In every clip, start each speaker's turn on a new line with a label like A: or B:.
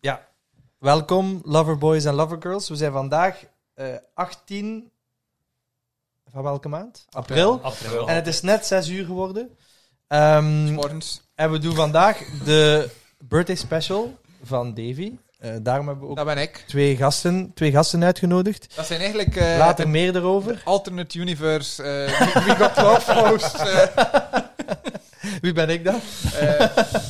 A: Ja. Welkom, loverboys en lovergirls. We zijn vandaag eh, 18 van welke maand? April.
B: April.
A: En het is net 6 uur geworden. Ehm,
C: Morgens.
A: en we doen vandaag de birthday special van Davy. Eh, daarom hebben we ook
C: Dat ben ik.
A: twee gasten, twee gasten uitgenodigd.
C: Dat zijn eigenlijk eh,
A: Later
C: de
A: meer erover.
C: alternate universe. eh, we- we got love hosts. eh,
A: Wie ben ik dan?
C: eh,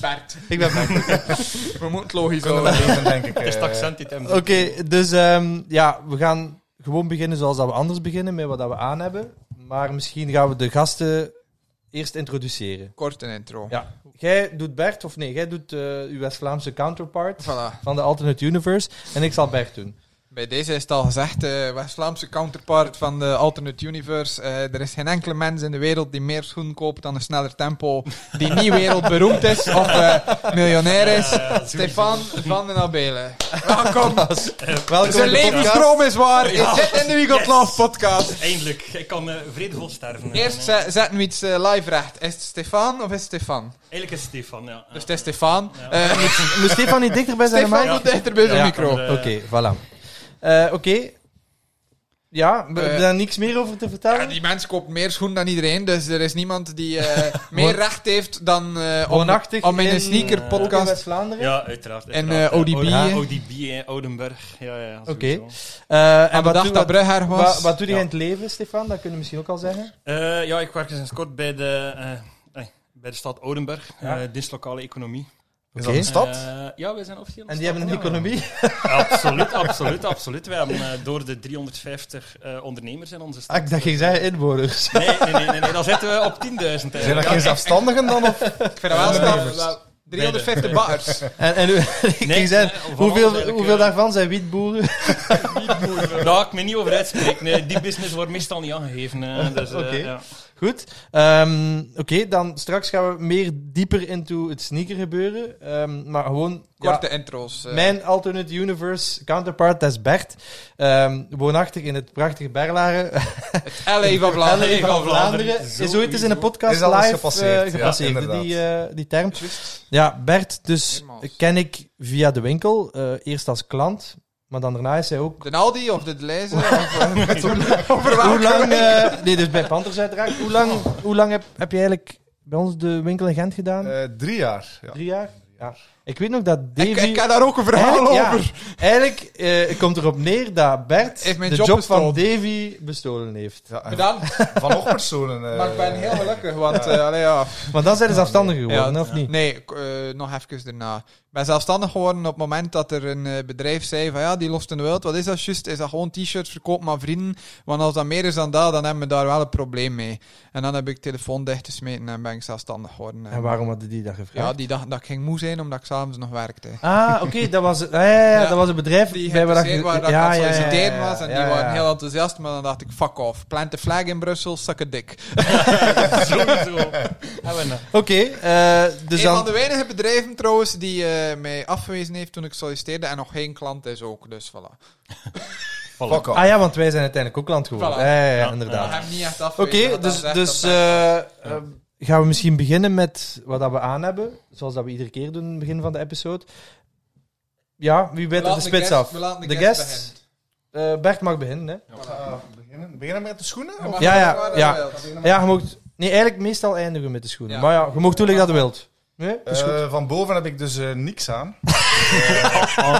C: Bert.
A: Ik ben Bert.
C: We moeten het logisch
B: Kunnen we
C: houden.
B: lezen, denk ik.
D: Het is
B: eh.
D: het accent die Tim
A: Oké, dus ehm, ja, we gaan gewoon beginnen zoals dat we anders beginnen, met wat dat we aan hebben. Maar misschien gaan we de gasten eerst introduceren.
C: Kort een intro.
A: Ja. Jij doet Bert, of nee, jij doet eh, uw West-Vlaamse counterpart
C: Voilà.
A: van de Alternate Universe. En ik zal Bert doen.
C: Bij deze is het al gezegd, eh West-Vlaamse counterpart van de Alternate Universe. Eh, er is geen enkele mens in de wereld die meer schoenen koopt dan een sneller tempo, die niet wereldberoemd is of eh, miljonair is.
D: eh,
C: Stefan van den Abelen.
A: Welkom
C: Welkom. Zijn
A: in de podcast.
C: levensdroom is waar. Je zit in de We Got Love podcast.
D: Eindelijk, ik kan eh, vredevol sterven.
C: Eerst
D: Eh,
C: ze- zetten we iets eh, live recht. Is het Stefan of is het Stefan?
D: Eigenlijk is het Stefan, ja.
C: Dus het is Stefan.
D: Ja.
C: Eh,
A: Moet Stefan niet dichterbij zijn
C: Stefan
A: mic?
C: moet dichter bij de
A: Ja.
C: micro.
A: Oké, voilà. Eh, Oké. Ja, we we
C: Eh.
A: hebben daar niks meer over te
C: Ja,
A: vertellen.
C: die mens koopt meer schoen dan iedereen, dus er is niemand die eh, meer recht heeft dan eh,
A: Woonachtig
C: om, om in
A: in,
C: een sneaker
D: eh,
A: Ook in
C: podcast.
A: West-Vlaanderen.
D: Ja, uiteraard.
C: En,
D: uiteraard,
C: eh,
D: ja.
C: ODB,
D: Ja,
C: hè?
D: ODB in Oudenburg. Ja, ja,
A: Oké.
D: sowieso.
A: Eh,
C: En
A: en
C: we
A: wat doe,
C: dachten dat
A: wat,
C: Brugge er was.
A: wat, wat doe je
D: Ja.
A: in het leven, Stefan? Dat kunnen we misschien ook al zeggen.
D: Eh, ja, ik werk sinds kort bij de, eh, eh, bij de stad Oudenburg,
A: Ja.
D: ja. dislokale economie.
A: Oké.
B: dat een stad?
D: Eh, ja, wij zijn officieel
A: En die hebben een
D: stad, ja.
A: economie.
D: Absoluut, absoluut, absoluut. Wij hebben eh, door de 350 eh, ondernemers in onze stad.
A: Ah, ik dacht, ging zeggen inwoners.
D: Nee, nee, nee, nee, nee, dan zitten we op 10.000
B: Zijn dat
D: eigenlijk.
B: geen zelfstandigen dan? Of?
C: Ik vind dat wel
D: Eh,
C: straf.
D: nee.
C: Wel, 350 bakkers.
A: En, en ik
D: Nee,
A: ging zeggen,
D: nee, van alles
A: hoeveel,
D: eigenlijk,
A: hoeveel
D: eh.
A: daarvan zijn wietboeren?
D: Daar Nou, ik me niet over uitspreek. Nee, die business wordt meestal niet aangegeven. eh, dus, eh,
A: Oké.
D: ja.
A: Goed. Ehm, Oké, dan straks gaan we meer dieper into het sneaker gebeuren. Ehm, maar gewoon... ja,
C: Korte intro's. eh.
A: mijn alternate universe counterpart, dat is Bert. Ehm, woonachtig in het prachtige Berlaren.
C: LA van Vlaanderen.
A: LA van Vlaanderen.
D: sowieso.
A: Is ooit eens in een podcast
B: Is al eens
A: live
B: gepasseerd,
A: eh,
B: ja,
A: gepasseerd,
B: inderdaad.
A: die, eh, die term. Ja, Bert, dus
C: Helemaal.
A: ken ik via de winkel. eh, eerst als klant, maar dan daarna is hij ook...
C: De Aldi of de Deleuze. of, eh, over
A: Hoe
C: welke
A: lang...
C: winkel?
A: eh, nee, dus bij Panthers uiteraard. Hoe lang, hoe lang heb, heb je eigenlijk bij ons de winkel in Gent gedaan?
B: Eh, drie jaar. Ja.
A: Drie jaar? Ja. Ik weet nog dat Davy...
C: Ik, ik heb daar ook een verhaal
A: Eigenlijk, ja.
C: over.
A: Eigenlijk eh, komt erop neer dat Bert
C: Heeft mijn
A: de job,
C: job
A: van
C: bestolen.
A: Davy bestolen heeft.
B: Ja, en
C: Bedankt,
B: van nog personen. eh,
C: maar ik ben heel gelukkig, want eh, allee, ja.
A: Maar dan zijn ze zelfstandig geworden,
C: Ja,
A: of niet?
C: Nee, k- eh, nog even daarna. Ik ben zelfstandig geworden op het moment dat er een eh, bedrijf zei van ja, die lost in de wild. Wat is dat juist? Is dat gewoon t-shirts verkoop maar vrienden? Want als dat meer is dan dat, dan hebben we daar wel een probleem mee. En dan heb ik telefoon dichtgesmeten en ben ik zelfstandig geworden.
A: En waarom hadden die dat
C: Ja,
A: gevraagd?
C: die dacht dat ik ging moe zijn omdat ik s'avonds nog werkte.
A: Ah, oké, dat was ah, ja, ja, ja,
C: Ja,
A: dat was een bedrijf
C: Die
A: bij waar dat
C: geïnteresseerd
A: ge-
C: waren
A: ja,
C: dat ik aan
A: ja,
C: het
A: ja,
C: solliciteren
A: ja,
C: was. En
A: ja,
C: die
A: ja.
C: waren heel enthousiast, maar dan dacht ik, fuck off. Plant de flag in Brussel, suck a dick.
D: Sowieso. En we, eh,
A: Oké, eh, dus
C: een
A: dan...
C: van de weinige bedrijven trouwens die eh, mij afgewezen heeft toen ik solliciteerde en nog geen klant is ook. Dus voilà.
D: voilà.
B: fuck off.
A: Ah ja, want wij zijn uiteindelijk ook klant geworden.
C: Voilà.
A: Ja, ja, ja,
D: Ja,
A: inderdaad.
C: Ik heb hem niet echt
A: Oké,
C: afgewezen, want
A: dus,
C: dat
A: dus
C: is echt een-
A: eh, eh, gaan we misschien beginnen met wat dat we aan hebben. Zoals dat we iedere keer doen in het begin van de episode. Ja, wie weet
C: We
A: er de
C: laten
A: spits
C: guest-
A: af.
C: we laten
A: De
C: guest
A: guest.
C: beginnen.
A: Eh, Bert mag beginnen, hè.
B: Ah, beginnen. beginnen met de schoenen?
C: Je
B: Of-
C: mag
A: Ja, ja,
C: doen waar je
A: ja.
C: wilt.
A: Ja, je mocht... Nee, eigenlijk meestal eindigen we met de schoenen.
C: Ja.
A: Maar ja, je mocht toelichten dat je wilt. Nee, dat is goed.
B: Eh, van boven heb ik dus eh, niks aan. Eh,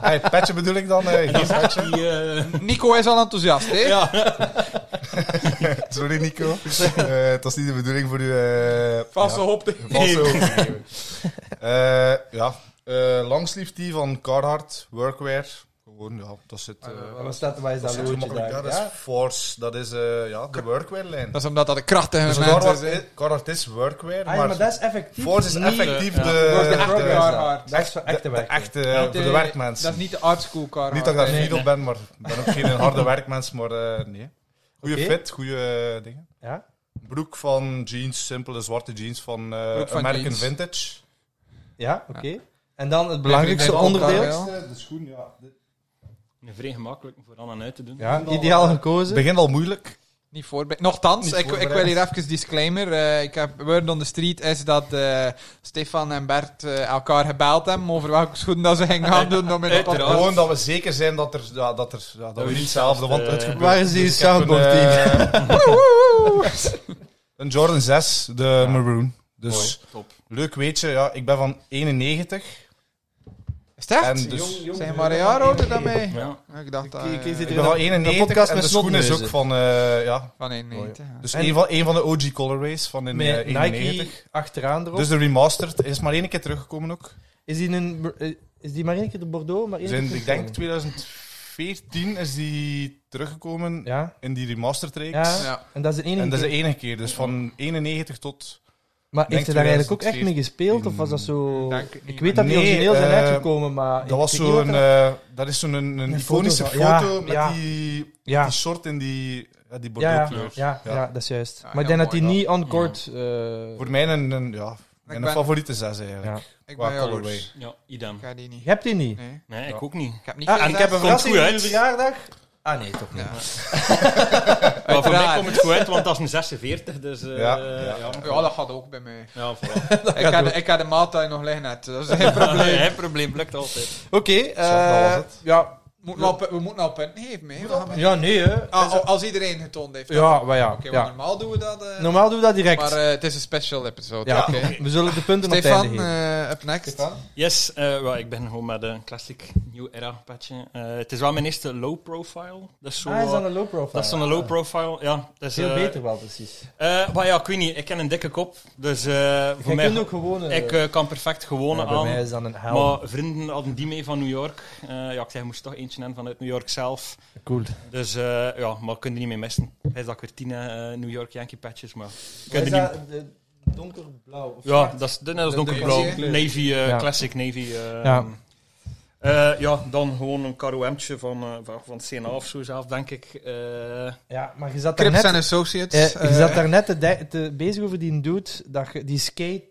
B: hey, petje bedoel ik dan? eh, geen petje.
D: Die, eh,
C: Nico is al enthousiast, hè?
D: ja.
B: Sorry Nico. Eh, het was niet de bedoeling voor u. eh,
C: Vaste
B: ja.
C: hop.
B: Valse hoop. Eh, ja, eh langsleeve tee van Carhartt, workwear. Gewoon, ja, dat zit... eh,
C: Eh,
A: Wat staat er? Waar is
B: dat
A: Ah, dat
B: zit
A: loodje
B: gemakkelijk.
A: daar?
B: Ja, dat
A: Ja? Ah,
B: is Force, dat is eh, ja, de workwear-lijn.
C: Dat is omdat dat een krachtige
B: Dus
C: mens is.
B: Carhartt
C: hè.
B: is, Carhartt is
A: Ah,
B: workwear,
A: ja,
B: maar,
A: maar dat is effectief.
B: Force is
A: niet-
B: effectief
D: Ja.
B: de,
A: Work in
B: de,
C: Carhartt.
A: progress,
B: de,
A: dat. Dat is voor
B: de-
A: echte
B: de
A: werk.
B: echte,
C: Dat,
B: voor
C: eh,
B: de werkmensen.
C: Dat is niet de artschool car.
B: niet dat ik daar
A: Nee,
B: fier
A: nee.
B: op ben, maar ik ben ook geen harde werkmens, maar eh, nee. Goeie
A: Oké.
B: fit, goede dingen.
A: Ja?
B: Broek van jeans, simpele zwarte jeans van, eh,
C: Broek van
B: American
C: jeans.
B: Vintage.
A: Ja, oké. En dan het belangrijkste
C: Ik vind het
A: onderdeel.
C: wel, ja.
B: de schoen, ja.
D: Vrij gemakkelijk voor aan en uit te doen.
A: Ja, ideaal
B: Het
A: gekozen.
B: begint al moeilijk.
C: Niet voorbereid. Nochtans,
B: Niet
C: ik, ik wil
B: voorbereid.
C: hier even disclaimer. eh, ik heb word on the street is dat eh, Stefan en Bert eh, elkaar gebeld hebben over welke schoenen dat ze gingen gaan doen om in de
B: Uiteraard. Gewoon dat we zeker zijn dat, er, ja, dat, er, ja, dat, we
D: we
B: niet
D: niet
B: hetzelfde, want
D: zelf,
B: het
D: eh,
B: gebeurt.
A: Waar is die
B: Dus ik heb
A: soundboard
B: een,
A: team?
B: eh, Een Jordan 6, de Maroon. Dus
D: Mooi, top.
B: leuk weetje, ja, ik ben van 91.
C: Is het echt?
B: En dus,
C: Zijn maar een jaar ouder dan mij.
D: Ja.
C: Ik dacht dat...
A: Ik- ik
C: eh,
A: zit
B: ik
A: hier-
B: ben van
A: Een
B: 91
A: podcast
B: en
A: met
B: de schoen is ook
A: snotneuzen.
B: van... eh, ja,
C: Van 91. ja.
B: dus
A: En-
B: een van, een van de OG colorways van in eh,
A: Met
B: 91.
A: Nike achteraan erop.
B: Dus de remastered is maar één keer teruggekomen ook.
A: is, die een, eh, is die maar één keer de Bordeaux? Maar één
B: Dus in,
A: keer
B: ik denk
A: teruggekomen?
B: 2014 is die teruggekomen
A: Ja,
B: in die remastered reeks.
A: Ja.
C: Ja.
A: en dat is de enige.
B: En dat is
A: keer.
B: de enige keer, dus van 91 tot...
A: Maar
B: denk
A: heeft hij daar eigenlijk ook echt mee
B: 2014.
A: gespeeld? Of was dat zo...
C: Denk ik niet,
A: Ik weet dat die
B: Mm, Nee,
A: origineel zijn
B: eh,
A: uitgekomen, maar... ik
B: Dat was
A: weet niet wat
B: zo'n...
A: er-
B: eh dat is zo'n een, een
A: Een
B: iconische
A: foto
B: foto,
A: van- ja,
B: met
A: ja.
B: die,
A: Ja.
B: die short en die,
A: Ja, ja,
B: ja, die eh, bordeauxkleur.
A: ja,
B: Ja.
A: ja, dat is juist.
C: Ja,
A: maar ik
C: heel
A: denk dat die
C: mooi,
A: niet on-court... eh,
B: Voor mij een, een, ja, mijn
C: ben-
B: favoriete zes eigenlijk.
A: Ja.
C: Ik
B: Qua
C: ben
B: colorway.
C: jaloers.
D: ja, idem.
C: Ik ga die niet.
A: Je hebt die niet.
C: Nee.
D: Nee, ik ook niet.
C: Ik heb niet
A: Ah,
C: veel
A: en ik heb
C: zes.
A: een verrassing
D: goed
A: voor uw
D: uit.
A: verjaardag. Ah nee, toch niet.
C: Ja.
D: Maar voor mij
C: Uiteraard.
D: komt het goed uit, want dat is een 46, dus... eh,
B: Ja,
D: ja,
B: ja.
D: ja.
C: Ja, dat gaat ook bij mij.
D: Ja, voilà.
C: Ik had, ik had de maaltijd nog liggen net. Dat is geen probleem.
D: Nee, geen probleem, lukt altijd.
A: Oké, eh,
B: dat was het.
A: ja,
C: We moeten nou, we moeten nou punten geven. hè. We gaan met-
A: ja, nee hè.
C: Ah, al- als iedereen getoond heeft. Oké,
A: Ja, maar ja.
C: want
A: ja.
C: normaal doen we dat. eh,
A: Normaal doen we dat direct.
C: maar eh, het is een special episode.
A: ja,
C: oké.
A: we zullen de punten op het
C: Stefan,
A: einde geven.
C: eh, up next.
D: Yes, eh, wel, ik ben gewoon met een classic New Era patje. Eh, het is wel mijn eerste low profile. Dat is zo...
A: ah, is dat een low profile?
D: eh,
A: Ah,
D: dat is zo'n low profile, ja. Dat is,
A: Veel
D: eh,
A: beter wel, precies.
D: eh, maar ja, ik weet niet, ik ken een dikke kop, dus eh,
A: Je
D: voor mij...
A: kunt ook gewoon... eh,
D: Ik eh, kan perfect gewoon
A: ja, bij
D: aan.
A: mij is dat een hel.
D: Maar vrienden hadden die mee van New York. Eh, ja, ik zei, je moest toch eentje hebben vanuit New York zelf.
A: Cool.
D: Dus eh, ja, maar kun je niet mee missen. Hij is dat ik weer tien eh, New York Yankee patches, maar kun
A: Is
D: je niet...
A: dat eh, donkerblauw? Of
D: Ja,
A: zwart?
D: dat is de- net als
A: De- de
D: donkerblauw.
C: klassieke
A: kleur.
D: Navy, eh,
A: Ja.
D: classic navy. eh,
A: Ja.
D: eh, ja, dan gewoon een KOM'tje van, eh, van, van CNA of zo zelf, denk ik. Eh,
A: Ja, maar je zat daar
C: Crips
A: net...
C: en Associates.
A: eh, je
C: eh,
A: zat daar net te, de- te bezig over die dude, dat je- die skate...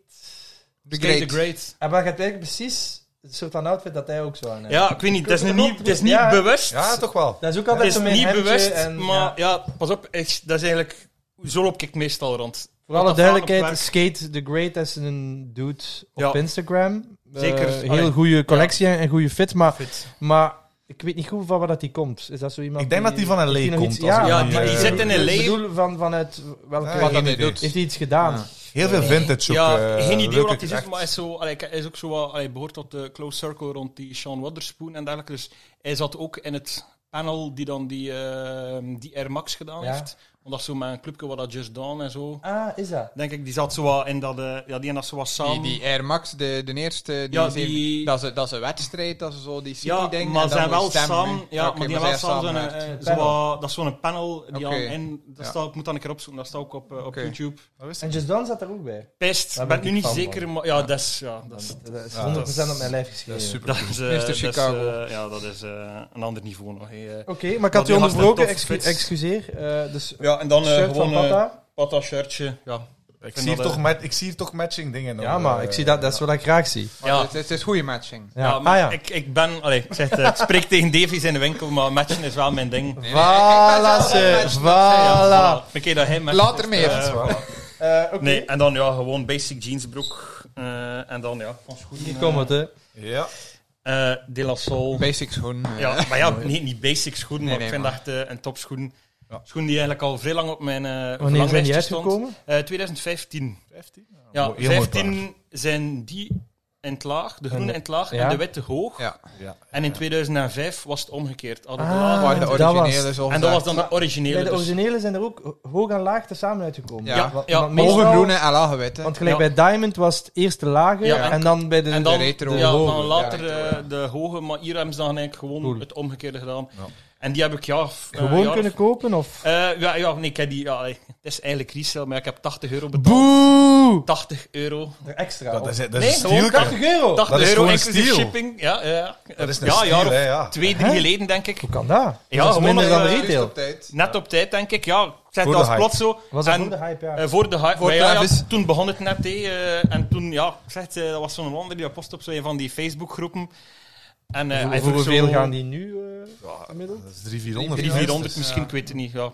C: de
D: Skate
C: Great.
D: the Great.
A: En Ah, maar je hebt eigenlijk precies het soort van outfit dat hij ook zo aan heeft.
D: Ja, ik weet niet, het is,
A: Kun je
D: nu
A: er
D: niet,
A: nog-
D: het is niet
A: Ja.
D: bewust.
B: Ja, toch wel.
A: Dat is ook
D: Het
A: altijd
D: is
A: zo met een
D: niet
A: hemdje
D: bewust,
A: en,
D: maar ja.
A: ja.
D: pas op, echt, dat is eigenlijk... Zo loop ik meestal rond.
A: Voor alle
D: Wat een
A: duidelijkheid,
D: vaderplek.
A: Skate the Great is een dude op
D: Ja.
A: Instagram. Eh,
D: Zeker.
A: heel
D: Allee.
A: goede collectie en goede fit, maar,
D: Fit.
A: maar ik weet niet goed van waar dat die komt. Is dat zo iemand
B: Ik denk dat die van LA
A: die nog
B: komt,
A: iets-
B: als
A: Ja,
B: ik
D: Ja,
B: niet,
D: maar die
B: eh,
D: zit in een
A: Ik
D: leven.
A: bedoel, van, vanuit welke...
B: Ja,
C: Wat dat
B: Geen
C: hij
B: idee.
C: doet.
A: heeft hij iets gedaan?
C: Ja.
B: Heel veel vintage
D: ja,
B: ook. eh,
D: geen idee
B: leuk
D: wat hij zit,
B: effect.
D: maar hij is, zo, allee, hij is ook zo, wat- allee, behoort tot de close circle rond die Sean Waterspoon en dergelijke. Dus hij zat ook in het panel die dan die, ehm, die Air Max gedaan
A: Ja.
D: heeft. Omdat zo met een clubje wat dat Just Dawn en zo.
A: Ah, is dat?
D: Denk ik, die zat zo wat in dat, eh, ja, die en dat zo wat
C: Die,
D: samen.
C: die Air Max, de, de eerste. Die
D: Ja,
C: zeven-
D: die-
C: dat, is, een- dat is een wedstrijd, dat is zo die city
D: ja,
C: ding.
D: maar
C: en dan
D: zijn
C: moet
D: wel
C: je stemmen,
D: samen.
C: hè.
D: Ja,
C: Oké,
D: maar die
C: maar
D: hebben wel
C: zijn
D: samen zo'n,
C: samen
D: eh,
A: uit.
D: zo wat- dat is zo'n panel die
C: Oké.
D: al in. Dat
C: Ja.
D: staat, ik moet dat een keer opzoeken, dat staat ook op, eh, op
C: Oké.
D: YouTube.
B: Dat wist ik.
A: En Just Dawn zat daar ook bij.
D: Pest,
A: Daar
D: ben,
A: ben
D: nu
A: ik
D: niet
A: fan
D: zeker, maar ja, dat is. Ja, dat is
A: Dat is
B: Ja,
A: 100%
D: dat is-
A: op mijn lijf
B: Dat
A: geschreven.
B: is super.
D: Dat is, eh,
C: Mr.
D: dat is,
C: Chicago.
D: eh, ja, dat is eh, een ander niveau nog. hè, eh.
A: Oké, maar ik had
D: Want
A: u
D: die gasten
A: onderbroken,
D: tof
A: excu-
D: fits.
A: excuseer. Eh, dus
D: Ja, en dan eh,
A: shirt van
D: gewoon een
A: Bata.
D: shirtje. Ja,
B: Ik,
D: vind
B: zie hier
D: dat,
B: toch
D: eh,
B: met, ik zie hier toch matching dingen. eh.
A: ja,
B: hoor.
A: maar ik zie dat, dat is wat ik graag zie.
C: Maar
D: eh, Ja.
C: Het, het is goede matching.
A: Ja,
D: ja,
A: ah
D: maar
A: ja.
D: Ik, ik ben, allee, ik, zeg, het, eh, ik spreek tegen Davies in de winkel, maar matchen is wel mijn ding.
C: Nee, nee, ik ben
A: Voilà,
C: zelf
A: ze,
C: een
A: voilà.
D: Een keer dat hij matcht,
C: Later
D: is,
C: meer.
D: eh,
C: Dat
B: is
A: Eh, Oké,
D: nee, en dan ja, gewoon basic jeansbroek. eh en dan ja, van schoenen.
A: hier komt het, hè.
B: Ja.
D: eh, De La Soul.
C: Basic schoen. eh.
D: Ja, maar ja, niet, niet basic schoen, maar
C: Nee,
D: ik
C: nee,
D: vind
C: maar-
D: dat echt eh, een topschoen.
B: Ja.
D: Schoen die eigenlijk al vrij lang op mijn eh
A: Wanneer zijn die
D: verlanglijstje stond.
A: uitgekomen?
D: Eh, 2015.
B: 15?
D: Ja,
B: Mooi, heel mooi
D: 15 zijn die in het laag, de groene in het laag
A: Ja.
D: en de witte hoog.
C: Ja.
B: Ja.
D: En in 2005 was het omgekeerd. Hadden we de
A: Ah,
D: laag.
C: Waar de
A: dat was-
C: originele is
D: en dat was dan de originele.
A: Bij de
D: dus-
A: originele zijn er ook hoog en laag tezamen uitgekomen.
C: Ja, Ja,
A: want,
D: ja.
A: want
C: Mogen
A: meestal-
C: groene en lage witte.
A: Want gelijk
D: Ja.
A: bij Diamond was het eerste lage
D: Ja,
A: en dan bij de...
D: en dan,
C: de retro
D: ja,
C: hoge.
D: dan later
C: Ja, retro,
D: eh, de hoge, maar hier hebben ze dan eigenlijk gewoon
A: Cool.
D: het omgekeerde gedaan.
B: Ja.
D: En die heb ik ja, f- eh,
A: gewoon
D: jaar-
A: kunnen kopen of...
D: Eh, ja, ja, nee, ik heb die, ja, allee, het is eigenlijk resale, maar ik heb 80 euro betaald.
A: Boe! Oh,
D: 80 euro.
A: Extra.
B: Dat is, dat is
D: Nee,
B: een
D: gewoon
B: steeltje.
A: 80 euro!
D: 80
B: is
D: euro
B: gewoon
D: inclusief
B: steal.
D: shipping. Ja, ja.
B: Dat is een
D: ja, een jaar
B: steal,
D: of
B: hè, ja.
D: twee, drie
A: Hè?
D: geleden denk ik.
A: Hoe kan dat?
D: Ja,
A: dat is
D: gewoon,
A: minder dan
D: eh,
A: retail.
C: op tijd.
D: Net op tijd, denk ik. Ja, ik zei
B: Voor
D: het
B: de
D: als
B: hype.
D: plots zo.
A: Was dat
D: En,
A: voor de hype, ja.
D: eh, voor de hype.
C: Voor
D: Maar ja, ja,
C: Travis.
D: toen begon het net, hè. eh, en toen, ja, ik zeg het, eh, dat was zo'n ander die dat post op zo'n van die Facebookgroepen. En eh,
A: Hoe-
D: hij
A: voor
D: vroeg
A: hoeveel
D: zo
A: gaan die nu eh,
B: Ja,
A: gemiddeld?
B: dat is 300, 400.
D: drie, 400 misschien,
C: Ja.
D: ik weet het niet. Ja.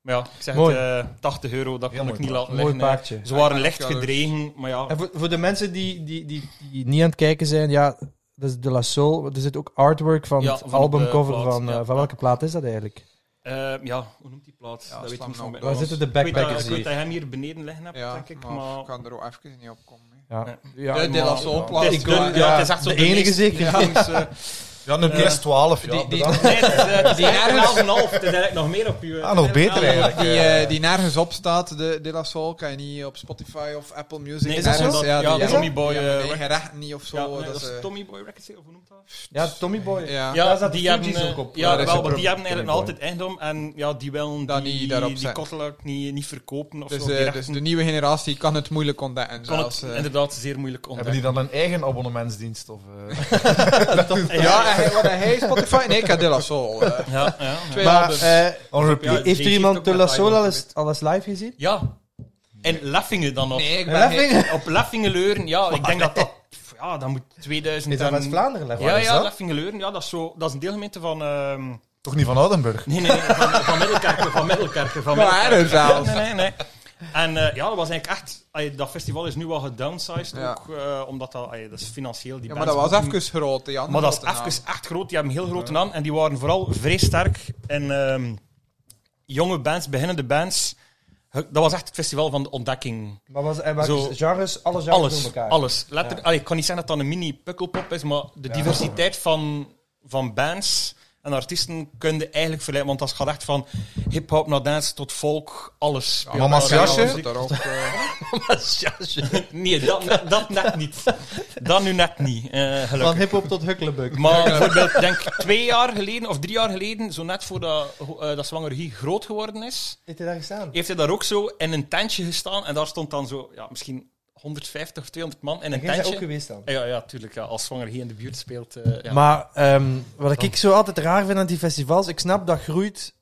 D: Maar ja, ik zeg
A: Mooi.
D: het, eh, 80 euro, dat
B: Heel
D: kon ik
B: mooi
D: niet laten
A: Mooi
D: liggen. hè.
A: paardje.
D: Ze waren
C: Ja,
D: licht
C: ja, dus.
D: gedregen, maar ja.
A: En voor, voor de mensen die, die, die, die niet aan het kijken zijn, ja, dat is De La Soul. Er zit ook artwork van
D: Ja,
A: het
D: van de
A: albumcover
D: plaat,
A: van... eh,
D: ja.
A: van welke plaat is dat eigenlijk?
D: eh, ja, hoe noemt die plaats?
C: Ja,
D: dat weet ik
C: slam nou
D: niet van mij.
C: door.
A: Waar zitten de
D: Ik weet, dat,
A: backpackers
D: ik weet dat
A: hier?
D: je hem hier beneden liggen hebt,
C: Ja,
D: denk ik.
C: maar,
D: Maar...
C: ik kan er ook even niet op komen. hè.
A: Ja.
C: Ja, de
A: maar-
C: La Soul plaat.
D: Het is
A: Ik
D: dun,
A: wil-
D: ja,
A: ja,
D: het is echt zo
A: de
D: de
A: enige
D: meest-
A: zeker.
D: Ja, dus, eh,
B: Ja, een plus 12. Ja,
C: die- die-
B: bedankt.
D: nee, het is, eh, het is
C: Die
D: eigenlijk
C: ergens-
D: een half en half. Het is eigenlijk nog meer op je...
B: Ah, nog beter eigenlijk.
C: Die,
B: eh.
C: eh, die nergens op staat, de De La Soul, kan je niet op Spotify of Apple Music.
D: Nee,
A: Is dat
C: nergens.
A: zo?
C: Ja,
D: Ja,
C: die
D: Tommy
C: hebben-
D: Boy,
C: die hebben
D: eh,
C: eigen rechten niet of zo.
D: Ja, nee,
C: dat
D: dat
C: is,
D: is
C: eh,
D: Tommy Boy Records, of hoe noemt dat?
A: Ja, Tommy Boy.
C: ja.
A: Daar zaten
D: die
A: de
D: hebben,
A: Fugees
D: eh,
A: ook op.
C: Ja,
D: ja,
C: dat is
D: wel,
C: een
D: maar die
A: probleem.
D: hebben eigenlijk nog altijd eigendom en ja, die willen
C: Dat
D: die,
C: niet daarop
D: die, die
C: zetten.
D: kottelak niet, niet verkopen of
C: Dus,
D: zo. Die
C: eh, dus
D: rechten
C: de nieuwe generatie kan het moeilijk ontdekken.
D: kan
C: zelfs,
D: het
C: eh.
D: inderdaad zeer moeilijk
B: Hebben
D: ontdekken.
B: die dan een eigen abonnementsdienst? Of, eh?
C: Ja, en hij- wat hij Spotify? Nee, ik had De La Soul. eh,
D: Ja, ja, ja.
C: twee
A: Maar,
C: albums.
A: eh,
B: On repeat.
D: Ja,
A: heeft
D: die
A: er
D: ook
A: iemand De La
D: met
A: Soul
D: Iron
A: al eens, al eens live gezien?
D: Ja. En Leffingen dan nog.
C: nee, ik ben
A: Leffing?
C: geen-
D: Op Leffingeleuren, ja, ik denk dat dat... Ja, dat moet 2000
A: Is dat
D: en-
A: West-Vlaanderen live?
D: Ja,
B: Waar is
D: ja,
B: dat?
D: Leffingeleuren, ja, dat is, zo, dat is een deelgemeente van... ehm,
B: Toch niet van Oudenburg?
D: Nee, nee, nee, van, van Middelkerken, van Middelkerken. Van
C: Van Haren zelfs.
D: Nee, nee, nee. En eh, ja, dat was eigenlijk echt... ay, dat festival is nu al gedownsized,
C: Ja.
D: ook eh, omdat dat, ay, dat is financieel... Die
C: Ja, maar dat
D: bands
C: was
D: moeten-
C: even groot. Die andere
D: Maar dat is
C: grote naam.
D: even echt groot. Die hebben een heel grote naam. En die waren vooral vrij sterk. En ehm, jonge bands, beginnende bands. Dat was echt het festival van de ontdekking.
A: Maar eh, was, en welke
D: Zo.
A: genres? Alle genres door
D: Alles.
A: elkaar.
D: alles. Letter, Allee, ik kan niet zeggen dat dat een mini-pukkelpop is, maar de diversiteit van, van bands en artiesten kun je eigenlijk verleiden. Want dat gaat echt van hip-hop naar dance tot folk, alles.
C: Ja,
B: Mama's
C: maar
B: jasje?
C: dat was daar ook, eh,
D: Nee, dat, dat- dat net niet. Dat nu net niet, eh, gelukkig.
A: Van hip-hop tot Hucklebuck.
D: Maar bijvoorbeeld, denk ik, twee jaar geleden of drie jaar geleden, zo net voordat eh, dat Zwanger Guy groot geworden is,
A: Heeft hij daar gestaan?
D: heeft hij daar ook zo in een tentje gestaan. En daar stond dan zo, ja, misschien 150 of 200 man in een
A: En jij bent
D: tentje.
A: ook geweest dan?
D: ja, ja, tuurlijk. Ja, als Zwanger Guy in de buurt speelt. eh, ja.
A: Maar ehm, wat ik zo altijd raar vind aan die festivals, ik snap dat groeit,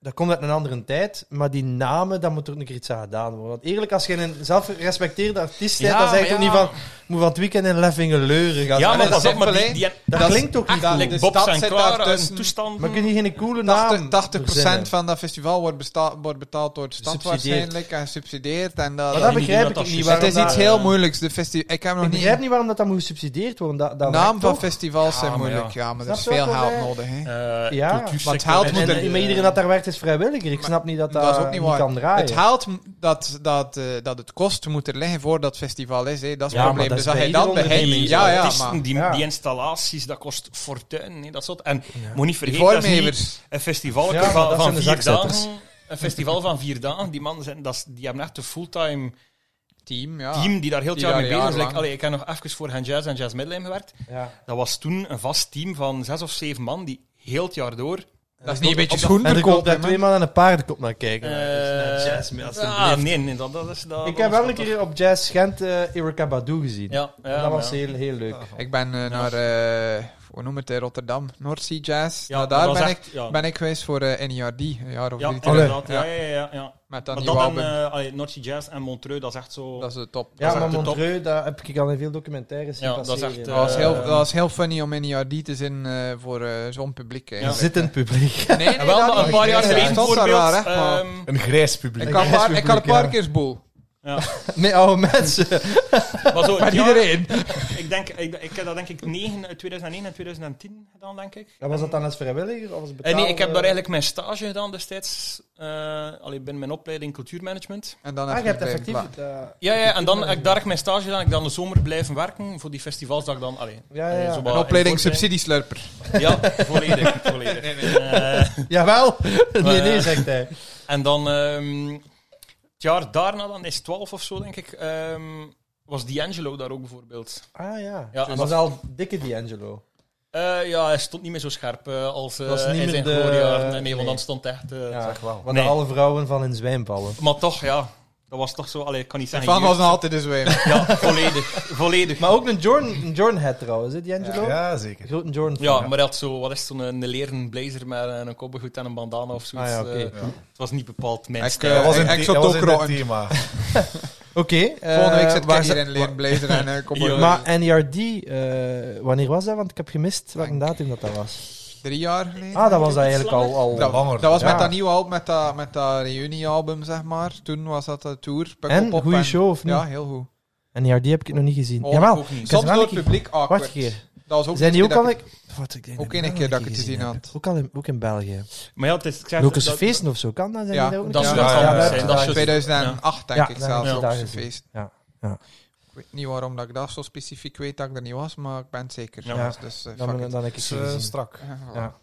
A: dat komt uit een andere tijd, maar die namen, daar moet er ook een keer iets aan gedaan worden. Want eerlijk, als je een zelfgerespecteerde artiest bent,
D: Ja,
A: dan zeg je
D: maar
A: toch
D: ja.
A: niet van, moet van het weekend in Leffingen leuren gaan.
D: ja, maar
C: dat
D: pas
C: is
D: op, maar
C: simpel,
D: die,
C: hè.
D: die,
A: dat,
C: dat-
A: klinkt toch niet goed.
C: eigenlijk-
D: like
C: de
D: Bob
C: stad
D: zijn
C: zit
D: klaar
C: daar tussen.
D: een toestand.
A: Maar kun je geen coole naam
C: 80%, 80
A: verzinnen?
C: Nou, van dat festival wordt, besta- wordt betaald door de stad
A: Subsidieerd.
C: waarschijnlijk en subsidieerd. En dat,
A: Maar
D: Ja,
A: dat
D: die
A: begrijp
D: doen
A: ik
D: dat
A: ook
D: als
A: niet.
D: je-
A: Waarom
C: het is iets
A: dat-
C: heel moeilijks. De festi- ik heb nog
A: Ik begrijp
C: niet.
A: niet waarom dat, dat moet gesubsidieerd worden. Dat, dat
C: Naam
A: werkt
C: van
A: toch?
C: festivals zijn
D: Ja, maar
C: moeilijk. Ja, maar er is
A: Snap je
C: veel
A: wat ik
C: geld
A: bedoel?
C: nodig. Hè.
D: Eh,
A: Ja.
D: cultuursector.
C: Want haalt
D: En-
C: moet
A: en,
C: er-
D: en-
A: en- maar iedereen dat daar werkt is vrijwilliger. Ik
C: Maar
A: snap niet dat dat,
C: dat is ook niet waar.
A: kan draaien.
C: Het haalt m- dat, dat, eh, dat het kost moet er liggen voor dat festival is. Hè. Dat
A: Ja,
C: is het
A: maar dat
C: probleem. dus
A: is
C: dat
A: bij
C: hij dat
D: eh,
A: ieder
C: begint.
A: onderneming
C: Ja, ja,
D: artiesten,
C: maar
D: die,
A: Ja.
D: die installaties, dat kost fortuin. Nee, dat soort. En moet niet
C: die
D: vergeten, dat is niet-
C: vormgevers.
D: Een festival
A: Ja, maar
D: van,
A: dat
D: van
A: zijn de
D: vier
A: zakzetters.
D: dagen. Een festival van vier dagen. Die mannen zijn, dat is- die hebben echt een fulltime
C: Team, ja.
D: team die daar heel het
C: Die
D: jaar mee
C: daar
D: bezig is.
C: jarenlang.
D: Like, allee, ik heb nog even voor Hand Jazz en Jazz Midline gewerkt.
A: Ja.
D: Dat was toen een vast team van zes of zeven man die heel het jaar door.
C: Dat is niet een beetje
A: En er komt daar
C: schoenverkoop.
A: twee man aan een paardenkop naar kijken.
D: Eh, ah, nee, nee, dat, dat is.
A: Ik
D: Dat, dat
A: heb
D: is
A: wel een
D: toch-
A: keer op Jazz Gent eh Erika Badu gezien.
D: Ja, ja,
A: En dat was
D: maar ja.
A: heel, heel leuk.
C: Ik ben eh, naar, eh, hoe noem het, eh, Rotterdam, North Sea Jazz.
D: Ja,
C: Nou,
D: dat
C: daar
D: was
C: ben,
D: echt-
C: ik,
D: ja.
C: ben ik geweest voor eh NERD, een jaar of drie
D: Ja,
A: Allee.
C: terug.
D: inderdaad. Ja, ja, ja. ja, ja.
C: Met dat
D: Maar
C: nieuwe
D: dat en
C: album.
D: eh allee, North Sea Jazz en Montreux, dat is echt zo.
C: dat is de top.
A: Ja,
C: dat,
A: maar
C: is
D: de
C: echt
D: top.
A: Montreux, daar heb ik al in veel documentaires
D: Ja,
A: gezien.
D: dat is echt,
C: de- dat, was
D: eh,
C: heel, dat was heel funny om NERD te zijn eh, voor eh, zo'n publiek. eh.
D: Ja.
A: Zittend publiek.
C: Nee, nee,
D: En wel
C: dat
D: maar
C: niet.
D: een paar jaar
C: Ja,
D: geleden,
C: het was daar
D: bijvoorbeeld.
C: raar, hè, maar-
D: ehm,
B: Een grijs publiek.
C: Ik had een paar- ik had een paar keer boel.
A: Met oude mensen.
D: maar zo,
C: Maar
D: ja,
C: iedereen.
D: Ik, denk, ik, ik heb dat denk ik 9, uit 2009 en 2010 gedaan, denk ik.
A: En was dat dan als vrijwilliger? Of als
D: Eh,
A: betaald,
D: nee, ik
A: eh?
D: heb daar eigenlijk mijn stage gedaan destijds. eh alleen binnen mijn opleiding cultuurmanagement.
C: En dan
A: Ah, je
C: even
A: hebt
C: blijven
A: effectief...
C: plakken.
A: het, eh,
D: Ja, ja, en dan heb ik daar echt mijn stage gedaan. Ik dan de zomer blijven werken voor die festivals dat ik dan... Allee,
A: Ja,
D: eh,
A: ja, ja.
D: zo wat
C: Een opleiding
D: in voorbereiding-
C: subsidieslurper.
D: Ja, volledig. volledig. Eh,
A: Jawel! nee,
D: Maar,
A: nee,
D: eh,
A: zegt hij.
D: en dan... ehm, het jaar daarna, dan is 12 of zo, denk ik, ehm, was D'Angelo daar ook bijvoorbeeld.
A: Ah ja.
D: Ja, en
A: dat
D: dat-
A: was al dikke D'Angelo.
D: Eh, ja, hij stond niet meer zo scherp eh, als eh,
A: Was niet
D: in
A: meer
D: zijn
A: de-
D: gloriejaar. Nee,
A: nee.
D: want dan stond echt... eh,
A: Ja,
B: Zeg wel.
A: Want
D: Nee.
A: alle vrouwen van in zwijn vallen.
D: Maar toch, ja. Dat was toch zo... Allee, ik kan niet zeggen...
C: Van was
D: jeugd.
C: nog altijd eens weer.
D: Ja, volledig. volledig.
A: Maar ook een Jordan, een Jordan hat trouwens, hè, D'Angelo?
B: Ja, zeker.
A: Grote Jordan.
D: Ja, maar dat zo, wat is zo'n eh, een leren blazer met eh, een koppengoed en een bandana of
A: Ah
D: zoiets.
A: ja, oké.
D: eh, het was niet bepaald mijn
C: Ik,
D: stijl.
C: eh,
B: Dat was in,
C: Ik- ik
B: het-
C: zou
B: dat was
C: het
B: in
C: ook
B: het
C: rocken.
B: thema.
A: Oké. eh,
C: Volgende week zit ik
A: waar
C: hier
A: zat-
C: in leren blazer en eh, kom maar.
D: Ja.
A: E Maar NERD, eh, wanneer was dat? Want ik heb gemist welke
C: Denk-
A: datum dat, dat was.
C: drie jaar geleden.
A: Ah, dat was dat eigenlijk al... al...
C: dat,
B: langer.
C: dat was
A: Ja.
C: met dat nieuwe album, met dat, met dat reuniealbum, zeg maar. Toen was dat de tour.
A: En?
C: Pukkelpop
A: Goeie show, of niet?
C: Ja, heel goed.
A: En ja, die heb ik nog niet gezien.
C: Oh,
A: Jawel,
C: ook niet.
A: ik heb
C: Soms
A: ze wel
C: door het
A: een keer-
C: publiek awkward.
A: Wacht een keer.
C: Dat was ook
A: Zijn die
C: iets
A: ook al...
C: dat
A: ik- Wat, ik denk
C: Ook
A: ik
C: één
A: wel
C: keer dat ik het
A: gezien
C: gezien
A: heb.
C: had.
A: Ook, al in, ook in België.
D: Maar ja, het is, ik zeg,
A: Locus
D: dat-
A: feesten of zo, kan dat? Zijn
C: Ja,
A: die daar ook
D: dat
A: niet?
D: is
B: Ja,
D: wel
B: ja, ja.
D: anders zijn. Dat is juist-
C: 2008 denk
A: Ja,
C: ik
A: daar
C: zelfs
A: heb
D: ik
C: op
A: daar
C: zijn
A: gezien.
C: feest.
A: Ja, ja.
C: Ik weet niet waarom dat ik dat zo specifiek weet dat ik er niet was, maar ik ben het zeker.
D: Ja.
C: Dus, dus, eh,
A: Dan,
C: fuck
A: dan,
C: it.
A: dan heb ik
B: is
A: ze gezien.
B: strak.
C: Eh, voilà.
A: Ja.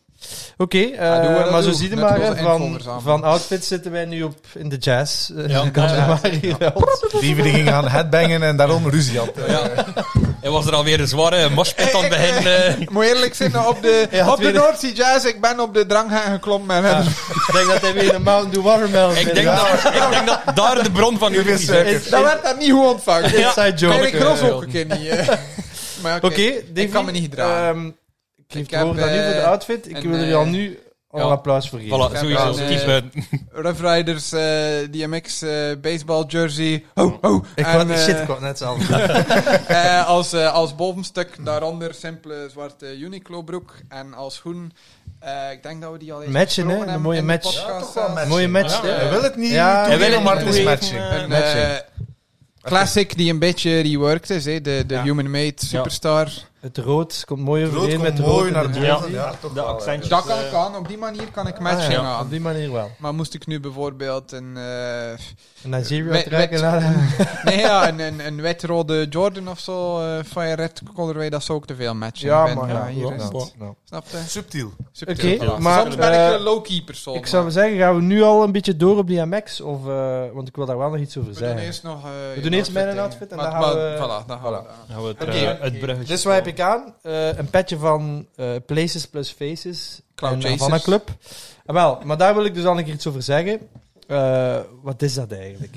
A: Oké, eh,
C: Ja, doe maar dat
A: maar zo
C: doe.
A: zie je
C: Met
A: maar,
C: onze
A: hè, van,
C: info verzamelen.
A: van outfits zitten wij nu op in de jazz. eh,
D: Ja,
A: kan
D: ja,
A: er
D: ja.
A: maar hier wel.
B: Lieveling ging gaan headbangen en daarom ruzie had.
D: Ja. Hij was er alweer een zware moshpit aan bij hen. eh.
C: Ik moet eerlijk zijn, op de,
A: Ja,
C: op de
A: tweede-
C: Noordzee Jazz, ik ben op de drang gaan geklommen. En hebben-
A: Ik denk dat hij weer een Mountain Dew Watermelon
D: Ik
A: vindt.
D: denk,
A: Ja.
D: dat, ik denk dat daar de bron van uw
B: Dit is,
D: ruzie
B: eh,
D: is.
A: Is-
C: Dat
A: is-
C: werd dat niet goed ontvangen.
A: Inside joke.
C: Erik Gros
D: eh,
C: ook een keer niet. eh. Maar oké,
A: Oké, Davy,
C: ik kan me niet gedragen.
A: ehm, ik geef
C: Ik
A: het woord
C: heb,
A: aan u voor de
C: eh,
A: outfit. Ik
C: een,
A: wil er
C: eh,
A: al nu al
D: ja.
A: een applaus voor geven.
D: Voilà, sowieso.
C: Ja,
D: Kies
C: eh,
D: buiten.
C: Rough Riders, eh, DMX, eh, baseball jersey. Ho, ho.
A: Ik
C: En,
A: wou-
C: eh,
A: shit, ik wou het net zelf.
C: eh, als, eh, als bovenstuk daaronder simpele zwarte Uniqlo broek. En als schoen, eh, ik denk dat we die al eens
A: Matchen,
C: besproken
A: hè? Een
C: hebben
A: mooie
C: in de
A: match.
C: podcast,
B: Ja, toch wel
C: eh.
B: match.
A: Mooie match.
D: Ja,
A: hè?
B: Hij wil het niet
A: Ja,
B: toegeven,
A: hij wil het niet
B: maar het is
D: toegeven,
B: matching.
D: eh.
C: Een
A: Matching.
C: eh, classic die een beetje reworked is, hè? de, de
D: Ja.
C: Human Made Superstar.
A: Het rood komt mooi
B: Rood
A: overeen
B: komt
A: met het rood.
B: mooi
A: in
B: naar
A: de
B: het
D: Ja.
A: jersey.
B: rood. Ja, toch
D: De
B: wel, hè.
C: Dus
D: accentjes.
C: Dat kan
D: eh,
C: ik aan, op die manier kan ik
A: Ah,
C: matching
A: ja,
C: aan.
A: Op die manier wel.
C: Maar moest ik nu bijvoorbeeld een, eh,
A: Een Nigeria
C: Met-
A: trekken.
C: met-
A: naar-
C: nee, ja, een, een, een wetrode Jordan of zo, eh, Fire Red Colorway, dat zou ook te veel matchen.
A: Ja,
C: Ik ben-
A: maar ja,
C: hier is
A: ja,
C: het.
A: ja.
C: Snap je?
B: Subtiel.
C: Subtiel.
A: Oké,
C: Ja.
A: maar,
C: Soms ben ik
A: eh,
C: een low-key persoon.
A: Ik zou
C: maar
A: zeggen, gaan we nu al een beetje door op die MX? Of, eh, want ik wil daar wel nog iets over
C: we doen
A: zeggen.
C: eerst nog... eh, je
A: doen eerst mijn
C: outfit,
A: outfit en
C: maar-
A: dan gaan
C: maar-
A: we-
C: Voilà, dan gaan we daar.
D: gaan we het,
A: Oké.
D: eh, het bruggetje.
A: Dus wat heb ik aan? Eh, een petje van eh, Places plus Faces.
C: Cloud
A: en
C: Chasers.
A: Havana Club. Ah, wel, maar daar wil ik dus al een keer iets over zeggen. Eh, wat is dat eigenlijk?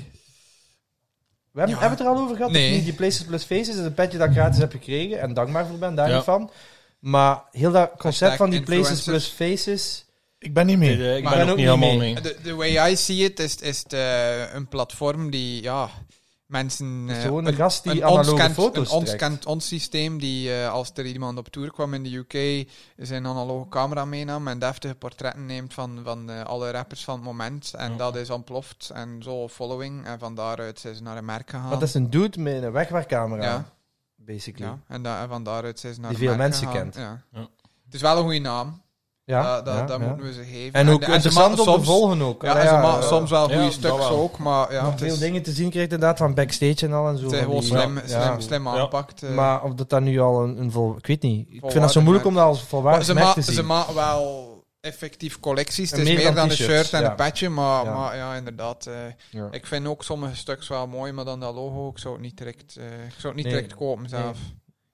A: We hebben,
C: Ja.
A: hebben we het er al over gehad?
C: Nee.
A: of niet? Die Places plus Faces is een petje dat ik gratis heb gekregen. En dankbaar voor ben, daar
D: Ja.
A: niet van. Maar heel dat concept
C: Hashtag
A: van die Places plus
C: influencers.
A: Faces...
B: Ik ben niet
D: Nee,
B: mee.
D: eh, ik
C: Maar
D: ben
A: ben
D: ook
A: ook
D: niet
A: niet
D: helemaal
A: mee.
D: mee.
C: De, de way I see it is, is het, eh, een platform die ja, mensen. eh,
A: gewoon een gast die
C: een
A: analoge
C: ons kent,
A: foto's
C: een ons
A: trekt.
C: kent ons systeem die eh, als er iemand op tour kwam in de UK zijn analoge camera meenam en deftige portretten neemt van, van eh, alle rappers van het moment. En
D: Ja.
C: dat is ontploft en zo following. En van daaruit zijn ze naar een merk gegaan.
A: Want dat is een dude met een wegwerkcamera.
C: Ja.
A: Basically.
C: ja, en, da- en van daaruit zijn ze naar
A: Die
C: een
A: veel
C: merk
A: mensen
C: gegaan.
A: kent.
C: Ja.
D: Ja.
C: Het is wel een goede naam.
A: Ja,
C: Ja, dat
A: ja,
C: dat
A: ja.
C: moeten we ze geven.
A: En ook
C: de- ze
A: interessant
C: maken
A: om te
C: soms.
A: volgen ook.
C: Ja, en
A: Ah,
C: ze
A: ja,
C: maken
A: ja.
C: soms wel
D: Ja,
C: goede
D: dat
C: stuks
D: wel.
C: ook, maar ja,
A: Nog
C: het
A: veel
C: is-
A: dingen te zien krijgt inderdaad van backstage en al en zo.
C: Het zijn
A: van
C: gewoon
A: die-
C: slim,
A: Ja.
C: slim, slim
D: Ja.
C: aangepakt. eh.
A: Maar of dat dan nu al een, een vol... Ik weet niet. Ik vind dat zo
C: Volwaardig
A: moeilijk om dat als
C: Maar
A: volwaardig
C: ze,
A: merk
C: ma
A: te zien.
C: ze maken wel effectief collecties. Het
A: En
C: is meer dan, een
A: t-shirts,
C: shirt en
A: ja.
C: een petje, maar
A: Ja.
C: ja, maar, ja inderdaad. eh,
A: Ja.
C: Ik vind ook sommige stuks wel mooi, maar dan dat logo, ik zou het niet direct, eh, ik zou het niet
A: Nee.
C: direct kopen zelf.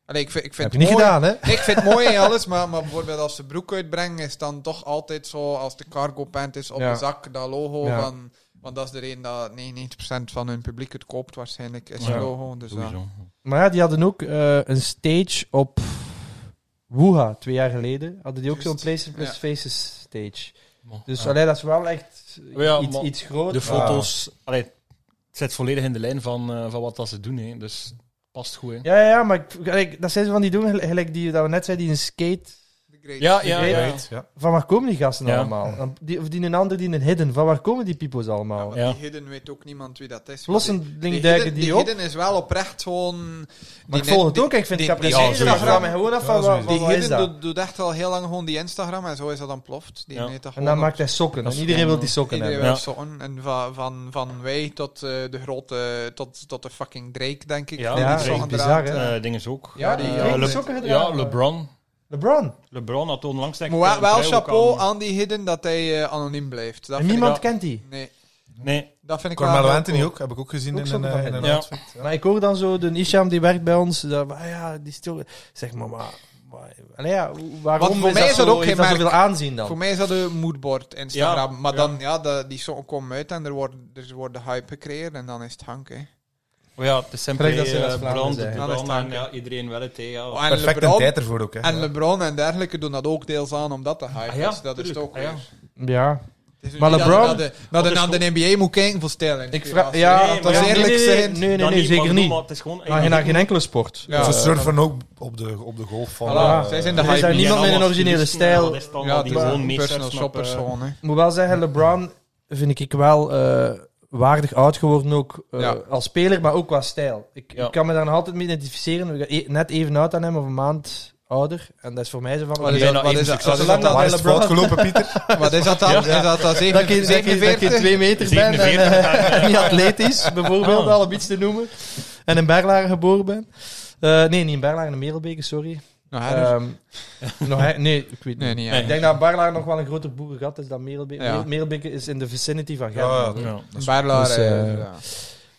C: Allee, ik vind, ik vind
A: Heb je
C: het
A: niet
C: mooi.
A: gedaan, hè?
C: Nee, ik vind het mooi en alles, maar, maar bijvoorbeeld als ze broek uitbrengen, is dan toch altijd zo, als de cargo pant is op
A: Ja.
C: de zak, dat logo
A: Ja.
C: van... Want dat is de reden dat 99% van hun publiek het koopt waarschijnlijk, is
D: Ja.
C: het logo. Dus ja.
D: Sowieso.
A: Maar ja, die hadden ook eh, een stage op Wuha twee jaar geleden. Hadden die ook
C: Juist.
A: zo'n Places Plus
C: Ja.
A: Faces stage.
D: Maar-
A: Dus
D: Ja.
A: allee, dat is wel echt
D: Oh Ja,
A: iets,
D: maar
A: iets groot.
D: De foto's, allee, het zit volledig in de lijn van, eh, van wat dat ze doen. Hè. Dus past goed. Hè.
A: Ja, ja, ja, maar ik, gelijk, dat zijn ze van die doen, gel- gelijk die dat we net zeiden, die een skate.
D: Ja, ja,
A: Ja,
D: ja.
B: Right, ja.
A: Van waar komen die gasten
D: Ja.
A: allemaal? Dan- Die, of die een ander, die een hidden. Van waar komen die peoples
C: Ja,
A: allemaal?
C: want
D: Ja.
C: die hidden weet ook niemand wie dat is.
A: Plotseling
C: hidden-
A: duiken die,
C: die
A: op.
C: hidden is wel oprecht gewoon...
A: Maar
C: die
A: ik
C: net-
A: volg het
C: die-
A: ook, ik vind
C: die-
A: het
C: die-
A: apprecieer.
D: die-
A: Ik vraag mij gewoon af van,
B: Ja,
A: wat,
B: sowieso.
A: wat,
C: Die
A: wat is
C: hidden
A: dat?
C: doet, doet echt al heel lang gewoon die Instagram en zo is dat dan ploft. Die
D: Ja.
C: neemt dat
A: En
C: gewoon
A: dan
C: op.
A: maakt hij sokken.
D: Dat
A: En
D: is
A: iedereen
D: gewoon,
A: wil die sokken
C: Iedereen
A: hebben.
C: wil
D: Ja.
C: sokken. En van, van, van wij tot eh, de grote... Tot, tot de fucking Drake, denk ik.
D: Ja,
C: Die
D: ja,
C: zo
D: dat is
C: gedraaid.
A: bizar, hè?
D: Eh, dingen ze ook.
C: Ja, die-
D: Eh,
C: die heeft
D: Le-
A: de sokken gedragen.
D: Ja, LeBron.
A: LeBron.
D: LeBron had onlangs denk ik
C: Maar wel,
D: een
C: wel
D: trui eh, ook
C: chapeau
D: aan.
C: aan die hidden dat hij eh, anoniem blijft. Dat
A: En
C: vind ik
A: niemand
D: ja.
A: kent die.
C: wel- Nee,
D: Nee,
C: dat vind ik wel...
B: Carmelo
C: heel
B: Anthony
C: cool.
B: ook, heb ik ook gezien
A: Ook
B: in
A: zo
B: een, eh, in
A: van-
B: een
D: Ja.
B: outfit. Ja.
A: Maar ik hoor dan zo, de Isham die werkt bij ons, dat, ah ja, die stil... Zeg maar, maar... maar- allee, ja, hoe- waarom
C: Want voor mij is dat
A: zo,
C: ook
A: heeft
C: geen
A: dat
C: merk.
A: zoveel aanzien
C: Voor
A: dan?
C: mij is dat een moodboard Instagram.
D: Ja,
C: maar
D: ja.
C: dan, ja, de- die sokken komen uit en er wordt, er wordt de hype gecreëerd en dan is het hank, hè.
D: oh, ja, het is simpel.
A: Gelijk dat ze dat
D: eh,
A: Vlaanderen
D: Brand,
A: zijn. Ah,
C: Ja, dat is
D: LeBron
C: het
D: en ja, iedereen wel het. hè, Ja.
C: Oh, en
B: Perfect en
C: LeBron,
B: tijd ervoor ook. Hè.
C: en LeBron en dergelijke doen dat ook deels aan omdat de hype
D: Ah ja,
C: is. Dat is het
D: tuurlijk.
C: ook
D: Ah ja.
C: weer.
A: Ja.
C: Het is
A: Maar
C: niet dat
A: LeBron-
C: je naar de- dat je naar de NBA moet kijken voor styling.
A: Ik vraag,
C: Ja,
A: ja,
D: Nee, maar
A: dat is
D: ja,
A: eerlijk
C: nee, nee,
A: zijn.
C: nee,
A: Nee, nee,
D: Dan
A: nee, zeker
D: maar
A: niet.
D: bedoel, Maar het is gewoon...
A: Maar je naar geen enkele sport.
C: Ja.
B: Ze surfen ook op de, op de golf van...
C: Voilà,
B: eh,
C: zij zijn de
A: Er is daar
C: hype.
A: niemand met een
D: allemaal
A: originele
D: stylisten en
A: stijl.
D: al dat is dan
C: Ja,
D: al
C: die
D: die
C: gewoon
D: gewoon
C: een
D: meesters
C: personal
D: op,
C: shoppers
D: eh,
C: gewoon. hè.
A: Ik moet wel zeggen, LeBron vind ik wel eh, waardig oud geworden, ook eh,
C: Ja.
A: als speler, maar ook qua stijl. Ik,
D: Ja.
A: ik kan me daar nog altijd mee identificeren. Ik ben e- Net even oud aan hem, of een maand ouder. En dat is voor mij zo van...
C: Wat is
A: oké,
C: dat-
D: bijna
C: wat is
D: even
C: dat-
D: succesvol.
C: wat is dat dan?
B: Waar is het fout gelopen, Pieter?
C: Wat is dat dan?
D: Ja.
C: Is dat dan
A: dat je, dat, je, dat je
C: 47?
A: twee meter bent en
D: 47.
A: eh, niet atletisch, bijvoorbeeld,
D: Ah.
A: al om iets te noemen. En in Berlaren geboren ben. Eh, nee, niet in Berlaren, in Merelbeke, sorry.
C: Nou, hè,
A: Ehm nog, hè- nee, ik weet niet.
C: Nee, niet
D: Nee.
A: Ik
C: eigenlijk.
A: denk dat Berlaren nog wel een groter boerengat is dan Merelbeke.
C: Ja.
A: Merelbeke is in de vicinity van Gent.
B: Ja, ja.
D: Ja.
C: Baarlaar,
A: Dus, eh,
C: eh, ja.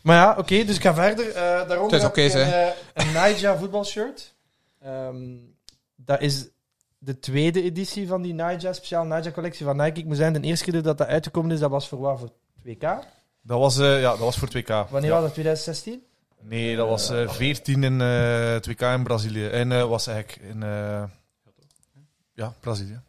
A: Maar ja, oké, dus ik ga verder. Eh, daaronder
C: Het is
A: heb
C: oké,
A: ik een,
C: zeg.
A: eh, een Naija voetbalshirt. Ehm, dat is de tweede editie van die Naija, speciaal Naija collectie van Nike. Ik moet zeggen, de eerste keer dat dat uitgekomen is, dat was voor wat? Voor 2K?
B: Dat was, eh, ja, dat was voor 2K.
A: Wanneer
B: Ja.
A: was dat? 2016?
B: Nee, dat was eh 14 in eh 2K in Brazilië. En eh was eigenlijk in... eh, ja, Brazilië.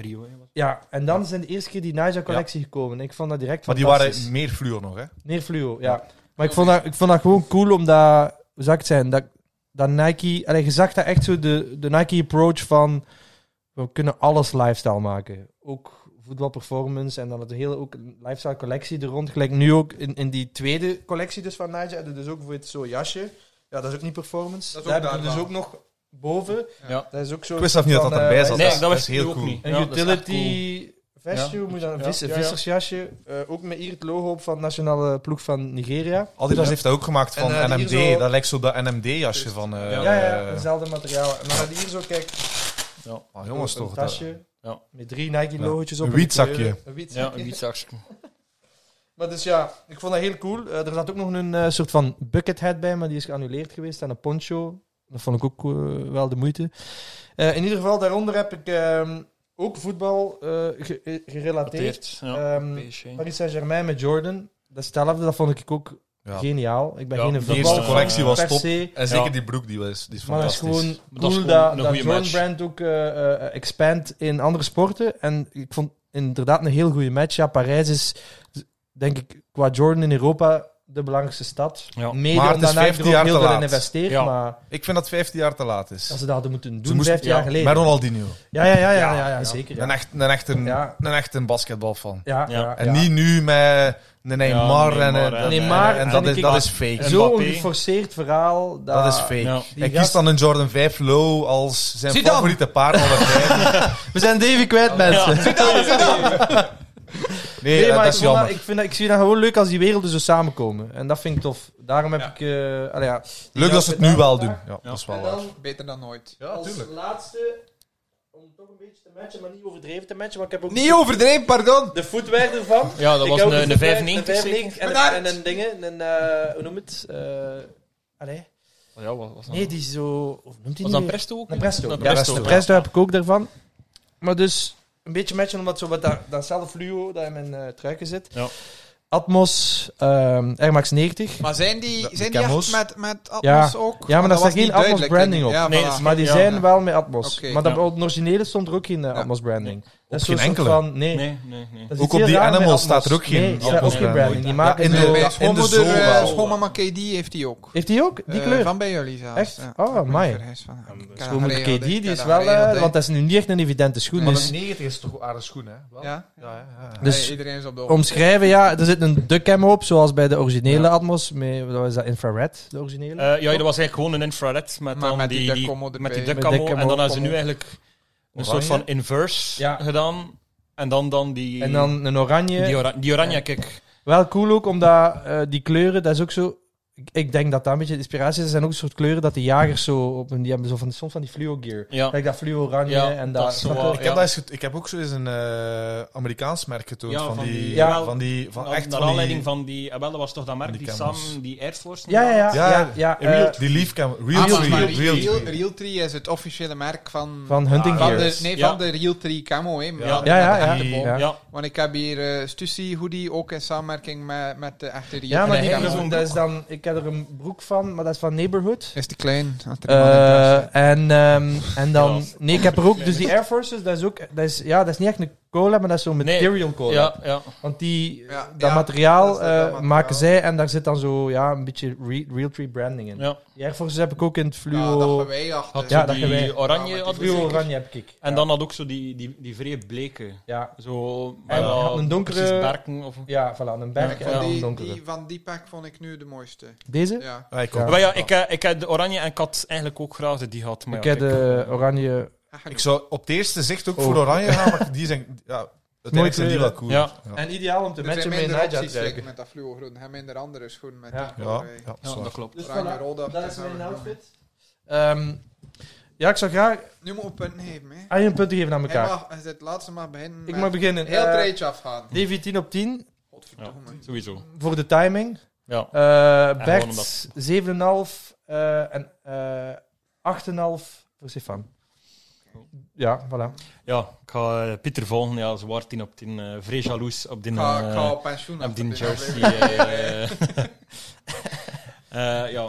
D: Rio, hè, wat?
A: Ja, en dan zijn de eerste keer die Naija collectie gekomen. Ik vond dat direct
B: Maar die
A: fantastisch.
B: waren meer fluo nog, hè?
A: Meer fluo, ja. Maar ik vond, dat, ik vond dat gewoon cool, omdat... Hoe zou ik het zijn? Dat, dat Nike... Allee, je zag dat echt zo de, de Nike-approach van... We kunnen alles lifestyle maken. Ook voetbalperformance en dan het hele ook een lifestyle collectie er rond. Gelijk nu ook in, in die tweede collectie dus van Nike. hadden dus ook voor het zo'n jasje. Ja, dat is ook niet performance.
C: Dat is
A: Dat
C: ook
A: daar hebben we dus
C: daarvan.
A: ook nog boven.
D: Ja.
A: Dat is ook zo
B: Ik wist zelf niet dat dat
A: van, eh,
B: erbij zat.
D: Nee,
B: dat is-
D: dat
B: dat is
D: was
B: heel
D: heel
B: cool.
D: cool. niet.
A: een
D: Ja, dat is echt
A: utility vestje,
D: Ja.
A: hoe moet je dat? Een
D: Ja,
A: vis-
D: ja, ja.
A: vissersjasje. Eh, ook met hier het logo op van de nationale ploeg van Nigeria.
B: Adidas heeft dat ook gemaakt van
A: En, eh, die
B: NMD.
A: hier zo-
B: Dat lijkt zo dat NMD-jasje van... eh,
D: Ja,
A: ja, ja,
B: eh,
A: hetzelfde materiaal. En dan had je hier zo, kijk,
B: ah, jongens
A: een
B: toch. dat-
A: tasje
D: Ja.
A: met drie Nike-logotjes
B: Ja.
A: op. en
B: Een
A: die
B: wietzakje.
A: kleuren. Een wietzakje.
D: Ja, een wietzaksje.
A: Maar dus ja, ik vond dat heel cool. Eh, er zat ook nog een eh, soort van bucket hat bij, maar die is geannuleerd geweest. En een poncho. Dat vond ik ook eh, wel de moeite. Eh, in ieder geval, daaronder heb ik ehm, ook voetbal eh, ge- eh, gerelateerd.
D: Geteerd, ja.
A: Ehm,
D: PSG.
A: Paris Saint-Germain met Jordan. Dat hetzelfde, dat vond ik ook
B: ja.
A: geniaal. Ik ben
D: Ja,
A: geen
D: de
B: De
A: voetbal.
B: eerste
D: Voetbal,
B: collectie
D: eh,
B: was
A: per
B: top.
A: se.
B: En zeker
D: Ja.
B: die broek, die was, die is
A: Maar dat is
B: fantastisch.
A: gewoon
D: is
A: cool
D: gewoon
A: dat,
D: een
A: dat
D: goede
A: Jordan
D: match.
A: Brand ook eh, eh, expand in andere sporten. En ik vond inderdaad een heel goede match. Ja, Parijs is, denk ik, qua Jordan in Europa de belangrijkste stad.
D: Ja.
A: Mede
B: Maar het
A: omdat
B: is
A: Nike
B: 15
A: er ook
B: jaar
A: heel
B: te
A: veel in
B: laat.
A: investeert.
D: Ja.
A: Maar
B: Ik vind dat 15 jaar te laat is.
A: als ze dat hadden moeten
B: Ze
A: doen,
B: moesten-
A: 15 jaar
D: ja,
A: geleden.
B: Met Ronaldinho.
A: Ja, ja, ja, ja, ja, ja, zeker. Ja,
B: Een echt, een echt, een,
A: Ja.
B: een echt een basketbal van.
A: ja, ja,
D: Ja.
A: ja.
B: En niet nu met een Neymar
D: Ja,
B: en,
D: Neymar,
B: en,
D: hè.
A: Neymar
B: en
A: eh, en
B: dat, is,
A: ik-
B: dat is fake.
D: En
A: Zo'n
D: Mbappé.
A: geforceerd verhaal. Dat,
B: Dat is fake.
D: Ja.
A: die
B: Hij kiest
A: gast-
B: dan een Jordan 5 low als zijn
C: Zidane.
B: favoriete paard. alle vijf.
A: We zijn Davy kwijt, mensen.
B: Nee,
A: Nee,
B: eh,
A: maar
B: dat
A: ik,
B: is
A: vond dat-
B: jammer.
A: ik, vind dat, ik zie dat gewoon leuk als die werelden zo samenkomen. En dat vind ik tof. Daarom heb
C: Ja.
A: ik... eh, allee, ja.
B: Leuk dat ze het nu wel doen. Ja,
D: Ja.
B: dat is wel
A: En
B: waar.
A: dan
C: Beter dan nooit.
A: als laatste, om toch een beetje te matchen, maar niet overdreven te matchen, want ik heb ook
C: Niet overdreven, pardon.
A: de footwear ervan.
D: Ja, dat
A: Ik
D: was
A: heb ook
D: een, eh,
A: de footwear,
D: een 95
A: een
D: zeker?
A: 95 en,
C: Bedankt.
A: en een ding, een... eh, hoe noem het? Eh, allee.
D: Oh Ja, wat was dat?
A: Nee, die zo... Hoe noemt die
D: was
A: nu
D: dat
A: weer?
D: Presto ook?
A: Een Presto.
D: Een
A: Ja,
D: Presto,
A: de
D: ja.
A: Presto heb ik ook daarvan. Maar dus een beetje matchen, omdat zo wat dat, datzelfde fluo dat in mijn eh truiken zit.
D: Ja.
A: Atmos, ehm Air Max 90.
C: Maar zijn die,
B: De-
C: zijn
B: de
C: die
B: camos.
C: echt met, met
A: Ja.
C: Atmos ook?
A: Ja, maar daar
C: dat
A: staat
C: was
A: geen
C: niet
A: Atmos
C: duidelijk,
A: branding
C: denk ik.
D: op. Nee,
C: Ja,
D: dat is
C: voilà.
A: Maar die
D: Ja.
A: zijn wel met Atmos.
C: Oké.
A: maar
D: Ja.
A: op de originele stond er ook geen eh,
C: Ja.
A: Atmos branding. Dat is
B: geen
A: zo'n soort
B: enkele.
A: van- nee.
D: Nee, nee, nee.
A: Dat is
B: Ook
A: iets
B: op
A: heel
B: die
A: raar met
B: Animal
A: Atmos.
B: staat er ook geen
A: Nee, staat ook
B: Atmos
A: geen branding.
B: branding.
A: Die maken
B: in de-
A: zo-
B: in
C: Mijn
B: de
C: schoonmoeder,
B: zomer
C: eh,
B: wel.
C: schoonmama KD, heeft die ook.
A: Heeft die ook? Die
C: Eh,
A: kleur?
C: Van bij jullie zelfs.
A: Echt?
C: ja.
A: Oh,
C: Ik ben
A: amai.
C: vergist van- Ik heb dat
A: Schoenmoeder KD,
C: geregeld, ik
A: die
C: heb
A: is
C: dat
A: wel... eh,
C: geregeld, hè.
A: want dat is nu niet echt een evidente schoen.
B: Maar
A: Dus,
B: dat 90 is toch een aardig schoen, hè? Wel?
C: Ja?
B: Ja, ja, ja.
A: eh, dus
C: Nee, iedereen is op de hoogte.
A: omschrijven, ja, er zit een duckcam op, zoals bij de originele Atmos. Met, wat is dat, infrared, de originele?
D: Eh, ja, dat was eigenlijk gewoon een infrared met,
C: Maar
D: dan
C: met die
D: die,
C: Ducamo erbij.
D: met die
C: Met
D: Ducamo.
A: Ducamo,
D: En dan hebben ze nu
A: Ducamo.
D: eigenlijk een
B: Oranje.
D: soort van inverse
A: Ja.
D: gedaan. En dan, dan die,
A: en dan een oranje.
D: die, ora- die oranje kick.
A: Wel cool ook, omdat eh, die kleuren, dat is ook zo... Ik, ik denk dat dat een beetje de inspiratie is. Er zijn ook een soort kleuren dat de jagers zo... Op, hun- die hebben zo van, soms van die fluo gear.
D: Ja.
A: Kijk, dat fluo oranje
D: Ja,
A: en dat...
D: dat is zo
A: snap je?
D: wel-
B: Ik,
D: Ja.
B: heb dat eens get- ik heb ook zo eens een eh, Amerikaans merk getoond
D: Ja,
B: van,
D: van
B: die,
D: die-
A: Ja.
B: van die, van
D: Naar-
B: echt
D: naar
B: van die,
D: aanleiding van die... Ah, wel, dat was toch dat merk,
B: die
D: die,
B: Camels.
D: Sam, die Air Force?
A: Ja, ja, ja.
B: Ja,
A: ja, ja,
B: Real,
A: eh,
B: die leaf cam, real,
C: Ah, maar-
B: tree,
C: maar
B: real,
C: Real-
B: tree.
C: Real Tree is het officiële merk van...
A: van Hunting
B: Ah,
C: van
A: Gear.
C: de, nee,
D: Ja.
C: van de Real Tree Camo, hè. met-
D: Ja.
C: met
A: Ja, ja,
C: de echte
B: ja.
C: boom.
A: Ja.
D: Ja.
C: Want ik heb hier eh, Stussy hoodie, ook in samenwerking met, met de echte Real
A: Ja, maar
C: Tree
A: die
D: Nee,
C: Camo.
A: broek, dat is dan... Ik heb er een broek van, maar dat is van Neighborhood.
C: Is te klein. had er
A: Eh,
C: iemand interesse.
A: en, ehm, en dan...
D: Ja.
A: Nee, ik heb er ook... Dus die Air Forces, dat is ook... Dat is, ja, dat is niet echt een cola, maar dat is zo'n
D: Nee.
A: material cola.
D: Ja, ja.
A: Want die,
C: Ja,
A: dat
C: ja,
A: materiaal
B: dat is dat-
A: eh,
B: dat materiaal.
A: maken zij en daar zit dan zo ja, een beetje re- real tree branding in. Ja.
D: ja.
A: Ergens heb ik ook in het
C: Ja, dat
A: fluo...
C: gaan wij
D: Had
C: achter.
A: Ja,
D: ja,
A: dat
D: die
A: gewij-
D: oranje
C: Ja,
D: had
C: dat
A: fluo
D: zeker.
A: oranje heb ik.
D: En
A: Ja.
D: dan had ook zo die, die, die vrij bleke.
A: Ja,
D: Zo,
A: En je had een donkere-
D: precies Berken of...
A: ja voilà, een
C: Ja, ik
A: berg
C: vond
A: en dan een
C: die,
A: donkere.
C: die, van die pack vond ik nu de mooiste.
A: Deze?
C: Ja,
B: Ja, Ah, ik
A: Ja.
B: ook.
D: Maar ja, ik, eh, ik had de oranje en ik had eigenlijk ook graag dat die had. Maar
A: ik
D: ja,
A: heb de oranje...
B: Ik zou op het eerste zicht ook
A: Oh.
B: voor Oranje gaan, maar die zijn... Ja, uiteindelijk zijn die wel cool.
D: Ja.
A: En ideaal om te
C: er
A: matchen
C: zijn
A: met
C: minder
A: Naja
C: opties
A: te
C: zeker met dat fluogroen. Er zijn minder andere schoenen met
A: Ja.
C: die
B: Ja,
C: kleur,
B: ja,
D: Ja, dat klopt.
A: Dus
C: Oranje,
A: voilà,
C: rood, dat
A: dat is
C: zijn we
A: mijn
C: gewoon.
A: outfit. Ehm, ja, ik zou graag
C: Nu moet je punten geven, hè.
A: aan je punten geven aan
C: Hij
A: elkaar.
C: mag, hij zit laatste mag beginnen
A: ik
C: met
A: mag beginnen.
C: heel
A: Eh,
C: treetje afgaan.
A: Davy 10 op 10
C: Godverdomme.
D: Sowieso.
A: voor de timing.
D: Ja.
A: Eh
D: En gewoon
A: Bert
D: omdat-
A: 7,5 eh en eh 8,5 voor Stefan. Ja, voilà.
D: ja, ik ga eh, Pieter volgen. Ja, zwaar 10 op 10. eh vrij jaloers op die,
C: Ik ga, ik ga
D: eh
C: op pensioen.
D: op
C: achter
D: die
C: dit
D: jersey.
C: aflevering.
D: eh, eh, ja,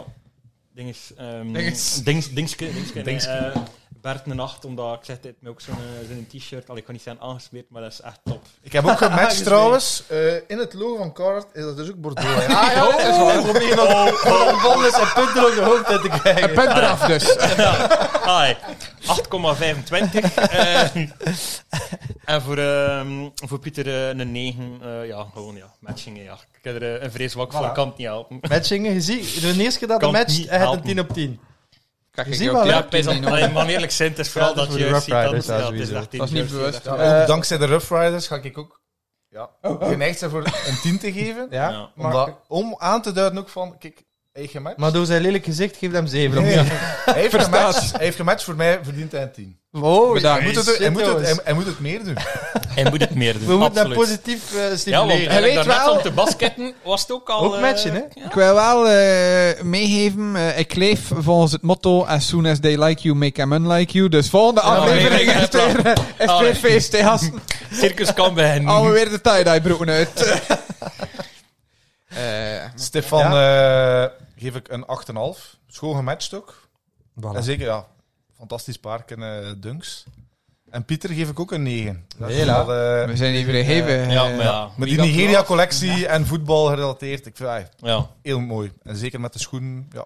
D: ding is... ehm,
C: Dinges.
D: dings- Dingske. dingske, nee,
B: Dingske.
D: eh, Bert een 8, omdat ik zeg, hij heeft me ook zo'n eh, zo'n t-shirt. Al ik kan niet zijn aangesmeerd, maar dat is echt top.
B: Ik heb ook gematcht trouwens. Eh, in het logo van Carhartt is dat dus ook Bordeaux. hè.
C: Ah ja, dat is waar.
A: probeer nog oh, bonus en punten op de hoofd te
C: Een
A: krijgen.
C: punt eraf dus.
D: Ai, 8,25. eh. en voor, ehm, voor Pieter eh, een 9. eh, ja, gewoon ja, matchingen. Ja. Ik heb er eh, een vrees zwak voor,
A: Voilà.
D: ik kan het niet helpen.
A: Matchingen, je ziet, de eerste keer dat hij
D: Kan
A: matcht,
D: niet
A: hij had een
D: helpen.
A: 10 op 10.
C: Kijk,
A: Je
C: ik
A: ziet
C: ook
A: wel, hè?
C: die
D: Ja,
C: punten
D: Pijs,
C: niet
D: dat
C: nog.
D: alleen maar eerlijk zijn, het is vooral
A: Ja, dat
D: dat
A: is
D: je
A: voor de
D: ziet dat
A: Rough Riders,
D: ja,
A: dat
D: het is
A: sowieso.
D: echt
C: Dat is niet
D: een jersey
C: bewust.
D: dat-
A: Eh,
B: Ook dankzij de Rough Riders ga ik ook ja, geneigd zijn voor een 10 te geven.
A: Ja,
D: Ja.
A: Maar,
B: Omdat- om aan te duiden ook van, kijk, hij heeft gematcht.
A: maar door zijn lelijk gezicht geeft hem 7 op
B: Nee,
A: 10.
B: hij, heeft
C: Verstaat.
B: gematcht, hij heeft gematcht, voor mij verdient hij een 10.
A: Oh,
C: Bedankt.
B: Hij moet, het,
A: shit,
B: hij, moet het,
A: jongens.
B: hij, hij moet het meer doen.
D: Hij moet het meer doen.
A: We moeten dat
D: absoluut.
A: positief eh,
D: Ja, want
A: stimuleren.
C: Hij
D: eigenlijk
C: weet
D: daarnet
C: wel-
D: om te basketten was het ook al...
A: Ook
D: eh,
A: matchen, hè?
D: ja.
C: Ik wil wel eh, meegeven, eh, ik leef volgens het motto As soon as they like you, make them unlike you. Dus volgende aflevering
D: nee, nee,
C: is
D: nee,
C: weer, eh, is weer
D: Allee.
C: feest, hè, gasten.
D: Circus kan bij hen.
C: Hou we weer de tie-dye broeken uit. Eh,
B: Stefan eh, geef ik een 8,5. Schoon gematcht ook. En zeker, ja, fantastisch park en eh, dunks. En Pieter geef ik ook een 9. Dat is
A: Hela.
B: wel, eh,
C: we zijn even gegeven. eh,
D: Ja, maar ja.
B: met die Nigeria-collectie en voetbal gerelateerd. Ik vind ja,
D: ja.
B: heel mooi. En zeker met de schoenen, ja,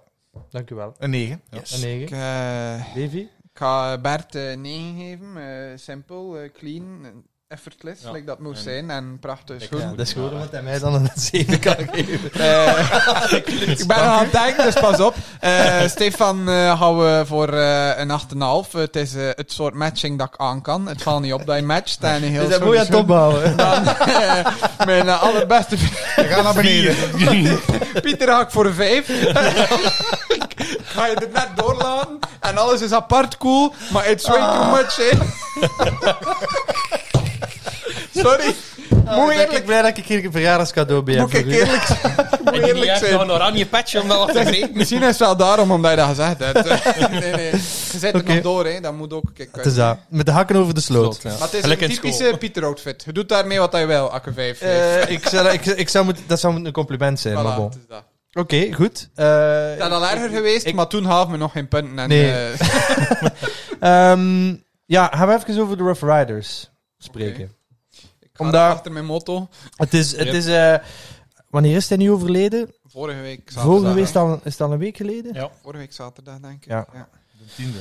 A: Dank u wel.
B: een 9. Ja.
A: Een
C: Ik,
A: 9.
C: eh,
A: Davy?
C: ik ga Bert eh 9 geven. eh, simpel, eh, clean, eh, effortless,
D: Ja.
C: like dat moest
D: En-
C: zijn. En prachtig
D: Ik-
C: schoen.
A: Ja, dat is goed, omdat hij mij dan een 7 kan geven.
C: Eh, ik ben nog aan het denken, dus pas op. Eh, Stefan eh gaan we voor eh, een 8,5. Het is eh, het soort matching dat ik aan kan. Het valt niet op dat je matcht. En een
A: Dus
C: heel
A: dat
C: soort
A: moet je aan het
C: schoen.
A: opbouwen.
C: Dan, eh, mijn eh, allerbeste vriend
B: We gaan naar beneden.
C: Pieter Haak voor een 5. Ga je er net doorlaten en alles is apart cool, maar it's way too much, hè? Sorry,
A: Moet ik ben blij Ah, dat ik hier een verjaardagscadeau bij heb
C: Ah, moet ik
A: voor u.
C: eerlijk, moet
D: En die
C: eerlijk
D: heeft
C: zijn.
D: nog een oranje petje om dat wat te breken.
C: Misschien is het wel daarom omdat je dat gezegd hebt. nee, nee. Je zit er
A: Oké.
C: nog door, hè. Dat moet ook. Kijk,
A: Het is dat. Met de hakken over de sloot.
D: Ja.
C: Maar het is
D: Gelijk
C: een
D: in school.
C: typische Pieter-outfit. Je doet daarmee wat hij wil, Akke 5.
A: Eh, ik zou, ik, ik zou moeten- dat zou een compliment zijn, maar bon.
C: dat
A: Oké,
C: is dat.
A: goed. Eh,
C: Het had al erger geweest, maar toen gaven we nog geen punten. En,
A: Nee.
C: eh,
A: ehm, ja, gaan we even over de Rough Riders spreken.
C: ik ga
A: Om daar-
C: achter mijn motto.
A: Het is... Het
D: Yep.
A: is eh, wanneer is hij nu overleden?
C: Vorige week zaterdag.
A: Vorige week
C: hè.
A: is het al, is het al een week geleden?
D: Ja.
C: Vorige week zaterdag, denk ik.
A: Ja.
B: De tiende.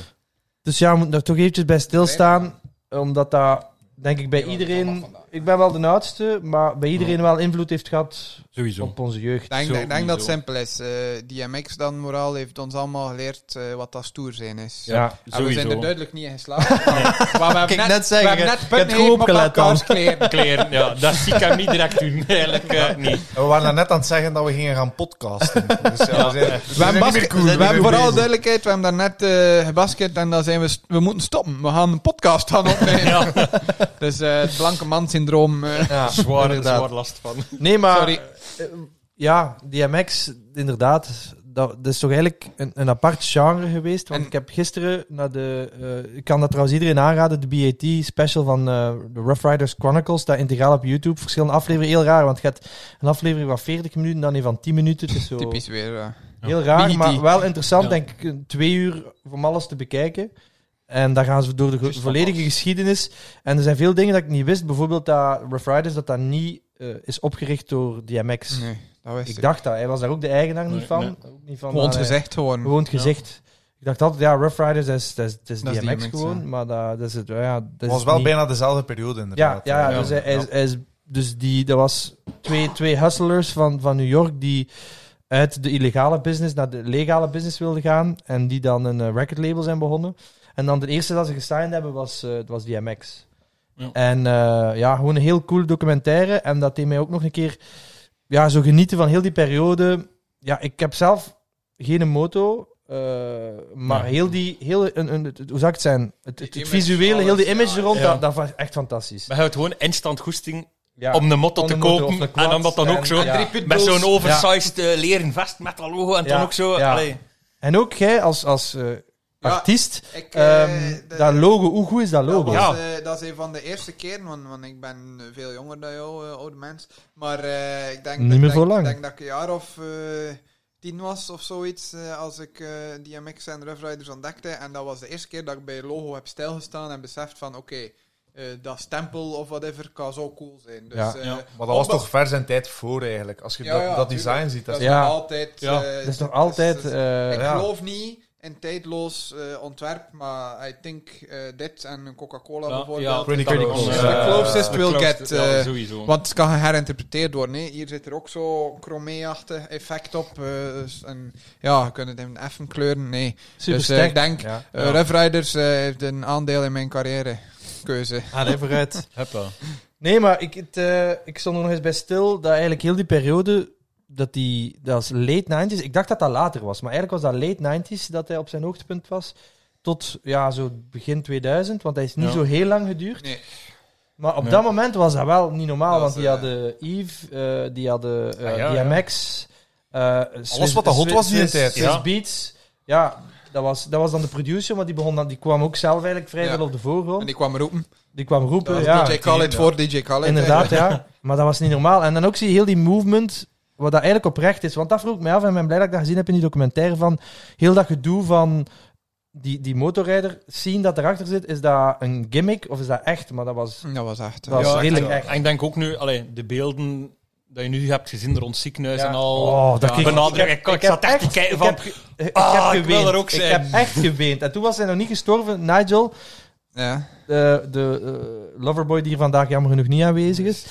A: Dus ja, we moeten daar toch eventjes bij stilstaan. Omdat dat, denk ik, bij
C: Ja, dat mag
A: iedereen...
C: vandaag.
A: Ik ben wel de oudste, maar bij iedereen wel invloed heeft gehad
D: Sowieso.
A: op onze jeugd.
C: Ik denk,
D: Zo,
C: denk, denk dat het
D: zo.
C: simpel is. Eh, DMX dan moraal heeft ons allemaal geleerd eh, wat dat stoer zijn is.
A: Ja.
C: En we zijn er
D: Sowieso.
C: duidelijk niet in geslaagd. Maar we hebben
A: Kijk,
C: net,
A: net zeggen,
C: we hebben
A: hè.
C: net
A: Je hebt
C: punten gegeven
A: goed
C: op
A: opgelet dan.
C: elkaars kleren.
D: Kleren, ja. Dat zie ik hem niet direct doen. Eigenlijk eh, niet.
B: En we waren net aan het zeggen dat we gingen gaan podcasten. Dus ja, we zijn, we
C: We hebben,
B: zijn niet meer
C: basket,
B: cool.
C: we
B: zijn
C: hebben
B: niet meer
C: vooral
B: bezig.
C: duidelijkheid, we hebben daarnet eh gebasket en dan zijn we, st- we moeten stoppen. We gaan een podcast gaan opnemen.
D: Ja.
C: Dus eh, het blanke man syndroom. eh.
A: Ja,
D: Zwaar,
A: inderdaad.
D: zwaar last van.
A: Nee, maar...
C: Sorry.
A: eh, ja, DMX, inderdaad. Dat, dat is toch eigenlijk een, een apart genre geweest. Want
C: En-
A: ik heb gisteren naar de... eh, ik kan dat trouwens iedereen aanraden. De BAT-special van eh, de Rough Riders Chronicles. Dat integraal op YouTube. Verschillende afleveringen. Heel raar, want je hebt een aflevering van 40 minuten, dan een van 10 minuten. Het is zo...
C: Typisch weer. eh.
A: Heel raar,
D: BET.
A: maar wel interessant.
D: Ja.
A: Denk ik, een twee uur om alles te bekijken. En dan gaan ze door de
D: Juist van
A: volledige
D: pas.
A: geschiedenis. En er zijn veel dingen dat ik niet wist. Bijvoorbeeld dat Rough Riders dat dat niet eh, is opgericht door DMX.
C: Nee, dat wist
A: ik
C: ik.
A: dacht dat. Hij was daar ook de eigenaar niet
D: Nee,
A: van.
D: nee.
A: Ook niet van
C: Gewoon
A: maar, eh,
C: gezegd geworden.
A: Gewoon het gezicht. Ik dacht altijd, ja, Rough Riders, dat is, dat is, dat is
C: Dat is
A: DMX,
C: DMX,
A: gewoon.
C: ja.
A: Maar dat, dat is het. Ja, dat is
B: Het was wel
A: niet-
B: bijna dezelfde periode,
A: Ja,
B: inderdaad.
A: ja,
D: Ja.
A: dus, hij, hij is, hij is- dus die, dat was twee, twee hustlers van, van New York die uit de illegale business naar de legale business wilden gaan en die dan een eh, record recordlabel zijn begonnen. En dan de eerste dat ze gesigned hebben was, eh, het was DMX.
D: Ja.
A: En eh, ja, gewoon een heel cool documentaire. En dat deed mij ook nog een keer ja, zo genieten van heel die periode. Ja, ik heb zelf geen moto. eh, maar
D: Nee.
A: heel die, heel, een, een, het- hoe zou ik het zijn? Het, het,
C: Die image,
A: visuele, heel die
C: alles,
A: image
C: ja.
A: rond,
D: Ja.
A: dat, dat was echt fantastisch.
D: Maar je houdt gewoon instant goesting
A: Ja.
D: om de motto
A: Om
D: te
A: de motto
D: kopen.
A: of de quad
D: en dan dat dan ook
A: en-
D: zo.
A: ja.
D: Met zo'n
C: oog.
D: oversized eh, leren vest met dat logo. En
A: Ja,
D: dan ook zo.
A: ja.
D: allee.
A: En ook jij als, als eh,
C: Ja,
A: artiest,
C: Ik,
A: ehm,
C: eh, de-
A: dat logo, hoe goed is dat logo?
D: Ja.
A: Ja,
C: Dat, was, eh, dat is een van de eerste keren, want, want ik ben eh, veel jonger dan jou, eh, oude mens. Maar eh, ik denk,
A: Niet
C: dat-
A: meer
C: dat-
A: voor
C: ik
A: lang.
C: denk dat ik een jaar of eh, tien was of zoiets, eh, als ik eh, DMX en Rough Riders ontdekte. En dat was de eerste keer dat ik bij logo heb stilgestaan en beseft van, oké, eh, dat stempel of whatever kan zo cool zijn. Dus,
A: Ja.
C: eh,
D: Ja.
B: Maar dat was
C: Op-
B: toch ver zijn tijd voor eigenlijk. Als je
C: Ja,
B: dat,
C: ja,
B: dat design
C: tuurlijk.
B: ziet, dat
C: dat
B: is
C: is
A: Ja.
C: nog altijd...
D: Ja.
C: eh,
A: dat is nog
C: het
A: altijd...
C: het is-
A: eh,
C: ik
B: Ja.
C: geloof niet in tijdloos eh, ontwerp, maar I think eh, dit en een Coca-Cola
D: Ja,
C: bijvoorbeeld.
D: ja.
B: Pretty
D: Dat
B: critical.
D: ook,
B: Dus
D: eh,
B: de closest
D: de
C: will
D: closest-
C: get,
D: ja,
C: eh,
D: sowieso.
C: Want het kan geherinterpreteerd worden. Hè. Hier zit er ook zo'n chromé-achtig effect op. eh, dus en, ja, je kunt het even effen kleuren. Nee.
A: super
C: dus eh, ik
A: sterk.
C: denk,
A: Ja.
C: eh,
D: Ja.
C: Rough Riders eh, heeft een aandeel in mijn carrièrekeuze.
A: Allee, vooruit.
D: Huppa.
A: Nee, maar ik, het, eh, ik stond er nog eens bij stil dat eigenlijk heel die periode, dat die, dat is late 90s, ik dacht dat dat later was, maar eigenlijk was dat late 90s dat hij op zijn hoogtepunt was, tot ja, zo begin 2000, want hij is niet
D: Ja.
A: zo heel lang geduurd.
C: Nee.
A: Maar op
D: Ja.
A: dat moment was dat wel niet normaal,
C: Dat
A: want
C: was,
A: die
C: eh,
A: hadden Yves, eh, die hadden eh,
D: Ah, ja, ja.
A: DMX, eh, Swiss-
B: wat er hot was die
A: Swiss-
B: tijd.
A: Swiss
D: Ja.
A: Beats, ja, dat was, dat was dan de producer, maar die, begon dan, die kwam ook zelf eigenlijk vrij
C: Ja.
A: veel op de voorgrond. Die,
C: En die kwam roepen.
A: kwam
C: Dat
A: roepen,
C: was
A: ja,
C: DJ Khaled
B: ja.
C: voor DJ Khaled.
A: inderdaad, ja. Maar dat was niet normaal. En dan ook zie je heel die movement, wat dat eigenlijk oprecht is. Want dat vroeg ik mij af, en ik ben blij dat ik dat gezien heb in die documentaire, van heel dat gedoe van... Die, die motorrijder zien dat erachter zit, is dat een gimmick of is dat echt? Maar dat was,
C: eh. Dat was echt...
A: dat was
D: Ja,
A: redelijk
B: en-
A: echt.
D: En ik denk ook nu, allee, de beelden dat je nu hebt gezien rond ziekenhuis en al.
A: Oh, dat kreeg-
D: benadruk. Ik, ik,
A: heb
D: zat echt te kijken
A: ik
D: van...
A: heb ge- ik
D: ah,
A: heb
D: ik wil
A: geweend.
D: er ook zijn.
A: Ik heb echt geweend. En toen was hij nog niet gestorven. Nigel,
C: Ja.
A: de, de eh, loverboy die hier vandaag jammer genoeg niet aanwezig is.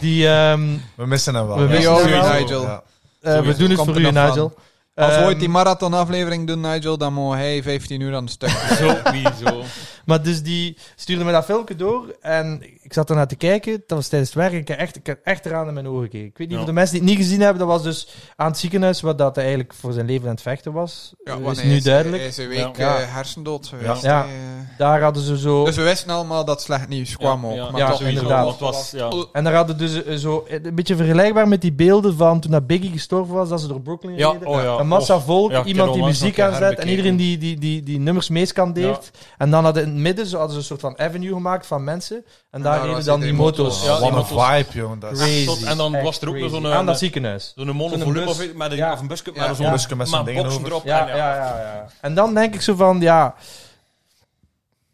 A: Die, ehm,
B: We missen hem wel.
A: We
B: Ja.
A: missen
C: Sorry,
A: hem wel.
C: Nigel.
B: Ja.
A: eh, we
C: Sowieso
A: doen het
C: komt
A: voor
C: er
A: u,
C: nog van.
A: Nigel.
C: Als we
A: Ehm,
C: ooit die marathonaflevering doen, Nigel, dan moet hij 15 uur aan het stuk.
D: Sowieso.
A: Maar dus die stuurde me dat filmpje door en ik zat ernaar te kijken. Dat was tijdens het werk. Ik heb echt, ik heb echt eraan in mijn ogen gekeken. Ik weet niet
D: Ja.
A: of de mensen die het niet gezien hebben, dat was dus aan het ziekenhuis, wat dat hij eigenlijk voor zijn leven aan het vechten was.
C: Ja,
A: Dat
C: want
A: is
C: hij
A: nu
C: hij
A: duidelijk.
C: is een week
A: Ja.
C: eh, hersendood geweest.
A: Ja.
C: hè.
A: Daar hadden ze zo...
C: Dus we wisten allemaal dat slecht nieuws kwam ook.
D: Ja,
C: maar
A: ja,
C: toch-
D: sowieso,
A: inderdaad.
D: want het was, ja.
A: En daar hadden dus eh, zo eh, een beetje vergelijkbaar met die beelden van toen dat Biggie gestorven was, dat ze door Brooklyn
D: Ja,
A: reden.
D: oh ja.
A: Een massa
D: Och,
A: volk,
D: ja, ik heb
A: iemand die
D: onlangs
A: muziek
D: nog een keer
A: aanzet en
D: herbekeken.
A: iedereen die, die, die, die nummers meescandeert. En dan hadden in het midden zo, hadden ze een soort van avenue gemaakt van mensen. En daar
C: daar
A: reden
C: was
A: dan die
C: iedereen
A: motos.
D: motos. Ja,
B: Wat
D: die
B: een
D: motto's.
B: vibe, jongen. Dat is...
A: Crazy,
D: Tot- en dan
A: echt
D: was er ook nog
A: crazy.
D: zo'n,
A: Aan
D: eh,
A: dat ziekenhuis.
D: Zo'n monovolume
A: bus.
D: of, met een,
A: Ja.
D: of een busje
C: Ja,
D: maar zo'n
B: ja. busje met zo'n
D: maar
B: dingen
D: boxen
B: over.
D: erop.
A: Ja,
D: en,
A: ja, ja, ja, En dan denk ik zo van, ja...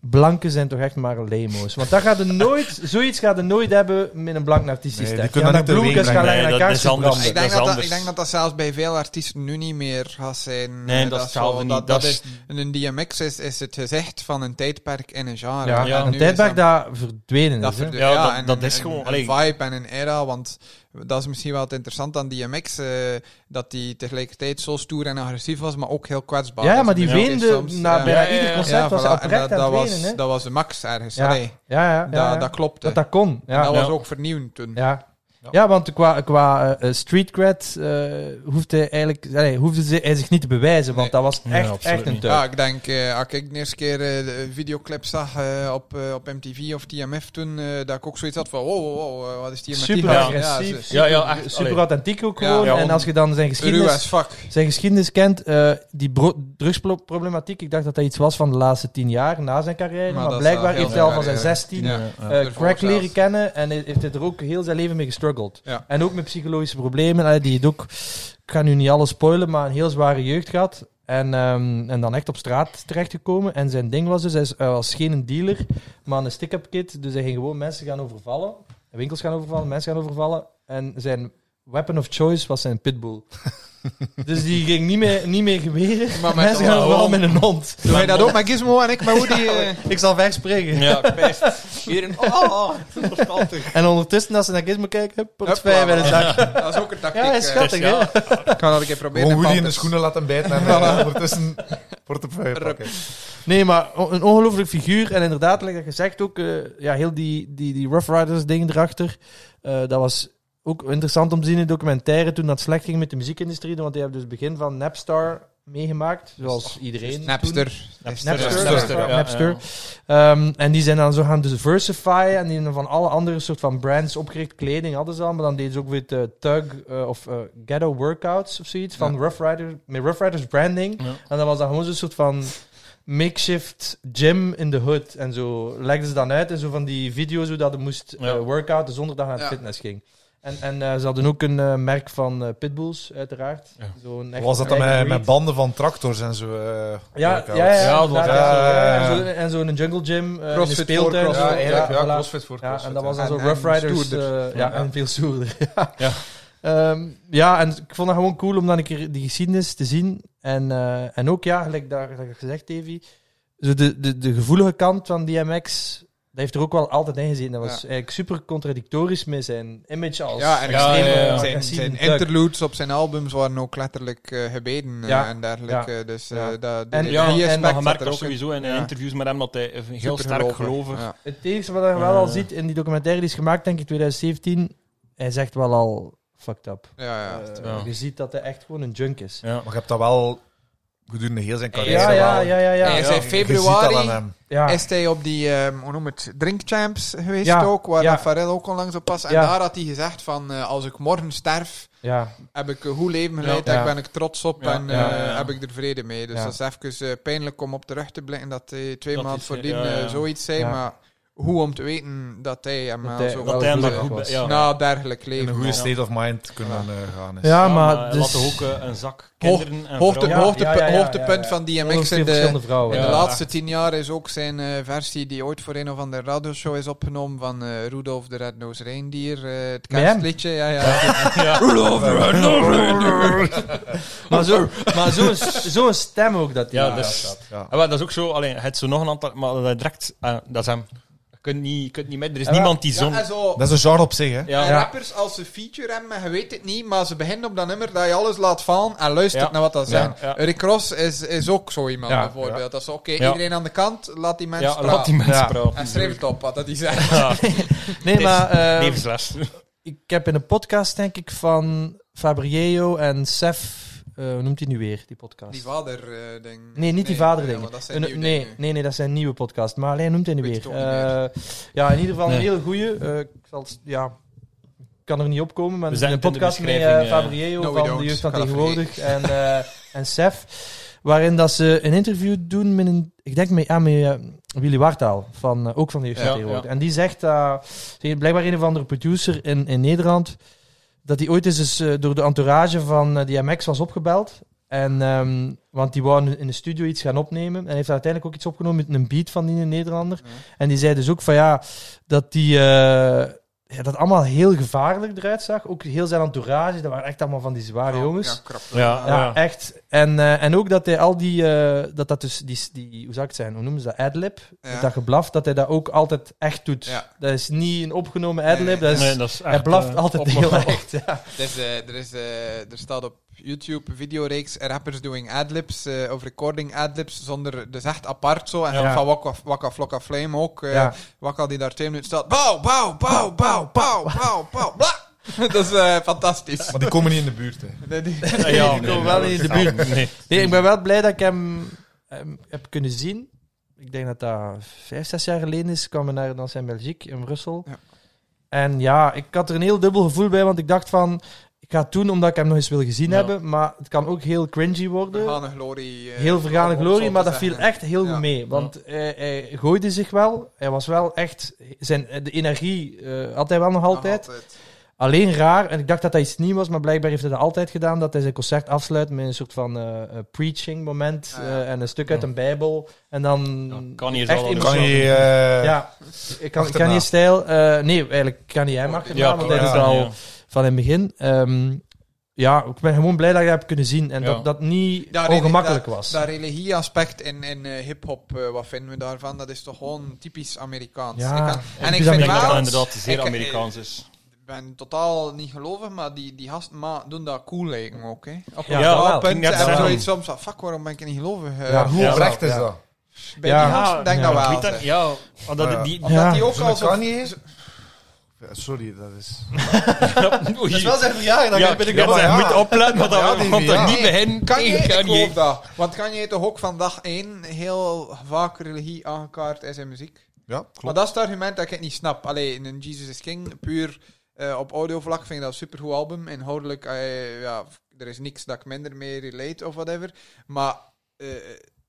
A: Blanken zijn toch echt maar lemo's. Want dat gaat er nooit, zoiets gaat er nooit hebben met een blank nartistisch
B: Nee, die
A: tekst.
B: kunnen
A: Ja,
B: dat
A: dat
B: niet
A: bloemkes
B: teweeg
A: gaan
D: brengen.
A: naar
D: Nee, dat is
A: kaarsen
D: anders.
A: branden.
C: Ik denk
D: is
C: dat, dat,
D: anders.
C: ik denk dat dat zelfs bij veel artiesten nu niet meer gaat zijn.
D: Nee,
C: Eh,
D: dat is
C: zo-
D: hetzelfde niet.
C: Dat,
D: Dat
C: dat
D: is-
C: is, een DMX is, is het gezicht van een tijdperk in een genre.
A: Ja,
C: En
D: ja.
C: Ah, nu
A: een
C: is
A: tijdperk
C: dat-
A: dat verdwenen
C: dat
A: is. hè.
C: verdwijnt.
D: Ja, dat-
C: en
D: dat
C: een-
D: is
C: een-
D: gewoon-
C: Een,
D: allee.
C: vibe en een era, want dat is misschien wel het interessante aan DMX, eh, dat die tegelijkertijd zo stoer en agressief was, maar ook heel kwetsbaar.
A: Ja,
C: Dat
A: maar
C: is
A: die
D: Ja.
C: misschien
A: weende
C: soms-
A: na
C: ja.
A: bijna
D: Ja, ja,
A: ieder
D: ja.
A: concert
C: Ja,
A: was
C: voilà,
A: hij
C: en
A: oprecht
C: dat,
A: aan
C: dat,
A: het wenen.
C: was,
A: hè.
C: dat was de max ergens.
A: Ja,
C: Allee,
A: ja, ja, ja, ja.
C: Dat, dat Nou- klopte.
A: Dat dat kon. Ja,
C: En dat
A: ja.
C: was
D: Ja.
C: ook vernieuwend toen.
A: ja.
B: Ja.
A: Ja, want qua, qua eh, eh, street cred eh, hoefde hij eigenlijk, allee, hoefde ze- hij zich niet te bewijzen, want
C: Nee.
A: dat was
D: Nee,
A: echt,
D: absoluut
A: echt een
D: niet.
A: tuig.
C: Ja, ik denk, eh, als ik de eerste keer eh, de videoclip zag eh, op, eh, op MTV of TMF toen, eh, dat ik ook zoiets had van, wow, wow, wow, eh, wat is die met
A: Super
C: die gast?
A: agressief,
C: ze-
D: Ja, ja, echt.
A: Super
D: allee.
A: authentiek ook
C: Ja.
A: gewoon.
D: Ja,
A: en
D: om-
A: als je dan zijn
C: Ruw
A: geschiedenis,
C: as fuck.
A: zijn geschiedenis kent, eh, die bro- drugsproblematiek, ik dacht dat dat iets was van de laatste tien jaar na zijn carrière,
C: Maar
A: maar,
C: dat is
A: blijkbaar
C: al heel
A: heeft hij al van
C: lang
A: zijn
C: geleden.
A: 16
C: Ja.
A: eh,
C: Ervoor
A: crack
C: zelfs.
A: leren kennen en hij heeft hij er ook heel zijn leven mee gestruggeld.
C: Ja.
A: En ook met psychologische problemen, eh, die het ook, ik ga nu niet alles spoilen, maar een heel zware jeugd gehad. En, ehm, en dan echt op straat terechtgekomen. En zijn ding was dus, hij is- hij was geen dealer, maar een stick-up kid. Dus hij ging gewoon mensen gaan overvallen. Winkels gaan overvallen, mensen gaan overvallen. En zijn weapon of choice was zijn pitbull. dus die ging niet meer, niet meer geweren.
C: Maar met
A: mensen
C: een
A: gaan overvallen met
C: hond.
A: een hond.
C: Doe jij dat ook met Gizmo en ik met Woody? eh,
A: Ik zal wegspringen.
D: Ja, pest. Iedereen, oh, oh, verstandig.
A: En ondertussen, als ze naar Gizmo kijken, hup, twee bij de
C: Hopla.
A: zak.
C: dat is ook een tactiek.
A: Ja, is
C: eh.
A: schattig, hè?
D: ja.
C: Ik ga dat een keer proberen.
B: Gewoon Woody in de
C: Pampers.
B: schoenen laten bijten en dan ondertussen portefeuille
C: Rup.
B: pakken.
A: Nee, maar o- een ongelooflijk figuur. En inderdaad, like dat gezegd ook, eh, ja, heel die, die, die Rough Riders ding erachter. eh, dat was ook interessant om te zien in documentaire toen dat slecht ging met de muziekindustrie. Want die hebben dus het begin van Napstar meegemaakt, zoals iedereen. toen.
C: dus Napster.
A: Napster.
D: Napster,
B: Napster,
D: ja,
A: Napster.
D: ja.
A: Ehm, en die zijn dan zo gaan diversifyen. En die hebben van alle andere soort van brands opgericht. Kleding hadden ze al. Maar dan deden ze ook weer eh, Tug eh, of eh, Ghetto Workouts of zoiets. Van
C: Ja.
A: Rough Riders, met Rough Riders branding.
D: Ja.
A: En dan was dat gewoon zo'n soort van makeshift gym in de hood. En zo legden ze dan uit. En zo van die video's hoe dat het moest
D: Ja.
A: eh, workouten zonder dat je naar
C: Ja.
A: het fitness ging. En, en eh, ze hadden ook een eh, merk van eh, pitbulls, uiteraard.
D: Ja.
A: Zo'n echt
B: Was dat dan
A: eigen
B: met,
A: breed.
B: met banden van tractors en zo? eh,
A: Ja, ja,
B: workouts?
A: ja,
D: Ja,
A: inderdaad,
D: dat-
A: ja, zo, ja,
B: ja,
A: En
B: ja.
A: zo- en zo'n jungle gym eh, in de
C: Crossfit voor
A: speeltuin.
C: crossfit.
A: zo,
B: Ja, eigenlijk, ja,
A: voilà.
B: crossfit voor
A: Ja,
B: crossfit,
A: en dat was
B: ja.
A: dan zo
C: En-
A: Rough
C: en
A: Riders.
C: stoerder.
A: eh, ja,
B: Ja.
A: en veel stoerder.
D: Ja.
A: Ehm, ja, en ik vond dat gewoon cool om dan een keer die geschiedenis te zien. En, eh, en ook, ja, gelijk daar, dat ik gezegd, Davy, zo de, de, de gevoelige kant van DMX, dat heeft er ook wel altijd in gezeten. Dat was
C: Ja.
A: eigenlijk super contradictorisch met zijn image als...
C: Ja, en
D: Ja,
C: extreem,
D: ja, ja.
C: zijn,
A: Extreme
C: zijn
A: drug.
C: interludes op zijn albums waren ook letterlijk eh, gebeden eh,
A: Ja,
C: en dergelijke. Dus eh,
A: ja.
C: dat,
A: En-
C: die-
D: Ja,
C: die
A: en
D: en
C: aspect
D: maar je
C: zat
D: merkt
C: er
D: dat
C: ook in.
D: sowieso in
C: Ja.
D: interviews met hem dat hij een heel sterk
C: Supergelovig,
D: gelovig
C: ja.
A: Het eerste wat je wel al
D: Eh.
A: ziet in die documentaire die is gemaakt, denk ik, 2017, hij zegt wel al fucked up.
C: Ja, ja.
A: Eh,
D: ja.
A: Je ziet dat hij echt gewoon een junk is.
D: Ja.
B: Maar je hebt dat wel gedurende heel zijn carrière.
A: Ja, ja,
B: wel-
A: ja, ja, ja.
C: Hij
A: ja.
C: is in
B: je ziet dat aan
C: februari
B: hem.
A: ja.
C: is hij op die, ehm, hoe noem het, drinkchamps geweest
A: Ja,
C: ook, waar
A: ja.
C: dan Pharrell ook onlangs op was. En
A: Ja.
C: daar had hij gezegd van, eh, als ik morgen sterf,
A: ja.
C: heb ik een goed leven geleid,
A: Ja.
C: daar ben ik trots op
D: Ja.
C: en
D: Ja, ja,
C: eh,
D: ja.
C: heb ik er vrede mee. Dus
A: Ja.
C: dat is even eh, pijnlijk om op terug te blikken dat hij twee
D: Dat
C: maanden
D: is-
C: voordien
D: ja, ja.
C: eh, zoiets zei,
A: Ja.
C: maar hoe om te weten dat hij hem
A: Dat
C: al
A: hij-
C: zo
A: dat
D: Dat hij hem daar
A: Ja.
D: goed bij- ja.
C: na dergelijk
B: In een
C: leven.
B: goede
D: Ja.
B: state of mind kunnen eh, gaan. is.
A: Ja,
D: Ja,
A: maar...
D: laat
A: Dus,
D: ook eh, een zak
C: Hoog-
D: kinderen en
C: Hoogte,
A: Ja,
D: vrouwen.
C: hoogtepu-
A: ja, ja, ja,
C: hoogtepunt
A: ja.
C: van DMX
A: Ongeveer
C: in de,
A: verschillende vrouwen.
C: in de
D: Ja.
C: laatste tien jaar is ook zijn eh, versie die ooit voor een of andere radioshow is opgenomen van eh, Rudolf de Red-Nosed Reindeer, eh, het
A: Met hem?
C: kerstliedje. Ja, ja.
A: Maar zo'n maar zo zo'n stem ook dat hij
D: Ja,
A: had.
D: dat is- Ah, wel, dat is ook zo. Alleen, het zo nog een aantal, maar dat hij direct, eh, dat is hem. Je kunt niet, je kunt niet met. Er is
A: Ja,
D: niemand die
C: Ja,
D: zong.
C: en zo,
B: Dat is een genre op zich, hè?
D: Ja,
A: Ja.
C: en rappers als ze feature hebben, maar je weet het niet, maar ze beginnen op dat nummer dat je alles laat vallen en luistert
D: Ja.
C: naar wat dat
D: Ja.
C: zijn.
D: Ja.
C: Rick Ross is, is ook zo iemand,
A: Ja.
C: bijvoorbeeld. Dat is oké,
D: Ja.
C: iedereen aan de kant, laat die mensen
D: ja
C: praten.
D: laat die mensen
A: Ja.
D: praten.
C: En schrijf het op, wat dat hij zegt.
D: Ja,
A: Nee, maar... eh,
D: levensles.
A: ik heb in een podcast, denk ik, van Fabriello en Sef... eh, hoe noemt hij nu weer, die podcast?
C: Die eh, vader-ding.
A: Nee, niet die vaderdingen.
C: want dat zijn
A: Een-
C: nieuwe
A: nee,
C: dingen.
A: nee, nee, dat zijn nieuwe podcast. Maar alleen noemt hij niet
C: Weet
A: weer.
C: het ook niet
A: Eh, ja, in ieder geval een
D: Nee.
A: hele goeie. Eh, ik zal, het- ja, ik kan er niet op komen, maar
D: We
A: er is
D: zijn
A: een
D: het in de
A: podcast met eh
D: beschrijving, eh.
A: Fabriello
C: No, we
A: van de
C: don't.
A: jeugd van
C: Ga dat
A: tegenwoordig en, eh, en Sef. Waarin dat ze een interview doen met een, ik denk met, ja, met eh, Willy Wartaal, van, eh, ook van de jeugd van
D: Ja,
A: tegenwoordig.
D: ja.
A: En die zegt, dat blijkbaar een of andere producer in, in Nederland, dat hij ooit eens eens, eh, door de entourage van eh, DMX was opgebeld. En, ehm, want die wou in de studio iets gaan opnemen. En hij heeft uiteindelijk ook iets opgenomen met een beat van die Nederlander.
C: Ja.
A: En die zei dus ook van ja, dat die... eh, ja, dat allemaal heel gevaarlijk eruit zag. Ook heel zijn entourage, dat waren echt allemaal van die zware
C: Ja,
A: jongens.
C: Ja, krap.
D: Ja,
A: Ja,
D: ja.
A: echt. En, eh, en ook dat hij al die, eh, dat dat dus, die, die, hoe zou ik het zijn, hoe noemen ze dat, adlib?
C: Ja.
A: Dat geblaf, dat hij dat ook altijd echt doet.
C: Ja.
A: Dat is niet een opgenomen adlib,
C: Nee,
A: dat is,
D: Nee, dat is
A: hij
D: echt,
A: blaft
D: eh,
A: altijd
C: op-
A: heel echt. Ja.
C: Het is, eh, er, is, eh, er staat op YouTube een videoreeks eh, rappers doing adlibs eh, of recording adlibs zonder, dus echt apart zo. En
A: Ja.
C: dan van Waka, Waka Flocka Flame ook. eh,
A: Ja.
C: Wakka die daar twee minuten staat. Bouw, bouw, bouw, bouw, bouw, bouw, bouw, bla. Dat is eh, fantastisch.
B: Maar die komen niet in de buurt, hè?
C: Die- die-
D: Ja, ja,
A: Die komen wel niet in de buurt.
D: Nee.
A: Nee,
C: Hmm.
A: ik ben wel blij dat ik hem, hem heb kunnen zien. Ik denk dat dat vijf, zes jaar geleden is. Ik kwam naar dans in Belgique, in Brussel.
C: Ja.
A: En ja, ik had er een heel dubbel gevoel bij, want ik dacht van... Ik ga het doen omdat ik hem nog eens wil gezien
D: Ja.
A: hebben, maar het kan ook heel cringy worden.
C: Vergane glorie. eh,
A: heel vergane
C: om
A: glorie,
C: zo
A: maar
C: te
A: dat viel
C: zeggen.
A: echt heel
C: Ja.
A: goed mee. Want hij, hij gooide zich wel. Hij was wel echt... Zijn, de energie eh, had hij wel nog altijd. Alleen raar, en ik dacht dat dat iets nieuws was, maar blijkbaar heeft hij dat altijd gedaan, dat hij zijn concert afsluit met een soort van eh, eh, preaching moment
C: Ah, ja.
A: eh, en een stuk uit een bijbel. En dan...
D: kan hier
A: echt
D: zal wel
A: in-
D: doen.
B: Kan je... eh,
A: ja, ik kan, ik kan
B: achterna.
A: niet stijl... eh, nee, eigenlijk kan niet hij maar achterna,
D: Ja,
A: want hij
D: ja,
A: doet dat
D: ja.
A: al van in het begin. Ehm, ja, ik ben gewoon blij dat ik dat heb kunnen zien en
D: Ja.
A: dat dat niet
C: Daar-
A: ongemakkelijk
C: daar-
A: was.
C: Dat religie-aspect in, in eh, hip-hop, eh, wat vinden we daarvan? Dat is toch gewoon typisch Amerikaans.
A: Ja,
C: Ik
A: het
C: kan- en
A: is
C: ik
D: Ik
C: vind
D: denk dat dat
C: wel,
D: inderdaad zeer
C: ik-
D: Amerikaans is.
C: ik ben totaal niet gelovig, maar die, die gasten ma- doen dat cool lijken ook. Hè. Op
A: Ja,
C: een
D: wel.
C: bepaald
D: Ik
C: punt
D: ging net
C: hebben ze
D: zeggen.
C: zoiets soms van, fuck, waarom ben ik niet gelovig? eh,
A: Ja,
B: Hoe
D: Ja.
B: oprecht is
A: Ja.
B: dat?
C: Bij
A: Ja.
C: die gasten denk ik dat wel. zeg.
D: Ja, omdat
B: Ja.
D: die...
C: Omdat
A: Ja.
C: die ook al
B: Zo'n
C: zo...
B: Kanye is... Ja, Sorry, dat is...
D: Oei.
B: zijn verjaardag,
D: Ja, ik
B: Ja,
D: ja,
B: maar
D: moet
B: ja.
D: opletten, want
B: Ja,
D: dat
B: die-
D: komt
B: ja.
D: er niet bij hen
C: Kan je,
D: tegen
C: ik
D: Kanye.
C: geloof dat. Want kan je toch ook van dag één heel vaak religie aangekaart in zijn muziek?
B: Ja, klopt.
C: Maar dat is het argument dat ik het niet snap. Allee, in een Jesus is King, puur eh, op audiovlak vind ik dat een supergoed album. Inhoudelijk, eh, ja, er is niks dat ik minder mee relate of whatever. Maar eh,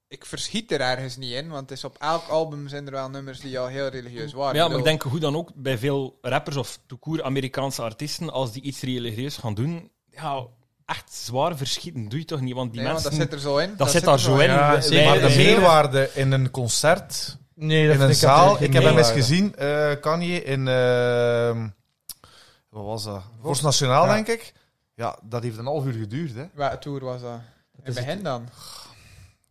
C: ik verschiet er ergens niet in, want het is op elk album zijn er wel nummers die al heel religieus waren.
D: Ja, maar ik
C: bedoel,
D: denk hoe dan ook bij veel rappers of toekoer Amerikaanse artiesten, als die iets religieus gaan doen, ja, echt zwaar verschieten doe je toch niet, want die
C: nee, want
D: mensen...
C: dat zit er zo in. Dat,
D: zit daar zo in.
A: Ja,
D: Wij-
A: zeker.
D: wij-
B: Maar de
D: wij-
B: meerwaarde in een concert,
A: Nee, dat
B: in
A: vind
B: een
A: ik absoluut
B: zaal...
A: geen
B: Ik heb hem eens
A: meerwaarde.
B: gezien, eh Kanye, in... eh, wat was dat? Vorst Nationaal,
A: Ja.
B: denk ik. Ja, dat heeft een half uur geduurd, hè.
C: Welke tour was dat? In
A: is
C: het begin dan?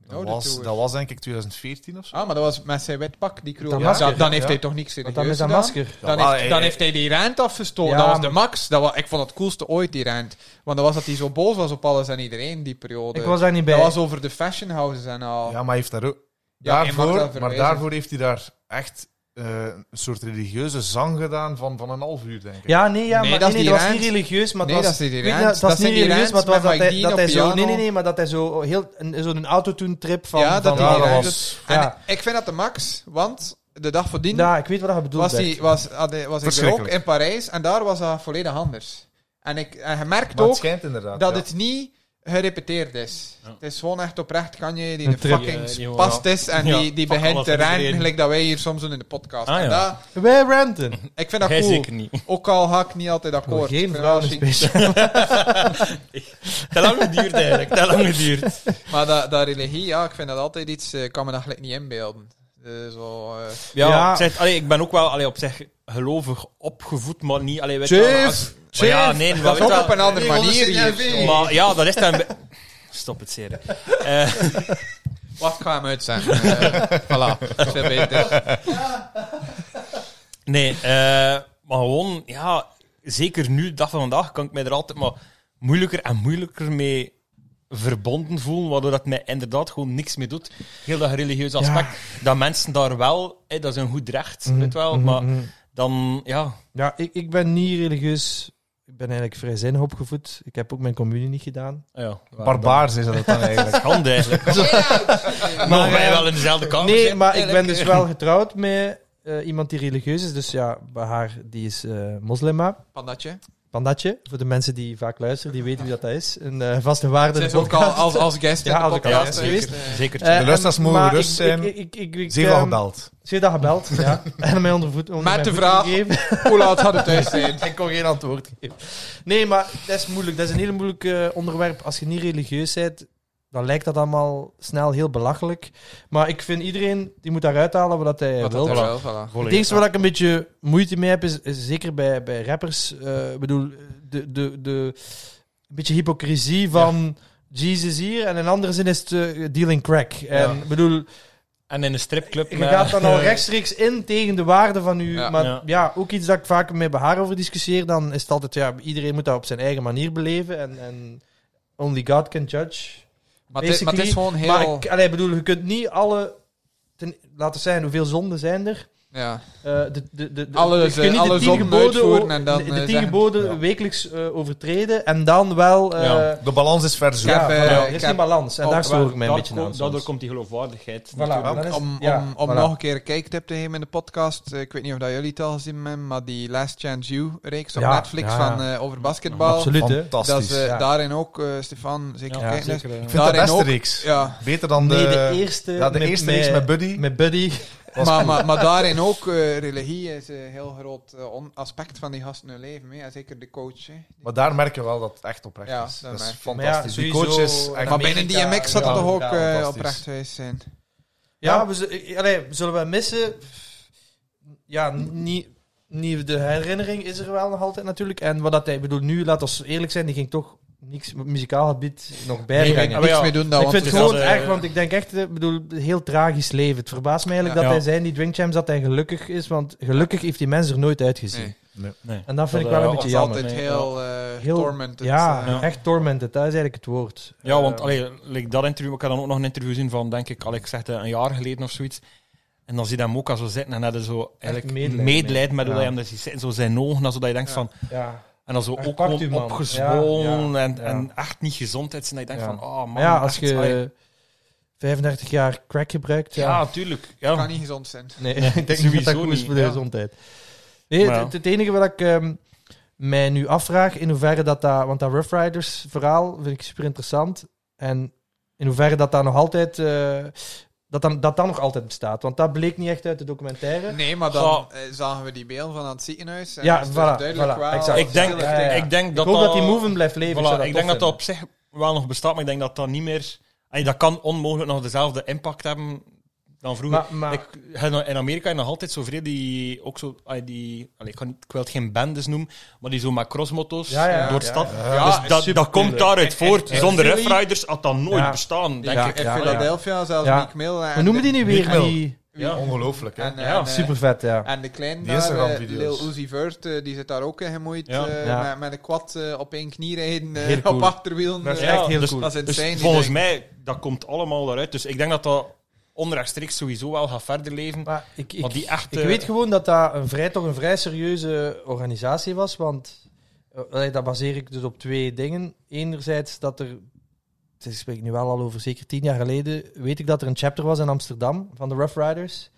B: Dat
C: Oh, de
B: was,
C: tour.
B: dat was denk ik 2014 of zo.
C: Ah, maar dat was met zijn wit pak, die crew.
A: Dat
C: Ja,
A: masker,
C: dan- dan heeft
B: ja.
C: hij toch niks serieus
A: Want dan is dat
C: gedaan?
A: masker.
C: Dan,
B: Ja,
C: heeft,
B: maar,
C: dan
B: eh,
C: heeft hij die rand afgestoten.
A: Ja,
C: dat was de
A: maar-
C: max. Dat was, ik vond het coolste ooit, die rand. Want dat was dat hij zo boos was op alles en iedereen die periode.
A: Ik was daar niet bij.
C: dat was over de fashion houses en al.
B: Ja, maar hij heeft daar ook...
C: Ja, je mag
B: daarvoor,
C: dat
B: maar
C: verwijzen.
B: daarvoor heeft hij daar echt eh, een soort religieuze zang gedaan van, van een half uur, denk ik.
A: Ja, nee, ja,
C: Nee,
A: maar
C: dat is
A: nee,
C: die
A: dat was
C: rant.
A: niet religieus, maar het
C: Nee,
A: was...
C: dat is die
A: weet je,
C: rant.
A: dat
C: Dat
A: was
C: zijn
A: niet
C: die
A: religieus, maar
C: rants
A: het was dat
C: met Mike
A: hij,
C: Dean
A: dat hij
C: op
A: zo... Nee, nee,
C: piano.
A: nee, maar dat hij zo heel... een- Zo'n autotune-trip van...
C: Ja, dat
A: van,
C: hij
B: Ja, dat
C: die
B: was
C: En
A: Ja.
C: ik vind dat de max, want de dag voordien
A: Ja, ik weet wat je bedoelt.
C: was,
A: Bert.
C: die, was, had hij- was ik er ook
B: Verschrikkelijk.
C: in Parijs en daar was dat volledig anders. En, ik, en je merkt
B: Maar het
C: ook
B: schijnt inderdaad.
C: dat
B: ja.
C: het niet gerepeteerd is. Het is gewoon echt oprecht Kanye die
A: Een
C: de
A: trip.
C: fucking
D: Ja, die
C: past is en
D: Ja,
C: die, die
D: fuck
C: begint
D: alles
C: te
D: en
C: rennen,
D: iedereen.
C: gelijk dat wij hier soms doen in de podcast.
D: Ah,
C: En
D: ja.
C: dat-
A: Wij ranten.
C: ik vind dat
D: Hij
C: cool.
D: zeker niet.
C: Ook al ga ik niet altijd
A: Voor
C: akkoord. Ik
A: geen
C: vind
A: vrouw een
C: dat chic.
A: speciaal.
D: Te lang geduurd eigenlijk, te lang geduurd.
C: Maar dat, dat religie, ja, ik vind dat altijd iets, eh, ik kan me dat gelijk niet inbeelden. Eh, zo, eh,
D: Ja,
A: Ja.
D: Op zich, allee, ik ben ook wel allee, op zich gelovig opgevoed, maar niet... Allee, weet je wel, als-
C: Chief!
D: Maar ja, nee, maar
C: Dat is
D: weet je
C: ook
D: wel-
C: op een andere
B: Regels
C: manier
B: in je
C: hier. Maar-
D: Maar ja, dat is dan... Stop het, serie. Eh
C: Wacht, ik ga hem uitzenden. Eh, voilà, dat is weer beter.
D: nee, eh, maar gewoon, ja, zeker nu, de dag van vandaag, kan ik mij er altijd maar moeilijker en moeilijker mee verbonden voelen, waardoor dat mij inderdaad gewoon niks mee doet. Heel dat religieuze
A: Ja.
D: aspect. Dat mensen daar wel, eh, dat is een goed recht, weet wel, maar dan, ja...
A: Ja, ik, ik ben niet religieus. Ik ben eigenlijk vrijzinnig opgevoed. Ik heb ook mijn communie niet gedaan.
D: ja
B: Barbaars is dat dan eigenlijk.
D: Kan eigenlijk. Maar wij
A: eh,
D: wel in dezelfde
C: Oh,
D: kamer
A: Nee,
D: zitten,
A: maar ik ben
D: eigenlijk.
A: dus wel getrouwd met eh, iemand die religieus is. Dus ja, bij haar, die is eh, moslima.
C: Pandatje.
A: Pandatje, voor de mensen die vaak luisteren, die weten wie dat is. Een eh, vaste waarde.
C: Ze is ook al als, als guest in
A: Ja,
C: de
A: als ik al
C: podcast
A: guest
C: geweest.
A: geweest.
C: Eh,
D: Zeker.
A: Eh,
B: De luisteraars
A: en-
B: mogen
A: maar
B: gerust
A: ik-
B: zijn.
A: ik- ik- ik- ik,
B: Ze heeft al
A: ehm,
B: gebeld.
A: Ze heeft al gebeld, ja. En mij onder voet onder
C: Met
A: mijn
C: de
A: voet
C: vraag.
A: gegeven.
C: Hoe laat gaat het thuis zijn?
A: Ik kon geen antwoord geven. Nee, maar dat is moeilijk. Dat is een heel moeilijk eh, onderwerp. Als je niet religieus bent, dan lijkt dat allemaal snel heel belachelijk. Maar ik vind iedereen, die moet daaruit halen wat dat hij
C: Wat
A: wil.
C: dat er wel, voilà.
A: Het enige waar ik een beetje moeite mee heb, is, is zeker bij, bij rappers. eh, Ik bedoel, de, de, de een beetje hypocrisie van Jesus hier en in andere zin is het eh, dealing crack. En
B: Ja.
A: ik bedoel,
D: En in een stripclub. eh,
A: je
D: met-
A: gaat dan al rechtstreeks in tegen de waarde van u.
C: Ja.
A: maar ja.
D: Ja.
A: ook iets dat ik vaak met haar over discussieer, dan is het altijd, ja, iedereen moet dat op zijn eigen manier beleven. En, en only God can judge.
C: Maar het is- maar het is gewoon
A: Maar
C: heel...
A: ik allee, ik bedoel, je kunt niet alle... Ten, laten we zeggen, hoeveel zonden zijn er?
C: Ja.
A: Eh, de, de, de, de,
C: Alles,
A: je kunt
C: eh,
A: niet
C: alles
A: de tien
C: opnieuw
A: geboden,
C: uitvoeren
A: o-
C: en dan,
A: de- de
C: eh,
A: tien
C: zeggen-
A: geboden
B: Ja.
A: wekelijks eh, overtreden en dan wel... eh,
D: Ja.
B: De balans is ver zoek.
A: ja,
C: heb,
A: voilà,
C: eh,
A: er
C: ik
A: is
C: heb-
A: geen balans. En
D: Oh,
A: daar
D: wel,
A: stoor ik mij een
D: daar
A: beetje
D: kom-
A: aan. soms.
D: Daardoor komt die geloofwaardigheid.
A: Voilà,
D: natuurlijk.
A: dan is-
C: Om, om,
A: ja,
C: om
A: voilà.
C: nog een keer een kijktip te geven in de podcast. eh, Ik weet niet of dat jullie het al gezien hebben, maar die Last Chance You-reeks op
A: Ja,
C: Netflix
A: ja.
C: van, eh, over basketbal.
A: Absoluut, hè.
B: Fantastisch.
C: Dat is eh,
A: Ja.
C: daarin ook, eh, Stefan, zeker
D: Ja,
C: kijken.
D: zeker.
A: eh,
B: ik vind het de
C: daarin
B: beste
C: ook-
B: reeks.
C: Ja,
B: Beter dan de,
A: Nee, de eerste
B: ja, de
A: met-
B: eerste reeks met Buddy.
A: Met Buddy.
C: Maar, maar, maar daarin ook, eh, religie is een heel groot eh, on- aspect van die gasten hun leven. Hè. En zeker de coach. Hè.
B: Maar daar merk je wel dat het echt oprecht
C: Ja,
B: is.
C: dat
B: Dat, is
C: merk je.
B: fantastisch.
A: Maar ja,
B: Die coach is
A: sowieso-
B: echt...
A: Maar
C: Maar
A: Amerika-
C: binnen die MX zal
B: ja,
C: dat toch ook
B: ja,
C: eh,
B: fantastisch.
C: oprecht geweest zijn.
A: Ja,
B: Ja.
A: we, z- ik- allee, zullen we missen? Ja, niet. niet de herinnering is er wel nog altijd natuurlijk. En wat dat hij bedoelt nu, laat ons eerlijk zijn, die ging toch niks muzikaal gebied nog bijbrengen.
D: Nee,
C: niks
D: ja.
C: mee doen dan,
A: ik
C: want
A: vind
C: het
A: het
D: is
A: gewoon
D: dat, eh,
A: echt, want ik denk echt, eh, bedoel, heel tragisch leven. Het verbaast me eigenlijk
D: Ja.
A: dat
D: Ja.
A: hij zijn, die Drink Champs, dat hij gelukkig is. Want gelukkig heeft die mens er nooit
C: is-
A: uitgezien.
C: nee,
D: Nee.
A: En dat vind
D: Dat,
A: ik wel
D: eh,
A: een
C: dat
A: beetje
C: is
A: jammer.
C: altijd
D: nee,
C: heel, eh
A: Heel-
C: tormented.
A: ja,
C: eh.
D: ja.
A: echt tormented, dat is eigenlijk het woord.
D: Ja, want
A: Eh,
D: allee, like dat interview, ik had dan ook nog een interview zien van, denk ik, Alex zegt eh, een jaar geleden of zoiets. En dan zie je hem ook al zo zitten en hadden zo eigenlijk
A: medelijden
D: medelijden
A: mee.
D: met hoe
A: Ja.
D: hij hem daar ziet zitten, zo zijn ogen, en zo dat je denkt
C: Ja.
D: van,
A: ja.
D: en dan zo
A: Echt,
D: ook
A: pakt u,
D: gewoon
A: man.
D: opgezwollen en,
A: ja.
D: en echt niet gezond uit zijn, dat je denkt
A: Ja.
D: van, oh man.
A: Maar ja, als
D: echt, allee,
A: je 35 jaar crack gebruikt, ja.
D: ja, tuurlijk. Ja.
C: kan niet gezond zijn.
A: Nee, ik denk niet dat dat
D: sowieso
A: goed is
D: niet,
A: voor de
D: ja.
A: gezondheid. Nee,
D: Maar ja.
A: het, het enige wat ik ehm, mij nu afvraag, in hoeverre dat dat... Want dat Rough Riders verhaal vind ik super interessant. En in hoeverre dat dat nog altijd... eh, dat, dan, dat dat nog altijd bestaat. Want dat bleek niet echt uit de documentaire.
C: Nee, maar dan eh, zagen we die beelden van aan het ziekenhuis. En
A: Ja,
C: is toch
A: voilà,
C: duidelijk
A: voilà,
C: wel
A: exact.
D: Ik denk,
A: Ja, ja, ja.
D: Ik denk
A: ik
D: dat
A: hoop dat, die
D: dat-
A: move blijft leven. Ik
D: Voilà,
A: zou dat
D: ik
A: tof
D: denk dat dat
A: vinden.
D: op zich wel nog bestaat, maar ik denk dat dat niet meer... en dat kan onmogelijk nog dezelfde impact hebben dan vroeger.
A: Maar, maar
D: Ik, in Amerika heb je nog altijd zoveel die ook zo... ah, Die, allee, ik, kan niet, ik wil het geen bendes noemen, maar die zo met crossmotto's
A: Ja, ja,
D: door de
A: ja,
D: stad.
A: ja.
D: Dus
C: Ja,
D: dat, dat
A: supercool,
D: komt daaruit
C: hè.
D: voort.
C: Ah, En- en
D: Zonder
C: Philly-
D: Riders had dat nooit
A: Ja.
D: bestaan, denk
C: Ja,
D: ik.
C: in
A: ja,
C: Philadelphia, zelfs
A: Ja.
C: Meek Mill. en-
A: hoe noemen die nu weer?
B: Meek Mill.
A: Die,
D: Ja.
B: Ongelooflijk, hè?
C: En, eh,
D: Ja,
C: en, eh,
A: super vet, ja.
C: En de klein
B: Die
C: daar, eh,
B: Instagram-video's.
C: Lil Uzi Vert, eh, die zit daar ook in gemoeid.
D: Ja.
C: eh,
A: Ja.
C: Met, met een quad eh, op één knie rijden, eh,
A: Heel cool.
C: op achterwielen.
A: Dat is
C: eh,
A: echt heel
D: dus-
A: cool.
C: dat is
D: Dus
C: insane. die
D: volgens
C: ding.
D: mij, dat komt allemaal daaruit. Dus ik denk dat dat onrechtstreeks sowieso wel gaat verder leven.
A: Maar ik, ik,
D: Want die echte-
A: ik weet gewoon dat dat een vrij, toch een vrij serieuze organisatie was. Want eh, allee, dat baseer ik dus op twee dingen. Enerzijds dat er, het is- ik spreek nu wel al over zeker tien jaar geleden, weet ik dat er een chapter was in Amsterdam van de Rough Riders.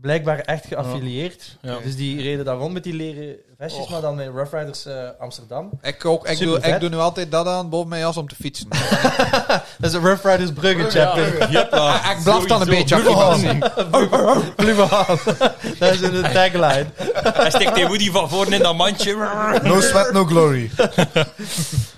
A: Blijkbaar echt geaffilieerd.
D: Ja.
A: Dus die reden daar rond met die leren vestjes,
D: Och.
A: maar dan in Rough Riders eh, Amsterdam.
C: Ik, ook, ik, doe,
A: Supervet.
C: ik doe nu altijd dat aan boven mijn jas om te fietsen.
A: Dat is een Rough Riders Brugge chapter.
C: Ah, ik blaf dan een beetje.
D: Sowieso.
C: als iemand.
A: Blijf aan. Dat is een tagline.
D: Hij steekt die Woody van voren in dat mandje.
B: No sweat, no glory.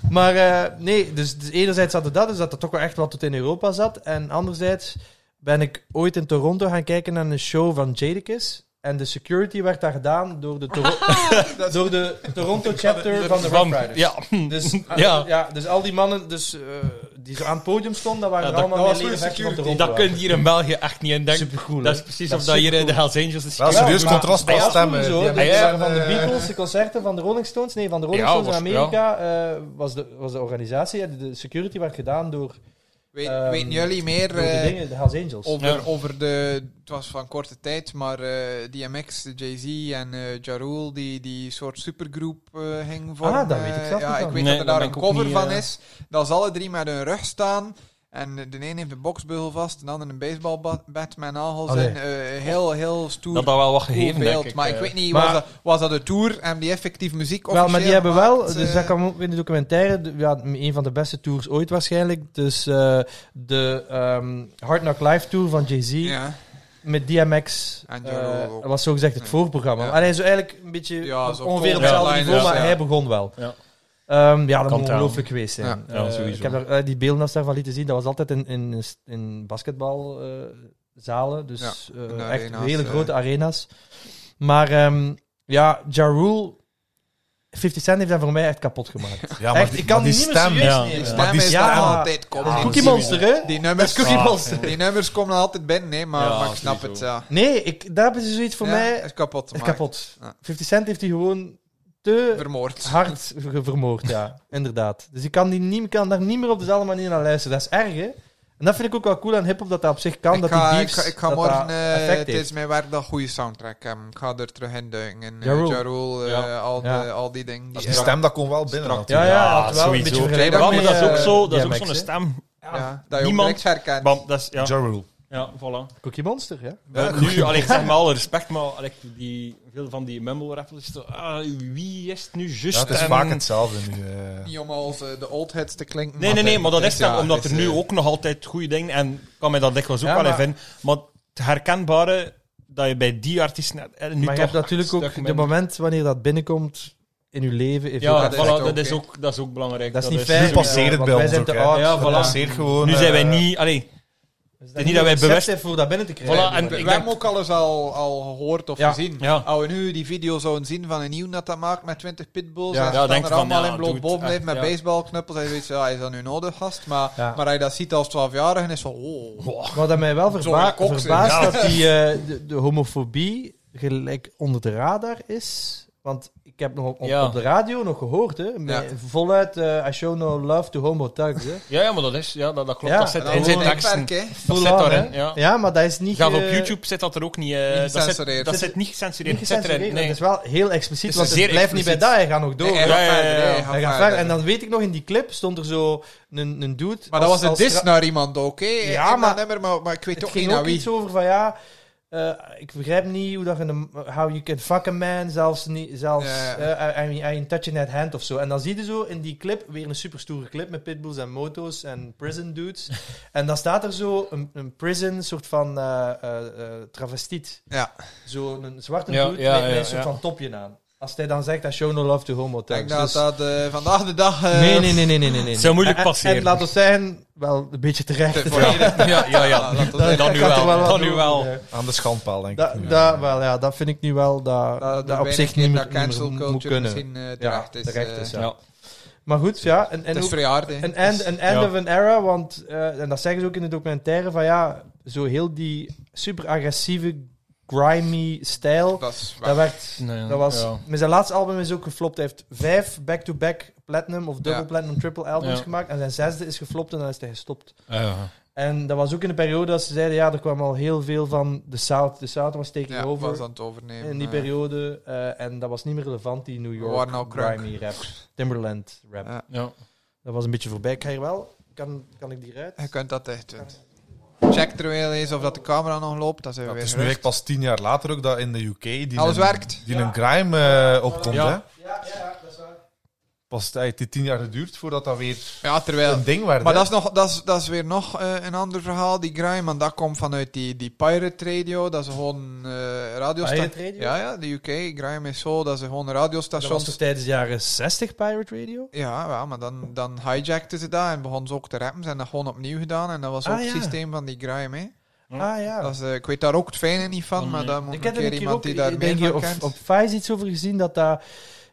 A: Maar eh, nee, dus, dus enerzijds zat er dat, dus dat er toch wel echt wat tot in Europa zat. En anderzijds ben ik ooit in Toronto gaan kijken naar een show van Jadakiss. En de security werd daar gedaan door de, Toro- door de Toronto chapter van de Rough Riders.
D: Ja.
A: Dus, ah, ja.
D: Ja.
A: dus al die mannen dus, eh, die zo aan het podium stonden, dat waren
D: Ja,
A: er
D: dat-
A: allemaal
C: dat
A: meer
C: was
A: leden
C: goede
A: van Toronto.
D: Dat kun je hier in België echt niet in denken.
A: Supercool,
D: dat
A: hè?
D: is precies
A: Dat
D: of
A: is
D: dat hier in de
A: supercool.
D: Hells Angels is.
B: Wel,
D: Ja,
B: serieus
A: maar-
B: contrast
A: Ja,
B: qua
A: dat is
B: stemmen.
A: sowieso,
B: Die
A: hè.
B: hebben
A: De
D: Ja,
A: concerten
B: gezegd,
A: van de
B: eh,
A: Beatles, de concerten van de Rolling Stones. Nee, van de Rolling
D: Ja,
A: Stones in
D: was- ja.
A: Amerika eh, was, de, was de organisatie. en De security werd gedaan door,
C: Weet,
A: Ehm,
C: weten jullie meer
A: door de
C: eh,
A: dingen, de Hells Angels.
C: over,
D: Ja.
C: over de... Het was van korte tijd, maar eh, DMX, Jay-Z en eh Ja Rule, die die soort supergroep eh ging vormen.
A: Ah, dat weet ik zelf
C: ja,
A: niet
C: ik
A: van.
C: weet
D: Nee,
C: dat er
D: dat
C: daar
D: ben
C: een
D: ik ook
C: cover
D: niet,
C: van
D: eh.
C: is. Dat ze alle drie met hun rug staan. En de een heeft een boksbeugel vast, de ander een baseballbat met nagels.
A: Allee.
C: En, eh, heel, heel stoer.
D: dat dat wel wat
C: cool
D: gegeven
C: beeld.
D: denk ik.
C: maar ik
D: eh.
C: weet niet,
A: Maar-
C: was, dat, was dat een tour? en die effectief muziek
A: Wel, maar die
C: officieel
A: hebben wel,
C: gemaakt,
A: dus
C: eh?
A: dat kwam ook in de documentaire, de- ja, een van de beste tours ooit waarschijnlijk. Dus eh, de ehm, Hard Knock Live Tour van Jay-Z
C: Ja.
A: met DMX.
C: En
A: eh,
C: Ja Rule ook.
A: was zogezegd het
C: Ja.
A: voorprogramma.
C: Ja.
A: En hij is eigenlijk een beetje
C: Ja,
A: was
C: zo
A: ongeveer op
D: Coldplay
A: hetzelfde niveau,
D: lineup,
A: maar
C: ja.
A: hij begon wel.
D: Ja.
A: Ehm, ja, dat
D: Kan
A: moet
D: tellen.
A: ongelooflijk geweest zijn.
C: Ja.
D: Ja,
A: Eh,
D: sowieso.
A: ik heb daar, eh, die beelden dat ze daarvan lieten zien, dat was altijd in, in, in basketbalzalen. dus eh,
C: in de
A: echt
C: arena's,
A: hele
C: eh.
A: grote arena's. Maar ehm, ja, Ja Rule, 50 Cent heeft dat voor mij echt kapot gemaakt.
B: Ja,
A: echt, ik kan
B: maar
A: die
B: die
A: niet meer
B: stem.
A: serieus
D: ja.
A: nemen.
D: Ja.
C: Maar
B: Maar
C: die
B: die
C: is
A: staan-
C: altijd komen.
A: Ah,
C: die-
A: Cookie Monster, hè?
C: Die nummers,
A: Cookie Monster.
C: die nummers komen er altijd binnen, hè, maar,
D: Ja,
C: maar ik snap
D: sowieso.
C: het. Ja.
A: Nee, ik, daar hebben ze zoiets voor
C: Ja,
A: mij
C: is kapot. te
A: echt
C: maken.
A: kapot.
C: Ja.
A: 50 Cent heeft die gewoon te
C: Vermoord.
A: hard ge- vermoord, ja. Inderdaad. Dus ik kan, die niet, kan daar niet meer op dezelfde manier naar luisteren. Dat is erg, hè? En dat vind ik ook wel cool aan hip-hop dat dat op zich kan.
C: ik,
A: dat
C: ga,
A: die
C: ik,
A: beefs,
C: ga, ik ga
A: dat
C: morgen,
A: dat
C: eh,
A: effect heeft.
C: tijdens mijn werk, dat goede soundtrack hebben. Ik ga er terug in duiken. En, eh,
A: Ja Rule.
C: Ja Rule, eh,
D: Ja.
C: al, de-
A: Ja.
C: al die dingen. Die,
B: Die stem, dat komt wel binnen. natuurlijk.
A: Ja, ja, had
D: Ja,
A: wel een
D: sowieso.
A: beetje
D: Ja,
A: vergelijkbaar
C: Daarmee,
D: maar dat is ook
A: eh,
D: zo, dat is ook
A: DMX,
D: zo'n
A: hè.
D: stem.
C: ja, dat je
D: Niemand-
C: ook direct herkent.
D: Bam, dat is, ja,
B: Ja Rule.
D: ja, voilà.
A: Cookie Monster, ja.
D: Eh, nu, allee, ik zeg maar alle respect, maar allee, die, veel van die mumble rappers, is zo, ah, wie is het nu juist?
B: Ja, het is
D: En-
B: vaak hetzelfde nu. eh.
C: Niet om als eh, de old heads te klinken.
D: Nee, nee, nee, maar dat
C: het
D: is dat,
C: ja,
D: omdat
C: het
D: er
C: is,
D: nu
C: eh,
D: ook nog altijd goede dingen, en ik kan mij dat dikwijls ook
A: Ja,
D: wel in
A: maar-
D: vinden, maar het herkenbare, dat je bij die artiesten eh, nu
A: maar je
D: toch
A: hebt natuurlijk
D: een
A: ook
D: stuk
A: de
D: minder-
A: moment wanneer dat binnenkomt in je leven. heeft
D: Ja,
A: ook-
D: voilà,
C: dat
D: dat,
C: is
D: is
C: echt oké.
D: ook, dat is ook belangrijk.
A: dat is niet
B: Nu
A: fair.
B: passeert het
A: want
B: bij
A: wij
B: ons
A: zijn
B: ook,
A: te
B: hè.
A: oud.
D: Ja,
B: Dat
D: voilà.
B: passeert gewoon.
D: Nu
B: eh,
D: zijn wij niet... Allee,
A: Het
D: niet dat wij bewust-
A: voor dat binnen te krijgen.
D: Voilà, en
A: maar-
D: ik
C: We
D: denk-
C: hebben ook alles al, al gehoord of
A: Ja.
C: gezien.
D: Ja.
C: Als we nu die video zouden zien van een nieuw dat dat maakt met 20 pitbulls,
A: Ja.
C: en
A: Ja,
C: ze staan
D: denk
C: er
D: van,
C: allemaal
D: ja,
C: in
D: doe
C: bloot
D: het.
C: bovenlijf met
D: Ja.
C: baseballknuppels, en je weet, ja, is dat nu nodig, gast? Maar,
A: Ja.
C: maar als je dat ziet als 12-jarige, is van, oh.
A: Wat dat mij wel
C: Zo'n
A: verba-
C: kok,
A: verbaast,
C: ja.
A: dat die, eh, de, de homofobie gelijk onder de radar is. Want ik heb nog op,
D: Ja.
A: op de radio nog gehoord, hè, met- voluit eh, I show no love to homo thugs. Hè.
D: Ja, ja, maar dat is... Ja, dat, dat klopt.
A: Ja,
D: dat zit
A: dat
D: in zijn
A: gewoon-
D: teksten.
C: hè.
D: Dat
A: Full
D: zit
A: on,
D: daarin,
A: hè.
D: ja.
A: Ja, maar dat is niet...
D: Gaaf op
A: eh,
D: YouTube zit dat er ook niet... eh,
C: Niet
D: dat, zit,
C: gecensureerd.
D: dat zit niet gecensureerd.
A: niet
D: Het zit erin.
A: gecensureerd,
D: Nee.
A: Dat is wel heel expliciet,
D: Het is
A: want het
D: zeer
A: blijft niet bij
D: expliciet.
A: dat. Hij gaat nog door.
C: Nee, hij
D: Ja,
C: gaat
D: ja, ja,
C: verder,
D: ja.
C: hè, hij
A: Hij
D: Hij
C: gaat
A: gaat
C: verder.
A: verder. En dan weet ik nog, in die clip stond er zo een, een dude...
C: Maar dat
A: als-
C: was een
A: als
C: dis
A: ra-
C: naar iemand ook, hè?
A: Ja,
C: In dat
A: maar-
C: nummer, maar, maar ik weet
A: Het
C: toch
A: ging
C: niet
A: ook
C: naar wie.
A: iets over van ja, eh, ik begrijp niet hoe dat je een, how you can fuck a man, zelfs niet, zelfs
C: Ja, ja.
A: eh, I, I mean, I touching that hand of zo. En dan zie je zo in die clip weer een super stoere clip met pitbulls en motos en prison dudes. en dan staat er zo een, een prison soort van eh, eh, eh, travestiet,
C: Ja,
A: zo een zwarte
D: Ja,
A: dude
D: ja,
A: met, met
D: ja,
A: een soort
D: ja.
A: van topje aan. Als hij dan zegt, I show no love to homo
C: ik denk
A: thugs.
C: dat
A: Dus-
C: dat eh, vandaag de dag... eh,
A: nee, nee, nee, nee, nee, nee. nee.
D: Het zou moeilijk
A: En-
D: passeren.
A: En laat ons zijn, wel een beetje terecht.
C: te- voor iedereen.
D: Ja, ja, ja.
C: Ah, laten we
D: Dan,
C: zeggen,
D: dan
A: Ik
D: nu
A: had er
D: wel.
A: wat
D: Dan nu
A: over,
D: wel.
A: eh.
B: Aan de schandpaal, denk
A: Da,
B: ik. nu.
A: da, wel, ja, dat vind ik nu wel dat, dat,
C: Dat, dat
A: op zich niet meer
C: dat cancel
A: moet-
C: culture
A: moet kunnen.
C: misschien eh,
A: Ja,
C: terecht is.
A: terecht
C: eh,
A: is, ja.
D: Ja.
A: Maar goed, ja, en,
C: Het
A: en
C: is
A: ook
C: verjaard, hè.
A: een end, een end
D: Ja.
A: of an era, want eh, en dat zeggen ze ook in de documentaire van ja, zo heel die super agressieve, grimy stijl,
C: Dat is waar.
A: dat werd,
D: Nee,
A: dat was,
D: ja.
A: met zijn laatste album is ook geflopt. Hij heeft vijf back-to-back platinum of double
C: Ja.
A: platinum, triple albums
D: Ja.
A: gemaakt en zijn zesde is geflopt en dan is hij gestopt.
D: Ja.
A: En dat was ook in de periode dat ze zeiden, ja, er kwam al heel veel van de South. De South was taking
C: Ja,
A: over
C: was aan het overnemen.
A: in die
C: eh.
A: periode. eh, en dat was niet meer relevant, die New York
C: waren al krank.
A: grimy rap. Timberland rap.
C: Ja.
D: Ja.
A: Dat was een beetje voorbij. Ik ga hier wel... Kan, kan ik die eruit?
C: Je kunt dat echt doen. Check er wel eens of dat de camera nog loopt. Dat zijn we
B: Het
C: weer
B: is nu
C: terug.
B: echt pas tien jaar later ook dat in de UK die
C: Alles
B: een,
C: werkt.
B: die een grime eh, opkomt.
D: Ja.
B: Hè?
A: Ja, ja, dat is waar.
B: Pas het heeft die tien jaar geduurd voordat dat weer
C: Ja, terwijl...
B: een ding werd.
C: Maar
B: hè.
C: dat is, nog, dat, is, dat is weer nog eh, een ander verhaal, die grime. Want dat komt vanuit die, die Pirate Radio. Dat is gewoon eh radiostation.
A: Pirate Radio?
C: Ja, ja, de UK. Grime is zo. Dat ze gewoon
A: Dat was toch
C: radiostations...
A: tijdens de jaren 60 Pirate Radio?
C: Ja, ja, maar dan, dan hijackten ze dat en begonnen ze ook te rappen. Ze hebben dat gewoon opnieuw gedaan. En dat was
A: Ah,
C: ook het
A: ja.
C: systeem van die grime, hè.
A: Ah, ja.
C: Dat is, eh, ik weet daar ook het fijne niet van,
D: Oh,
C: maar
D: nee.
C: daar moet
A: ik
C: een
A: heb er een
C: keer,
A: keer
C: iemand
A: ook,
C: die
A: ik
C: daar meer
A: denk hier
C: van
A: op,
C: kent.
A: op Vice iets over gezien, dat dat...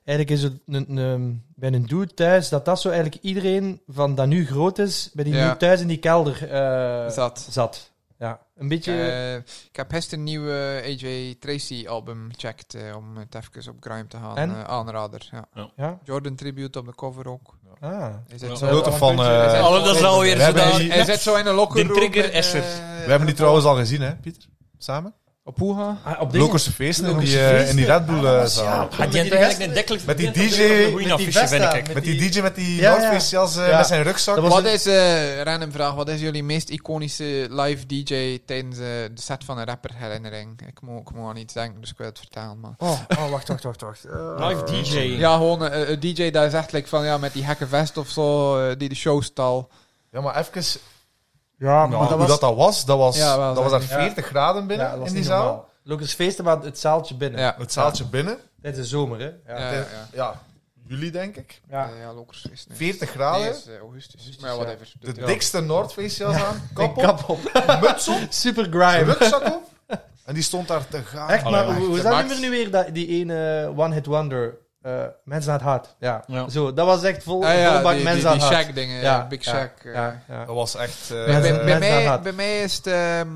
A: Eigenlijk is het een, een- bij een dude thuis, dat dat zo eigenlijk iedereen van dat nu groot is, bij die
C: Ja.
A: dude thuis in die kelder eh,
C: Zat.
A: zat. Ja, een beetje...
C: Eh, ik heb gisteren een nieuwe AJ Tracy album gecheckt eh, om het even op grime te gaan.
A: En?
C: eh, aanrader, ja.
A: ja?
C: Jordan Tribute op de cover ook.
A: Ah.
C: Hij zit
D: Ja.
C: zo,
A: Wel-
B: Grote fan. eh,
C: Is het-
D: Alle, dat is wel weer
B: We hebben
D: zodanig.
B: die-
C: hij zit zo in een locker
D: De
C: room en,
D: trigger is er.
C: eh,
B: we hebben die trouwens al gezien, hè, Pieter? Samen?
C: Op Hoeha.
A: Ah, op dingen.
B: Lokerse feesten in
A: Lokerse
B: die, eh,
A: feesten.
B: in die Red Bull eh,
A: Ah, dat was-
B: zaal.
A: ja,
D: Had je
A: die
D: eigenlijk
A: gasten-
D: een dekkelijk...
B: Met die
D: ik denk dat
B: DJ
D: dat een goeie
A: met die
D: affiche
A: Vesta,
D: vind ik.
B: Met die DJ met die
A: Ja,
B: ja,
A: ja.
B: North Face jas eh,
A: Ja.
B: met zijn rugzak.
A: Dat was
C: Wat
A: een-
C: is, eh random vraag, wat is jullie meest iconische live DJ tijdens eh, de set van een rapper herinnering? Ik moet, ik moet aan iets denken, dus ik wil het vertalen. Maar...
A: Oh, oh, wacht, wacht, wacht. wacht. Eh,
D: Live DJ.
C: Ja, gewoon eh, een DJ daar is echt like, van, ja, met die gekke vest of zo, eh, die de show stal.
B: Ja, maar even
A: Ja,
B: hoe
A: maar dat
B: dat
A: was...
B: dat, was, dat was,
C: Ja, wel,
B: dat was daar
A: zeg ik.
B: 40 graden binnen
A: ja, dat was
B: in die
A: niet
B: zaal.
A: normaal. Lucas feesten, maar het zaaltje binnen.
C: Ja.
B: Het zaaltje binnen.
A: Tijdens de zomer, hè?
C: Ja,
A: Ja.
B: Het-
C: ja.
B: ja, juli denk ik.
A: Ja.
C: Eh, ja, Lokersfeest. nee.
B: 40 graden.
C: Nee, is, eh, augustus. Maar ja,
A: ja.
C: whatever.
B: de
C: Ja.
B: dikste North Face jas aan.
A: Kap
B: Kap
A: op.
B: op. Muts op.
A: Super grime.
B: Rugzak op. En die stond daar te gaan.
A: Echt, maar
D: Allee,
A: hoe- hoe is
C: de
A: dat
C: max.
A: nummer nu weer? Dat, die ene One Hit Wonder. eh mensen aan het hart. Ja.
D: Ja.
A: Zo, dat was echt vol,
C: Ah ja,
A: vol bak
C: die, die,
A: mensen
C: die
A: aan het hart.
C: Shaq dingen,
A: Ja,
C: Big
A: ja,
C: Shaq. eh.
A: Ja, ja.
B: Dat was echt... eh,
C: Bij- bij,
A: mensen aan het
C: mij,
A: hart.
C: bij mij is het ehm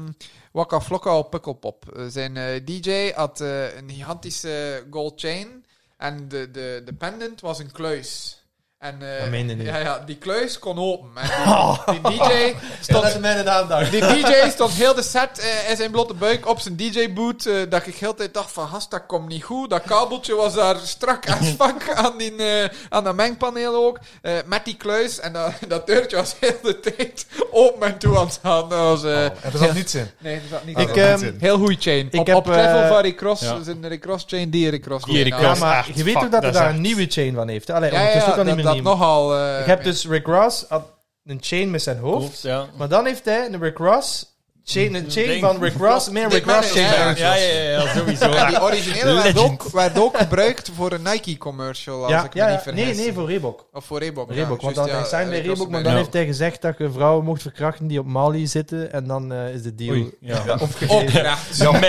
C: Waka Flocka op Pukkelpop. Eh, Zijn eh, DJ had eh, een gigantische gold chain en de, de, de pendant was een kluis. En, eh,
A: Dat meen je niet.
C: ja, ja, die kluis kon open. En die, die DJ
A: Oh. Stop ze mij in de aandacht.
C: Die DJ stond heel de set eh, in zijn blote buik op zijn DJ-boot. eh, dat ik heel de tijd dacht van, gast, dat komt niet goed. Dat kabeltje was daar strak als fuck aan, die, eh, aan dat mengpaneel ook. eh, met die kluis. En dat, dat deurtje was heel de tijd open en toe aan het gaan. Dat was, eh,
B: en er zat niets in.
C: Nee, dat zat niet
A: Oh. Ik,
B: Dat
C: goed.
B: zat
A: eh,
B: niets in.
C: Heel goeie chain.
A: ik
C: op
A: heb,
C: op level
A: eh,
C: van Recross,
D: ja.
C: dus een Recross chain, die Recross.
D: Die
C: chain.
A: Ja,
D: Recross.
C: Ah,
A: maar
D: echt
A: je weet ook
D: fuck,
A: dat
D: dat
A: er
D: is
A: daar
D: echt-
A: een nieuwe chain van heeft. hè? Allee,
C: Ja, ja,
A: ondertussen kan
C: dat,
A: niet
C: dat
A: meer nieuw.
C: nogal... eh,
A: Ik heb dus Rick Ross had een chain met zijn hoofd.
D: Klopt, ja.
A: Maar dan heeft hij een Rick Ross
C: Mm.
A: chain, chain
D: Ding.
A: van Rick Ross. Meer
C: Dick
A: Rick Ross
C: Manning,
A: chain. Ja,
C: ja.
D: Ja, ja, ja, sowieso.
C: En die originele werd
D: Legend.
C: ook, werd ook gebruikt voor een Nike-commercial, als
A: ja,
C: ik me
A: ja,
C: niet vergis.
A: nee, nee, voor Reebok.
C: Of Oh, voor Reebok. ja,
A: Reebok, want
C: juist,
A: dan
C: ja, eh,
A: zijn bij
C: Rick
A: Reebok,
C: Ross
A: maar dan
C: erbij.
D: Ja.
A: heeft hij gezegd dat je vrouwen mocht verkrachten die op Mali zitten. En dan eh, is de deal
D: Oei, ja.
A: ja. opgegeven.
C: Opgerecht.
B: Jammer,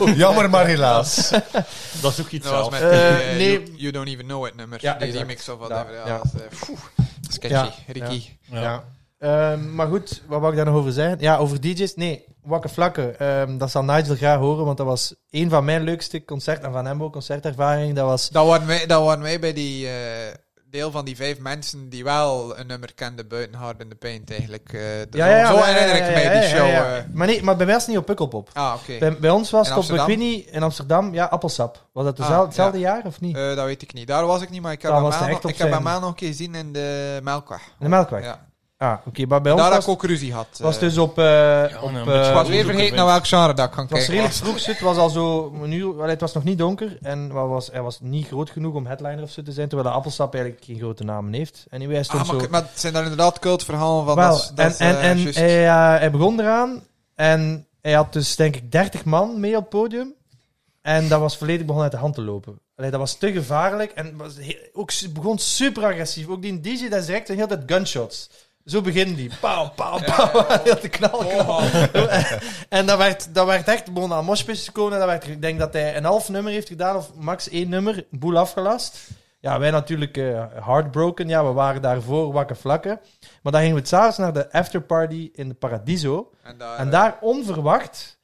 A: ehm,
B: jammer maar helaas.
D: Dat is ook iets
C: Dat was met
D: zelfs.
A: Eh,
C: die, eh,
A: nee.
C: you, You Don't Even Know It nummer.
A: Ja,
C: die
A: exact.
C: remix of
A: Ja,
C: whatever. Ja,
A: ja.
C: Dat is, eh, poeh, sketchy.
A: Ja,
C: Ricky.
D: Ja.
A: Ehm, maar goed, wat wou ik daar nog over zeggen? Ja, over DJ's. Nee, Wakke Flakken. Ehm, dat zal Nigel graag horen, want dat was een van mijn leukste concert en van hem ook concertervaring. Dat was
C: Dat waren wij, dat waren wij bij die eh, deel van die vijf mensen die wel een nummer kenden buiten Hard in the Paint eigenlijk. eh, dat- zo zo herinner ik
A: ja,
C: mij
A: ja, ja,
C: die show.
A: ja.
C: eh.
A: Maar nee, maar bij mij was het niet op Pukkelpop.
C: Ah, oké.
A: Bij, bij ons was het
C: In
A: op
C: Amsterdam?
A: Bikini in Amsterdam, ja, Appelsap. Was dat dezelfde-
C: Ah,
A: hetzelfde jaar of niet?
C: Eh, dat weet ik niet. Daar was ik niet, maar ik heb
A: Daar
C: hem
A: was hij
C: aan-
A: echt op
C: ik heb
A: zijn-
C: hem aan nog een keer gezien in de Melkweg.
A: in de Melkweg.
C: Ja.
A: Ah, oké. Maar bij ons
C: Daar heb
A: was,
C: ik ook ruzie gehad.
A: was
C: eh.
A: dus op... eh, op
D: nee,
A: eh,
D: maar het
C: ik was
D: eh,
C: weer vergeten naar welk genre dat ik kan
A: het was
C: kijken.
A: redelijk vroeg, zo, het was al zo een uur, wel, het was nog niet donker en wat was, hij was niet groot genoeg om headliner of zo te zijn, terwijl de Appelsap eigenlijk geen grote namen heeft. En anyway, hij stond
C: Ah, maar,
A: zo...
C: k- maar het zijn daar inderdaad cultverhalen van.
A: Wel,
C: dat is- dat
A: en,
C: is,
A: en,
C: eh,
A: en
C: juist.
A: hij, eh, hij begon eraan en hij had dus denk ik 30 man mee op het podium. En dat was volledig begonnen uit de hand te lopen. Allee, dat was te gevaarlijk en was he- ook, su- begon super agressief. Ook die DJ, dat is direct een hele tijd gunshots. Zo beginnen die. Pauw, pauw, pauw. Heel te
C: Oh,
A: knal, knal. en dat werd, dat werd echt, begon aan moshpits te komen. En dat werd, ik denk dat hij een half nummer heeft gedaan, of max één nummer, boel afgelast. Ja, wij natuurlijk eh, heartbroken. Ja, we waren daarvoor wakker vlakken. Maar dan gingen we s'avonds naar de afterparty in de Paradiso.
C: En daar,
A: En daar onverwacht,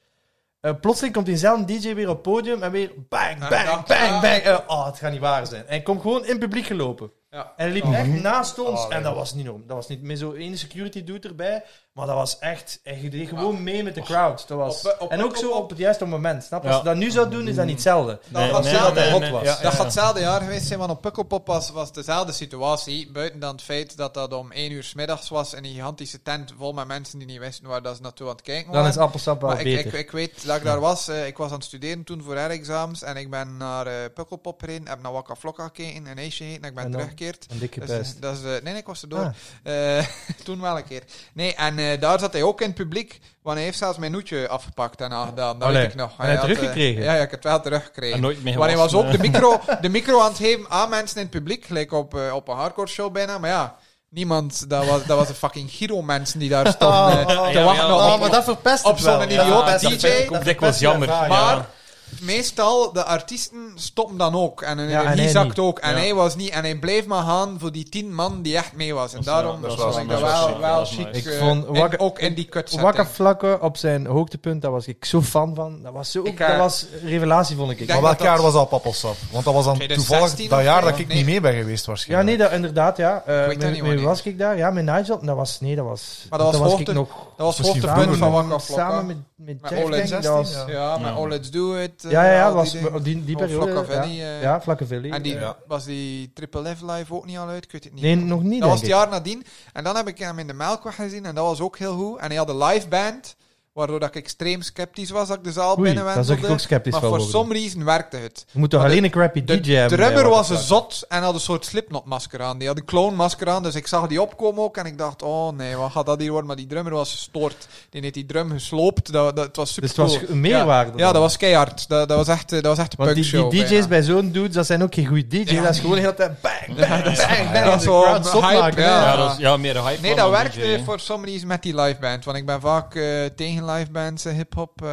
A: eh, plotseling komt diezelfde DJ weer op het podium en weer bang,
C: Ah,
A: bang,
C: ja.
A: bang, bang. Eh, oh, het gaat niet waar zijn. En hij komt gewoon in het publiek gelopen.
C: ja.
A: En hij liep
C: Oh.
A: echt naast ons.
C: Oh, nee.
A: en dat was niet om. Dat was niet meer zo één security doet erbij. Maar dat was echt. Hij deed gewoon mee met de crowd. Dat was,
C: Op- Nou, op-
A: en ook zo op het juiste moment. Snap je? Als
D: Ja.
A: je dat nu zou doen, is dat niet hetzelfde.
C: Nee,
A: dat was
C: nee,
A: zo dat
C: nee,
A: hij hot
D: nee.
A: was.
D: Ja,
C: Dat gaat hetzelfde jaar geweest zijn, want op Pukkelpop was, was dezelfde situatie. Buiten dan het feit dat dat om 1 uur 's middags was in een gigantische tent vol met mensen die niet wisten waar dat ze naartoe aan het kijken
A: Dan
C: waren.
A: is appelsap wel
C: maar ik,
A: beter.
C: ik, ik weet dat ik daar was. eh, ik was aan het studeren toen voor herexamens en ik ben naar eh, Pukkelpop gereden, heb naar Waka Flocka gekeken, een ijsje gegeten en ik ben
A: En dan-
C: teruggekeerd.
A: een dikke
C: Dat is-
A: pest.
C: dat is, eh, nee, nee, ik was er door.
A: Ah.
C: Eh, toen wel een keer. Nee, en eh, daar zat hij ook in het publiek, want hij heeft zelfs mijn nootje afgepakt en aangedaan. Dat
A: Allee.
C: weet ik nog.
A: En hij
C: had, eh,
A: teruggekregen?
C: ja, ja, ik heb het wel teruggekregen.
D: En nooit meer
C: Maar hij was
D: gewassen,
C: ook de micro, de micro aan het geven aan mensen in het publiek, gelijk op, eh, op een hardcore show bijna. Maar ja, niemand, dat was, dat was een fucking Giro mensen die daar stonden eh,
A: Oh,
C: te
D: ja,
C: wachten
D: ja.
C: op.
A: Oh, maar dat verpest
C: op
A: het wel.
C: zo'n
A: Ja,
C: idioot
A: dat
C: DJ.
A: verpest-
C: Ook
A: dat
D: dikwijls
A: verpest
D: jammer.
A: het ervaring,
C: Maar
A: ja.
C: meestal, de artiesten stoppen dan ook. En hun
A: Ja, en
C: energie
A: hij
C: zakt
A: niet.
C: ook. En
D: Ja.
C: hij was niet. En hij bleef maar gaan voor die tien man die echt mee was. En
D: Dat is
C: daarom
D: wel-
B: dat is
C: vond
B: wel-
C: ik
B: dat
C: dat
B: is
C: wel,
B: wel
C: wel,
B: chic. Dat is
C: chic.
B: nice.
A: Ik
C: eh,
A: vond
C: en
A: Wakka-
C: ook in die
A: Wakker
C: kutzetting.
A: vlakken op zijn hoogtepunt, daar was ik zo fan van. Dat was, zo,
C: Ik, eh,
A: dat was een revelatie, vond ik.
C: denk
B: Maar
C: dat
B: welk jaar
C: dat-
B: was dat Pappelsap? Want dat was dan
C: 2016
B: toevallig
C: of
B: dat jaar
C: zo?
B: dat ik
C: Nee.
B: niet mee ben geweest
A: Ja,
B: waarschijnlijk.
A: nee, dat, inderdaad, ja. Eh,
C: dat
A: met-
C: niet
A: met
C: wanneer.
A: wie was ik daar? Ja, met Nigel. Dat was, nee, dat was...
C: Maar dat was
A: toen was ik
C: hoogte-
A: nog
C: Dat was het
B: Misschien
C: hoogtepunt van
B: Bruno.
C: Wakka
A: samen
C: Flocka.
A: met, met
C: Met
A: Jeff,
C: Ole
A: denk ik,
B: 16,
A: dat was-
B: ja.
C: Ja, maar
D: Ja.
C: Oh Let's Do It. eh,
A: Ja, ja,
C: al
A: ja,
C: die
A: was
C: dingen.
A: die, die
C: Oh,
A: periode.
C: Flocka
A: ja.
C: Valley, eh.
A: ja, Vlakke Valley.
C: En die,
A: eh.
B: Ja.
C: was die Triple F Live ook niet al uit? Ik weet het niet.
A: Nee, nog niet,
C: Dat was het
A: denk ik.
C: jaar nadien. En dan heb ik hem in de Melkweg gezien en dat was ook heel goed. En hij had een live band, waardoor dat ik extreem sceptisch was dat ik de zaal
A: Oei,
C: binnen
A: daar zag ik ook sceptisch
C: Maar
A: van
C: voor
A: worden.
C: some reason werkte het.
A: Je moet toch
C: maar de-
A: alleen een crappy
C: De
A: DJ hebben? bij
C: drummer
A: Wakka
C: was een
A: Flocka.
C: zot en had een soort Slipknot-masker aan. Die had een clown-masker aan, dus ik zag die opkomen ook en ik dacht, oh nee, wat gaat dat hier worden? Maar die drummer was gestoord. Die heeft die drum gesloopt, dat, dat, het was super
A: Dus het was een meerwaarde.
C: Ja, dat was keihard. Dat, dat was echt, eh, dat was echt een
A: Want die,
C: punkshow.
A: die DJ's
C: bijna.
A: bij zo'n dude, dat zijn ook geen goede DJ's.
C: Ja.
A: Dat is gewoon heel de tijd bang, bang, bang, bang.
C: dat
A: en
C: is
A: de
C: wel
A: crowd
C: een
A: zot
C: hype,
A: maken, hè.
C: ja.
D: Ja, dat is ja, meer een hype.
C: Nee,
D: dan
C: dat
D: een
C: werkt
D: DJ,
C: eh,
D: hè.
C: voor some reason met die live band. Want ik ben vaak eh, tegen live bands en hip-hop. eh,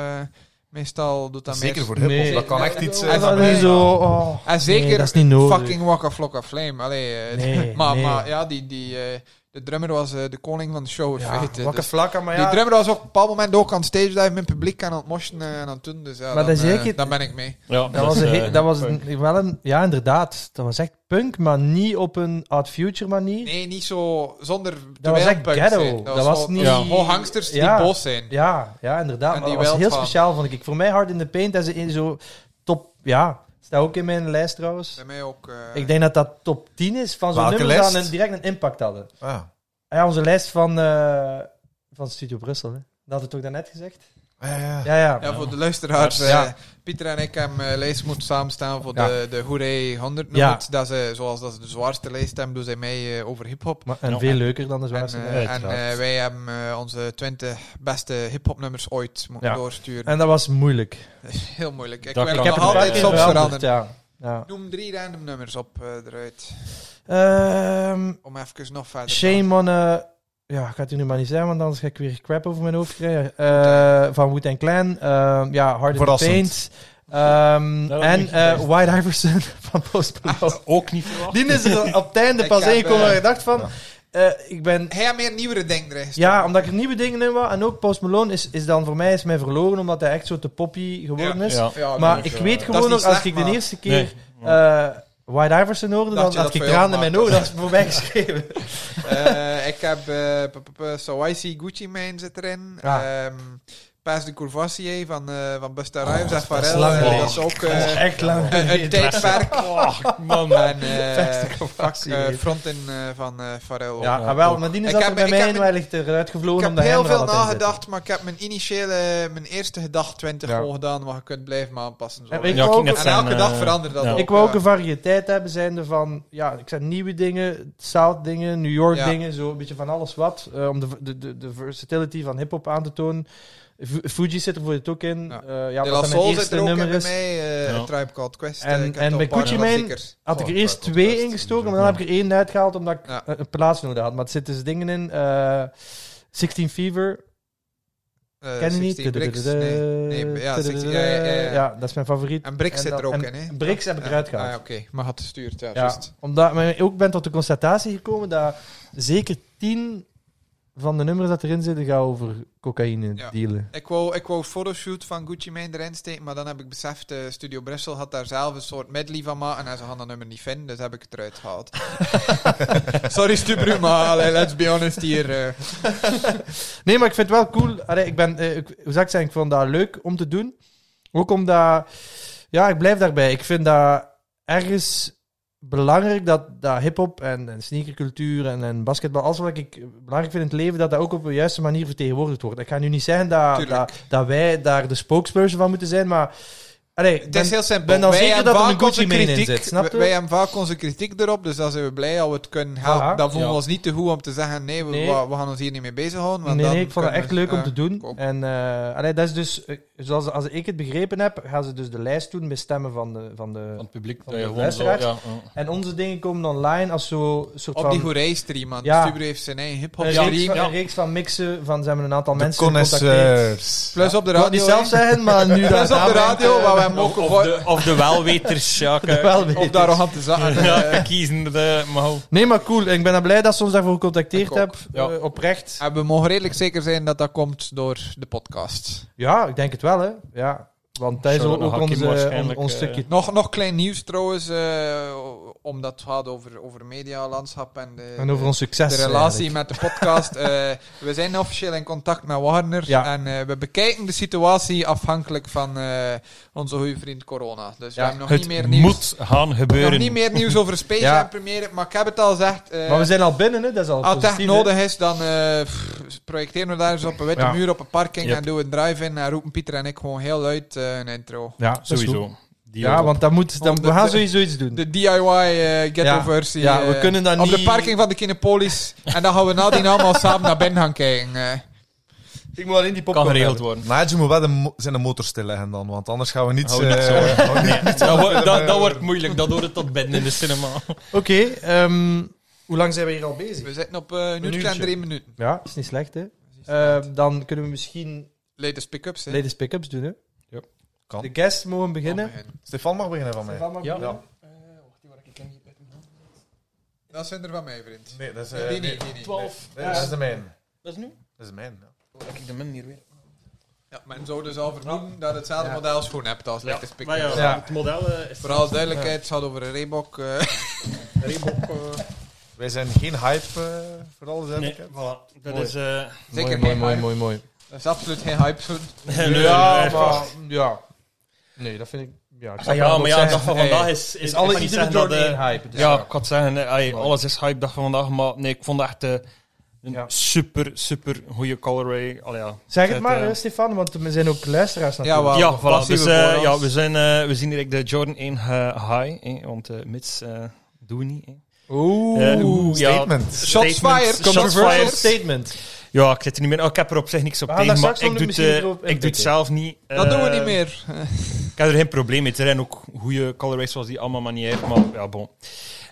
C: meestal doet dat
B: Zeker
C: meer.
B: voor hiphop,
A: Nee.
B: dat kan echt iets...
C: Ja,
B: eh,
A: En
C: dat
A: dan
B: van-
A: is zo... oh,
C: En zeker
A: nee, dat is niet nodig.
C: fucking Waka Flocka Flame. Allee, eh,
A: Nee,
C: maar,
A: nee.
C: maar ja, die, die, eh, de drummer was eh, de koning van de show.
A: Ja,
C: weet je,
A: Wakke
C: dus-
A: Vlakken, maar
C: Die
A: ja...
C: drummer was op een bepaald moment ook aan stage dive met het publiek en aan het moschen eh, en aan het doen. Dus ja,
A: Maar
C: dan,
A: dat is
C: eh,
A: zeker-
C: dan ben ik mee.
D: Ja,
A: Dat was, een,
D: is,
A: he-
D: eh,
A: dat was een- wel een... Ja, inderdaad. Dat was echt punk, maar niet op een Odd Future manier.
C: Nee, niet zo zonder te
A: Dat was echt
C: welpunt
A: ghetto.
C: zijn.
A: Dat was
C: zo-
A: niet-
C: Ja. Gewoon hangsters
A: Ja.
C: die boos zijn.
A: Ja, ja, inderdaad.
C: En
A: Maar
C: die
A: dat was heel
C: wild van.
A: speciaal, vond ik. Voor mij Hard in the Paint, dat is een zo top... Ja, staat ook in mijn lijst trouwens.
C: Bij mij ook. eh,
A: Ik denk dat dat top 10 is van zo'n
B: Welke
A: nummers die
B: lijst?
A: een, direct een impact hadden.
B: Ah.
A: Ja, onze lijst van, eh, van Studio Brussel. Hè. Dat had het ook daarnet gezegd.
B: Ja, ja.
A: Ja, ja.
C: Ja, voor de luisteraars.
A: Ja. Ja.
C: eh, Pieter en ik hebben eh, lijst moeten samenstaan voor
A: Ja.
C: de, de Hoerij 100
A: Ja.
C: nummers. Dat ze, zoals dat ze de zwaarste lijst hebben, doen zij mee eh, over hip-hop.
A: Maar, en
D: Ja.
A: veel leuker dan de
C: En,
A: zwaarste.
C: eh,
A: En,
C: en eh, wij hebben eh, onze 20 beste hip-hop nummers ooit moeten
A: Ja.
C: doorsturen.
A: dat was moeilijk.
C: Dat is heel moeilijk. Ik
D: Dat-
C: wil
D: ik
C: nog
D: heb het wel
C: altijd
D: een keer
C: soms veranderen.
A: Ja. Ja.
C: Noem drie random nummers op eh, eruit.
A: Ehm,
C: Om even nog verder te
A: shame on... eh, ja, ik ga het u nu maar niet zeggen, want anders ga ik weer crap over mijn hoofd krijgen. Eh, van Wu-Tang Clan. eh, ja, Hard in the
B: Verrassend.
A: Paint. Ehm,
D: Dat had ik
A: en
D: niet
A: eh
D: gedacht.
A: White Iverson van Post Malone.
D: Ook niet verwacht.
A: Die is er op het einde
C: Oh. Ik
A: pas
C: heb,
A: ingekomen
C: eh,
A: waar ik dacht van...
B: ja.
A: eh, ik ben
C: gaan. Hij had meer nieuwere dingen erin gestopt.
A: Ja, omdat ik er nieuwe dingen in wou. En ook Post Malone is, is dan voor mij is mij verloren, omdat hij echt zo te poppy geworden
C: Ja.
A: is.
D: Ja.
C: Ja,
A: Maar
D: dat
A: ik
D: is, eh,
A: weet
D: dat
C: is
A: gewoon
C: niet
A: nog, als
C: slecht,
A: ik de
C: maar-
A: eerste
D: Nee.
A: keer eh White Iverson hoorde,
C: Dat
A: dan
C: je
A: had
C: dat
A: ik
C: veel
A: tranen in mijn
C: maakt.
A: ogen. Dat is voor mij geschreven.
C: Eh, ik heb eh, p- p- p- So I See Gucci Mane zit erin.
A: Ja.
C: Ehm Pas de Courvoisier van, eh van Busta Rhymes en
A: Oh, is
C: Pharrell.
A: lang
C: eh,
A: geleden. Oh,
C: dat is ook eh,
A: echt lang.
C: een, een tijdperk.
D: Oh, man.
C: En eh
A: Beste Courvoisier.
C: eh, frontin eh, van eh Pharrell.
A: Ja,
D: Ja,
A: ah, wel,
D: ook.
A: maar die
C: Ik
A: zat er
C: heb-
A: bij
C: ik
A: mij
C: heb
A: in,
C: een-
A: maar hij ligt eruit
C: Ik
A: gevlogen
C: heb
A: omdat hij
C: heel
A: er al
C: veel
A: had in zitten.
C: nagedacht, maar ik heb mijn initiële, mijn eerste gedachte 20
A: Ja.
C: gewoon gedaan, maar je kunt blijven me aanpassen. Zo.
A: Ja,
D: Ja,
A: ik
D: ik
A: wou
D: ging
A: ook-
D: net
C: en
D: zeggen,
C: elke dag
D: eh,
C: verandert dat
D: ja.
C: ook,
A: Ik wou ook
C: ja.
A: een variëteit hebben, zijnde van, ja, ik zei nieuwe dingen, South dingen, New York
C: Ja.
A: dingen, zo een beetje van alles wat, eh, om de, de, de, de versatility van hip-hop aan te tonen. Fu- Fuji zit er voor het ook in,
C: Ja.
A: ja, ja
C: De
A: omdat
C: La
A: dat mijn
C: Soul zit
A: eerste
C: er ook in
A: nummer
C: bij
A: is.
C: mij, eh,
D: Ja.
C: een Tribe Called Quest.
A: En-
C: eh, ik heb
A: en
C: toch
A: bij
C: een paar
A: Gucci Mane-
C: klassiekers.
A: Had ik er
B: Oh,
A: eerst
B: Tribe
A: twee
B: Contest.
A: ingestoken, maar dan heb ik er één uitgehaald omdat ik
C: Ja.
A: een- een plaats nodig had. Maar het zit dus dingen in, eh 16 Fever,
C: Eh,
A: ken je
C: 16
A: niet?
C: Bricks, nee. nee, ja, 16, ja, ja, ja, ja.
A: dat is mijn favoriet.
C: En Bricks
A: En
C: zit
A: dan-
C: er ook
A: en
C: in, hè?
A: Bricks heb ik
C: Ja.
A: eruit gehaald.
C: Ah, ja, oké. Maar had gestuurd, ja,
A: Ja,
C: juist.
A: omdat maar ik ben tot de constatatie gekomen dat zeker tien van de nummers dat erin zitten gaan over cocaïne
C: Ja.
A: dealen.
C: Ik wou, ik wou een fotoshoot van Gucci Mane erin steken, maar dan heb ik beseft, eh, Studio Brussel had daar zelf een soort medley van maken en ze gaan dat nummer niet vinden, dus heb ik het eruit gehaald. Sorry Stubru, maar allee, let's be honest hier. eh.
A: Nee, maar ik vind het wel cool. Allee, ik ben, eh, ik, hoe zou ik zeggen, ik vond dat leuk om te doen. Ook omdat, ja, ik blijf daarbij. Ik vind dat ergens belangrijk dat, dat hip-hop en, en sneakercultuur en, en basketbal, alles wat ik belangrijk vind in het leven, dat dat ook op de juiste manier vertegenwoordigd wordt. Ik ga nu niet zeggen dat,
C: Tuurlijk.
A: dat, dat wij daar de spokesperson van moeten zijn, maar. Allee, ik
C: Het
A: ben-
C: is heel simpel.
A: ben dan
C: Wij
A: zeker
C: hebben
A: dat er
C: vaak
A: een Gucci
C: onze
A: Mane in
C: kritiek-
A: zit, snap je?
C: Wij hebben vaak onze kritiek erop, dus dan zijn we blij dat we het kunnen helpen.
A: Voilà.
C: Dan voelen we
D: Ja.
C: ons niet te goed om te zeggen, nee, we,
A: Nee.
C: wa- we gaan ons hier niet mee bezighouden. want
A: nee,
C: dan
A: nee, ik vond het
C: kunnen
A: echt
C: we-
A: leuk om
C: eh,
A: te doen.
C: kom.
A: En eh, allee, dat is dus, eh, zoals als ik het begrepen heb, gaan ze dus de lijst doen met stemmen van de. Van de
D: Van het publiek.
A: Van
D: dat je
A: de
D: gewoon zo, ja,
A: luisteraars.
D: ja.
A: en onze dingen komen online als zo'n soort
C: Op
A: van.
C: die Goerij-stream, man.
A: Ja.
C: Stubru heeft zijn eigen hip-hop
A: een,
D: Ja,
A: reeks
C: stream.
A: van,
D: ja.
A: een reeks van mixen van ze hebben een aantal
B: De eh,
A: mensen gecontacteerd.
B: connoisseurs.
C: Plus op de
A: Ik wil het niet
C: radio.
A: zelf
C: hè.
A: zeggen, maar nu dat
C: Plus op de
A: aanbrengt,
C: radio,
A: eh,
C: waar we hem ook
D: Of,
C: gehoord-
D: de, of de welweters. Ja, ik, eh,
A: wel weten.
C: Of daar nog aan te zagen.
D: ja,
C: eh,
D: ik kies de mouw.
A: Nee, maar cool. Ik ben er blij dat ze ons daarvoor gecontacteerd
C: Ik ook.
A: hebben.
D: Ja.
A: eh, oprecht.
C: En we mogen redelijk zeker zijn dat dat komt door de podcast.
A: Ja, ik denk het wel, hè. Ja. Want dat is
D: Zou dat
A: ook
D: nog Hakim
A: onze- on-
D: waarschijnlijk,
A: ons
D: eh,
A: stukje.
C: Nog, nog klein nieuws trouwens, eh, omdat het gaat over, over medialandschap en de,
A: En over ons succes. eh,
C: de relatie
A: eigenlijk.
C: met de podcast. Eh, we zijn officieel in contact met Warner
A: Ja.
C: en eh, we bekijken de situatie afhankelijk van eh, onze goede vriend Corona. Dus
A: Ja,
C: we hebben nog
D: Het
C: niet meer nieuws.
D: moet gaan gebeuren.
C: Nog niet meer nieuws over Space
A: Ja.
C: Jam première, maar ik heb het al gezegd. eh,
A: Maar we zijn al binnen, hè. Dat is al
C: Als het echt
A: positief, hè.
C: nodig is, dan eh, pff, projecteren we daar eens op een witte
A: Ja.
C: muur op een parking
D: Yep.
C: en doen we een drive-in en roepen Pieter en ik gewoon heel luid eh, een intro.
A: Ja, dat is goed.
D: Sowieso. Die
A: Ja,
D: ook.
A: want dat moet, dan,
C: Om de-
A: we gaan
C: de-
A: sowieso iets doen.
C: De DIY-ghetto-versie.
A: Ja. Ja, we kunnen dat
C: eh, Op de
A: niet-
C: parking van de Kinepolis. en dan gaan we nadien allemaal samen naar binnen gaan kijken. eh.
A: ik moet alleen die
D: kan geregeld worden.
B: Nigel moet wel de mo- zijn de motor stilleggen dan, want anders gaan we niet...
D: Hou niet
B: eh,
D: zo.
B: hou niet-
D: Dat, wordt- dat, dat wordt moeilijk. Dat hoort het tot binnen in de cinema.
A: Oké, ehm, hoe lang zijn we hier al bezig?
C: We zitten op eh, een uur en
A: uurtje.
C: drie minuten.
A: Ja, is niet slecht, hè?
C: niet
A: Ehm, dan kunnen we misschien
C: Latest pick-ups, hè.
A: ladies pick-ups doen, hè?
B: Kan.
A: De guests mogen beginnen.
C: Oh, man.
B: Stefan mag beginnen van mij.
A: Stefan mag
D: Ja.
A: beginnen.
C: Dat zijn er van mij, vriend. Eh,
B: Nee, dat is...
C: Die niet, die niet.
B: dat is de mijn.
D: Dat is nu?
B: Dat is mijn, ja.
D: Dat ik de min hier weer.
C: Ja, men zou dus al vermoeden dat hetzelfde
A: Ja.
C: model schoen hebt als latest pick-ups.
D: Maar ja,
A: Ja.
D: het model eh, is...
C: Vooral duidelijkheid, het gaat over een Reebok. eh, Reebok eh,
B: Wij zijn geen hype eh, voor alles, heb
D: Nee,
B: ik. hè.
D: voilà. Dat
A: Mooi.
D: is... eh
A: mooi,
C: Zeker geen
A: mooi,
C: hype.
A: mooi, mooi,
C: Dat is absoluut geen hype. zo'n-
A: mooi. Ja, maar... Ja. Nee, dat vind ik... Ja, ik
D: Ah,
A: zou
D: eh, ja,
A: ook
D: maar ja,
A: zeggen,
D: dag van
A: hey,
D: vandaag is...
A: is
D: is
A: alles
D: niet
A: iedere
D: zeggen dat...
A: door
D: eh,
A: één hype. dus
D: ja, ik had zeggen, eh, ay,
A: Mooi.
D: alles is hype dag van vandaag, maar nee, ik vond dat echt... eh, Een
A: Ja.
D: super, super goede colorway. Al ja.
A: Zeg het
D: Zet,
A: maar,
D: eh,
A: hè, Stefan, want er zijn ook luisteraars natuurlijk.
C: wel.
D: ja, voilà.
C: passieve
D: Dus, eh,
C: voorhand.
D: ja, we, zijn, eh, we zien direct de Jordan 1 eh, high, eh, want eh, mits eh, doen we niet. eh.
A: Oeh.
D: Eh, oeh, ja.
B: Statement.
D: Statement.
C: fired,
D: Shots
C: controversial
A: Controversial
D: fired.
A: statement.
D: Ja, ik zit er niet meer. Oh, ik heb er op zich niks op
A: We gaan
D: tegen,
A: daar
D: maar
A: straks
D: ik
A: nog
D: doe, het,
A: misschien
D: eh,
A: erop
D: ik doe het
A: inpikken.
D: zelf niet.
C: Dat doen we
D: Eh,
A: Ehm.
C: niet meer.
D: Ik heb er geen probleem mee. Er zijn ook goede colorways zoals die allemaal maar niet heeft, maar ja, bon.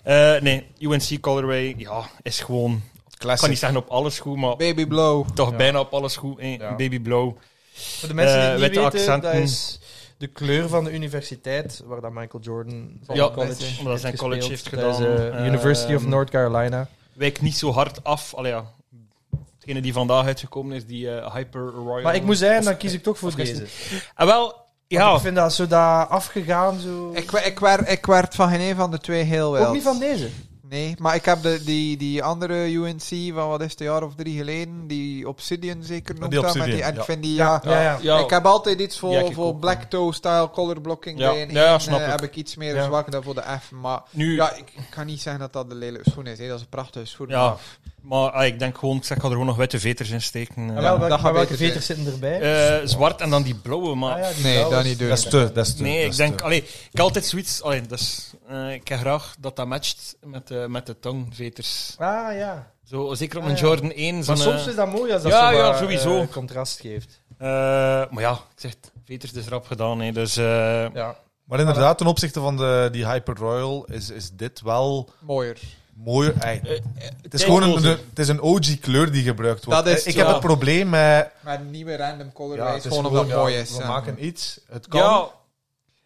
D: Eh, nee, UNC colorway, ja, is gewoon... Ik kan niet
B: Classic.
D: zeggen op alles goed, maar
C: Baby blow.
D: toch
A: Ja.
D: bijna op alles goed. eh,
A: Ja.
D: Baby blauw.
A: Voor de mensen die
D: Eh,
A: het niet
D: witte
A: weten,
D: accenten.
A: dat is de kleur van de universiteit waar dat Michael Jordan van
D: Ja,
A: college
D: omdat hij zijn college
A: gespeeld.
D: heeft
A: Dat is,
D: gedaan.
A: eh, University of
D: Ehm,
A: North Carolina.
D: Wijk niet zo hard af. Allee, ja. Degene die vandaag uitgekomen is, die eh, Hyper Royal.
A: Maar ik moet zeggen,
D: Of-
A: dan kies ik toch voor
D: of gisteren.
A: deze.
D: Ah, wel,
A: Ja.
D: ja.
A: Ik vind dat zo daar afgegaan. Zo.
C: Ik, we- ik, werd, ik werd van geen een van de twee heel wel.
A: Ook niet van deze.
C: Nee, maar ik heb de, die, die andere UNC van wat is het, een jaar of drie geleden, die Obsidian zeker noemt dat. Met
B: Obsidian,
C: die, en
B: ja.
C: ik vind die, ja,
A: Ja, ja.
D: ja.
C: Ik heb altijd iets
D: Ja,
C: voor,
D: ik
C: voor
D: ook.
C: black toe-style color blocking.
D: Ja.
C: bij een
D: Ja, ja,
C: één,
D: snap
C: eh,
D: ik.
C: heb ik iets meer
A: Ja.
C: zwak dan voor de F. Maar
D: Nu,
C: ja, ik, ik kan niet zeggen dat dat de lelijke schoen is. Hè. Dat is een prachtige schoen.
D: Ja.
C: maar-
D: maar ah, ik denk gewoon, ik zeg, ik ga er gewoon nog witte veters in steken. eh.
A: En wel, welke-
C: dat gaat
A: maar welke
C: beter
A: veters zitten erbij?
D: Eh, zwart en dan die blauwe, maar...
A: Ah ja, die
C: Nee,
A: blauwe.
C: dat niet doen.
B: Dat is te, dat is te.
D: Nee,
B: dat
D: ik
B: is
D: denk,
B: te.
D: allee, ik heb altijd zoiets, allee, dus, eh, ik heb graag dat dat matcht met, eh, met de tongveters.
A: Ah ja.
D: Zo, zeker op
A: Ah,
D: een
A: ja.
D: Jordan 1. Zo'n,
A: Maar soms
D: eh,
A: is dat mooi als dat
D: Ja,
A: zo
D: ja,
A: wat,
D: sowieso.
A: eh, contrast geeft.
D: eh, maar ja, ik zeg, het, veters is rap gedaan, hè, dus... eh,
A: Ja.
B: Maar inderdaad, ten opzichte van de, die Hyper Royal is, is dit wel
C: Mooier.
B: mooier. Ey,
D: eh,
B: het is gewoon een,
D: tijdlozer.
B: het is een OG-kleur die gebruikt wordt. Eh,
C: Dat is-
B: ik
D: ja.
B: heb het probleem met...
C: Maar een nieuwe random colorway
B: het
C: is
B: is
C: gewoon omdat het
B: ja,
C: mooi is.
B: We
C: ja.
B: maken iets, het kan.
D: Ja,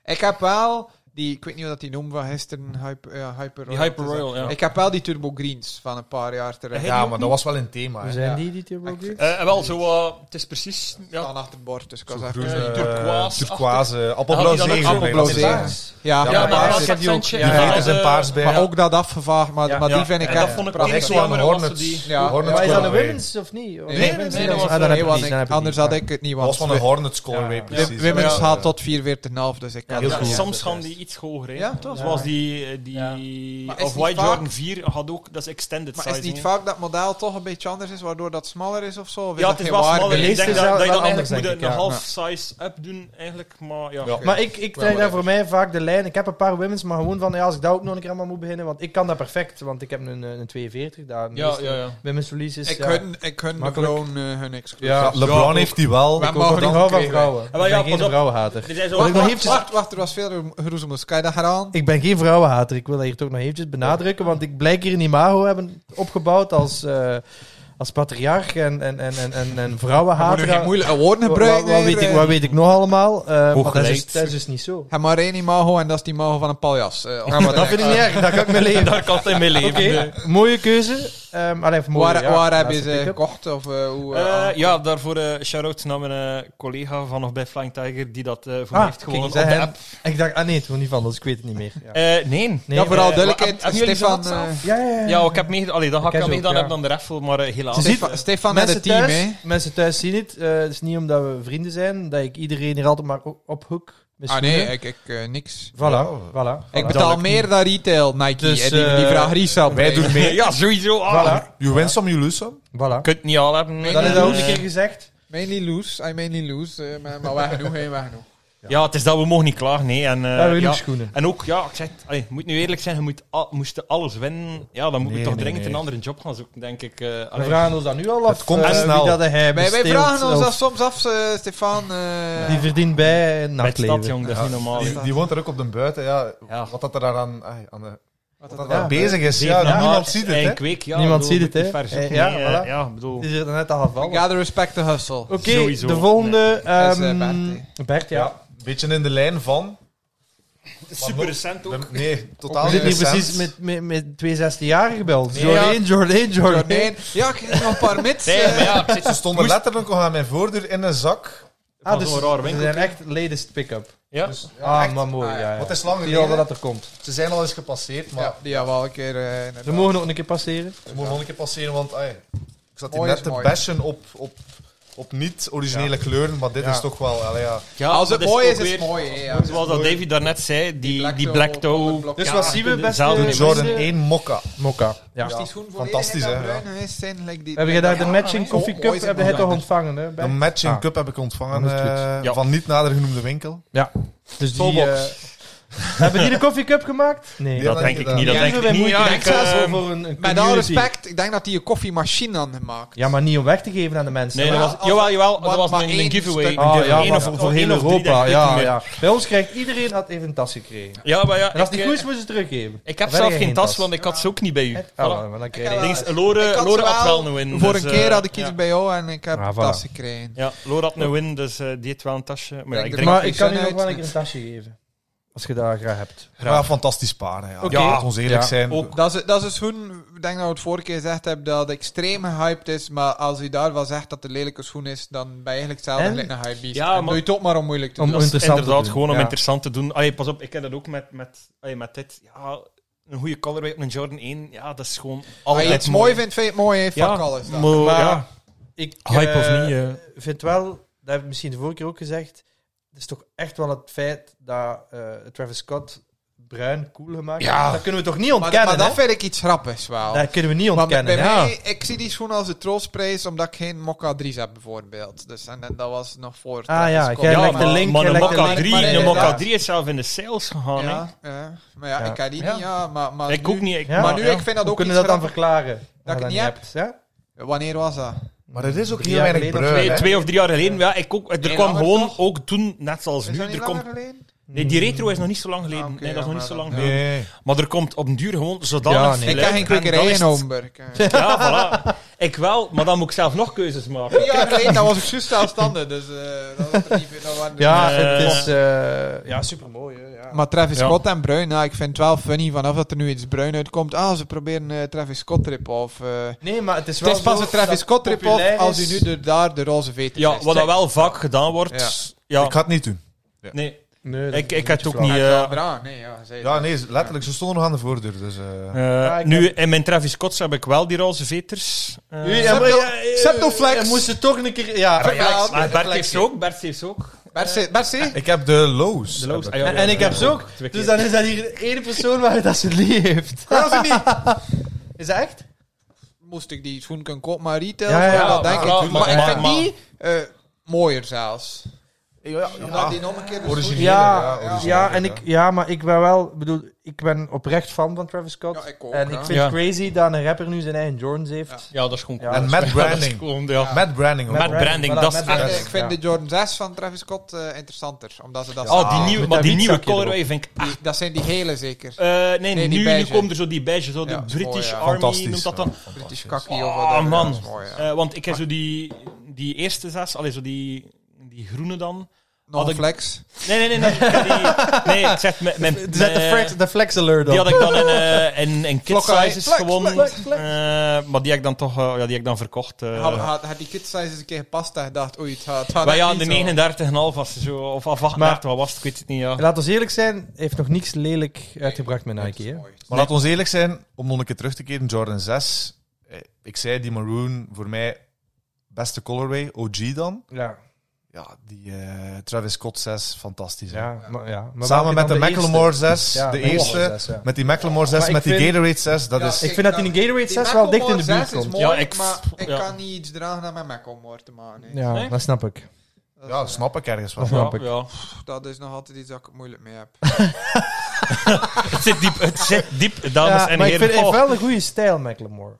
C: Ik heb wel die, ik weet niet hoe dat die noemen van gisteren, Hyper, ja, Hyper
D: die
C: Royal. dus
D: Hyper Royal, ja.
C: Ik heb wel die Turbo Greens van een paar jaar terug.
D: Hey,
C: Ik
D: die ook
B: ja, maar
D: niet?
B: dat was wel een thema.
A: Hoe
B: hè.
A: zijn
C: Ja.
A: die, die Turbo
C: Ik-
A: Greens?
D: Eh, wel, zo, eh, het is precies... Ja,
C: staan achter het bord, dus ik
B: Zo'n
C: was even...
B: groene,
D: die turquoise-achtig.
B: turquoise, appelblauw
D: Had hij dan ook
B: zegen.
C: appelblauw
B: bijna.
C: zegen? Ja,
B: Ja,
D: ja,
B: maar
D: maar
B: paars
D: als
A: zit die ook.
D: accentje-
A: Ja,
B: Die
A: ja,
B: veters en paars bij.
C: Maar ook dat afgevaagd, maar,
A: Ja.
C: maar die
D: Ja.
C: vind ik
D: En dat
C: echt
D: vond ik
C: prachtig.
D: niks
B: Niks
D: zo jammer,
B: van
D: was
B: Hornets.
D: die-
C: Ja.
B: Hornets
A: Maar is dat een
B: colorway.
A: women's of niet? Of- Ah,
C: Nee,
D: Nee,
C: nee,
D: nee,
C: dat
D: dat was-
C: was-
A: dan heb
C: nee,
A: ik
C: was
A: die,
C: ik-
A: dan heb ik die.
C: Anders had ik het niet,
B: Dat was
C: want
B: van een Hornets colorway,
A: Ja.
B: precies.
C: Women
D: Ja.
C: gaat tot 44,5, dus ik kan
B: Heel
D: Ja,
B: goed.
D: soms gaan die iets hoger. hè.
C: Ja, toch?
D: Zoals die, eh,
A: Ja.
D: die
C: Maar is
D: of
C: niet
D: White
C: vaak-
D: Jordan 4 had ook, dat is extended
C: Maar is
D: size.
C: het niet
D: hè.
C: vaak dat model toch een beetje anders is, waardoor dat smaller is of zo? Of
D: Ja,
C: dat
D: het is
C: geen
D: wel
C: waar
D: smaller.
A: De
D: Ik
A: meeste
D: denk
A: zijn
D: dat, dat je
A: wel
D: dan
A: anders,
D: eigenlijk moet
A: denk
D: een
A: ik, ja.
D: half size up doen, eigenlijk. Maar ja,
B: Ja.
A: Maar ik, ik trek
C: maar
A: daar voor mij vaak de lijn. Ik heb een paar women's, maar gewoon van ja, als ik daar ook nog een keer aan moet beginnen. Want ik kan dat perfect, want ik heb een, eh, een 42. Daar Dus een
D: ja, ja, ja.
A: Women's release is.
C: Ik
A: ja.
C: hun, ik hun de
A: Makkelijk.
C: vrouwen eh, hun exclusief.
B: Ja,
D: Ja,
B: LeBron
D: ook.
B: heeft die wel.
C: Maar
A: Ik hou
C: mogen
A: van
C: die
A: vrouwen.
C: gekregen?
D: Ah, wel,
A: Ik
D: ja,
A: ben geen
D: pas op.
A: vrouwhater.
D: Er zijn zo
A: Wat ik nog
C: Wacht,
A: eventjes-
C: wacht, wacht, er was veel roezemoes. Kan je dat herhalen?
A: Ik ben geen vrouwenhater. Ik wil dat hier toch nog eventjes benadrukken. Want ik blijk hier een imago hebben opgebouwd als, eh, als patriarch en, en, en, en, en, en
C: Moet
A: vrouwenhater.
C: je geen moeilijke woorden
A: Wat-
C: gebruiken?
A: wat, wat weet ik,
C: hier,
A: wat
C: eh?
A: weet ik nog allemaal? Eh, maar dat, is,
D: geleid.
A: dat is dus niet zo.
C: Ja, maar één imago en dat is die imago van een paljas. eh,
A: Ja, maar dat vind ik niet erg. Dat kan ik me leven.
D: Daar kan het in mee leven. dus.
A: Oké, mooie keuze. Ehm allee, of mooie,
C: Waar,
A: ja,
C: waar heb je
A: laatste
C: ze
A: pick-up.
C: gekocht? Of, eh, hoe,
D: Eh,
C: eh,
D: ja, daarvoor eh shout-out naar mijn eh, collega van of bij Flying Tiger, die dat eh, voor
A: Ah,
D: mij heeft
A: kijk,
D: gewonnen
A: zij
D: op de
A: hen-
D: app.
A: Ik dacht, ah nee, het was niet van, dus ik weet het niet meer. Ja,
D: Eh, nee.
A: nee,
C: ja, vooral
D: eh,
C: duidelijkheid.
D: hebben jullie
C: Stefan,
D: dat zelf?
C: eh,
A: ja, ja, ja.
D: Ja, ik heb meegedaan. Allee, dan had
A: Ik
D: ik
A: heb
D: al
A: ze
D: meegedaan
A: ook,
D: hebben dan de raffle, maar eh, helaas.
A: Ze ziet-
C: Stefan, Stefan met
A: mensen,
C: het team,
A: thuis,
C: hè?
A: mensen thuis zien het. Eh, het is niet omdat we vrienden zijn, dat ik iedereen hier altijd maar o- ophoek. met
C: Ah nee,
A: schoenen.
C: ik, ik eh, niks.
A: Voilà,
B: Ja.
D: Oh.
A: voilà.
C: Ik
A: voilà.
C: betaal meer dan retail, Nike.
A: Dus,
C: eh, die, die
A: eh,
C: vraag resell.
B: Wij doen mee.
D: ja, sowieso. Ah,
A: Voilà,
B: You win some, you lose some.
A: voilà.
D: Je kunt het niet al hebben. nee.
A: Dat is al
D: Eh,
A: een keer gezegd.
C: Mainly lose, I mainly lose. eh, maar, maar wij genoeg, hè, wij genoeg.
D: Ja, het is dat we mogen niet klagen. Nee. En, eh,
A: Daar wil ik
D: ja.
A: schoenen.
D: en ook, ja, ik zeg, het, allee, ik moet nu eerlijk zijn, je moet al, moest alles winnen. Ja, dan moet je
B: Nee,
D: toch
B: nee,
D: dringend
B: nee.
D: een andere job gaan zoeken, denk ik. eh,
A: We
D: allee.
A: vragen ons dat nu al af.
B: Het komt
A: eh,
B: snel.
A: Wie dat hij
C: Wij, wij
A: besteelt
C: vragen ons
A: of
C: dat soms af, eh, Stefan. eh.
A: Die verdient bij een
D: Bij het
A: nachtleven.
D: stad, jong, dat is
B: Ja.
D: niet normaal. hè.
B: Die, die woont er ook op de buiten. Ja.
D: Ja.
B: Wat dat er daar aan, ai, aan de,
C: Wat
B: wat
C: dat
B: dat
A: Ja,
B: daar bezig is. Ja,
D: Zeven
B: niemand
D: maart,
B: ziet
D: eh,
B: het.
D: een
B: Hè.
D: kweek, ja,
A: Niemand
D: bedoel,
A: ziet het,
D: moet
A: hè.
D: niet ver
A: Eh,
D: zoeken,
A: ja,
D: nee, eh,
A: voilà.
D: ja, ik bedoel.
A: Het is hier net al gevallen.
C: We Gotta respect the hustle.
A: Oké,
D: Sowieso,
A: de volgende.
C: Dat is, eh,
A: ehm,
C: Bert,
A: Bert, ja.
B: Ja. Beetje in de lijn van.
D: Super recent ook.
B: we- Nee, totaal
A: We
B: niet
A: zitten hier
B: recent.
A: precies met, met, met twee 16-jarigen bij ons.
C: Nee,
A: Jordan
C: ja.
A: 1, Jordan 1, Jordan 1.
C: Nee, ja, ik heb nog een paar mits.
D: Nee,
C: eh.
D: maar ja, ik zit
B: Ze stonden letterlijk nog aan mijn voordeur in een zak.
A: Ah,
D: Van
A: dus
D: zo'n raar
A: ze
D: winkeltje.
A: zijn echt latest pick-up.
D: Ja.
B: Dus, ja,
A: Ah,
B: echt.
A: maar mooi.
C: Ah,
A: Ja,
C: ja.
A: ja.
B: Wat is lang
A: Ik zie al dat
B: geleden?
A: dat er komt.
B: Ze zijn al eens gepasseerd, maar
C: Ja, die hebben we al een keer... eh,
A: Ze
C: inderdaad.
A: mogen nog een keer passeren.
B: ze mogen nog een keer passeren, want ai, ik zat hier
C: Mooi
B: net
C: is
B: te
C: mooi.
B: bashen op, op op niet-originele kleuren, maar dit
A: Ja.
B: is toch wel... allee, ja.
D: Ja,
C: Als het
D: dat
C: mooi
D: ook
C: is, is het
D: weer-
C: mooi. hè, ja.
D: Zoals dat David daarnet zei, die, die Black Toe.
A: Dus
C: Dus
A: wat zien we, beste
D: zelden niet.
B: Jordan
A: Deze-
B: 1 Mokka.
A: Mokka. Ja.
C: als die
B: Ja,
C: schoen
B: fantastisch,
C: volledig aan
B: hè, ja.
C: bruin is, zijn, like die-
A: Heb je daar de
C: Ja,
A: matching
C: hè.
A: coffee
C: Oh,
A: cup?
C: mooi is
A: Heb je het
C: dat.
A: toch ontvangen? Hè,
B: De
A: Ben?
B: matching
A: Ah.
B: cup heb ik ontvangen
A: Dat is goed.
B: eh,
D: Ja.
B: van niet nader genoemde winkel.
A: Dus die,
B: Soulbox.
A: eh, hebben die de coffee cup gemaakt? Nee.
B: Ja,
D: Dat denk ik niet, dat
A: Die
D: denk
A: hebben
D: ik
A: we
D: niet.
A: moeten
D: Ja, ik,
A: extra zo
D: eh,
A: voor een, een
C: Met alle
A: community.
C: respect, ik denk dat hij een koffiemachine aan gemaakt.
A: Ja, maar niet om weg te geven aan de mensen.
D: Nee, dat
C: Maar
D: was,
C: als-
D: jawel, jawel,
C: maar-
D: dat was
C: maar
D: een,
C: één
D: een giveaway.
C: stuk.
D: Een
A: Oh, ja,
D: giveaway. Eén
A: maar
D: of-
A: voor
D: één
A: heel
D: of drie,
A: Europa.
D: denk ik,
A: Ja,
D: niet meer.
A: Oh ja. Bij ons krijgt iedereen had even een tas gekregen.
D: Ja, maar ja,
A: En als die
D: ik,
A: goed is,
D: eh,
A: moeten ze teruggeven.
D: ik heb
A: Of
D: zelf
A: jij
D: geen
A: geen
D: tas,
A: tas?
D: want ik had ze ook niet bij u.
A: Het-
D: Voilà.
A: Oh, maar dan krijg je
C: Ik
A: die.
C: heb-
D: Links, Lore,
C: Ik had
D: Lore
C: ze
D: had wel
C: wel
D: een win.
C: Voor
D: dus,
C: een
D: eh,
C: keer had ik iets
D: ja.
C: bij jou en ik heb
A: Ah, voilà.
C: tas gekregen.
D: Ja, Lore had een win, dus eh, die heeft wel een tasje. Maar ja, ik
C: Denk dat-
D: denk...
A: Maar ik kan je
C: Zijn
A: nog wel een
C: uit.
A: keer een tasje geven. Als je daar graag hebt.
B: Ja, fantastisch paar. hè, Ja.
A: Oké.
B: Laten we ons eerlijk
A: Ja,
B: zijn.
D: ook.
C: Dat is, dat is een schoen, ik denk dat we het vorige keer gezegd hebben, dat het extreem gehyped is. Maar als je daarvan zegt dat het een lelijke schoen is, dan ben je eigenlijk zelf
A: En?
C: gelijk een high beast.
D: Ja,
C: Ja,
D: maar-
C: doe je het ook maar om moeilijk te
A: Om-
C: doen.
D: dat is
A: interessant te
D: inderdaad
A: doen.
D: gewoon om
A: Ja.
D: interessant te doen. Allee, pas op, ik heb dat ook met, met, allee, met dit. Ja, een goede colorway op een Jordan 1. Ja, dat is gewoon
C: Als
D: altijd
C: je iets mooi vindt, vind je het mooi. hè.
D: Ja,
C: Fuck alles. dan.
D: maar,
A: Maar
D: ja.
A: ik
D: Hype of
A: eh,
D: niet, eh.
A: vind wel, dat heb ik misschien de vorige keer ook gezegd, het is toch echt wel het feit dat eh, Travis Scott bruin cool gemaakt
D: Ja.
A: heeft. Dat kunnen we toch niet
C: Maar,
A: ontkennen,
C: maar
A: hè?
C: dat vind ik iets grappigs wel.
A: Dat kunnen we niet
C: Want
A: ontkennen.
C: bij
A: ja.
C: mij, ik zie die schoen als de troostprijs, omdat ik geen Mokka 3's heb, bijvoorbeeld. Dus, en, en dat was nog voor
A: Ah ja, jij
C: Travis Scott.
A: legt
C: Ja,
A: de
D: maar-
A: link,
D: Maar
A: jij
D: een
A: legt de
D: Mokka
A: link,
D: 3,
C: maar
D: een
C: inderdaad.
D: Mokka 3 is zelf in de sales gegaan. hè.
C: Ja, ja. maar ja,
A: Ja.
C: ik had die
A: Ja.
C: niet, ja. Maar, maar
D: Ik
C: nu-
D: ook niet. ik-
A: Ja.
C: Maar nu,
D: ja.
C: ik vind dat
A: Hoe
C: ook
A: kunnen
C: iets
A: dat dan
C: grappigs.
A: verklaren?
C: ik het niet heb.
A: Ja?
C: Wanneer was dat?
B: Maar er is ook
A: Drie
B: heel
A: jaar
B: weinig
A: geleden of
B: bruin.
D: Twee,
B: hè.
D: twee of drie jaar geleden. Ja, ik ook, er
C: Nee,
D: kwam
C: langer
D: gewoon
C: toch?
D: ook toen, net zoals
C: Is
D: nu,
C: dat niet
D: er
C: langer
D: komt...
C: geleden?
D: Nee, die retro is nog niet zo lang geleden.
C: Ah, oké,
D: nee, dat is
C: ja,
D: nog niet zo
C: maar
D: lang
C: dat-
D: geleden.
B: Nee.
D: Maar er komt op den duur gewoon zodanig
A: Ja, nee.
C: Ik
D: veel
C: heb
D: uit
C: geen
D: en
C: kwikkerij
D: dan is
C: in
D: het-
C: Homburg. eh.
D: Ja, voilà. Ik wel, maar dan moet ik zelf nog keuzes maken.
C: Drie jaar geleden, dat was ik juist zelfstandig. Dus eh, dat was er niet dat waren er
A: Ja,
D: Eh,
A: het is... eh, ja,
B: Ja, supermooi. hè, Ja.
C: Maar Travis
D: Ja.
C: Scott en Bruin, nou, ik vind het wel funny vanaf dat er nu iets bruin uitkomt. Ah, ze proberen eh, Travis Scott rip-off. eh.
A: nee, maar het is
C: het
A: wel
C: is pas
A: zo
C: een Travis
A: dat
C: Scott rip-off
A: populair
C: als
A: is.
C: u nu de, daar de roze veter
D: Ja,
C: is.
D: wat dat wel vaak gedaan wordt. Ja,
B: Ik ga het niet doen.
D: nee.
A: Nee, dat
D: Ik,
A: is
D: ik had het
A: een
D: ook
A: beetje
D: niet...
A: flauw.
D: eh,
C: Bra, nee, ja, zei
B: Ja,
C: dat.
B: nee, ze- letterlijk. Ze stonden nog aan de voordeur. Dus, eh,
D: eh,
A: Ja, ik
D: nu, in mijn Travis Scott's heb ik wel die roze veters. Eh,
A: Ja,
C: Septo-
A: maar ja, eh,
C: Septoflex.
A: je moest ze toch een keer... Ja,
C: ja,
A: ja,
D: maar Bert heeft
A: flexje.
D: ze ook, Bert heeft ze ook.
C: Merci, merci.
B: Ik heb de Lowe's.
D: De Lowe's.
B: heb
D: Ah,
B: ik.
D: ja,
A: En,
D: ja,
A: en ik
D: ja,
A: heb ze ook.
D: twee keer.
A: Dus dan is dat hier de ene persoon waar dat ze die heeft.
C: Ja, of niet?
A: Is dat echt?
C: Moest ik die schoen kunnen kopen, maar retail?
A: Ja, ja,
C: zo,
A: ja,
C: dat denk
D: maar-
C: ik.
D: maar-
C: Maar ik
D: maar-
C: vind
D: maar-
C: die eh, mooier zelfs.
B: Ja,
C: Omdat
B: ja,
C: die nog een keer... de
B: Origineel.
C: schoen-
A: Ja, ja,
B: origineel,
A: en ik, ja, maar ik ben wel, bedoel, ik ben oprecht fan van Travis Scott.
C: Ja, ik ook,
A: en
C: hè.
A: ik vind
D: Ja.
A: het crazy dat een rapper nu zijn eigen Jordans heeft.
D: Ja, dat is gewoon
A: Ja.
D: cool.
B: En met
D: Ja, dat is
B: branding.
D: gewoon, ja.
B: Met branding.
A: Met
B: ook.
D: branding,
A: voilà,
D: dat is
A: met
D: echt-
A: branding,
C: Ik vind
A: ja. Ah,
C: de Jordan 6 van Travis Scott eh, interessanter. Omdat ze dat...
D: Oh, die nieuwe,
A: met
D: maar
A: dat
D: die nieuwe
A: wietzakje
D: colorway vind ik... ah,
C: Die- dat zijn die gele zeker.
D: eh, nee,
C: Nee, die
D: nu, nu
C: beige.
D: komt er zo die beige, zo de
C: Ja,
D: British
C: mooi, ja.
D: Army,
B: Fantastisch.
D: noemt dat
B: ja,
D: dan.
B: fantastisch.
C: British kakkie
D: Oh,
C: of wat. dat-
D: man.
C: dat is mooi, ja.
D: Eh, want ik heb zo die, die eerste zes, allee, zo die, die groene dan.
C: Nog
D: had
C: een
D: ik-
C: flex.
D: Nee, nee, nee. nee, ik heb die, nee ik zeg... Mijn, mijn, eh,
A: Zet de flex, de flex alert
D: Die
A: op.
D: had ik dan in, eh in, in kid
C: Vlokkerij.
D: sizes
C: Flex,
D: gewonnen.
C: flex, flex.
D: Eh, maar die heb ik dan toch eh, ja, die heb ik dan verkocht. eh.
C: had, had, had die kid size eens een keer gepast en gedacht, oei, het gaat. Het gaat
D: maar ja,
C: echt
D: de
C: niet zo.
D: 39,5 was ze zo. Of af 38, wat was het? Ik weet het niet. Ja.
A: Laat ons eerlijk zijn, hij heeft nog niks lelijk uitgebracht met Nike. Hè?
C: Mooi.
B: Maar laten we eerlijk zijn, om nog een keer terug te keren, Jordan 6. eh, Ik zei die maroon, voor mij beste colorway, OG dan.
A: Ja,
B: Ja, die eh, Travis Scott 6, fantastisch. hè.
A: ja, maar, ja. Maar
B: Samen
A: welke
B: met de,
A: dan
B: Macklemore 6,
A: eerste? Ja,
B: de
A: Macklemore
B: eerste,
A: zes, ja.
B: met die Macklemore 6,
A: Maar
B: met
A: ik
B: die
A: vind-
B: Gatorade 6, dat
C: Ja,
B: is...
A: Ik vind dat die in Gatorade 6 wel dicht in de buurt
C: komt.
A: komt.
C: Mooi,
D: Ja, ik-
C: maar ik
D: ja.
C: kan niet iets dragen aan mijn Macklemore te maken. hè.
A: Ja,
D: Nee?
A: dat snap ik.
C: Dat,
B: Ja,
C: is, eh,
B: snap ik ergens wel.
A: Dat snap
D: ja,
A: ik.
D: ja.
C: dat is nog altijd iets dat ik het moeilijk mee heb.
D: Het zit diep, het zit diep dames
A: Ja,
D: en
A: maar ik
D: heren.
A: vind hij heeft
D: Oh,
A: wel een goede stijl, Macklemore.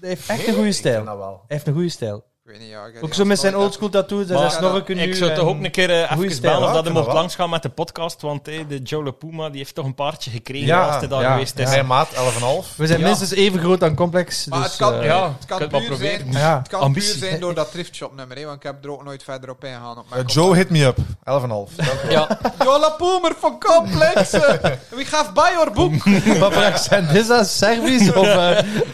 A: Hij heeft echt een goede stijl. Hij heeft een goede stijl.
C: Ik weet niet, ja. ik heb
A: Ook
C: die
A: zo met
C: altijd
A: zijn
C: nooit
A: oldschool tattoos en
D: Maar-
A: zijn snorken nu.
D: ik zou toch
A: en-
D: ook een keer eh,
A: goeie
D: even
A: stijl,
D: bellen of
B: ja,
D: dat
B: ik
D: hij
B: vind
D: mocht
B: dat wel.
D: langsgaan met de podcast. Want eh, de Joe Puma die heeft toch een paardje gekregen
B: Ja,
D: als hij daar
A: ja,
D: geweest is.
A: ja.
B: Mijn maat, 11,5.
A: We zijn
D: Ja.
A: minstens even groot aan complex.
C: Maar
A: dus,
C: het kan,
A: eh,
D: ja,
C: het kan
D: kunt wel
C: puur
D: proberen.
C: zijn,
A: Ja,
C: het kan
D: ambitie.
C: puur zijn door dat thriftshop nummer, hè, want ik heb er ook nooit verder op ingegaan. Op
B: Eh, Joe, hit me up. 11,5. Dank u wel.
D: Ja,
C: Jola Poemer van Complex! eh, We have buy your book.
A: Wat voor accent is dat? Servisch of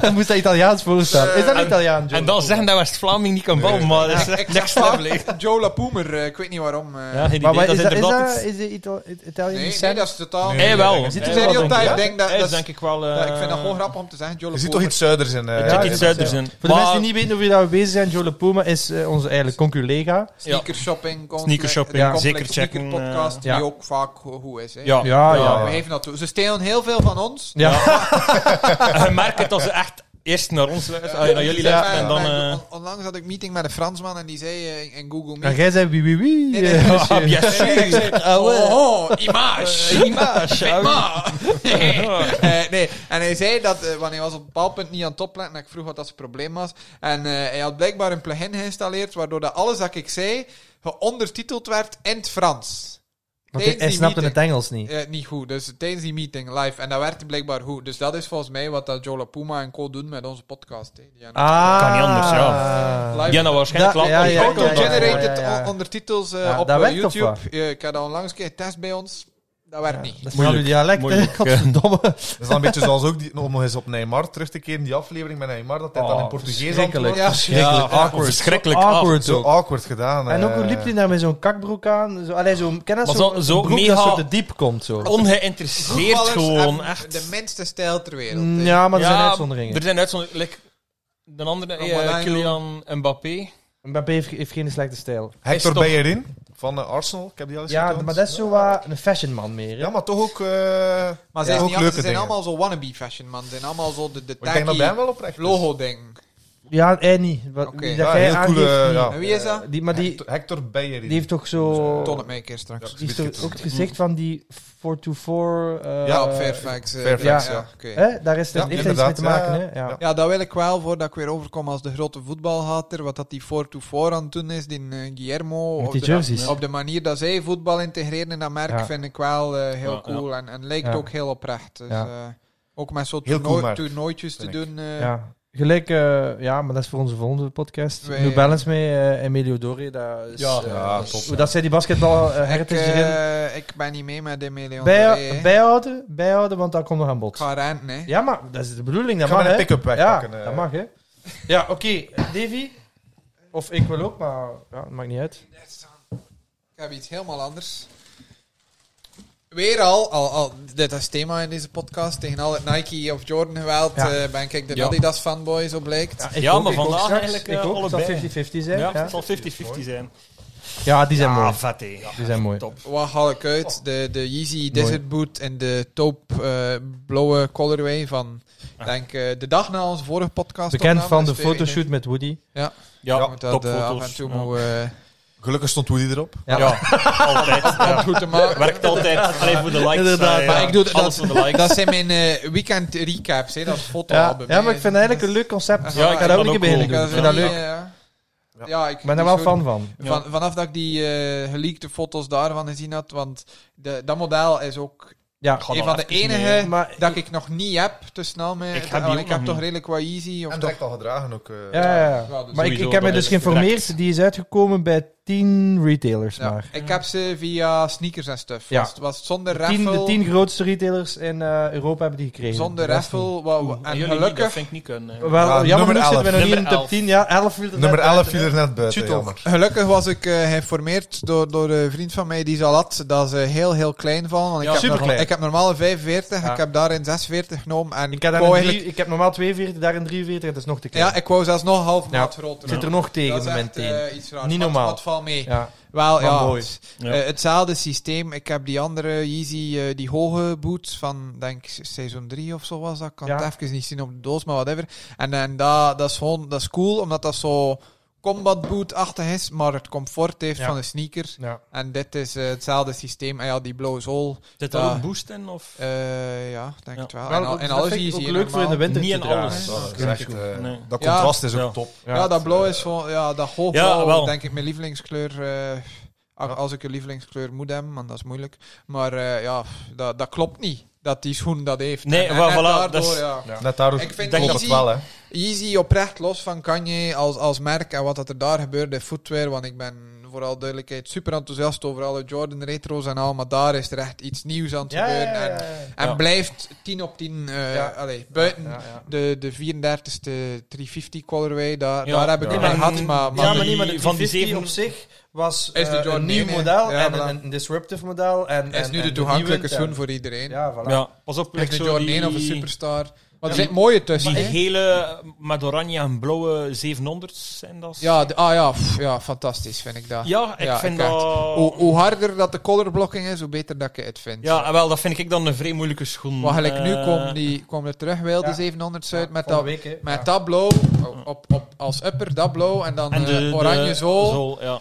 A: eh, moest dat Italiaans voorstaan? Is dat
D: En-
A: Italiaans?
D: En dan zeggen dat West-Vlaming niet kan bouwen, maar dat is
C: Ik
D: echt
C: zeg
D: next level. hè.
C: vaak Joe LaPoomer, eh, ik weet niet waarom. eh.
D: Ja, geen idee.
A: Maar, wat
D: dat
A: is,
D: is
A: dat, is,
D: inderdaad
A: dat,
D: iets-
A: is de Ita- It- Italiaanse
C: Nee, nee,
A: scène?
C: dat is totaal...
B: Nee.
D: Hey, wel.
C: Zit
B: Er
D: Hey,
C: er
D: wel,
C: stereotype,
D: denk ik.
C: denk dat...
D: Hey,
C: dat
D: is
C: is-
D: denk ik wel... eh,
C: ja, ik vind dat gewoon grappig om te zeggen, Joe
B: Je
C: LaPoomer.
B: ziet toch iets zuiders in. eh,
A: Ja,
D: Er zit
B: in
D: iets
B: dat
D: zuiders
B: zeil.
D: in.
A: Voor de
D: Maar-
A: mensen die niet weten over wie dat we bezig zijn, Joe Puma is eh, onze eigen conculega.
C: Sneaker shopping.
D: Sneaker shopping,
A: ja.
D: zeker checken,
C: podcast,
A: eh, ja.
C: die ook vaak go- goed is. Hè.
D: Ja.
A: Ja,
D: ja.
C: We geven dat toe. Ze stelen heel veel van ons.
A: Ja.
D: En je merkt het als ze echt eerst naar ons luisteren, ah, naar jullie
C: Ja,
D: luisteren en
C: maar-
D: dan...
C: maar
D: eh,
C: on- Onlangs had ik meeting met een Fransman en die zei eh, in- in Google
A: En
C: Meet...
A: jij zei wie wie wie.
C: Nee, nee,
A: eh,
C: nee,
A: monsieur.
D: Ah, ja,
C: nee, nee, nee.
A: Ah, ouais.
C: Oh, oh, image.
D: Eh, image, ja.
C: Image. Eh, nee, en hij zei dat, eh, want hij was op een bepaald punt niet aan het opletten, en ik vroeg wat dat zijn probleem was. En eh, hij had blijkbaar een plugin geïnstalleerd, waardoor dat alles dat ik zei, geondertiteld werd in het Frans.
A: Want
C: Tijdens
A: hij
C: die
A: snapte
C: meeting.
A: het Engels niet.
C: Eh, niet goed. Dus tijdens die meeting live. En dat werd blijkbaar goed. Dus dat is volgens mij wat dat Jola Puma en Co doen met onze podcast. hè. Die hebben-
A: Ah.
D: Kan niet anders,
C: ja. Live-
D: die hebben waarschijnlijk
A: Dat-
D: laat
A: ja, ja, ja, ja, ja.
C: Auto-generated on- ondertitels eh,
A: Ja,
C: op
A: dat
C: eh,
A: werkt toch
C: YouTube. Eh, ik had al langs een keer getest bij ons. Dat werkt niet.
A: Dat is nou uw dialect, hè?
D: Moeilijk, eh.
A: Godverdomme.
B: Dat is dan een beetje zoals ook die, om nog eens op Neymar terug te keren, die aflevering met Neymar, dat hij dan in Portugees
A: Oh, verschrikkelijk.
B: antwoordt.
D: Ja, awkward. Verschrikkelijk awkward.
A: Awkward
B: Zo
A: ook.
B: awkward gedaan.
A: En ook
B: eh.
A: hoe liep hij daar met zo'n kakbroek aan? Zo, allee, zo, ken dat
D: Maar
A: zo'n
D: zo- zo
A: broek
D: mega- Oh,
A: dat zo te diep komt? Zo.
D: Ongeïnteresseerd
C: Voetballers
D: gewoon,
C: hebben
D: echt.
C: De minste stijl ter wereld. hè.
A: Ja, maar er zijn
D: Ja,
A: uitzonderingen.
D: Er zijn uitzonderingen. Like, de andere, eh,
C: Ronaldinho.
D: Kylian Mbappé.
A: Mbappé heeft, heeft geen slechte stijl.
B: Hector
D: is toch-
B: Bellerin van eh, Arsenal, ik heb die al eens
A: Ja,
B: getoond.
A: maar dat is zo wat een fashion man meer. hè.
B: Ja, maar toch ook, eh,
C: Maar
B: ja,
C: zij
B: ook
C: zijn, niet,
B: leuke
C: ze zijn
B: dingen.
C: allemaal zo wannabe fashion, man. Ze zijn allemaal zo de, de
B: Maar ik denk nou, dat bij hem
C: tacky
B: wel oprecht is.
C: logo-ding.
A: Ja, hij niet. Wat,
C: Oké.
A: wie
B: Ja,
A: dat jij
B: heel
A: aangeeft,
B: coole,
A: niet.
B: ja.
C: En wie is dat?
A: Die, maar die,
B: Hector- Hector Bellerin.
A: die heeft toch zo...
C: Ton het mij een keer straks.
B: Ja.
A: Die heeft toch
B: Biscuit.
A: ook het gezicht van die 424... eh
C: Ja, op Fairfax. eh,
B: Fairfax,
C: ja.
B: ja.
C: oké.
A: Hè? Daar is het
B: Ja,
A: heeft er iets mee
B: inderdaad,
A: te maken,
B: ja.
A: hè? Ja.
B: Ja.
C: Ja, dat wil ik wel, voordat ik weer overkom als de grote voetbalhater. Wat dat die 4-2-4 aan het doen is, die eh, Guillermo.
A: Met
C: op
A: die
C: de-
A: jerseys.
C: op de manier dat zij voetbal integreren in dat merk,
A: Ja.
C: vind ik wel eh, heel
D: Ja,
C: cool. En, en lijkt
A: Ja.
C: ook heel oprecht. Dus,
A: Ja.
C: eh, ook met zo'n
B: Heel
C: toernooi-
B: cool merk,
C: toernooitjes te
B: vind
C: doen. eh,
A: Ja. Gelijk, eh, ja, maar dat is voor onze volgende podcast.
C: Wij-
A: New Balance mee, eh, Emilio Dore. Dat is,
D: Ja.
A: eh,
B: Ja, top,
A: hoe Dat zij die basketbal eh,
C: Ik,
A: heritage
C: eh,
A: erin.
C: ik ben niet mee met Emilion.
A: Bij,
C: Doré.
A: bijhouden, bijhouden, want dat komt nog aan
C: Ik
A: bod.
C: ga renten, hè.
A: Ja, maar dat is de bedoeling.
B: Ik
A: Dat
B: ga
A: mag,
B: mijn
A: hè?
B: pick-up
A: Ja,
B: wegpakken. eh.
A: dat mag, hè? Ja, oké. Davy? Of ik wil ook, maar ja, dat maakt niet uit.
C: Ik heb iets helemaal anders. Weer al, al, al, dit is thema in deze podcast. Tegen al het Nike of Jordan geweld
A: Ja.
C: eh, ben ik de
D: Ja.
C: Adidas fanboy, zo blijkt.
A: ik
D: Ja,
A: ook,
D: maar
A: ik ook
D: vandaag
A: straks.
D: eigenlijk,
A: Ik
D: eh,
A: ook. Het zal 50-50
D: allebei.
A: zijn.
D: Ja,
A: Ja,
D: het zal 50-50 zijn.
A: ja die zijn mooi.
D: vet hé. Ja.
A: Die zijn mooi.
D: Top.
C: Wat haal ik
A: Oh.
C: uit? De, de Yeezy Desert Boot en de taupe eh, blauwe colorway van,
D: Ah.
C: denk eh, de dag na onze vorige podcast.
A: Bekend
C: opname,
A: van de
C: dus twee
A: fotoshoot met Woody.
D: Ja,
C: weken. Dat, eh, af en
D: topfoto's.
C: toe
D: ja.
C: moet, eh,
B: Gelukkig stond Woody erop.
A: Ja.
D: Ja, altijd. ja.
C: goed te maken.
D: Werkt altijd. Alleen voor de likes.
A: Inderdaad,
D: eh,
C: maar
D: ja.
C: ik doe dat-
D: Alles voor de likes.
C: Dat zijn mijn eh, weekend recaps, hè, dat is
A: Ja,
C: fotoalbum.
A: ja, maar
C: hè.
A: ik vind het eigenlijk een leuk concept.
C: Ja,
A: Ja,
C: ik
A: ik ga
D: vind
A: dat ook
D: dat
A: een keer
D: ook
A: beginnen doen.
D: cool.
C: Ja,
A: Ik vind dat leuk.
C: ja, eh, ja. Ja, ik
A: Ik ben er wel
C: die
A: fan van.
D: Ja.
C: Van, vanaf dat ik die eh, geleakte foto's daarvan gezien had, want de, dat model is ook
A: Ja,
D: Ga
C: een
D: dan
C: van de
D: even
C: enige
D: mee.
A: maar
C: dat ik nog niet heb. te snel mee.
D: Ik heb die
C: want
D: ook
C: ik
D: nog
C: heb toch
D: niet.
C: redelijk wat easy. Of
B: en
C: toch,
B: direct al gedragen ook. eh.
A: ja, ja, ja.
C: Ja, dus
A: Maar ik,
D: sowieso,
A: ik heb me
D: dat
A: dus
D: is
A: geïnformeerd.
D: correct.
A: Die is uitgekomen bij 10 retailers
C: ja.
A: maar.
C: Ik heb ze via sneakers en stuff.
A: Ja.
C: Was, was zonder
A: De 10, de
C: raffle.
A: 10 grootste retailers in eh, Europa hebben die gekregen.
C: Zonder
A: De rest niet.
C: raffle. wa- wa-
D: Oeh,
C: en
D: jullie niet,
C: gelukkig.
D: Dat vind ik niet
A: Wel,
D: kunnen.
B: Ja,
A: jammer
B: nummer
A: genoeg zitten we nog niet in de
D: Nummer
A: top
D: 11.
A: 10. Ja, 11 viel er
B: Nummer
A: net
B: 11
A: buiten,
B: viel er net buiten,
A: Shoot ook.
B: jammer.
C: Gelukkig was ik eh, geïnformeerd door, door een vriend van mij die ze al had, dat ze heel, heel klein vallen. Want ik,
D: Ja,
C: heb
A: superklein.
C: normaal- ik heb normaal een 45,
A: Ja.
C: ik heb daarin 46 genomen. En
A: hè. Ik
C: wou
A: heb, daar een
C: eigenlijk-
A: drie, ik heb normaal 42, daar een 43. Dat is nog te klein.
C: Ja, ik wou zelfs nog een half
A: Ja.
C: maat groter.
A: Ik zit er nog tegen
C: Dat is echt,
A: momenteel.
C: eh, iets raars.
A: Niet
C: Wat-
A: normaal.
C: Wat valt mee?
A: ja.
C: Wel,
A: Maar
C: ja.
A: mooi.
C: het-
D: Ja.
C: eh, hetzelfde systeem. Ik heb die andere Yeezy, eh, die hoge boot van, denk ik, seizoen 3 of zo was dat. Ik kan
A: Ja.
C: het even niet zien op de doos, maar whatever. En, en dat, dat is gewoon, dat is cool, omdat dat zo combat boot-achtig is, maar het comfort heeft
A: Ja.
C: van een sneaker.
A: Ja.
C: En dit is eh, hetzelfde systeem. En ja, die blauwe zool.
D: Zit
C: Ja.
D: er ook boost in? Of?
C: eh, ja, denk
D: Ja.
C: het wel.
A: Wel,
C: en, al- en
A: dat
C: alles
A: vind ik
C: Yeezy.
A: ook
C: hè,
A: leuk voor in de
C: normaal.
A: winter
D: Niet
A: te
D: in
A: dragen.
D: alles.
B: Ja, dat is
D: Ja.
B: echt, eh,
D: Nee.
B: Dat
C: Ja.
B: contrast is ook
D: Ja.
B: top.
A: Ja.
C: Ja, dat blauw is gewoon, ja, dat hoogblauw,
D: Ja, wel.
C: denk ik, mijn lievelingskleur. eh, a-
B: Ja.
C: Als ik een lievelingskleur moet hebben, want dat is moeilijk. Maar eh, ja, dat, dat klopt niet, dat die schoen dat heeft.
D: Nee,
C: En- en
D: wel,
C: net
D: voilà,
C: daardoor,
D: dat is-
C: ja.
B: Net daardoor
C: Ik vind
B: klopt
C: dat
B: het
C: je-
B: wel, hè.
C: Easy oprecht, los van Kanye als, als merk en wat dat er daar gebeurde, footwear, want ik ben voor alle duidelijkheid super enthousiast over alle Jordan retro's en al, maar daar is er echt iets nieuws aan het gebeuren. En, en
D: Ja.
C: blijft 10 op 10 eh,
A: Ja.
C: allee, buiten
A: Ja, ja.
C: de, de 34ste 350 colorway. Daar,
D: Ja.
C: daar heb ik
B: Ja.
C: het mee
A: Ja.
C: gehad, maar, maar
A: ja, maar
D: die-
A: niet, maar de
D: van
A: van
D: die
A: die
D: zeven-
A: op zich was
C: Is de
A: eh,
C: Jordan
A: een nieuw
C: 1,
A: model
C: ja,
A: en
C: voilà.
A: een, een disruptive model. En,
C: is
A: en-
C: nu
A: en
C: de toegankelijke
A: nieuwe-
C: schoen voor iedereen.
A: Ja, voilà.
D: Ja, pas op.
C: Like
D: like
C: de
D: zo
C: Jordan
D: die-
C: 1 of een Superstar. Want
D: Ja.
C: er zit mooie tussen.
D: Die
C: hè?
D: gele met oranje en blauwe 700 zijn dat?
C: Ja, de- ah ja, pff, ja, fantastisch vind ik dat.
D: ja ik
C: Ja,
D: vind
C: ik Oh,
D: dat...
C: Hoe, hoe harder dat de colorblocking is, hoe beter dat ik het vind.
D: Ja, wel, dat vind ik dan een vrij moeilijke schoen.
C: Maar gelijk nu
D: Eh,
C: kwam, die, kwam er terug wel de
A: Ja.
C: 700
A: Ja,
C: uit met, dat,
A: volgende week, hè.
C: met
A: Ja.
C: dat blauw op, op, op- als upper, dat blauw en dan
D: en de,
C: eh,
D: de
C: oranje zool.
D: zool, ja,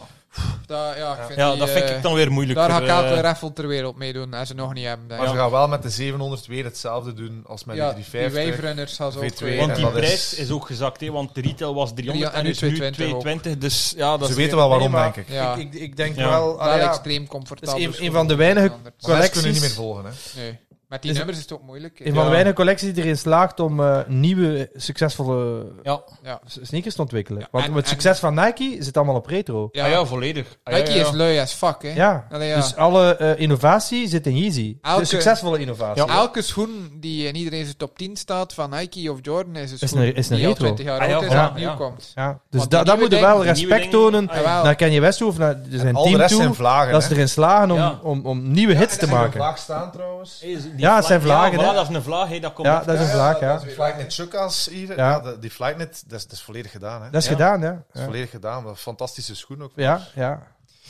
C: Dat, ja, ik vind
D: ja
C: die,
D: dat vind
C: eh,
D: ik dan weer eh, moeilijk.
C: Daar ga ik elke raffle ter wereld mee doen, als ze nog niet hebben. Denk
D: Ja.
B: Maar
C: ik.
B: ze gaan wel met de 700 weer hetzelfde doen als met
C: Ja,
B: de
C: die
B: 350.
C: waverunners gaan ze ook eh,
B: V2
C: weer-
B: en
D: want die
B: dat is-
D: prijs is... ook gezakt, hè, want de retail was 300
C: Ja,
D: en,
C: en nu
D: is nu
C: 220 ook.
D: 220. Dus ja, dat
B: Ze
D: is
B: weten
D: weer-
B: wel waarom,
A: Nee, maar-
B: denk ik.
C: Ja,
A: Ik, ik, ik denk
D: Ja.
A: wel...
C: wel
A: ah, ja.
C: extreem comfortabel.
A: Het is een- een
C: schoenen
A: van de weinige-
C: anders.
B: Zes kunnen
A: Collecties.
B: niet meer volgen. Hè.
C: Nee. Met die
A: Is-
C: nummers is het ook moeilijk. hè.
A: Een van
D: Ja.
A: de weinige collecties die erin slaagt om eh, nieuwe succesvolle
D: Ja,
C: Ja.
A: s- sneakers te ontwikkelen.
C: Ja,
A: Want
C: en-
A: het
C: en-
A: succes van Nike zit allemaal op retro.
D: ja.
C: Ja.
D: ja, volledig. Ah, ja,
C: Nike
D: ja, ja.
C: is lui as fuck, hè.
A: Ja.
C: Allee, ja.
A: Dus alle eh, innovatie zit in Yeezy.
C: Elke-
A: De succesvolle innovatie.
C: Elke schoen die in iedereen zijn top 10 staat, van Nike of Jordan, is een schoen
A: Is een- is een
C: die al
A: retro.
C: 20 jaar
D: Ah, ja,
C: oud is en
D: voilà,
C: opnieuw
D: ja.
C: komt.
A: Ja. Dus
C: Want
A: da
C: die
A: daar
C: nieuwe
A: moeten we wel
D: Die nieuwe
A: respect
D: dingen-
A: tonen
D: Ah,
C: Jawel.
A: naar Kanye West of naar zijn
B: Al de
A: team
B: rest
A: toe.
B: zijn vlagen.
A: Dat ze erin slagen om,
D: Ja.
A: om, om nieuwe hits te maken.
B: Vlaag staan trouwens.
D: Is die
A: Ja, het
D: vla-
A: zijn vlagen,
D: Ja,
A: hè.
D: voilà, dat is een vlaag, hè, dat komt
A: Ja, dat is een vlaag, ja.
B: Die Flightnet Chukkas hier. Ja.
A: Ja.
B: de- die Flightnet, dat is, dat is volledig gedaan. Hè.
A: Dat is
D: Ja.
A: gedaan, ja.
B: Dat is
A: Ja,
B: volledig gedaan. Wat een fantastische schoen ook.
A: ja. ja.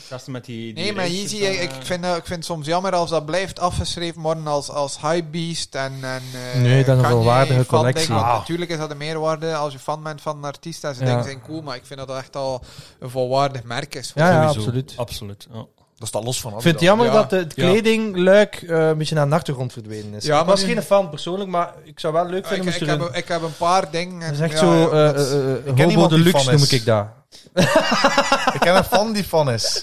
D: Dat is met die, die
C: Nee, maar
D: lijstjes
C: Yeezy,
D: van,
C: ik,
D: eh,
C: ik, vind, dat- ik vind het soms jammer als dat blijft afgeschreven worden als, als hypebeast en, en eh,
A: Nee, dat is een
C: Kanye
A: volwaardige
C: fan ding.
A: collectie.
C: Want
B: Ah.
C: Natuurlijk is dat een meerwaarde als je fan bent van een artiest en ze
A: Ja.
C: dingen zijn cool, maar ik vind dat dat echt al een volwaardig merk is.
A: Ja, ja,
D: sowieso.
A: absoluut.
D: Absoluut, ja.
B: Dat staat los van
A: Ik vind het jammer
C: Ja.
A: dat de- het
D: Ja.
A: kledingluik eh, een beetje naar de achtergrond verdwenen is.
C: Ja,
A: ik was
C: maar nu-
A: geen fan persoonlijk, maar ik zou wel leuk
C: Ik,
A: vinden
C: ik,
A: moest er
C: heb,
A: een-
C: ik heb een paar dingen.
A: Dat is
C: en
A: echt
C: ja,
A: zo eh
C: dat is-
A: eh, eh, hobo
B: iemand die
A: deluxe
B: fan is.
A: noem ik dat.
B: Ik ken een fan die fan is.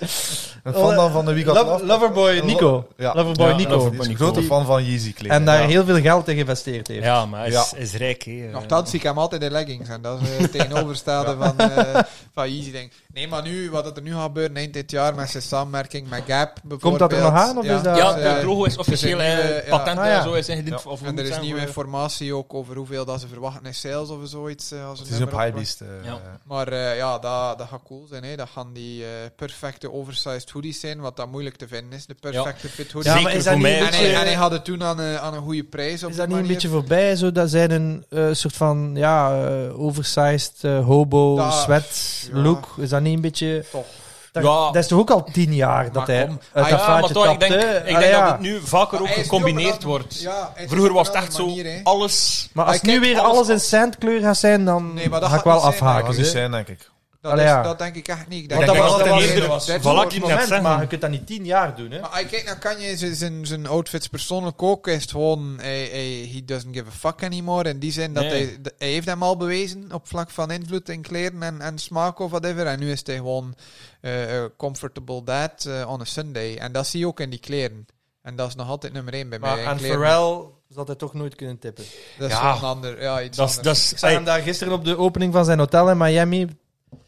B: Een fan dan van de Wiegand
A: Love- Loverboy
B: Lo-
A: Nico.
B: Ja.
A: Loverboy
D: Ja,
A: Nico.
D: Loverboy
B: Die is een
D: Nico.
B: grote fan van Yeezy kleden.
A: En daar
B: Ja.
A: heel veel geld in geïnvesteerd heeft.
D: Ja, maar hij is,
B: Ja.
D: is rijk, hè. eh.
C: Nochtans, ik hem altijd in leggings. En dat is eh, het tegenovergestelde van, eh van Yeezy. Denk. ik. Nee, maar nu, wat er nu gaat gebeuren eind dit jaar met zijn samenwerking met Gap bijvoorbeeld.
A: Komt dat er nog aan, of is dat-
D: Ja,
A: eh,
D: het logo is
C: er zijn
D: officieel
C: nieuwe,
D: eh,
C: ja.
D: patent
A: Ah, ja.
D: en zo is ingediend.
B: Ja.
D: Of hoe
C: En
D: moet
C: er is
D: het zijn eh,
C: nieuwe
D: voor-
C: informatie ook over hoeveel dat ze verwachten in sales of zoiets. eh, als
B: Het
C: een
B: is op
C: nummer opkomt.
B: Highbeast. eh,
D: Ja.
B: eh,
C: Maar eh, ja, dat, dat gaat cool zijn. Hè. Dat gaan die eh, perfecte oversized hoodies zijn, wat dat moeilijk te vinden is. De perfecte fit hoodie.
A: Ja,
D: Zeker
A: maar is
D: voor
A: dat niet
D: mij.
A: een
C: En hij,
A: beetje-
C: en hij had het toen aan, eh, aan een goede prijs. Op
A: Is
C: die
A: dat niet een
C: manier.
A: beetje voorbij, zo dat zijn een eh, soort van ja, eh, oversized eh, hobo
C: Da-
A: sweat
C: ja.
A: look? Is dat niet een beetje...
C: Toch.
A: Dat,
D: Ja.
A: dat is toch ook al tien jaar dat
C: Maar
A: hij
C: kom.
A: uit
D: Ah,
A: dat
D: ja, maar
A: vaatje
D: toch, ik
A: tapt,
D: denk,
A: hè?
D: ik denk
A: Allee, Ah ja.
D: dat het nu vaker
C: Maar
D: ook
C: hij is nu op
D: gecombineerd
C: een andere-
D: wordt.
C: Ja, het is
D: Vroeger
C: op
D: was
C: een
D: het echt
C: andere
D: zo,
C: manier, hè.
D: alles...
A: Maar als
C: Ah,
A: nu
C: kijk,
A: weer
C: alles-
A: alles in sandkleur gaat zijn, dan
C: Nee, maar dat
A: ga ik
C: gaat
A: wel
C: niet zijn,
B: Dat kan
A: afhaken.
B: niet
A: hè.
B: zijn, denk ik.
C: Dat,
A: Allee,
C: is-
A: ja.
C: dat denk ik echt niet. Ik
B: denk dat
A: dat
C: dat
A: het
C: eerder was.
D: eerder was.
C: Dat
D: Voilà,
C: is
D: ik
C: een
D: net
A: Moment,
D: zeggen.
A: maar je kunt dat niet tien jaar doen, hè?
C: Maar als je kijkt naar Kanye, zijn- zijn, zijn outfits persoonlijk ook, is het gewoon, hij, hij- he doesn't give a fuck anymore. In die zin dat
D: Nee.
C: hij, d- hij heeft hem al bewezen op vlak van invloed in kleren en, en smaak of whatever. En nu is hij gewoon eh, eh, comfortable dad eh, on a Sunday. En dat zie je ook in die kleren. En dat is nog altijd nummer één bij
A: Maar
C: mij. in
A: aan
C: kleren.
A: Pharrell zal hij toch nooit kunnen tippen.
C: Dat is
D: Ja.
C: wel een ander, ja, iets
D: Dat is,
C: anders.
D: dat is,
A: Ik zag
D: ey,
A: hem daar gisteren op de opening van zijn hotel in Miami. Het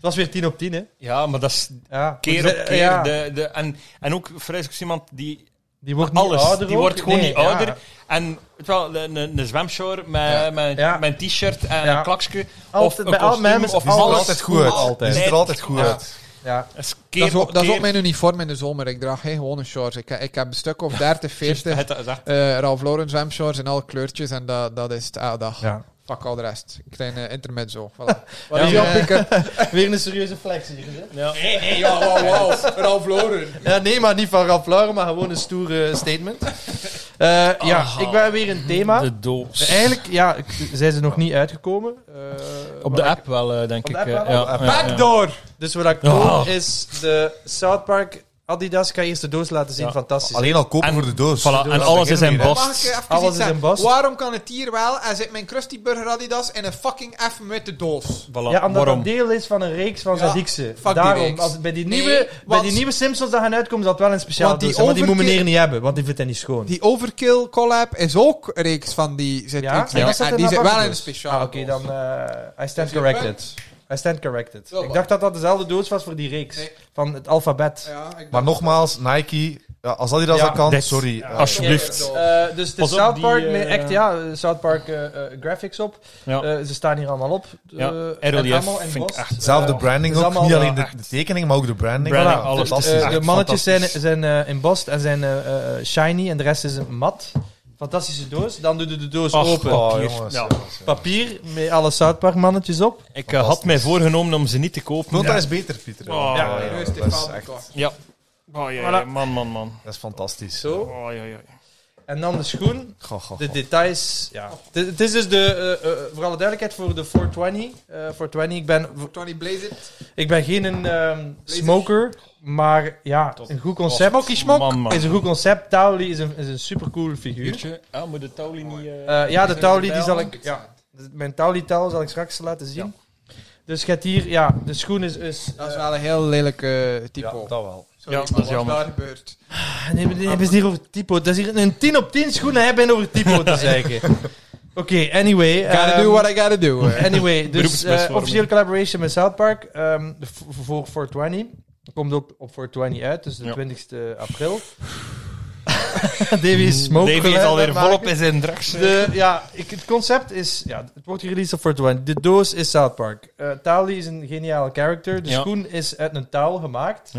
A: was weer 10 op 10, hè?
D: ja, maar dat is
A: Ja.
D: keer
A: Dus,
D: op
A: eh,
D: keer.
A: ja,
D: De, de, en, en ook, vrij is iemand die
A: die wordt niet
D: alles.
A: ouder
D: die
A: ook.
D: wordt gewoon
A: Nee,
D: niet
A: ja.
D: ouder. En weet wel, een, een, een zwemshort met,
C: Ja.
D: met,
A: Ja.
D: met een t-shirt en
A: Ja.
D: een klakske. Of
A: Altijd-
D: een
A: bij al
D: kostuum,
A: mijn mensen
D: of
A: is het
D: alles.
B: altijd goed uit.
A: Altijd.
B: Die ziet er altijd goed
D: Ja.
B: uit.
A: Ja.
D: Dat is, keer
C: Dat is, ook,
D: op
C: dat is ook
D: keer.
C: mijn uniform in de zomer. Ik draag geen gewone shorts. Ik, ik heb een stuk of 30, 40
D: Het- het- het-
C: eh Ralph Lauren zwemshorts in alle kleurtjes. En dat, dat is het ah, dat.
A: ja.
C: Pak al de rest. Kleine intermezzo. Voilà.
A: Wat is
C: Ja,
A: jouw
C: eh,
A: pick-up? Weer een serieuze flex hier, hè?
D: Ja.
C: Ja, wow, wow. Ralph Lauren.
A: Ja, nee, maar niet van Ralph Lauren, maar gewoon een stoere statement. Eh, ja,
D: Ah.
A: ik ben weer een thema.
D: De doos.
A: Eigenlijk, ja, ik- zijn ze nog niet uitgekomen. Eh,
D: Op
A: maar
D: de
A: ik-
D: app wel, eh, denk
A: Op de
D: ik.
A: app wel?
D: eh, ja,
B: Op de app.
D: ja, ja.
C: Backdoor.
A: Dus wat ik
D: Ja.
A: doe, is de South Park Adidas. Ik ga eerst de doos laten zien,
D: Ja.
A: fantastisch.
B: Alleen al kopen
D: En-
B: voor de doos.
D: Voilà, en
B: Dat
D: alles is
B: beginnen
D: in
B: we hier, hè.
C: Mag ik eh, even
A: Alles
C: iets
A: is
C: zeggen?
A: in bas.
C: Waarom kan het hier wel en zit mijn Krusty Burger Adidas in een fucking F witte doos?
D: Voilà,
A: Ja, omdat
D: waarom?
A: dat deel is van een reeks van
C: Ja,
A: Zadikse.
C: fuck die
A: Daarom,
C: reeks.
A: als het bij die
C: Nee,
A: nieuwe, bij
C: want-
A: die nieuwe Simpsons dat gaan uitkomen, zal het wel een speciale
C: Want die
A: doos zijn. Maar die moet
C: overkeer-
A: meneer niet hebben, want die vindt hij niet schoon.
C: Die Overkill collab is ook een reeks van die zit
A: ja?
C: ik- en
A: zit
C: die
A: in
C: zit
A: aparte
C: wel in
A: doos.
C: een speciale
A: Ah, oké,
C: doos.
A: dan... eh I stand
C: Dus je
A: corrected.
C: kunt-
A: Hij stand corrected.
C: Ja,
A: ik
C: maar-
A: dacht dat dat dezelfde doos was voor die reeks.
C: Nee.
A: Van het alfabet.
C: Ja, ik
B: Maar nogmaals, Nike, ja, als dat hij dat
A: Ja,
B: kan,
D: dit-
B: sorry.
D: ja.
B: eh,
D: Als- Alsjeblieft.
A: Eh, dus de
D: Pas op,
A: South
D: die,
A: Park,
D: eh,
A: met echt ja, eh, South Park eh, eh, graphics op.
D: Ja.
A: Eh, ze staan hier allemaal op.
D: Ja,
A: Eh,
D: RLDF
A: en allemaal en
D: vind ik
A: Ghost.
D: echt-
B: Zelfde
A: Eh,
B: branding
A: dus
B: ook.
A: allemaal,
B: Niet alleen
A: eh,
B: de, de tekening, maar ook de branding.
D: Branding,
B: Voilà,
D: alles.
A: Eh,
B: Fantastisch.
A: de
B: echt
A: mannetjes zijn,
B: fantastisch.
A: zijn eh, in bast en zijn eh, eh, shiny en de rest is een mat. Fantastische doos. Dan doe je de doos
D: Ach,
A: open.
D: oh.
B: Oh,
D: papier.
B: jongens.
D: Ja.
B: jongens, ja.
A: Papier met alle South Park mannetjes op.
D: Ik eh, had mij voorgenomen om ze niet te kopen.
B: Nota is beter, Pieter.
D: Oh,
B: Ja,
D: ja,
B: ja,
C: nu is
B: dat
C: dit
B: is
C: fout,
B: echt-
C: toch?
D: Ja. Oh, ja, ja, man, man, man.
B: Dat is fantastisch.
A: Zo.
D: Oh, ja, ja.
A: En dan de schoen.
B: Goh, goh,
C: Oh,
A: De
B: goh.
A: details. Ja. Het is- Het is dus de, eh, eh, voor alle duidelijkheid, voor de 420. eh 420. Ik ben,
C: Tony Blazit.
A: ik ben geen een, ehm, smoker. Maar ja, een goed concept.
D: Smokey smok. Man, man.
A: Oh, Is een goed concept. Tauli is een, is een supercool figuur.
D: Uurtje. Ah, moet de touw niet... eh,
A: Eh, ja, de Tauli die zal ik.
C: Bijl.
A: Ja, mijn Tauli-tel zal ik straks laten zien. Dus gaat hier, ja, de schoen is. is eh,
C: Dat is wel een heel lelijke
B: Ja,
C: typo.
B: dat wel.
C: Sorry,
D: Ja,
C: maar
D: dat
C: wat
D: is jammer.
C: daar gebeurt.
A: Ah, nee, nee, hebben ze hier over typo? Dat is hier een 10 op 10 schoen en jij bent over typo te zeggen. Oké, anyway.
C: Gotta
A: ehm,
C: do what I gotta do. eh.
A: Anyway, dus eh,
D: Beroepsmisvorming.
A: officieel collaboration met South Park ehm, de- voor- voor 420. Komt ook op 420 uit, dus de
D: Ja.
A: 20ste april. Davy is smoke
D: Davy is
A: geluid
D: alweer
A: aan het
D: volop
A: maken.
D: in zijn drugs. eh.
A: De, ja, ik, het concept is... Ja, het wordt gereleased op 420. De doos is South Park. Eh Tali is een geniale character. De
D: Ja.
A: schoen is uit een touw gemaakt.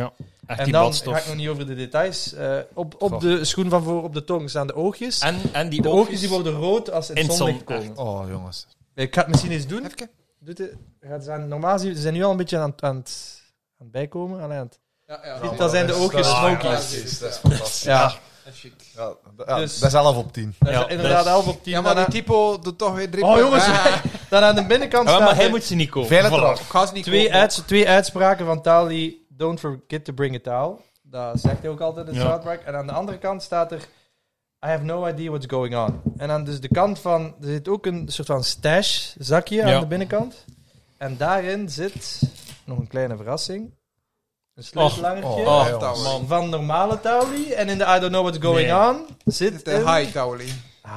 D: Echt
A: En
D: die
A: dan
D: badstof.
A: ga ik nog niet over de details. Eh, op op
B: Goh.
A: de schoen van voor op de tong staan de oogjes.
D: En, en die
A: de oogjes die worden rood als het
D: In het
A: zonlicht
D: zon,
A: komen.
B: Oh, jongens.
A: Ik ga het misschien eens doen.
C: Even.
A: Doet het, gaat ze aan, normaal zien, ze zijn nu al een beetje aan, het- aan, het, aan het bijkomen. Allee, aan het-
C: Ja, ja,
A: Dit-
C: dat
A: dat zijn de oogjes
C: smokies.
B: smokies. Dat is fantastisch.
A: ja,
C: is chic.
B: Ja, d- ja,
A: Dus-
B: dat is 11 op 10.
A: dat is
D: Ja,
A: inderdaad
D: dat is-
A: 11 op 10.
C: Ja, maar die
A: Dan
C: typo doet toch weer drie
A: aan- oh jongens,
C: punten. Ah,
A: dan aan de binnenkant
D: Ja,
A: staan
D: maar hij
A: er
D: moet ze niet kopen.
B: Veilig
D: Voilà.
B: eraf.
C: Ik ga ze niet
A: twee,
C: kopen.
A: uits, twee uitspraken van Tali. Don't forget to bring a towel. Dat zegt hij ook altijd in
D: Ja.
A: South Park. En aan de andere kant staat er... I have no idea what's going on. En aan dus de kant van... Er zit ook een soort van stash zakje
D: Ja.
A: aan de binnenkant. En daarin zit... Nog een kleine verrassing. Een sleutelangertje.
B: Oh,
C: Ja,
B: jongens.
C: man.
A: van normale Tauli. En in de I don't know what's going
D: Nee.
A: on zit
C: De
A: een
C: high cowley.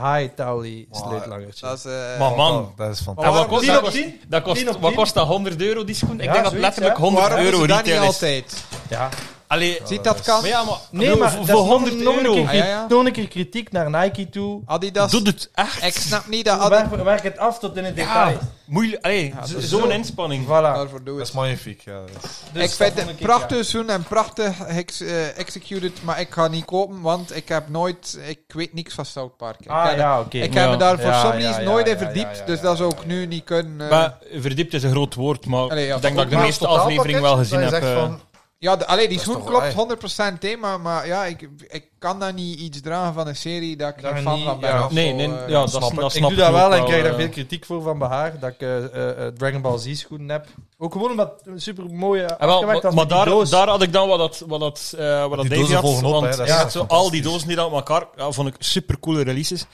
A: high Tauli
B: Wow.
A: sleutelangertje.
C: Dat is... eh,
D: Maar man,
B: Oh, dat is
D: en
B: fantastisch.
D: wat
C: waarom
D: kost,
C: is
D: dat
A: dat-
D: kost, dat kost,
A: 10 op 10?
D: wat kost dat 100 euro, die schoen? Ik
A: Ja,
D: denk dat
A: zoiets,
D: letterlijk
A: hè?
D: 100
C: Waarom
D: euro
C: is dat niet
D: retail is.
C: altijd?
A: Ja.
D: Allee,
C: Ziet dat kan?
D: maar ja, maar,
A: Nee, maar
D: voor,
A: dat is
D: voor
A: nog-
D: 100
A: nog een
D: euro
A: keer
C: Ah,
A: kritiek-
C: ja, ja.
A: Nog een keer kritiek naar Nike toe.
C: Adidas.
D: doet het echt.
C: Ik snap niet Ah, dat Adidas...
A: Werk, werk het af tot in het detail.
D: Ja, moeilijk. Allee,
C: Ja,
D: z-
C: dat is
D: zo'n
C: zo.
D: inspanning.
A: Voilà.
C: Daarvoor doe
B: Dat
C: ik.
B: is magnifiek. Ja, dat is-
A: Dus
C: ik vind
A: dat vond
C: het
A: ik,
C: prachtig zoen en prachtig ex- eh, executed, maar ik ga niet kopen, want ik heb nooit... Ik weet niks van South Park. Ik,
A: ja. Ah
C: heb,
A: ja, oké.
C: ik
D: Ja.
C: heb me daar voor
A: Ja,
C: some
A: ja,
C: reason
A: ja,
C: nooit in
A: ja, ja,
C: verdiept,
A: ja,
C: dus
A: ja,
C: dat
A: ja,
C: zou ik nu niet kunnen... eh,
D: Maar verdiept is een groot woord, maar
C: Allee, ja,
D: ik denk dat ik de
B: Maar
D: meeste
B: het
D: aflevering wel gezien heb.
B: totaalpakket, dat
D: eh.
B: je zegt van,
C: Ja, de- allee, die
B: Dat is
C: schoen
B: toch
C: klopt 100% thema, maar ja, ik, ik kan dan niet iets dragen van een serie dat ik
A: Daar
C: niet fan
A: niet-
C: van ben.
A: ja.
C: of
D: Nee,
C: zo,
D: nee,
C: eh.
D: ja, dat snap
B: snap
D: ik.
B: ik.
D: Dat
A: Ik
D: snap
A: doe dat wel en ik
D: ook
A: krijg daar
D: eh.
A: veel kritiek voor van Behaar. Dat ik eh, eh, Dragon Ball Z schoenen heb. Ook gewoon omdat het super mooi
D: Ah, wel,
A: afgewerkt was
D: maar maar
A: met die
D: daar,
A: doos.
D: daar had ik dan wat dat, wat dat, eh, wat dat
B: Die
D: Davy
B: dozen
D: had.
B: volgen op,
D: want
B: hè, dat is
D: ja,
B: echt
D: zo al die dozen niet aan elkaar. Ja, vond ik super coole releases.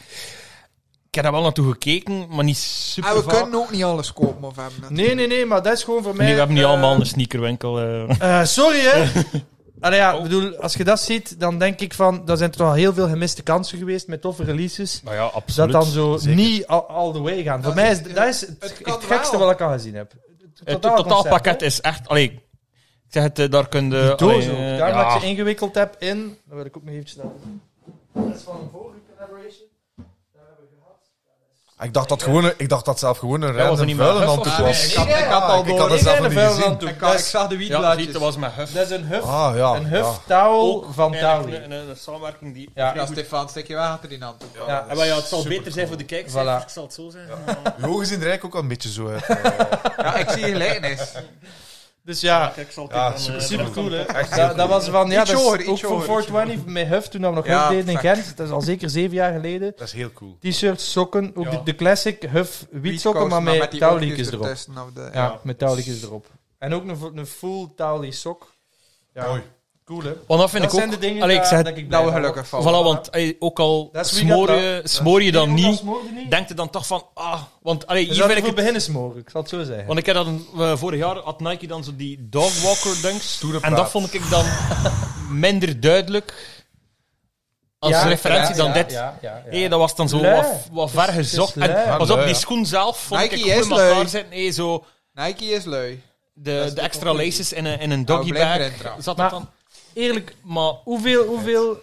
D: Ik heb daar wel naartoe gekeken, maar niet super
C: En we
D: vaak.
C: kunnen ook niet alles kopen of hebben. natuurlijk.
A: Nee, nee, nee, maar dat is gewoon voor mij...
D: Nee, we hebben niet
A: eh,
D: allemaal een sneakerwinkel. eh.
B: Nou
A: Eh, sorry, hè. Allee, ja,
D: Oh.
A: bedoel, als je dat ziet, dan denk ik van... Er zijn toch al heel veel gemiste kansen geweest met toffe releases.
D: Nou ja,
A: Dat
D: absoluut.
A: dan zo
B: Zeker.
A: niet al- all the way gaan.
C: Dat
A: Voor mij is
C: is-
A: dat is het,
C: het kan
A: het gekste
C: wel.
A: wat ik al gezien heb.
D: Het
A: totaalconcept,
D: totaalpakket
A: hè.
D: is echt... Allee, ik zeg het, eh, daar kun je...
A: Doos
D: allee,
A: ook.
D: eh,
A: Daarom
D: ja.
A: dat ik ze ingewikkeld heb in... Dat wil ik ook nog eventjes laten zien. Dat is van een vorige collaboration. Daar hebben we gehad.
B: Ik dacht dat gewoon, een- ik dacht dat zelf gewoon een
D: was er
B: random
D: niet meer
B: vuile
D: huff,
B: handdoek
C: of-
B: was.
C: Ah, nee, ik had- ik had al
B: Ik
C: door.
B: had dat
A: Ik
B: zelf
A: ben
B: nog
A: een
B: niet
A: vuile
B: gezien.
A: handdoek.
C: Ik,
A: Dat
C: kan, ik
A: is-
C: zag de
D: Ja,
C: wietlaadjes.
D: ziet, dat was mijn huf.
A: Dat is een huf,
B: Ah, ja.
A: een
B: ja.
A: huftouw van
D: Eigenlijk
A: Tauli.
D: Een, een, een samenwerking die...
A: Ja.
D: vrij
C: Ja,
D: goed-
C: Stefan, steek je wel achter die hand.
A: Ja.
D: Ah, maar ja, het zal beter zijn voor de kijkcijfers,
A: Voilà.
D: ik zal het zo zijn.
B: Uw ogen zien er eigenlijk ook al een beetje zo uit. eh.
C: Ja, ik zie gelijkenis.
A: Dus ja,
D: Ik zal het
B: Ja,
D: dan, eh,
B: super,
A: super
D: dan-
A: cool, hè.
B: Echt heel
A: Dat, dat was van... Ja,
C: Iets
A: dat is
C: hoger, iets
A: ook voor
C: hoger.
A: 420 met Huff toen dat we nog
C: Ja,
A: ook deden in
C: exact.
A: Gent. Dat is al zeker zeven jaar geleden.
B: Dat is heel cool.
A: T-shirts, sokken, ook
D: Ja.
A: de, de classic Huff wietsokken, maar
C: Wietkoos,
A: met
C: die
A: touwliekjes
C: oogjes
A: erop.
C: ertussen of de-
A: Ja,
D: Ja.
A: met touwliekjes erop. En ook een, vo- een full touwlie sok. Ja,
B: Mooi.
A: cool hè.
D: Want dat vind
A: dat
D: ik ook...
A: zijn de dingen
D: Allee, ik
A: daar,
D: zeg-
A: dat ik blij
C: Dat we
A: van
C: gelukkig
A: word.
D: Voilà,
C: vallen.
D: want allee, ook al
A: Dat is wie
D: smoor
A: dat-
D: je, smoor je dan
A: Nee,
D: niet,
A: dat smoren niet.
D: denk je dan toch van... Ah, want allee,
A: Je
D: hier
A: zou
D: vind ik
A: ervoor
D: het...
A: beginnen smoren, ik zal het zo zeggen.
D: Want ik heb dat een- eh, vorig jaar had Nike dan zo die dogwalker dunks.
B: Stoere
D: En dat
B: praat.
D: vond ik dan minder duidelijk als
A: Ja,
D: referentie
A: ja,
D: dan
A: ja,
D: dit.
A: Ja, ja, ja.
D: Nee, dat was dan zo
A: Lui.
D: wat, wat ver
A: is
D: gezocht.
A: lui.
D: En pas op,
B: Ja,
D: die
B: ja.
D: schoen zelf vond
C: Nike
D: ik
C: is
D: goed in elkaar
C: lui.
D: zitten. Nee, zo
C: Nike is lui. Dat
D: De,
C: is
D: de
C: de
D: extra
C: conclusie.
D: laces in een, in een
C: Nou, blijf
D: doggybag.
C: erin trappen.
D: Zat
A: Maar-
D: dat dan? Eerlijk, maar
A: Hoeveel, hoeveel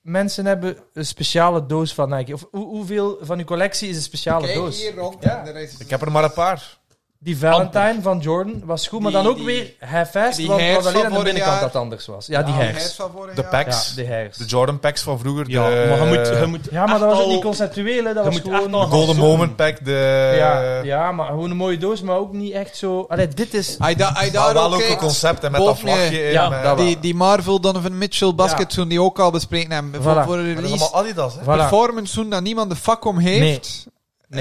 A: mensen hebben een speciale doos van Nike? Of hoe- hoeveel van uw collectie is een speciale
C: Kijk
A: doos?
C: hier rond.
B: Ja.
C: en Er is
B: Ik heb er maar een paar.
A: Die Valentine van Jordan was goed, maar
C: Die-
A: dan ook
C: die-
A: weer hefest,
C: die
A: want
C: hairs
A: want alleen
C: van
A: aan de
C: vorig
A: binnenkant
C: jaar.
A: dat anders was. Ja, die
C: Ah,
A: hairs.
C: van vorig
B: De
C: jaar.
B: packs.
A: Ja, die hairs.
B: De Jordan packs van vroeger.
D: Ja,
B: de,
D: maar je moet,
C: eh,
D: je moet
A: Ja, maar
D: echt
A: dat was ook
D: al-
A: die conceptuele, dat
D: je
A: was
D: moet echt
A: gewoon...
D: al-
B: De Golden
D: Zo'n-
B: Moment pack. De,
A: ja,
C: eh,
A: ja, maar gewoon een mooie doos, maar ook niet echt zo... Allee, dit is...
C: Hij da- hij
B: Maar
C: daar
B: wel
C: ook
B: ook een
C: kijkt,
B: concept en met dat
C: boven je-
B: vlagje in.
A: Ja,
B: eh,
A: dat wel.
C: die, die Marvel Donovan Mitchell basket zoen die ook al bespreken hebben. Voor,
A: Voilà.
C: voor een
B: Maar dat is
C: release
B: allemaal Adidas, hè?
A: Voilà.
C: performance zoen dat niemand de fuck om heeft.
A: Nee.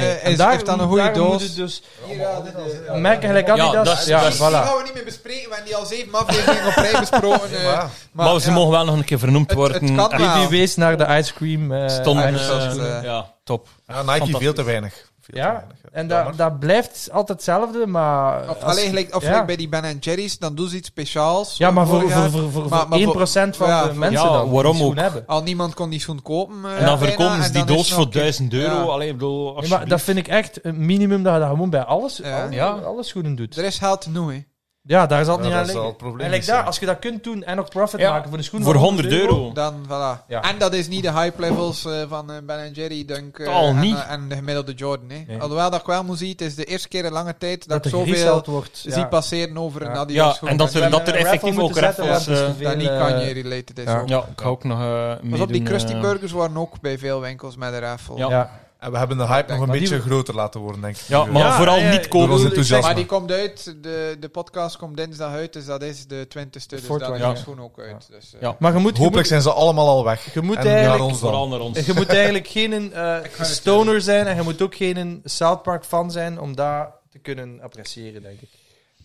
C: Eh, is, heeft dan een goede
A: daarom moet
C: doos.
A: het dus
C: Hier, ja, dit is- ja.
A: merken gelijk
D: Ja,
A: Adidas.
D: dat is-
A: Ja,
D: dat is-
C: Die
A: voilà.
C: gaan we niet meer bespreken. We hebben die al zeven afleveringen op rij besproken. eh,
B: Ja.
D: Maar, ze
C: ja.
D: mogen wel nog een keer vernoemd
C: Het- het
D: worden.
C: kan
D: Echt
C: wel.
A: Die wees naar de ice cream. eh,
D: Stonden,
A: ice-
D: eh,
C: dat is, eh,
D: ja, top.
B: Ja, Nike
D: Fantastisch.
B: veel te weinig. Veel te
A: ja,
B: weinig,
A: en
B: Jammer.
A: dat, dat blijft altijd hetzelfde, maar...
C: Of,
A: als-
C: alleen gelijk, of
A: ja.
C: gelijk bij die Ben Jerry's, dan doen ze iets speciaals.
A: Ja, maar voor,
C: Vorig
A: voor,
C: jaar.
A: voor, voor,
C: Maar- maar voor-
A: 1% van
C: ja,
A: de
C: voor-
A: mensen
D: Ja,
A: dan die
D: waarom
A: schoen
D: ook?
A: hebben.
C: Al niemand kon die schoen kopen. eh,
D: en
C: bijna,
D: dan verkomen ze
C: en
D: die
C: dan is
D: doos
C: het nog
D: voor
C: een keer-
D: 1000 euro.
C: Ja.
D: Allee, ik bedoel,
A: Nee, maar dat
D: alsjeblieft.
A: vind ik echt een minimum dat je dat gewoon bij alles,
C: Ja.
A: alle,
D: Ja.
A: alle schoenen doet.
C: Er is geld genoeg, hè.
A: Ja, daar zal het
B: Ja,
A: niet aan
B: dat zal
A: liggen.
B: het probleem
A: en
B: niet
A: like daar,
B: zijn.
A: als je dat kunt doen en ook profit
D: Ja.
A: maken voor de schoen
D: voor 100 euro.
C: Dan, voilà.
A: Ja.
C: En dat is niet de hype levels eh, van eh, Ben Jerry, denk ik.
D: Totaal
C: en,
D: niet.
C: eh, en de gemiddelde Jordan, hè.
A: Nee.
C: Alhoewel dat ik wel moet zien, het is de eerste keer in lange tijd dat,
A: dat er
C: ik zoveel
A: zoveel wordt.
C: zie passeren over
A: Ja.
C: een Adidas
D: Ja,
C: schoen.
D: en dat
A: We
D: er, dat
A: hebben
D: er
A: een
D: effectief
A: raffle
D: ook
A: moeten zetten,
D: ref was.
A: want het
D: eh,
A: is te
C: dat niet
A: veel, eh,
C: Kanye related is
A: ja.
C: ook.
D: Ja, ik ga ook nog eh
C: Pas op, die
D: meedoen,
C: Krusty
D: eh,
C: Burgers waren ook bij veel winkels met een raffle.
D: Ja.
A: Ja.
B: En we hebben de hype nog een
A: Maar die-
B: beetje groter laten worden, denk ik.
D: Ja,
B: nu,
D: maar
B: eh.
A: Ja,
D: vooral
A: ja,
D: niet
A: ik
B: Door ons
D: kopen.
B: enthousiasme.
C: Maar die komt uit, de, de podcast komt dinsdag uit, dus dat is de 20ste. Dus
A: Fort
C: dan is
A: ja.
C: de schoen ook uit. Dus, eh,
D: Ja.
A: Maar je moet, je
B: Hopelijk
A: moet,
B: zijn ze allemaal al weg.
A: je moet
B: en
A: eigenlijk-
B: naar ons dan.
D: Vooral naar ons.
A: je moet eigenlijk geen eh,
C: het
A: stoner zijn en je moet ook geen South Park fan zijn om dat te kunnen appreciëren, denk ik.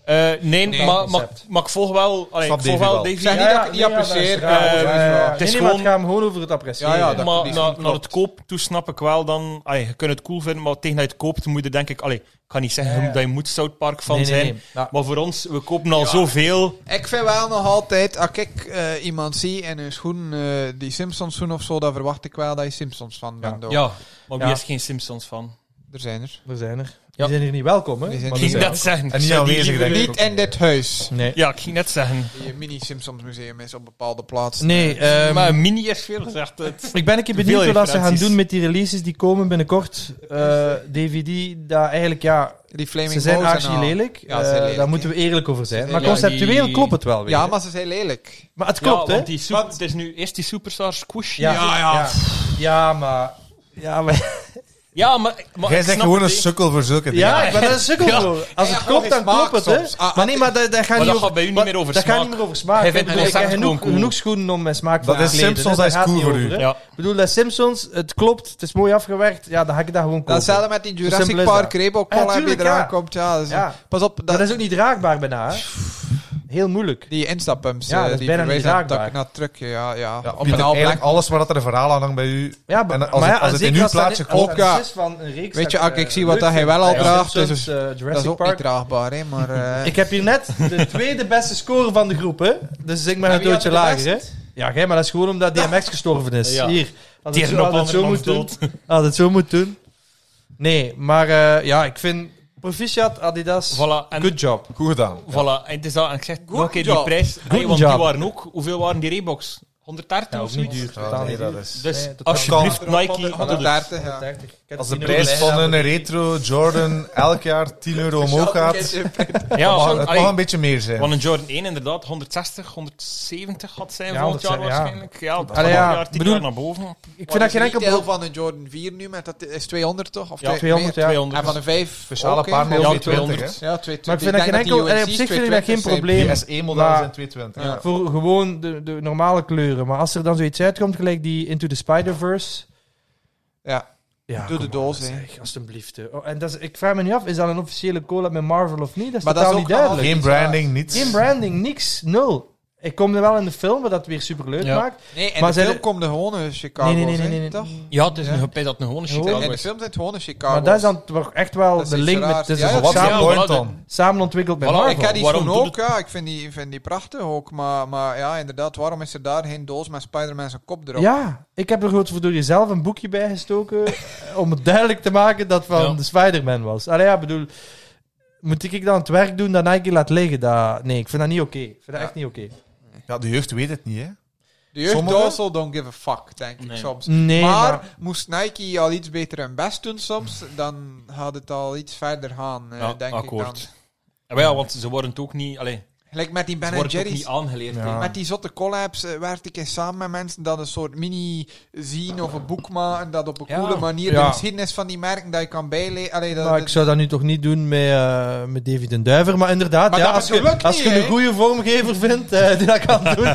D: Eh, nee,
C: Nee,
D: maar, maar,
A: concept.
D: maar ik volg wel... Allee,
B: Snap
D: ik volg
B: Davy
D: wel
B: wel.
C: Ik
D: Davy.
C: zeg niet
A: Ja,
C: dat
A: ja,
C: ik die
A: nee, ja,
C: apprecieer.
A: dat is raar,
C: eh,
A: dat is raar.
D: het is
A: Nee, maar
D: gewoon-
A: het gaat hem gewoon over het appreciëren.
C: Ja, ja, dat-
D: maar
C: die
D: na-
C: klopt.
D: naar het koop toe snap ik wel dan... Allee, je kunt het cool vinden, maar tegen dat je het koopt moet je denk ik... Allee, ik kan niet zeggen
A: Ja, ja.
D: dat je moet South Park fan
A: Nee, nee,
D: zijn.
A: nee. Ja.
D: Maar voor ons, we kopen al zoveel.
C: Ik vind wel nog altijd, als ik eh, iemand zie in een schoen, eh, die Simpsons schoen of zo, dan verwacht ik wel dat je Simpsons fan bent. ook.
D: Ja, maar wie
A: Ja.
D: is geen Simpsons fan?
C: Er zijn er.
A: Er zijn er. Die
D: Ja.
A: zijn hier niet welkom, hè?
C: Die zijn
A: Maar
C: niet
A: er
D: Ging ik
A: zijn
D: net zeggen.
B: En niet
D: Zou die
B: aanwezig,
D: liever
B: denk ik.
D: niet-
C: Niet in dit huis.
A: er. Nee.
D: Ja, ik ging net zeggen.
C: Die mini-Simpsons museum is op bepaalde plaatsen.
A: Nee, ehm,
D: maar mini is veel gezegd. Het-
A: ik ben een keer
D: Te
A: benieuwd
D: veel
A: wat ze gaan
D: referenties.
A: doen met die releases die komen binnenkort. Eh, DVD, dat eigenlijk, ja,
C: Die Flaming
A: ze zijn
C: Mouse en
A: archi
C: al.
A: lelijk.
C: Ja, ze zijn
A: Eh,
C: lelijk,
A: daar
C: hè.
A: moeten we eerlijk over zijn.
C: Ze
A: Maar
C: zijn
D: lelijk.
A: conceptueel
D: Die-
A: klopt het wel weer.
C: Ja,
A: hè?
C: maar ze zijn lelijk.
A: Maar het
D: Ja,
A: klopt, hè?
D: want die super, het is nu eerst die superstar squish.
A: Ja.
D: ja,
A: Ja. ja, maar... Ja, maar...
D: Ja, maar, maar
B: Jij
D: ik
B: zegt
D: snap
B: gewoon een
D: het, hè.
B: sukkel voor zulke dingen.
A: Ja, ik ben een sukkel
D: Ja.
A: voor. Als
C: Ja,
A: het
C: ja,
A: klopt, dan
C: gewoon
A: klopt het,
C: smaak
A: hè?
C: soms. Ah,
A: Maar nee, maar daar daar gaat
D: Maar
A: niet
D: dat gaat bij u niet
A: maar-
D: meer over
A: daar
D: smaak.
A: gaat niet meer over smaak.
D: Hij
A: hè.
D: vindt
A: Ik bedoel, Ik
D: concept
A: heb genoeg,
D: gewoon cool.
A: genoeg schoenen om mijn smaak
B: Dat
A: van
B: is
A: te kleden,
B: Simpsons,
A: hè.
B: dat is
A: Daar gaat
B: cool
A: het niet
B: voor
A: over,
B: u.
A: hè.
D: Ja.
A: Ik bedoel, dat is Simpsons, het klopt, het is mooi afgewerkt. Ja, dan ga ik dat gewoon kopen.
C: Datzelfde met die Jurassic
A: simpel is
C: Park
A: dat.
C: Reebok
A: Ja,
C: Collar die
A: tuurlijk,
C: eraan
A: ja.
C: komt. Ja, dus-
A: Ja.
C: Pas op,
A: Dat,
C: dat,
A: is ook niet draagbaar bijna, hè? Heel moeilijk.
C: die instappumps.
A: Ja,
C: eh,
A: dat is
C: die
A: bijna
C: verwijzen
A: niet
C: naar het
A: draagbaar.
C: dak- naar het trucje. Ja, ja.
B: Ja,
C: op
B: Pieter,
C: een al
B: eigenlijk alles waar dat er een verhaal aan hangt bij u.
A: Ja, maar,
B: En als
A: maar
B: het-
A: ja,
B: als het
A: zeker
B: in uw
A: als dat
B: plaatje
A: niet- als dat
C: klopt, ja.
A: is van een reeks
C: Weet je,
A: dat,
C: als ik
A: eh,
C: zie wat
A: leuk
C: dat hij
A: vindt,
C: wel al
A: ja,
C: draagt,
A: Simpsons,
C: dus-
A: eh,
C: Dat is
A: Jurassic
C: ook niet
A: Park.
C: draagbaar, hè, maar... eh,
A: Ik heb hier net de tweede beste score van de groep, hè? Dus ik ben
C: En
A: een
C: wie had
A: doodje
C: de
A: lager, hè?
C: beste?
A: Ja, gij, maar dat is gewoon omdat DMX gestorven is.
D: Ja.
A: Hier. Had het
D: Tegen
A: zo,
D: op
A: had het zo
D: andermans
A: moeten doen.
D: dood.
A: Had het zo moeten doen. Nee, maar eh, ja, ik vind proficiat Adidas.
D: Voilà. En,
A: Good job.
B: Goed gedaan.
D: voilà. en het is dat. En ik zeg, nog een keer die
C: job.
D: prijs. Hey, want
A: job.
D: die waren ook... Hoeveel waren die Reeboks? 130
A: Ja,
D: of
A: ook niet
D: zoiets?
A: duur.
B: Ja,
A: Totaal
B: nee,
A: niet
B: dat
A: duur.
B: is-
D: Dus
A: Nee, totaal
D: alsjeblieft,
C: niet.
D: Nike, doe het.
C: 130, ja.
A: 130. Ik heb
B: Als de
A: het
B: prijs
A: hier
B: van
A: nog
B: een
A: liggen.
B: retro Jordan elk jaar 10 euro omhoog gaat,
D: Ja,
B: mag
D: want,
B: het
D: allee,
B: mag een beetje meer zijn.
D: want een Jordan 1 inderdaad, 160, 170 had zijn
A: Ja,
D: volgend jaar
A: 160, ja.
D: waarschijnlijk. Ja, dat
A: Allee,
D: gaat
A: ja,
D: nog een jaar, tien
A: bedoel-
D: jaar naar boven.
A: Ik vind dat geen enkel
C: deel
A: probleem.
C: van een Jordan 4 nu, met dat is 200 toch? Of
D: Ja,
C: twee-
A: 200,
C: meer?
A: ja.
D: 200.
C: En van een 5
B: Speciale paar
D: Ja,
B: miljoen
D: 200.
B: 220.
C: Ja, 220.
A: Maar ik vind dat geen enkel. en Op zich vind ik dat geen probleem.
B: Die SE-modellen
A: Maar-
B: zijn 220.
C: Ja.
B: ja.
A: Voor gewoon de, de normale kleuren. Maar als er dan zoiets uitkomt, gelijk die Into the Spider-Verse.
C: Ja,
A: Ja,
C: doe de doos hè.
A: Zeg, alstublieft. hè. Oh, en dat is, ik vraag me niet af, is dat een officiële collab met Marvel of niet? Dat is
C: Maar dat
A: totaal
C: is ook
A: niet duidelijk.
B: Geen branding, niets.
A: Geen branding, niks, nul. Ik kom er wel in de film, wat dat weer superleuk
D: Ja.
A: maakt.
C: Nee, en
A: Maar
C: de
A: zijn
C: film
A: er-
C: komt er gewoon een Chicago,
A: Nee, nee, nee, nee, nee, nee.
C: toch?
D: Ja, het is
C: Ja.
D: een gepijs dat een gewone Chicago
C: In de
D: is.
C: film zijn het gewoon een Chicago.
A: Maar dat is dan toch echt
C: Dat
A: wel
C: is
A: de
C: iets
A: link met...
C: raars.
A: Het is
C: Ja,
A: toch
C: ja,
A: wat
B: Wat
D: Ja,
B: is jouw
A: samen,
D: voilà,
B: point
D: dat-
B: dan?
A: samen ontwikkeld met
D: Voilà,
A: Marvel.
C: Oh, Ik heb die
D: Waarom
C: schoen
D: doet
C: ook, ja, ik vind die, vind die prachtig ook. Maar, maar ja, inderdaad, waarom is er daar geen doos met Spider-Man zijn kop erop?
A: Ja, ik heb er gewoon voor door jezelf een boekje bij gestoken eh, om het duidelijk te maken dat van
D: Ja.
A: de Spider-Man was. Allee, ja, bedoel, moet ik dan het werk doen dat Nike laat liggen? Dat, nee, ik vind dat niet oké. Ik vind dat
B: Ja.
A: echt niet oké.
B: Ja, de jeugd weet het niet, hè.
C: De jeugd
B: Sommigen-
C: also don't give a fuck, denk ik
D: Nee.
C: soms.
A: Nee,
C: maar,
A: maar-
C: moest Nike al iets beter hun best doen soms, dan had het al iets verder gaan, eh,
D: Ja,
C: denk ik
D: akkoord.
C: dan.
D: Ja, wel, want ze worden het ook niet, allee,
C: Gelijk met die
D: ze
C: Ben
D: worden het ook
C: Jerry's.
D: niet aangeleerd.
A: Ja.
D: hè.
C: Met die zotte collabs eh, werkte ik eens samen met mensen dat een soort mini zien of een boek maken, dat op een
D: Ja.
C: coole manier
A: Ja.
C: de geschiedenis van die merken dat je kan bijlezen. Allee, dat,
A: Maar
C: dat-
A: ik zou dat nu toch niet doen met, eh, met David en Duiver. Maar inderdaad,
C: Maar
A: ja,
C: dat
A: als je,
C: lukt
A: als
C: niet,
A: je een
C: hè?
A: goede vormgever vindt eh, die dat kan doen.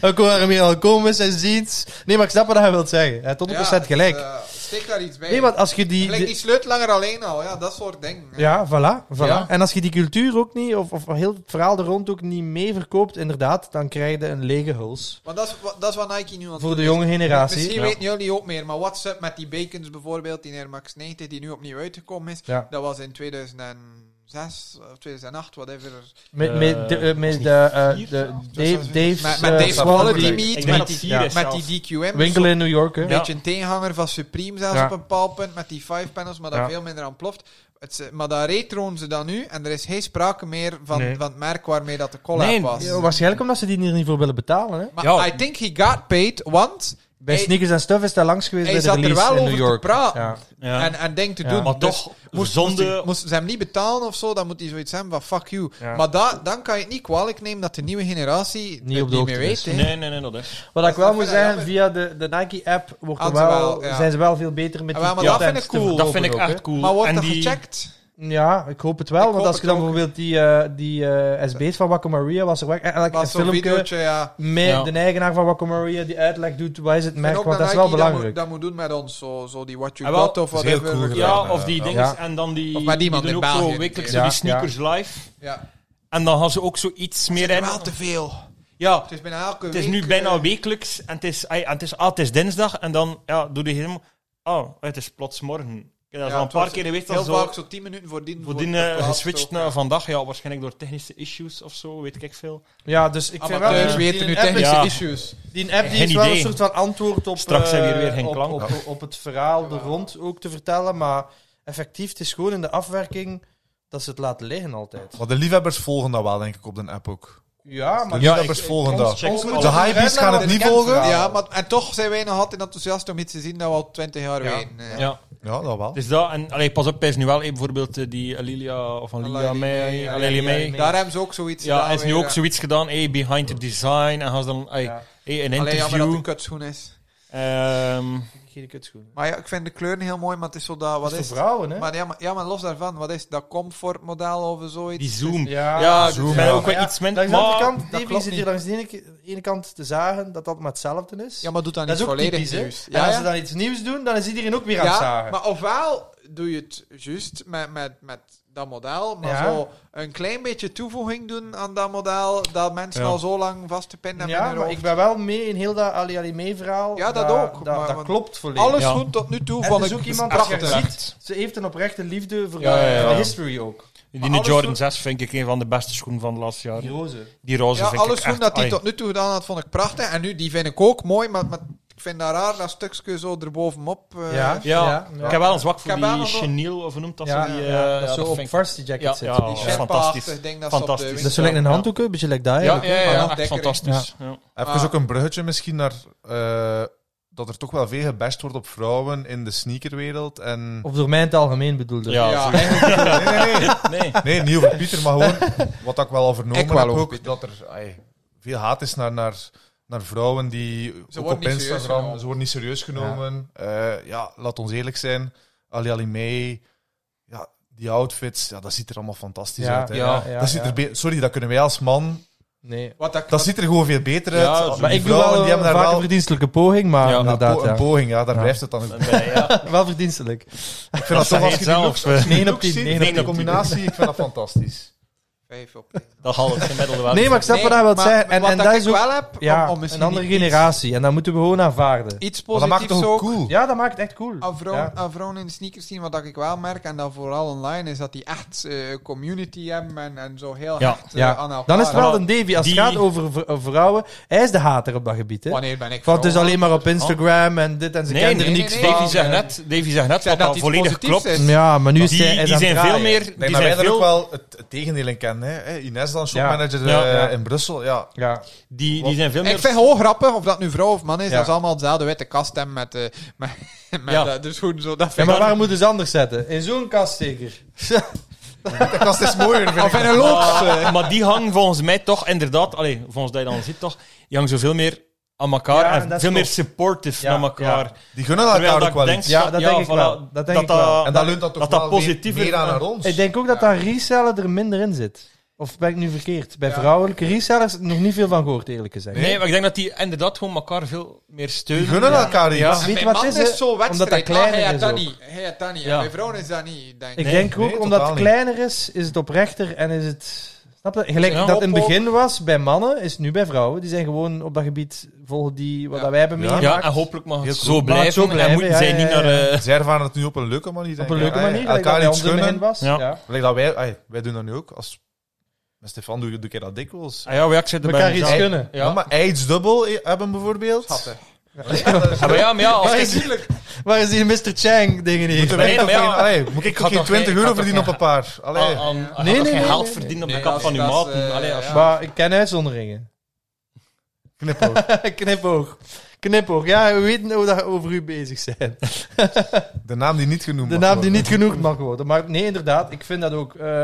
A: ook waar hij mee al komen is en ziet. Nee, maar ik snap wat hij wil zeggen. Hij heeft 100%
C: Ja, het,
A: gelijk.
C: eh, steek daar iets bij.
A: nee, want als je die...
C: Gelijk
A: die-
C: die sleutelanger alleen al, ja, dat soort dingen.
A: ja, voilà. voilà.
C: Ja.
A: En als je die cultuur ook niet, of, of heel het verhaal er rond ook niet mee verkoopt, inderdaad, dan krijg je een lege huls.
C: Want dat is, wa- dat is wat Nike nu aan het
A: Voor
C: doen
A: de
C: is.
A: jonge generatie.
C: Misschien
D: Ja.
C: weten jullie ook meer, maar what's up met die Bacons bijvoorbeeld, die Air Max 90, die nu opnieuw uitgekomen is.
A: Ja.
C: Dat was in 2006 of 2008, whatever.
A: Met,
D: Eh,
A: met, de, eh, met
D: is
A: de, eh,
D: niet vier
A: de
D: zelfs?
A: Dave, Dave's,
C: Met, met
A: eh,
C: Dave
A: Swallow
C: Apollo, die
A: Break.
D: Ik
C: meet,
D: denk
C: met
D: dat
C: die,
D: het vier is
C: met
D: zelfs.
C: die DQM.
A: Winkel in New York, hè.
C: Een
D: Ja.
C: beetje een tegenhanger van Supreme zelfs
A: Ja.
C: op een bepaald punt, met die five panels, maar dat
A: Ja.
C: veel minder aan ploft. Het, is- maar daar retroen ze dan nu, en er is geen sprake meer van,
A: Nee.
C: van het merk waarmee dat de collab
D: Nee,
C: was.
A: Ja, Waarschijnlijk omdat ze die hier niet voor willen betalen, hè.
C: Maar
D: Ja.
C: I think he got paid, want
A: Bij
C: Hij-
A: Sneakers en Stuff is daar langs geweest
C: hij
A: bij de
C: zat er
A: release
C: wel
A: in
C: over
A: New York.
C: te praten.
A: Ja.
D: Ja.
C: En, en denk te
A: Ja.
C: doen.
D: maar
C: Dus
D: toch,
C: moest,
D: zonde...
C: moest, hij- moesten ze hem niet betalen of zo, dan moet hij zoiets hebben van fuck you.
A: Ja.
C: Maar da, dan kan je het niet kwalijk nemen dat de nieuwe generatie het
A: Niet op de
C: meer
A: hoogte
C: weet.
A: is.
C: hè.
D: nee, nee, nee, dat is.
A: Wat
C: Dat
A: ik wel
C: vind
A: moet
C: ik
A: zeggen,
C: jammer.
A: via de, de Nike-app wordt er
C: Hadden ze
A: wel,
C: wel, ja.
A: zijn ze wel veel beter met
C: Ja,
A: die
C: maar dat
A: contents
C: vind ik
A: te
C: cool.
A: verkopen
D: Dat vind ik
A: ook, hè.
D: echt cool.
C: Maar wordt
D: En
C: dat
D: die-
C: gecheckt?
A: Ja, ik hoop het wel.
C: Ik
A: want
C: hoop
A: als je
C: het
A: dan
C: ook.
A: bijvoorbeeld die, eh die eh SB's van Wacko Maria was er wel eh, elk
C: Maar zo'n
A: filmpje
C: videootje, ja.
A: met
D: Ja.
A: de eigenaar van Wacko Maria die uitleg doet, wat is het
C: En
A: merk,
C: ook
A: want dat is
C: Nike
A: wel
C: Dat moet,
A: belangrijk.
C: dat moet doen met ons, zo, zo die what you
D: Ah, wel,
C: got of
B: dat is heel
C: whatever.
B: cool
C: we-
B: gedaan.
D: Ja, of die
B: Ja.
D: dingen.
A: Ja.
D: En dan die,
C: Of maar die man
D: doen
C: in
D: ook
C: België,
D: zo wekelijks
A: ja.
D: die sneakers live.
C: Ja.
D: En dan gaan ze ook zoiets
C: Zit
D: meer
C: er
D: in.
C: wel te veel.
D: Ja,
C: Het is bijna elke
D: het is
C: week,
D: nu bijna
C: eh,
D: wekelijks. En het is, ai, en het is, ah, het is dinsdag. En dan ja, doe je helemaal... Oh, het is plots morgen. Ik heb dat
C: ja,
D: al een
C: het
D: paar
C: was
D: keer geweest.
C: Heel
D: dat zo-
C: vaak zo 10 minuten voordien.
D: Voordien
C: wordt
D: eh,
C: geplaatst
D: geswitcht
C: ook,
D: naar
C: ja.
D: vandaag, ja, waarschijnlijk door technische issues of zo, weet ik echt veel.
A: Ja, dus ik vind wel...
C: Amateurs
D: eh,
C: weten nu
A: die app is-
C: technische
D: Ja.
C: issues.
A: Die app die
D: Geen
A: is wel
D: idee.
A: een soort van antwoord op...
D: Straks
A: eh,
D: hebben we hier weer geen
A: op-
D: klank.
A: Op, op, het verhaal er rond ook te vertellen, maar effectief, het is gewoon in de afwerking dat ze het laten liggen altijd.
B: Maar de liefhebbers volgen dat wel, denk ik, op de app ook.
A: Ja, maar...
B: De liefhebbers volgen dat.
D: check
A: Ons
D: ook
A: moet
D: al.
B: De
A: je
B: hypebeasts gaan het
A: eruit
B: niet
A: laten
B: volgen.
A: kennen.
C: Ja, maar, en toch zijn wij nog altijd enthousiast om iets te zien dat we al 20 jaar
A: Ja.
C: weten. eh.
D: Ja,
B: Ja, dat wel.
D: dus dat. En allee, pas op, hij is nu wel eh, bijvoorbeeld eh, die Alilia of Alilia
C: Alilia
D: mee.
C: May,
D: Alilia
A: Alilia
D: May.
A: May.
C: Daar hebben ze ook zoiets
D: Ja, hij is nu
C: weer,
D: ook
C: eh.
D: zoiets gedaan, eh, behind the design. En gaan ze dan eh,
A: Ja.
D: eh, een
C: Alleen jammer dat het een
D: interview.
C: kutschoen is.
D: Ehm,
A: Geen kutschoenen.
C: Maar ja, ik vind de kleuren heel mooi, maar het is zo dat... Wat
A: Dat is
C: is
A: voor vrouwen, hè?
C: maar, ja, maar, ja, maar los daarvan, wat is dat comfortmodel of zoiets?
D: die Zoom.
A: Ja,
D: Ja,
A: zo.
D: ik ben ook wel iets minder.
A: Langs de andere
D: Maar
A: kant,
C: dat
A: Davy
C: klopt
A: zit
C: niet.
A: hier langs de ene, ke- ene kant te zagen dat dat maar hetzelfde is.
C: Ja, maar doet dat,
A: dat is
C: niet
A: ook
C: volledig
A: typisch, hè?
C: nieuws.
A: en
C: Ja,
A: als
C: ja.
A: ze dan iets nieuws doen, dan is iedereen ook weer aan het
C: ja
A: zagen.
C: maar ofwel doe je het juist met, met, met dat model, maar
A: Ja.
C: zo een klein beetje toevoeging doen aan dat model, dat mensen
D: Ja.
C: al zo lang vastgepind hebben
A: ja,
C: in hun
A: maar
C: hoofd.
A: ik ben wel mee in heel dat Ali Ali mee verhaal.
C: Ja, dat ook,
A: Dat,
C: maar-
A: dat
C: want
A: klopt volledig.
C: Alles
D: Ja.
C: goed tot nu toe,
A: En
C: vond
A: er is
C: ik
A: ook iemand
C: prachtig.
A: dat je ziet, ze heeft een oprechte liefde voor
D: Ja,
A: de-
D: ja, ja.
A: de history ook.
D: Die
A: Maar
D: de
A: alles
D: Jordan
A: doet-
D: 6 vind ik een van de beste schoenen van het laatste jaar.
A: Die roze.
D: Die roze
C: Ja,
D: vind
C: alles
D: ik
C: goed
D: echt...
C: dat hij
D: ai.
C: tot nu toe gedaan had, vond ik prachtig. En nu, die vind ik ook mooi, maar, maar ik vind dat raar, dat stukje zo erbovenop. eh
A: Ja.
D: Ja,
A: Ja, ja.
D: ik heb wel een zwak voor
C: Ik heb wel
D: die
C: nog-
D: chenille, of hoe noemt dat?
A: Ja,
D: zo, die,
A: ja,
D: eh,
A: ja, dat
D: ja,
A: zo
D: dat
A: op
D: vind ik-
A: varsity jacket
D: Ja,
A: zit.
D: ja,
C: Die
D: ja,
C: sherpa-achtig
D: fantastisch.
C: ding dat ze op de
D: Fantastisch.
A: Dat is
C: winkel-
A: zo lijkt een handdoek, hè, een beetje like dat
D: Ja,
A: eigenlijk.
D: ja,
C: Maar
D: ja,
C: nog
D: echt
C: dikker, hè.
D: fantastisch. Ja.
B: Even
C: Ah.
B: ook een bruggetje misschien naar... eh, dat er toch wel veel gebest wordt op vrouwen in de sneakerwereld. En...
A: Of door mij in het algemeen bedoelde.
D: Ja,
C: Ja.
D: sowieso.
B: Nee, nee, nee.
D: Nee.
B: Nee, niet over Pieter, maar gewoon wat ik wel al vernomen
C: Ik wel
B: heb
C: over
B: ook, dat er ai, veel haat is naar, naar, naar vrouwen die ook
C: worden
B: op
C: niet serieus
B: Instagram,
C: genomen.
B: ze worden niet serieus genomen. Ja, ja laat ons eerlijk zijn, Ali Ali May, ja, die outfits, ja, dat ziet er allemaal fantastisch
A: Ja,
B: uit. hè.
A: ja,
B: dat
A: ja,
B: ziet
A: ja.
B: er be- Sorry, dat kunnen wij als man,
A: Nee.
C: Wat dat,
B: dat ziet er gewoon veel beter uit.
D: Ja,
B: Al die
A: Maar ik doe wel
B: vrouwen, die
A: een,
B: hebben
A: vaak
B: daar
A: een
B: wel
A: verdienstelijke poging, maar
D: Ja.
B: ja,
A: inderdaad,
B: po- een
A: ja.
B: poging, ja, daar
A: Ja.
B: blijft het dan. ook.
D: Ja.
A: Wel verdienstelijk.
B: Ik vind
D: Dat
B: dat toch, als
D: zei
B: je die
D: zelf,
B: looks-
D: eh.
B: die
A: Negen op
B: looks
A: tien,
B: ziet,
A: negen
D: op
B: die
D: tien.
B: combinatie, ik vind dat fantastisch.
C: vijf op.
D: Dat haal ik gemiddelde wel.
A: Nee, maar ik snap wat hij wil zeggen. En,
C: wat
A: en
C: dat
A: dat
C: ik
A: is ook
C: wel heb,
A: ja,
C: om, om misschien
A: een andere
C: iets-
A: generatie. En dat moeten we gewoon aanvaarden.
C: Iets
B: Maar dat maakt
C: positiefs
B: toch ook
C: ook.
B: cool?
A: Ja, dat maakt het echt cool.
C: Aan vrouwen,
A: Ja.
C: aan vrouwen in de sneakers zien, wat dat ik wel merk, en dan vooral online, is dat die echt eh, community hebben en, en zo heel
D: Ja,
C: hecht eh, aan
A: Ja.
C: elkaar.
A: Dan is het wel
D: Maar
A: een Davy. Als het
D: die-
A: gaat over vr- vrouwen, hij is de hater op dat gebied. Hè?
C: Wanneer ben ik
A: Want het is
C: vrouw?
A: alleen maar op Instagram en dit en ze
D: Nee,
A: kennen
D: nee,
A: er
C: nee,
A: niks
C: nee.
A: van.
D: Davy
C: van,
D: zegt
C: eh,
D: net, Davy zegt net
C: zeg dat
D: wat dat
C: iets
D: volledig
C: positiefs
D: klopt.
C: is.
A: Ja, maar nu is hij
D: Die,
A: hij is
D: die
A: aan het
D: zijn veel
A: draaien.
D: meer...
B: Nee,
D: Die
B: maar
D: zijn
B: wij er ook
D: veel,
B: wel het, het tegendeel in kennen. Hè. Hè, Ines dan, shopmanager
A: Ja.
B: eh,
A: Ja.
B: in Brussel. Ja.
A: Ja.
D: die, die zijn veel meer...
C: Ik vind gewoon grappig, of dat nu vrouw of man is,
A: Ja.
C: dat is allemaal dezelfde witte kast hebben met, eh met, met
D: Ja.
C: eh, de schoenen zo. Dat
A: Ja,
C: vind ik
A: maar waarom moeten ze anders zetten? In zo'n kast zeker.
B: De kast is mooier, vind
C: Of
B: ik.
C: in een loods.
D: Maar-
C: eh.
D: maar die hangen volgens mij toch inderdaad, allee, volgens dat je dan ziet toch, die hangen zoveel meer aan elkaar
A: Ja,
D: en
A: dat
D: veel
A: klopt.
D: meer supportive
A: Ja,
D: naar elkaar.
A: ja.
B: Die gunnen
D: Terwijl
B: elkaar
D: dat
B: ook wel
D: ik denk,
B: iets.
A: Ja, dat denk ik
D: voilà,
A: wel. Dat denk ik
D: dat,
A: wel.
B: En dan leunt dat toch
D: dat dat
B: wel meer-
D: positiever
B: meer aan
D: is.
B: naar ons.
A: Ik denk ook dat daar resellen er minder in zit. Of ben ik nu verkeerd? Bij
C: Ja.
A: vrouwelijke resellers nog niet veel van gehoord, eerlijk gezegd.
D: Nee, maar ik denk dat die inderdaad gewoon elkaar veel meer
B: Die
D: steunen.
B: gunnen
D: Ja.
B: elkaar
A: Ja.
B: iets.
A: Weet je
C: Mijn
A: wat
C: man
A: het is, hè?
C: zo
A: Omdat dat
C: wedstrijd. Ah,
A: kleiner
C: hij had
A: is
C: dat
A: ook.
C: niet. Hij had dat niet.
D: Ja.
C: En bij vrouwen is dat niet, denk
A: Ik
C: ik.
D: Nee,
A: denk ook,
B: nee,
A: omdat het
B: totaal
A: kleiner is, is het oprechter en is het... Snap je? Gelijk
D: Ja.
A: dat in het begin was bij mannen, is het nu bij vrouwen. Die zijn gewoon op dat gebied volgen die wat
C: Ja.
A: dat wij hebben
B: Ja.
A: meegemaakt.
D: Ja, en hopelijk mag
B: Heel
D: het
B: cool.
D: zo
A: Mag het
D: blijven.
A: zo blijven,
D: en moeten
A: ja,
D: zij
A: ja,
D: niet
A: ja.
D: naar... eh,
B: Zij ervaren het nu op een leuke manier.
A: Op
B: denk
A: een
B: ik.
A: leuke
B: Ah, ja.
A: manier, gelijk dat
B: Elkaar
A: bij
B: iets
A: ons in het begin
B: gunnen.
A: was.
D: Ja.
A: Ja.
B: Gelijk dat wij, ah, wij doen dat nu ook. Als, met Stefan doe, doe ik dat dikwijls.
D: ah ja, maar ja, ik zit er bij
A: Elkaar iets
D: mezelf.
A: kunnen.
B: Ja. maar aids dubbel i- hebben bijvoorbeeld.
C: Schatten.
D: Ja, maar ja, maar ja, als
A: Waar
D: ik-
A: is, waar is die Mr. Chang dingen
B: Moeten
A: hier?
B: wij
D: Nee,
B: toch
D: maar ja,
B: geen- allee, moet ik
D: ga
B: toch geen
D: toch
B: 20
D: geen- Ah,
B: euro
D: ik ga
B: verdienen op
D: toch
B: een paar? Allee.
D: aan- aan-
A: Nee,
D: je gaat
A: nee,
D: geen
A: nee,
D: geld
A: nee.
D: verdienen op
C: Nee,
D: de kant
C: als
D: van je
C: dat,
D: maten.
C: eh,
D: Allee, als je-
C: ja.
A: Maar ik ken uitzonderingen.
B: Knipoog.
A: Knipoog. Knipoog. Ja, we weten hoe dat over u bezig zijn.
B: De naam die niet genoemd
A: De
B: mag
A: naam die
B: worden.
A: niet genoeg mag worden. Maar nee, inderdaad, ik vind dat ook. eh,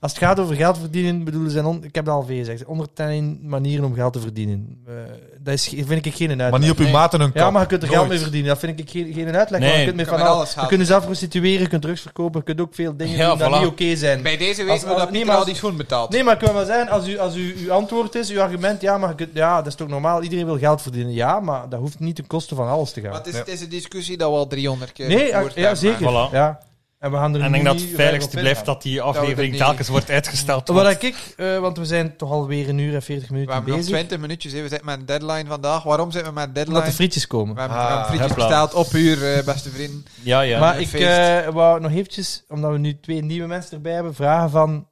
A: als het gaat over geld verdienen, bedoelen zijn. On, ik heb dat al veel gezegd. 110 manieren om geld te verdienen. Eh, dat is, ge- vind ik geen uitleg.
B: Maar niet op uw maten een kap.
A: ja, maar je kunt er geld
B: Nooit.
A: mee verdienen. Dat vind ik geen, geen uitleg.
D: Nee,
A: want je kunt mee
C: kan
A: van
C: met
A: alles
C: alles
A: Je
C: gaan.
A: kunt jezelf prostitueren, je kunt drugs verkopen, je kunt ook veel dingen
D: Ja,
A: doen dat
D: voilà.
A: niet oké zijn.
C: Bij deze
A: Als-
C: weten we
A: als
C: dat
A: het niet
C: niet
A: maar-
C: al die schoen betaalt.
A: Nee, maar ik wil maar zeggen, als, u, als u, uw antwoord is, uw argument, ja, maar je kunt- ja, dat is toch normaal, iedereen wil geld verdienen. Ja, maar dat hoeft niet ten koste van alles te gaan.
C: Maar het is,
B: Ja.
C: het is een discussie dat we al 300 keer
A: Nee, ja,
C: gevoerd
A: ja,
C: hebben,
A: zeker.
D: Voilà.
A: Ja. En we gaan er
D: En ik
A: nu
D: denk dat
A: niet
D: het
A: verder op
D: veiligste
A: in
D: blijft
A: gaan.
D: dat die
C: we
D: aflevering
C: er niet-
D: telkens wordt uitgesteld.
A: Wat
D: wordt.
A: ik, eh, want we zijn toch alweer een uur en 40
C: We
A: minuten
C: hebben nog
A: bezig.
C: 20 minuutjes. hè. We zitten met een deadline vandaag. Waarom zitten we met een
A: Omdat
C: deadline?
A: de frietjes komen.
C: we hebben
B: Ah,
C: we hebben frietjes
D: hopla.
C: betaald op uur, eh, beste vrienden.
D: Ja, ja.
A: maar
C: een
A: ik
C: feest.
A: eh, wou nog eventjes, omdat we nu twee nieuwe mensen erbij hebben, vragen van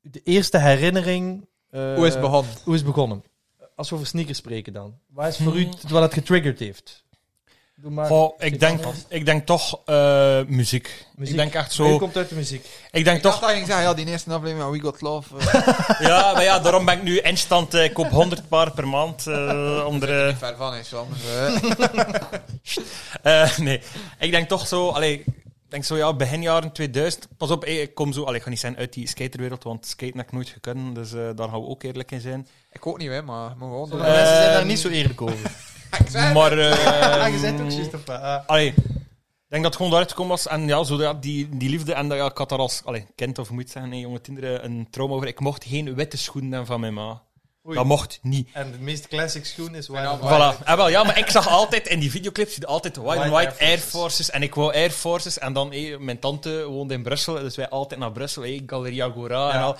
A: de eerste herinnering. eh,
C: Hoe is het begonnen?
A: hoe is het begonnen? Als we over sneakers spreken dan. Waar is voor
D: Hmm.
A: u het, wat het getriggerd heeft? Doe maar.
D: Goh, ik, denk,
A: Vast.
D: ik denk toch eh, muziek.
A: Muziek.
D: Ik denk echt
A: U
D: zo.
A: komt uit de muziek.
D: Ik denk
C: Ik dacht
D: toch.
C: dat je ging zeggen, ja, die eerste aflevering van We Got Love. eh,
D: Ja, maar ja, daarom ben ik nu instant. eh, ik koop 100 paar per maand. eh, om er, eh,
C: ver van is soms. eh.
D: eh, nee, ik denk toch zo. Allee, ik denk zo, ja, begin jaren 2000. Pas op, eh, ik kom zo. Allee, ik ga niet zijn uit die skaterwereld, want skaten heb ik nooit gekund. Dus eh, daar gaan we ook eerlijk in zijn.
C: Ik ook niet, hè, maar ik moet gewoon doen.
A: Sommige mensen zijn daar
D: Ehm,
A: niet zo eerlijk over.
C: Ik zei het.
D: Maar. eh,
A: op. Ah.
D: Allee, ik denk dat het gewoon daaruit gekomen was. En ja, zo, ja, die, die liefde. En dat, ja, ik had daar als allee, kind of moet zeggen, nee, jonge kinderen, een trauma over. Ik mocht geen witte schoenen hebben van mijn ma.
A: Oei.
D: Dat mocht niet.
A: En de meest classic schoen is waar.
C: Ja, maar-
D: Voilà. En wel, ja, maar ik zag altijd in die videoclips zie je altijd white and
A: White
D: white
A: Air
D: Air Forces. En ik wou Air Forces. En dan, hé, mijn tante woonde in Brussel. Dus wij altijd naar Brussel, hé, Galeria Gora. en, al.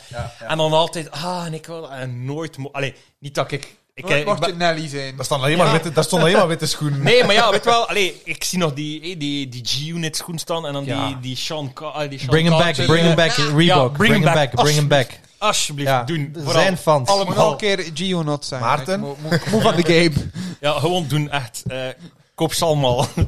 D: en dan altijd, ah, en ik wil. En nooit. mo- Allee, niet dat ik. ik, eh, ik
C: mocht
D: ben-
C: je Nelly zijn.
B: Daar staan alleen maar witte- daar stonden alleen maar witte schoenen.
D: Nee, maar ja, weet wel. Allee, ik zie nog die, eh, die, die G-Unit schoen staan en dan
A: Ja.
D: die, die Sean... Ca- ah, die Sean
A: Bring hem back,
D: Carter. eh,
A: bring hem back, Reebok.
D: bring
A: bring hem
D: hem
A: back,
D: back,
A: bring hem back.
D: Alsjeblieft,
A: Ja,
D: doen.
A: er
D: Vooral.
A: zijn fans.
C: Moet
D: Allemaal.
C: nog een keer Gio-not zijn.
B: Maarten?
C: Ik moet- moet- Moet van de game.
D: Ja, gewoon doen, echt. Eh, koop ze allemaal.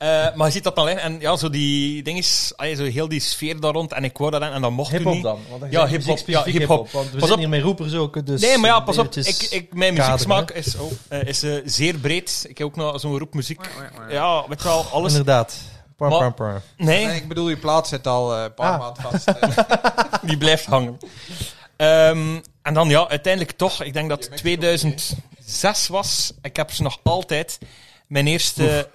D: Eh, maar je ziet dat dan in. En ja, zo die ding is... allee, zo heel die sfeer daar rond. En ik hoor dat dan. En dat mocht toen
A: Hip-hop
D: niet.
A: dan. Want dan
D: Ja,
A: zeg je
D: hip-hop,
A: specifiek
D: ja, hip-hop.
A: Want we
D: Pas
A: zijn
D: op.
A: hier met roepers ook, dus...
D: Nee, maar ja, pas op. Ik,
A: eventjes-
D: ik, mijn
A: kaderen,
D: muzieksmaak is, oh, eh, is eh, zeer breed. Ik heb ook nog zo'n roep muziek. Ja, weet je wel, alles.
A: Inderdaad. Par,
D: Maar-
A: par, par.
D: Nee.
C: En ik bedoel, je plaat zit al eh, een paar
A: Ah.
C: maanden vast. eh.
D: Die blijft hangen. Ehm, en dan ja, uiteindelijk toch. Ik denk dat het 2006 was. Ik heb ze nog altijd. Mijn eerste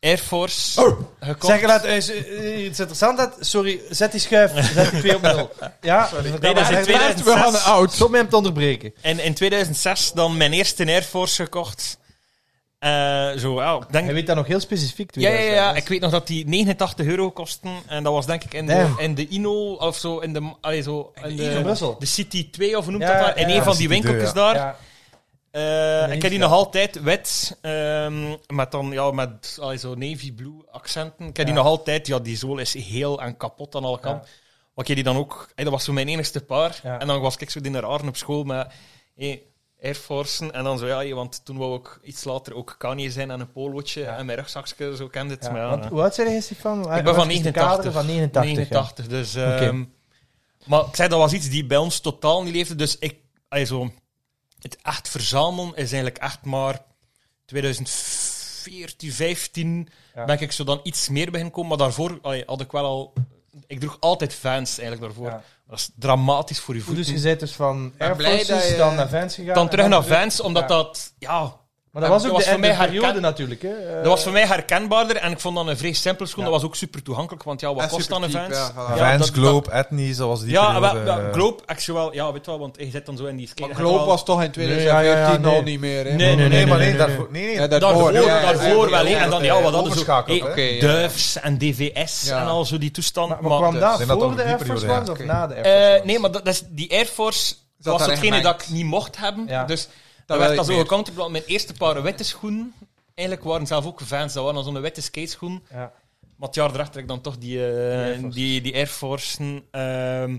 D: Air Force gekocht.
A: Oh, Zeg, laat, eh, is, eh, iets interessants dat... Sorry, zet die schuif. Zet die 2 op nul. Ja, sorry.
D: Nee, dat is in
C: We gaan
D: 2006.
C: oud.
A: Stop met hem te onderbreken.
D: En in 2006 dan mijn eerste Air Force gekocht. Eh, zo, ja, ik denk...
A: Hij weet dat nog heel specifiek.
D: Ja, ja, ja,
A: 2000.
D: ik weet nog dat die 89 euro kosten. En dat was denk ik in de,
A: Damn.
D: in de Ino of zo. In de, allee, zo, in
A: Hier in
D: de,
A: Brussel.
D: eh, de City 2 of hoe noemt
A: Ja,
D: dat? daar? In
A: ja,
D: een
A: ja.
D: van die
B: City 2,
D: winkeltjes
B: ja.
D: daar.
A: Ja.
D: Eh,
A: Nee,
D: ik heb die
A: ja.
D: nog altijd wit, ehm, met dan ja, met allee, zo navy blue accenten. Ik heb
A: Ja.
D: die nog altijd, ja, die zool is heel en kapot aan alle kanten. Maar ik heb die dan ook, hey, dat was zo mijn enigste paar.
A: Ja.
D: En dan was ik zo in de raren op school met hey, Air Force'en. En dan zo, ja, hey, want toen wou ik iets later ook Kanye zijn en een polootje en mijn rugzakje, zo kende het.
A: Ja,
D: maar ja,
A: want
D: ja.
A: hoe oud zei je van?
D: Ik ben van 89.
A: dus van 89.
D: 89, dus... ehm, Maar ik zei, dat was iets die bij ons totaal niet leefde. Dus ik, allee, zo, het echt verzamelen is eigenlijk echt maar 2014, 15
A: Ja.
D: ben ik zo dan iets meer beginnen komen. Maar daarvoor allee, had ik wel al... Ik droeg altijd fans eigenlijk daarvoor.
A: Ja.
D: Dat is dramatisch voor je
A: Goed,
D: voeten.
A: dus je bent dus van
C: ben
A: Air
C: blij dat
A: Forces
C: je-
A: dan naar Vans gegaan.
D: eh, dan
A: en
D: terug naar fans, omdat
A: Ja.
D: dat... Ja,
A: Maar dat
D: Ja,
A: was ook
D: dat was
A: de
D: voor mij
A: einde
D: herken-
A: periode natuurlijk. Hè? Eh,
D: dat was voor mij herkenbaarder. En ik vond dan een vrij simpele schoen.
A: Ja.
D: Dat was ook super toegankelijk, want ja, wat
C: En
D: kost dan een
C: supercheap,
D: fans?
C: ja, voilà.
D: dat-
B: Vans,
D: dat-
B: Globe, Etnies, dat was die
D: Ja, wel,
B: periode. eh,
D: wel, Globe, actueel, wel, ja, weet je wel, want je zit dan zo in die skate.
C: Maar Gloop was toch in
A: ja,
C: 2014
A: ja, ja, nee.
C: al niet meer, hè?
D: Nee,
B: Nee,
C: Maar-
B: nee,
A: Nee,
B: maar
A: nee,
B: nee,
A: nee,
B: daarvoor... Nee,
C: Ja,
B: nee.
D: Daarvoor,
C: ja, ja,
D: daarvoor
C: ja,
D: wel, hè.
C: ja,
D: En dan,
C: ja,
D: ja, wat hadden zo...
B: Overschakeld,
D: hey,
B: hè.
C: Oké, ja.
D: Durfs en DVS
C: Ja.
D: en al zo die toestand.
A: maar,
D: Maar,
A: maar kwam dat
B: Zijn dat
A: voor
B: dan
A: de
B: die
A: Air Force
B: periode,
A: Ones
C: ja?
A: of
C: Oké.
A: na de Air
D: Eh,
A: Force Ones?
D: nee, maar dat, dat is, die Air Force
C: daar
D: was hetgene
C: gemengd?
D: dat ik niet mocht hebben.
A: Ja.
D: Dus
C: wil
D: dat werd
C: ik
D: dan zo
C: meer.
D: gecounterd. Mijn eerste paar witte schoenen, eigenlijk waren zelf ook fans. Dat waren dan zo'n witte skateschoen.
A: Ja.
D: Maar het jaar erachter heb ik dan toch die,
A: Air
D: eh
A: Force.
D: die, die Air Force'en. ehm,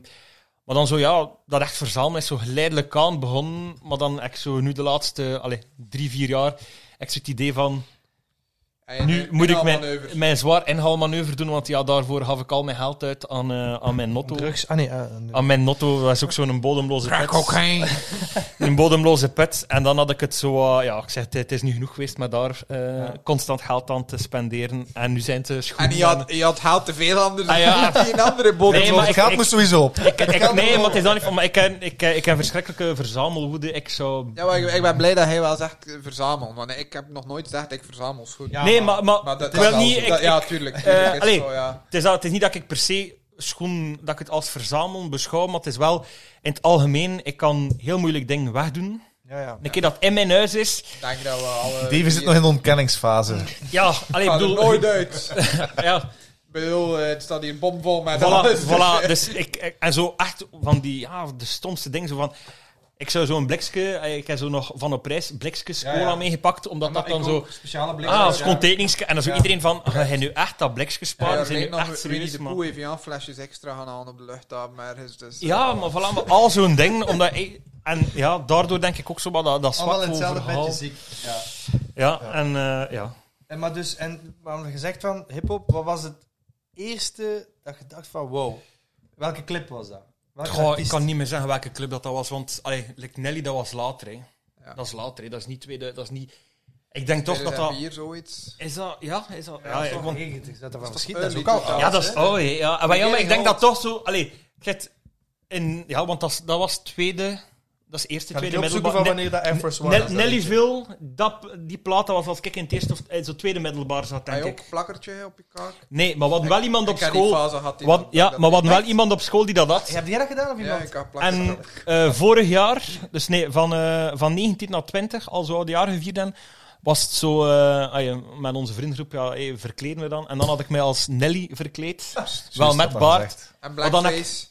D: maar dan zo, ja, dat echt verzamelen is zo geleidelijk aan begonnen. Maar dan heb ik zo nu de laatste allee, drie, vier jaar, heb ik zo het idee van...
C: En
D: Nu
C: een
D: moet ik mijn,
C: inhaalmanoeuvre.
D: mijn zwaar inhaalmanoeuvre doen, want ja, daarvoor gaf ik al mijn geld uit aan, eh, aan mijn notto.
A: Drugs. Ah nee. eh, nee.
D: Aan mijn notto, dat is ook zo'n bodemloze
C: Raak ook
D: pet.
C: geen.
D: Een bodemloze pet. En dan had ik het zo, eh, ja, ik zeg, het- het is nu genoeg geweest met daar eh,
A: Ja.
D: constant geld aan te spenderen. En nu zijn het
C: En
D: schoenen.
C: je had, je had haalt te veel anderen.
D: Ah, ja.
C: die een andere bodem.
D: Nee,
B: maar
D: maar
B: het
D: ik-
B: geld
D: ik-
B: moest sowieso op.
D: Ik, ik- nee, maar het is dan niet van, maar ik heb, ik, eh, ik heb verschrikkelijke verzamelwoede. Ik zou...
C: Ja, maar ik, ik ben blij dat hij wel zegt eh, verzamel. Want ik heb nog nooit gezegd ik verzamel schoenen.
A: Ja,
D: nee, maar, maar,
C: Maar dat
D: ik
C: is
D: wil
C: wel
D: niet...
C: zo.
D: ik-
C: Dat- ja,
D: ik-
C: tuurlijk.
D: eh,
C: tuurlijk is het
D: allee.
C: zo, ja.
D: het, is, al- het is niet dat ik per se schoen, dat ik het als verzamelen beschouw, maar het is wel in het algemeen, ik kan heel moeilijk dingen wegdoen.
A: Ja, ja.
D: Een keer dat in mijn huis is,
C: Ik denk dat we alle...
B: Dave zit nog in de ontkenningsfase.
D: ja, allee, ik
C: Gaat er
D: bedoel...
C: nooit uit. Ik
D: Ja,
C: bedoel, eh, het staat hier bomvol met
D: voilà,
C: alles.
D: voilà. Dus ik, ik- en zo echt van die, ja, de stomste dingen, zo van... Ik zou zo'n blikske, eh, ik heb zo nog van op prijs blikskes
A: Ja,
D: cola
A: ja.
D: meegepakt, omdat dat dan zo...
A: speciale blik.
D: Ah,
C: ja.
D: schoon tekeningske. En dan zo
A: Ja.
D: iedereen van, ga je nu echt dat blikske
C: Ja,
D: sparen?
C: er
D: Zijn
C: lijkt
D: nu
C: nog
D: echt
C: Winnie
D: serieus,
C: de
D: man?
C: Pooh even aan flesjes extra gaan halen op de luchthaven ergens. Dus, eh,
D: Ja, maar voilà, maar al zo'n ding. Omdat ik- en ja, daardoor denk ik ook zo wat dat, dat zwak
A: Allemaal in
D: voor
A: hetzelfde
D: verhaal.
A: bedje ziek. Ja.
D: Ja, en eh, ja.
A: En maar dus, en we hebben gezegd van hip-hop, wat was het eerste dat je dacht van wow? Welke clip was dat? Welke
D: Goh, ik
A: artiest?
D: kan niet meer zeggen welke club dat, dat was, want allee, like Nelly, dat was later. Hè.
C: Ja.
D: Dat is later, hè. dat is niet tweede, dat is niet... Ik denk toch dat dat...
C: 2004 zoiets.
D: Is dat... Ja, is dat...
A: Ja,
D: Ja,
A: ja,
D: ja, want-
A: dat er van
C: toch
A: schiet, dat is ook
C: early
A: al oud,
D: ja, dat
A: hè?
D: is... Oh, hè, ja. Maar, ja, maar ik denk dat
A: Hoofd.
D: toch zo... Allee, kijk, in, ja, want dat, is- dat was tweede... Dat is eerste,
A: Ga ik
D: tweede
A: opzoeken
D: middelbaar-
A: van
D: Ne-
A: wanneer dat Air Force One
D: Nel-
A: is, dat weet je.
D: Nellyville, dat, die plaat dat was als ik in het eerste of eh, zo tweede middelbaar zat,
C: Hij
D: denk
C: ook
D: ik.
C: een plakkertje op je kaart.
D: Nee, maar we hadden wel iemand op
C: Ah, Ik heb die
D: school...
C: fase gehad. die
D: Wat,
C: dat-
D: ja,
C: dat-
D: maar we hadden wel
C: Echt?
D: iemand op school die dat had.
A: Heb jij dat gedaan of
C: Ja,
A: iemand?
C: ik had plakkertje.
D: En eh, vorig jaar, dus nee, van, eh, van 19 naar 20, al zo oude jaar gevierd en was het zo, eh, ah ja, met onze vriendengroep, ja, hey, verkleden we dan. En dan had ik mij als Nelly verkleed, wel met baard.
C: En
D: Maar dan-
C: blackface.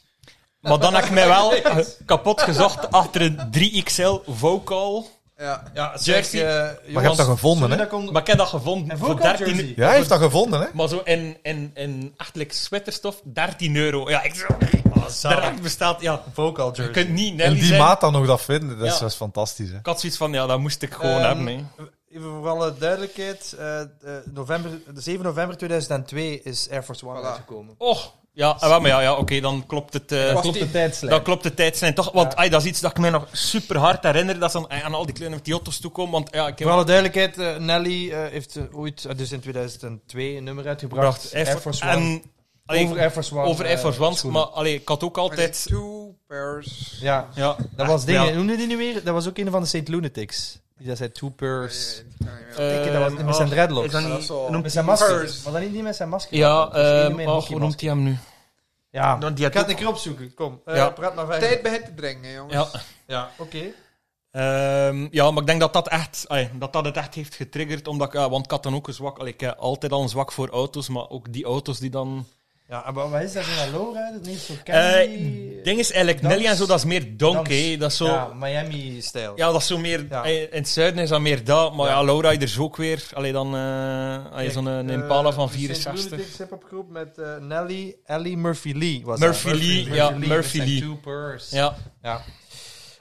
D: Maar dan heb ik mij wel eh, kapot gezocht achter een 3XL vocal.
C: Ja.
A: Ja,
D: Jersey.
A: Eh,
B: Maar je hebt dat gevonden, hè?
D: Maar ik heb dat gevonden
A: En
D: voor
A: vocal
D: 13
A: jersey.
B: Ja, hij heeft dat gevonden, hè?
D: Maar zo in, in, in achterlijk sweaterstof, 13 euro. Ja, ik zo...
A: Ah,
D: Direct bestaat, ja.
A: vocal
D: Je kunt niet
B: In
D: Nelly
B: die
D: zijn.
B: maat dan nog dat vinden, dat is,
D: Ja.
B: dat is fantastisch, hè?
D: Ik had zoiets van, ja, dat moest ik gewoon
A: Ehm,
D: hebben. hè.
A: Even voor alle duidelijkheid, eh, eh, november, de 7 november 2002 is Air Force One
C: Voilà.
A: uitgekomen.
D: Och, ja, ah, wel, maar ja, ja oké, dan klopt het. eh,
C: was
D: klopt-
C: die-
A: tijdslijn.
D: dan klopt de tijdslijn toch. Want
A: Ja.
D: ai, dat is iets dat ik mij nog super hard herinner. Dat ze aan, aan al die kleine met die auto's toekomen. Want ja, ik heb
A: Voor alle duidelijkheid, eh, Nelly eh, heeft eh, ooit, eh, dus in 2002, een nummer uitgebracht. Air Force One.
D: En, allee,
A: over Air Force One.
D: over Air
A: eh,
D: Force One.
A: schoenen.
D: maar allee, ik had ook
C: Altijd.
D: altijd.
C: Two pairs.
A: Ja,
D: Ja,
A: dat was dingen.
D: Ah, Ja.
A: Hoe noemde die nu weer? Dat was ook een van de St. Lunatics. Die dat zei Two Purs.
D: Eh,
A: Ik denk dat was die met zijn
D: oh,
A: dreadlocks.
D: is dat
C: Dat is
D: niet-
C: zo.
D: noemt-
A: Met zijn masker.
C: Purs.
A: Was dat niet die met zijn masker?
D: Ja,
A: Dat is
D: eh,
A: algemeen
D: och, hoe
A: hockeymasker.
D: noemt hij hem nu?
A: Ja,
D: Dan die
A: ik
D: had
A: ga het
D: ook-
A: een keer opzoeken. Kom, Eh,
D: Ja.
A: praat maar verder.
C: Dus Tijd begint te dringen, jongens.
D: Ja,
A: Ja, oké.
D: Ehm, ja, maar ik denk dat dat, echt, ai, dat dat het echt heeft getriggerd. Omdat ik, ah, want ik had dan ook een zwak. allee, ik heb altijd al een zwak voor auto's, maar ook die auto's die dan.
A: Ja, maar wat is dat in Alora? Dat niet zo
D: Eh ding is eigenlijk
A: Dans.
D: Nelly en zo, dat is meer donkey. Dat is zo. Ja.
A: Miami-stijl.
D: dat is zo meer.
A: Ja.
D: eh, In het zuiden is dat meer dat. Maar ja,
A: Ja.
D: Laura, je er zo ook weer. Allee, dan. eh allee, zo'n een Impala
A: dus
D: van 64.
A: Ik heb groep met eh, Nelly, Ellie Murphy Lee. Was
D: Murphy
A: dat.
D: Lee, ja, Murphy
A: met zijn
D: Lee.
A: two purrs.
D: Ja.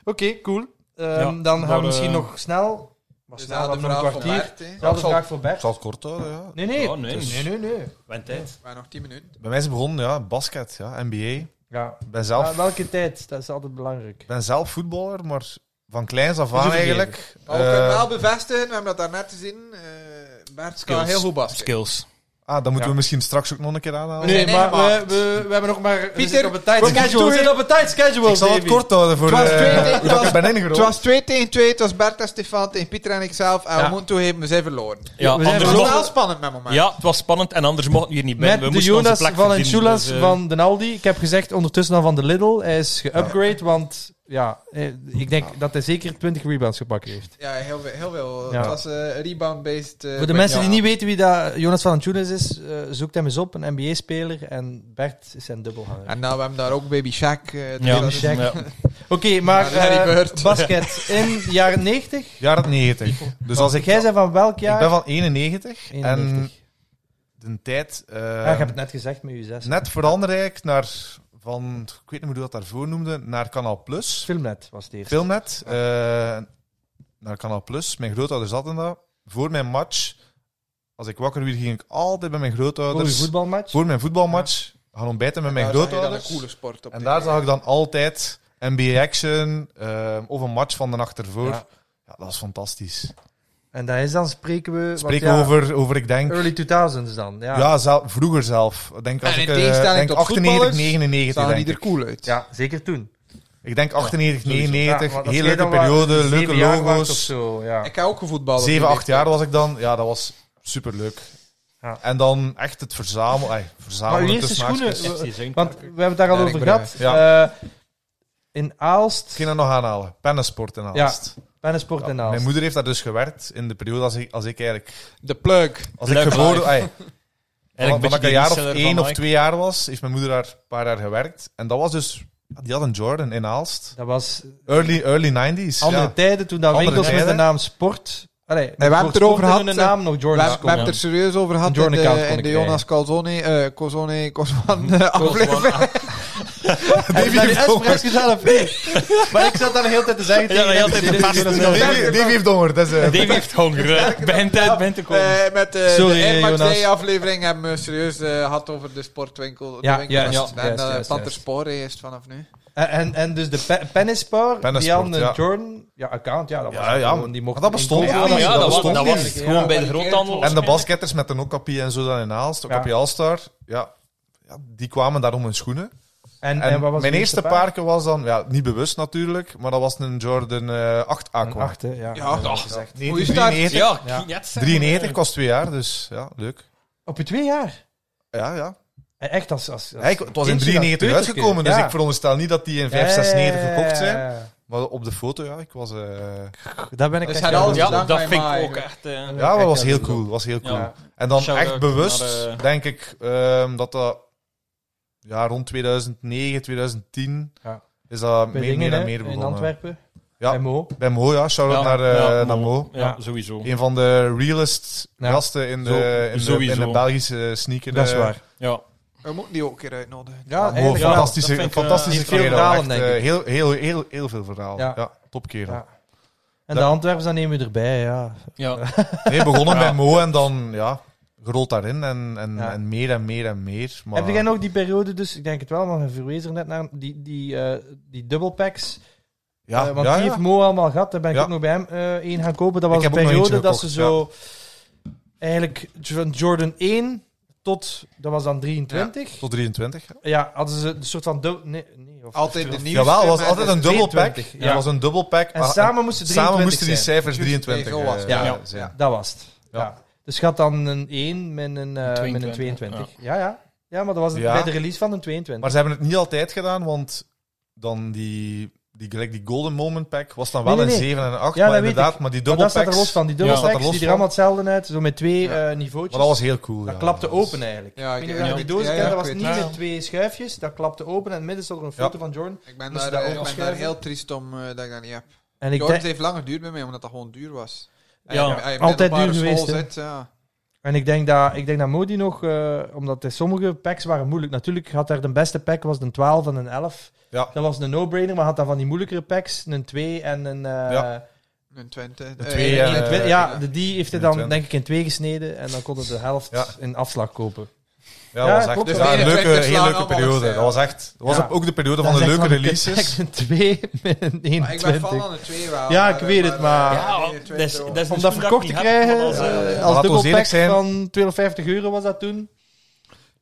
A: Oké, cool. Ehm,
D: Ja,
A: dan gaan
D: maar,
A: we misschien
D: eh,
A: nog snel. Maar
C: Dus
A: snel,
C: dat
A: wat
C: de
A: voor een
C: vraag van
A: kwartier.
C: Bert, hè.
A: Dat
B: Ik
A: is
B: zal-
A: vraag voor
B: Ik
A: Bert.
B: zal het kort houden, ja.
A: Nee, nee.
D: Oh, nee.
A: nee, nee, nee.
D: Went tijd.
C: Maar nog 10 minuten.
B: Bij mij is het begonnen, ja, basket, ja, NBA.
A: Ja.
B: Ik ben zelf,
A: Maar welke tijd? Dat is altijd belangrijk.
B: ik ben zelf voetballer, maar van kleins af
A: Dat is
B: aan
A: ook
B: eigenlijk.
C: Maar we kunnen
B: eh,
C: Oh, wel bevestigen, we hebben dat daarnet gezien. eh Bert kan
D: Skills.
C: heel goed basket.
D: Skills.
B: ah, dat moeten
A: Ja.
B: we misschien straks ook nog een keer aanhalen.
C: Nee,
A: Nee, maar we,
C: gemaakt.
A: we, we hebben nog maar... we
C: Pieter,
A: zitten op een tijd
C: we moeten
A: schedule. We
C: door.
A: zitten op een tijd schedule,
B: Ik zal het
A: Davy.
B: kort houden voor
C: Het was
B: eh,
C: tweede- het
B: hoe dat ik ben
C: Het
B: ingerold.
C: was 2 tegen 2, het was Bert en Stefan tegen Pieter en ikzelf. En
A: Ja.
C: we moeten toegeven, we zijn verloren.
D: Ja,
A: we zijn
C: Het
D: anders
C: was
A: verloren.
D: mochten-
C: wel spannend met moment.
D: Ja, het was spannend en anders mochten we hier niet bij.
A: Met
D: we
A: de
D: moesten onze
A: Jonas
D: plek
A: van
D: verdienen,
A: Enchulas
D: dus, eh,
A: van Den Aldi. Ik heb gezegd ondertussen al van de Lidl. Hij is geüpgrade, want ja, eh, ik denk dat hij zeker 20 rebounds gepakt heeft.
C: Ja, heel veel. Heel veel.
A: Ja.
C: Het was eh, rebound-based. eh,
A: Voor de
C: met-
A: mensen die
C: ja.
A: niet weten wie dat Jonas van Antunes is, eh, zoekt hem eens op, een NBA-speler. En Bert is zijn dubbelhanger.
C: En nou, we hebben daar ook Baby Shaq. eh, dus
D: Ja,
C: dat is-
A: Shaq.
D: ja.
A: Oké, maar
C: Ja, Larry
A: eh,
C: Bird.
A: basket in de jaren 90.
B: Jaren 90. Dus als ik,
A: Jij bent van welk
B: ik
A: jaar?
B: ben van 91,
A: 91.
B: en de tijd eh,
A: ja, ik heb het net gezegd met u zes.
B: net veranderde ik naar van, ik weet niet hoe dat daarvoor noemde, naar Kanaal Plus.
A: Filmnet was het eerst.
B: Filmnet, eh, naar Kanaal Plus. Mijn grootouders hadden dat. Voor mijn match, als ik wakker werd, ging ik altijd bij mijn
A: Voor uw
B: grootouders. dus- Voor,
A: voetbalmatch.
B: mijn voetbalmatch gaan ontbijten met mijn
C: daar zag je dan
B: grootouders.
C: een coole sport op.
B: En
C: de-
B: daar zag ik dan altijd NBA action eh, of een match van de nacht ervoor.
A: Ja.
B: Ja. dat is fantastisch.
A: En dat is dan spreken we... want
B: Spreken
A: ja,
B: over, over, ik denk,
A: Early 2000s dan, ja.
B: ja, zelf, vroeger zelf. Ik Denk als
C: En
B: ik
C: in
B: eh,
C: tegenstelling
B: denk
C: tot
B: 98,
C: voetballers
B: 99
C: Zagen
B: denk
C: die er
B: ik.
C: cool uit.
A: Ja, zeker toen.
B: Ik denk 98,
A: Sowieso.
B: 99,
A: Ja, want als
B: heel
A: jij
B: leuke
A: dan waar-
B: periode,
A: zeven
B: leuke
A: jaar was of
B: logo's.
A: zo, ja.
C: Ik heb ook gevoetbald. op die
B: 7, 8
C: leeftijd.
B: jaar was ik dan. Ja, dat was superleuk.
A: Ja.
B: En dan echt het verzamelen. Ay, verzamelen
A: Maar uw eerste
B: tussen
A: schoenen-
B: haakjes.
A: eh,
D: FC Zuid.
A: Want we hebben het daar al
C: Ja,
A: over
C: ik
A: gehad.
B: begrijp.
A: Eh, in Aalst,
B: Ik ging dat nog aanhalen. Pennensport en
A: Ja,
B: Aalst.
A: Pennensport
B: Ja,
A: in
B: mijn
A: Aalst.
B: moeder heeft daar dus gewerkt in de periode als ik, als ik eigenlijk...
C: De plug.
B: Als ik
D: Leuk
B: geboren...
D: life.
B: Ay,
D: Eigenlijk
B: Omdat ik
D: beetje
B: een
D: die
B: jaar of
D: reseller
B: één
D: van
B: of
D: Nike.
B: twee jaar was, heeft mijn moeder daar een paar jaar gewerkt. En dat was dus... Die had een Jordan in Aalst.
A: Dat was
B: Early, early 90s.
A: andere
B: ja.
A: tijden toen dat
B: Andere
A: winkels met de
B: tijden.
A: naam Sport... Allee,
C: we hebben het erover gehad,
A: de
C: hè.
A: naam nog
C: We, we
A: Jordans
C: hebben het er
A: konden.
C: serieus over
A: Een
C: gehad in
A: Jordan account
C: de,
A: kon
C: in
A: ik
C: de Jonas Calzone, eh Cosone, Cosman eh, aflevering.
A: Heb je daar die expres gezelf? Nee. Maar ik zat daar de hele tijd te zeggen
D: Ja, de hele tijd te passen.
B: Davy Davy heeft honger. Dat is, eh,
D: Dave heeft honger. Ik ben tijd, ben te komen.
C: Eh, met eh,
A: Sorry,
C: de
A: eh,
C: Airmax
A: Jonas.
C: Day aflevering hebben we serieus eh, gehad over de sportwinkel.
A: Ja,
C: de winkel
A: juist,
C: was- en
A: juist,
C: eh,
A: juist,
C: Panther
A: juist.
C: Sporen heeft vanaf nu.
A: En, en, en dus de pe Pennispar, die
B: Pennisport,
A: hadden een
B: ja.
A: Jordan ja, account. Ja, dat was
B: Ja, ja,
A: gewoon, die mochten
B: maar dat
A: in-
B: bestond ook
D: Ja, maar
B: niet,
D: ja,
B: dat
D: dat was,
B: bestond
D: dat was
A: niet.
D: gewoon
A: Ja,
D: bij
C: maar
D: de
C: die
D: groothandel.
B: En de basketters met de Nokkapie en zo dan in Aalst.
A: Ja.
B: Nokkapie All-Star. Ja. Ja, die kwamen daarom hun schoenen.
A: En,
B: En
A: en wat was
B: mijn
A: het
B: eerste paarke was dan, ja, niet bewust natuurlijk, maar dat was een Jordan eh 8
A: Een
B: Aqua.
A: acht, hè, ja.
C: Ja, toch.
B: Nee,
C: Goeie start.
B: 93,
D: Ja,
A: Ja.
D: net zeggen.
B: 93 ik was twee jaar, dus ja, leuk.
A: Op je twee jaar?
B: Ja, ja.
A: En Echt als... als, als
B: Ja, ik- het was in
A: kindje
B: 93
A: dat
B: uitgekomen, dus
A: peuterke,
B: ik veronderstel niet dat die in
A: ja.
B: 5, 96
A: Ja, ja,
B: gekocht
A: ja, ja,
B: zijn.
A: ja.
B: Maar op de foto, ja, ik was... eh,
A: Daar ben ik
C: Dus
A: echt
C: hij
A: jaloers
C: had
A: op.
C: alles bedankt
D: Ja, dat
C: bij
D: vind ik
C: mij,
D: ook
C: ja.
D: echt... eh,
B: Ja,
A: Kijk,
B: dat was
A: dat
B: heel
A: is
B: cool. Was heel cool.
D: Ja.
B: En dan
D: Shout-out
B: echt bewust,
D: naar, eh,
B: denk ik, ehm, dat dat ja, rond 2009, 2010
A: Ja.
B: is dat
A: Bij
B: meer,
A: dingen,
B: meer en
A: hè,
B: meer
A: In
B: begonnen.
A: Antwerpen.
B: Ja.
A: Bij Mo.
B: Bij Mo, ja. Shout-out naar, eh,
D: ja,
B: naar Mo.
D: Ja,
A: Ja.
D: sowieso.
B: Een van de realest
A: Ja.
B: gasten in
D: Zo-
B: de, in de,
D: sowieso.
B: in de Belgische sneaker.
A: Dat is
B: eh,
A: waar.
D: Ja.
C: We moeten die ook een keer uitnodigen.
A: Ja,
B: Mo,
A: eigenlijk wel.
B: fantastische,
D: Dat vind ik, eh,
B: fantastische
A: in veel
B: kerel.
A: verhalen,
B: echt,
A: denk
B: eh,
A: ik.
B: heel, heel, heel, heel veel verhaal.
A: Ja.
B: Ja. topkerel.
A: Ja. En de Antwerpers, dan nemen we erbij, ja.
D: ja.
B: Nee, begonnen
D: Ja.
B: bij Mo en dan, ja, gerold daarin en, en,
A: Ja.
B: en meer en meer en meer. Maar...
A: Heb jij nog die periode, dus ik denk het wel, want we verwezen er net naar, die, die, eh, die dubbelpacks.
B: Ja,
A: Eh, want
B: ja,
A: die
B: ja.
A: heeft Mo allemaal gehad. Daar ben ik
B: Ja.
A: ook nog bij hem eh één gaan kopen. Dat was
B: Ik
A: een
B: heb ook nog
A: periode
B: eentje
A: dat ze zo...
B: gekocht,
A: Eigenlijk van Jordan 1 tot... Dat was dan 23. Ja,
B: Tot 23, ja.
A: hadden ze een soort van... dubbel- Nee, nee, of,
C: Altijd de nieuwste.
B: Jawel, het was
C: maar
B: altijd een dubbelpack.
A: 23, ja.
B: Het was een dubbelpack.
A: En
B: maar-
A: samen moesten
B: Ah, en samen
A: 23
B: moesten die
A: zijn.
B: cijfers
C: Juist,
B: 23
C: nee, zo was het.
B: eh,
A: Ja.
B: eh, zijn.
A: Dat was het. Ja.
B: Ja.
A: Dus je had dan een 1 met een, eh met een 22.
D: 22,
A: Ja, ja. Ja, maar dat was het
B: Ja.
A: bij de release van een 22.
B: Maar ze hebben het niet altijd gedaan, want dan die die, gelijk die Golden Moment Pack was dan wel
A: Nee, nee,
B: een
A: nee.
B: 7 en een 8,
A: Ja,
B: maar
A: dat weet
B: inderdaad, maar die
A: Maar
B: dubbel
A: dat staat er los
B: packs,
A: van. Die
B: Ja, staat
A: dubbelstacks,
B: er los
A: die er
B: van.
A: allemaal hetzelfde uit. Zo met twee eh niveautjes.
B: maar dat was heel cool.
A: Dat
B: ja.
A: klapte
B: Dat was-
A: open eigenlijk.
C: Ja,
A: Ik weet niet of je
C: ja,
A: die doos
C: ja,
A: kent,
C: ja,
A: dat
C: ik
A: was
C: weet
A: niet
C: het.
A: met twee schuifjes. Dat klapte open en in het midden stond er een
B: Ja.
A: foto van Jordan.
C: Ik ben,
A: Moest
C: daar,
A: dat
C: eh, ik ben daar
A: opschrijven?
C: heel triest om eh, dat ik dat niet heb.
A: En ik,
C: Jordan
A: denk,
C: het heeft langer duur bij mij, omdat dat gewoon duur was. En
D: Ja,
C: je- en je met
A: altijd
C: middelbare
A: duur geweest,
C: school
A: hè.
C: Zit, ja.
A: en ik denk dat, ik denk dat Modi nog, eh, omdat de sommige packs waren moeilijk. Natuurlijk had daar de beste pack was een 12 en een 11.
B: Ja.
A: Dat was een no-brainer, maar had dan van die moeilijkere packs een 2 en een. eh,
B: Ja.
C: Een 20.
B: De
C: eh,
A: een
B: twee, eh,
C: een
A: twi-
C: twintig,
A: ja, de, die heeft hij dan
B: 21.
A: denk ik in twee gesneden en dan konden de helft
B: Ja.
A: in afslag kopen.
B: Ja,
A: Ja,
B: dat was echt
A: klopt.
B: ja,
A: Dus
B: een
C: die
B: leuke,
C: 21
B: heel
C: slagen
B: leuke
C: allemaal
B: periode.
C: opzij,
B: Dat was echt, dat was
A: Ja.
B: ook de periode van de
A: Dat is echt
B: leuke
A: een
B: releases.
A: kutpakje, Een 2 met een
C: Maar ik ben
A: 21.
C: fan van de twee wel.
A: Ja, ik weet het, maar-
C: nee,
D: Ja, dat is-
C: 21
D: dat is
A: om
D: een
A: dat
D: schoen
A: verkocht
D: ik
A: te
D: niet heb,
A: krijgen
D: maar als, eh,
A: eh,
B: ja.
A: als
B: Laat ons
A: dubbelpack
B: eerlijk zijn.
A: van 250 euro was dat toen.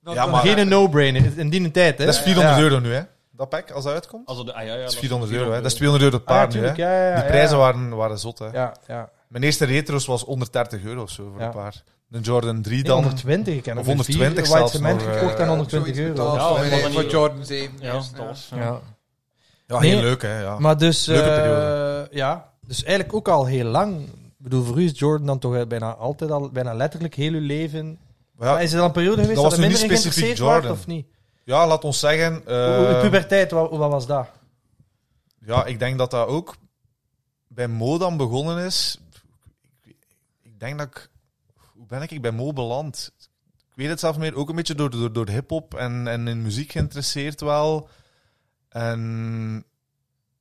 C: Not
B: Ja,
C: bad.
B: maar-
A: Geen een no-brainer, in die tijd. Hè?
B: Dat is 400
A: Ja.
B: euro nu, hè? Dat pack, als dat uitkomt.
D: als het- ah, ja, ja,
B: Dat is
D: dat-
B: 400 euro, hè? Dat is 200 euro het paar
A: Ah,
B: nu, hè?
A: tuurlijk, ja, ja, ja,
B: Die
A: ja.
B: prijzen waren, waren zot, hè?
A: Ja, ja.
B: Mijn eerste retro's was 130 euro of zo voor
A: Ja.
B: een paar. Een Jordan 3
A: Nee,
B: dan.
A: 120, ik heb
B: of
A: nog
B: 120
A: vier white
B: zelfs
A: cement
B: nog, eh,
A: gekocht en
C: Ja,
A: 120
C: zoiets
A: euro.
C: betaald
D: Ja,
C: voor,
D: maar
C: mij,
D: dan
C: voor
D: niet-
C: Jordan 7.
D: Ja,
C: eerst,
D: dat
A: eh,
C: ja.
D: was-
A: Ja.
B: Ja,
A: Nee.
B: heel leuk, hè? Ja.
A: Maar dus,
B: Leuke
A: eh,
B: periode.
A: ja, dus eigenlijk ook al heel lang. Ik bedoel, voor u is Jordan dan toch bijna altijd al, bijna letterlijk heel uw leven.
B: Maar ja,
A: Maar is er dan een periode geweest
B: dat
A: dat,
B: was
A: er
B: nu
A: minder
B: niet specifiek
A: geïnteresseerd wordt
B: Jordan.
A: of niet?
B: ja, laat ons zeggen.
A: Hoe-
B: eh,
A: de puberteit, wat, wat was dat?
B: Ja, ik denk dat dat ook bij Mo dan begonnen is. Ik- Ik denk dat ik... Hoe ben ik bij Mo beland? Ik weet het zelf meer. Ook een beetje door, door, door hip-hop en, en in muziek geïnteresseerd wel. En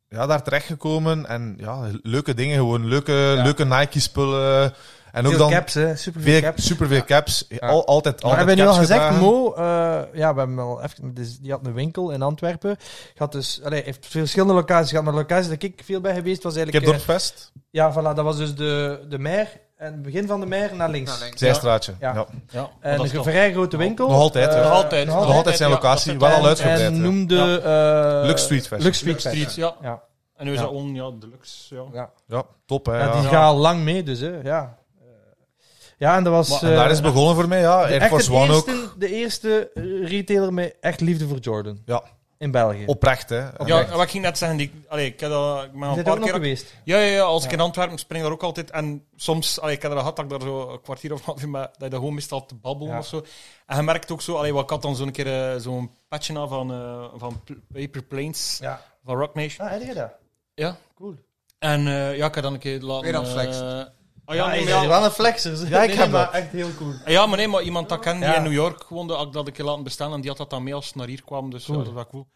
B: ja, daar terechtgekomen. En ja, leuke dingen gewoon. Leuke, leuke Nike-spullen. En ook
A: Veel
B: dan
A: caps, hè? Superveel
B: veel,
A: caps.
B: superveel caps. Al, altijd,
A: Maar
B: altijd
A: hebben we nu al
B: caps
A: gezegd,
B: gedragen.
A: Mo, eh, ja, we hebben al even, dus die had een winkel in Antwerpen. Gaat dus, allee, heeft verschillende locaties gehad, maar de locatie dat ik veel bij geweest was
B: Ik
A: eigenlijk...
B: heb Dorpfest.
A: eh, ja, voilà, dat was dus de, de Meer, en het begin van de Meer naar links.
C: Naar Nou, links.
B: Zijstraatje.
A: Ja.
B: Ja.
D: Ja, want
A: En
D: dat
A: een
D: is nog-
A: vrij grote winkel.
B: Nog altijd, hè.
A: Eh,
D: Nog altijd.
A: nog
B: Nog altijd zijn
D: Ja,
B: locatie.
D: dat is
B: wel
A: En-
B: al uitgebreid.
A: En
B: ja.
A: noemde... eh,
B: Lux Street Fest.
A: Lux Street
D: Lux
A: Fest.
D: Street, ja.
A: Ja.
D: En nu is
A: Ja.
D: dat on, ja, deluxe, ja.
A: Ja.
B: Ja, top hè.
A: Ja, die
B: ja.
A: gaan al lang mee, dus, hè. Ja, Eh, ja en dat was...
D: Maar-
B: En
A: eh,
B: daar is het begonnen voor mij, ja.
A: de-
B: Air
A: echt
B: Force
A: het
B: One ook.
A: eerste, De eerste retailer met echt liefde voor Jordan.
B: Ja.
A: In België.
B: Oprecht, hè.
D: Ja,
B: Oprecht.
D: wat ik ging net zeggen, die, allee, ik, heb dat, ik ben al
A: Is
D: een
A: dat
D: paar
A: ook nog
D: keer...
A: geweest?
D: Ja, ja, ja, als ik in Antwerpen spring daar ook altijd. En soms, allee, ik heb er gehad dat ik daar zo een kwartier of half in ben, dat je daar gewoon meestal te babbelen
A: Ja.
D: of zo. En je merkt ook zo, allee, wat ik had dan zo'n keer eh, zo'n patje aan van, eh, van P- Paper Planes,
A: Ja.
D: van Rock Nation.
A: Ah, heb je dat?
D: Ja.
A: Cool.
D: En eh, ja, ik heb dan een keer laten...
C: Weer aan het
D: eh,
C: flexen.
D: ah, ja, nee, maar
A: is
D: ja. Ah,
A: wel een flexer. Ja, ik
B: Nee,
A: heb
B: maar
A: dat. Echt heel cool.
D: Ja, maar nee, maar iemand dat ik ken die
A: Ja.
D: in New York woonde, had ik dat een keer laten bestaan en die had dat dan mee als het naar hier kwam, dus ja,
A: Cool.
D: dat was wel cool.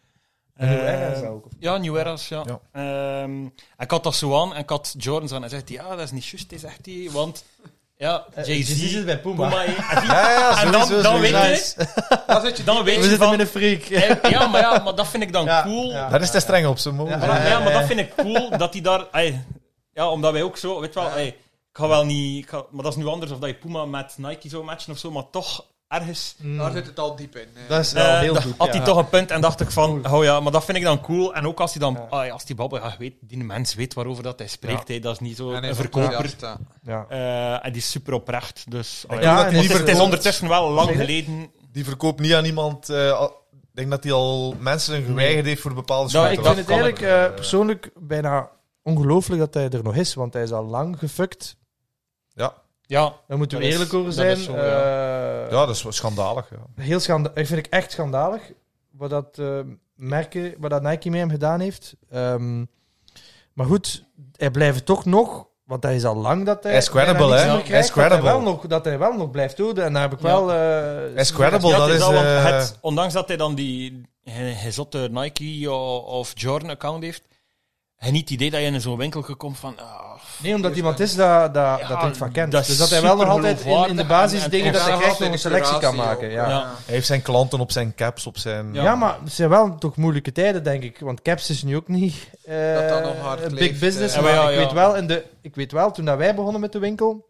A: En hoe
D: Eh,
A: erg is dat ook?
D: Ja, New Era's, ja. Ehm, en ik had dat zo aan en ik had Jordans aan. En zegt hij, ja, dat is niet juist, hij zegt hij. Want, ja,
A: Eh,
D: Jay-Z...
A: Jay-Z zit bij Puma.
D: Puma, eh,
B: Ja, ja,
D: en dan,
B: sowieso,
D: dan weet
B: sowieso.
D: je...
C: Dan zit je
D: Dan
A: We
D: weet je
A: zitten
D: van...
A: met een freak.
D: eh, Ja, maar ja, maar dat vind ik dan
A: Ja,
D: cool.
A: ja.
B: Daar is te streng op, ze mogen.
A: Ja.
D: Maar, dat- ja, maar dat vind ik cool, dat hij daar... ey, ja, omdat wij ook zo, weet je wel... ey, ik ga wel niet... ik ga- maar dat is nu anders of dat je Puma met Nike zou matchen of zo, maar toch ergens...
C: Daar zit het al diep in. eh.
A: Dat is wel
D: Mm. eh,
A: heel
D: da-
A: goed.
D: had hij
A: ja.
D: toch een punt en dacht ik van, oh ja, maar dat vind ik dan cool. En ook als hij dan,
A: Ja.
D: ah ja, als die babbelt, ja, je weet, die mens weet waarover dat hij spreekt. hè. dat is niet zo
C: En hij
D: een
C: is
D: verkoper.
C: enthousiast, hè.
A: Ja.
D: Eh, en die is super oprecht. Dus, ah, ja.
A: Ja,
B: dat
A: en
B: die
A: het
D: het, is,
B: liever
D: het is
B: koopt.
D: ondertussen wel lang
A: Zeg je?
D: geleden.
B: Die verkoopt niet aan iemand... eh, al- Ik denk dat hij al mensen een geweigerd heeft voor bepaalde
D: Nou,
B: schoenen.
A: ik vind het
D: dat kan
A: eigenlijk eh, persoonlijk bijna ongelooflijk dat hij er nog is, want hij is al lang gefukt.
D: Ja,
A: Daar moeten we
D: Dat is-
A: eerlijk over
D: dat
A: zijn.
D: is zo,
B: Ja,
A: Eh,
B: dat is wel schandalig. Ja.
A: Heel schandalig. Ik vind ik echt schandalig wat dat eh, merken, wat dat Nike mee hem gedaan heeft. Ehm, maar goed, hij blijft toch nog, want hij is al lang dat hij.
B: Hij is credible,
A: bijna niks
B: hè?
A: meer
B: Hij is
A: krijgt, Dat hij,
B: credible.
A: wel nog, dat hij wel nog blijft doen. En daar heb ik
D: Ja.
A: wel. eh,
B: Hij is credible,
D: Ja,
B: dat
D: het
B: is...
D: wel, want
B: eh,
D: het- ondanks dat hij dan die hij- hij zotte Nike o- of Jordan-account heeft, hij niet het idee dat je in zo'n winkel komt van... ah,
A: Nee, omdat iemand is dat, dat, dat
D: Ja,
A: hij van kent.
D: dat is
A: dus dat hij wel nog
D: super
A: altijd in, in de
D: geloofwaardig
A: basis
D: en- en
A: dingen dat hij
D: constant
A: echt
C: altijd
A: nog een
C: de
A: selectie kan
C: curatie
A: maken.
C: ook,
A: Ja.
D: ja.
B: Hij heeft zijn klanten op zijn caps, op zijn...
A: Ja.
D: Ja.
A: maar het zijn wel toch moeilijke tijden, denk ik. Want Caps is nu ook niet eh,
C: Dat dat nog hard
A: big
C: leeft,
A: business.
D: eh.
A: maar
D: Ja, ja,
A: ik,
D: ja.
A: Weet wel, in de, ik weet wel, toen dat wij begonnen met de winkel,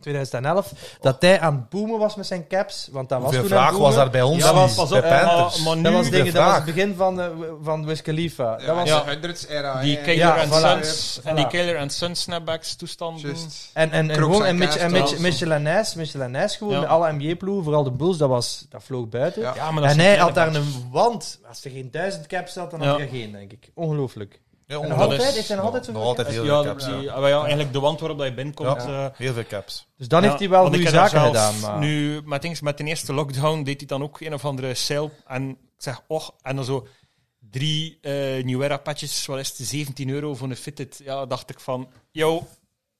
A: 2011, dat hij aan het boomen was met zijn Caps. Want dat
B: Hoeveel
A: was toen aan het
B: vraag was
A: boomen.
B: daar bij ons
A: Ja,
B: niet,
A: pas op,
B: bij
A: eh,
B: Panthers.
D: maar- maar
A: Dat
D: nu
A: was,
B: de
A: dingen, dat was het
B: vraag.
A: begin van, eh, van Wiz Khalifa.
C: Ja,
A: dat was,
C: ja. 100s era.
D: Die
C: hè.
D: Kailer
A: Ja,
D: and
A: voilà.
D: Sons
A: Voilà.
D: en die Kailer and Sons snapbacks toestanden.
C: Just.
A: En, en, en
C: Crooks
A: gewoon,
C: en
A: en Mitch- en
C: Castles.
A: Mitch- Mitchell en Nijs, Mitchell en Nijs gewoon,
D: Ja.
A: met alle NBA-ploegen, vooral de Bulls, dat, was, dat vloog buiten.
C: Ja.
D: Ja, maar dat
A: en
D: is
A: hij
D: een
A: had daar
D: kleine
A: een wand. Als er geen duizend caps had, dan had
D: Ja.
A: hij er geen, denk ik. Ongelooflijk.
B: Ja,
A: En
B: on-
D: dat
A: altijd,
D: is
A: heeft hij nog altijd zo'n
B: nog altijd
A: verkeer?
B: heel
D: Ja,
B: veel caps.
D: die, ah, wel ja, eigenlijk de wand waarop dat je binnenkomt.
B: Ja.
D: eh,
B: Heel veel caps.
A: Dus dan
D: ja,
A: heeft hij wel
D: want ik
A: goede
D: heb daar
A: zaken
D: zelf
A: gedaan. Maar...
D: Nu, maar het ding is, met de eerste lockdown deed hij dan ook een of andere sale. En ik zeg, och, en dan zo drie eh New Era patches, wat is het, 17 euro voor een fitted. Ja, dacht ik van, yo,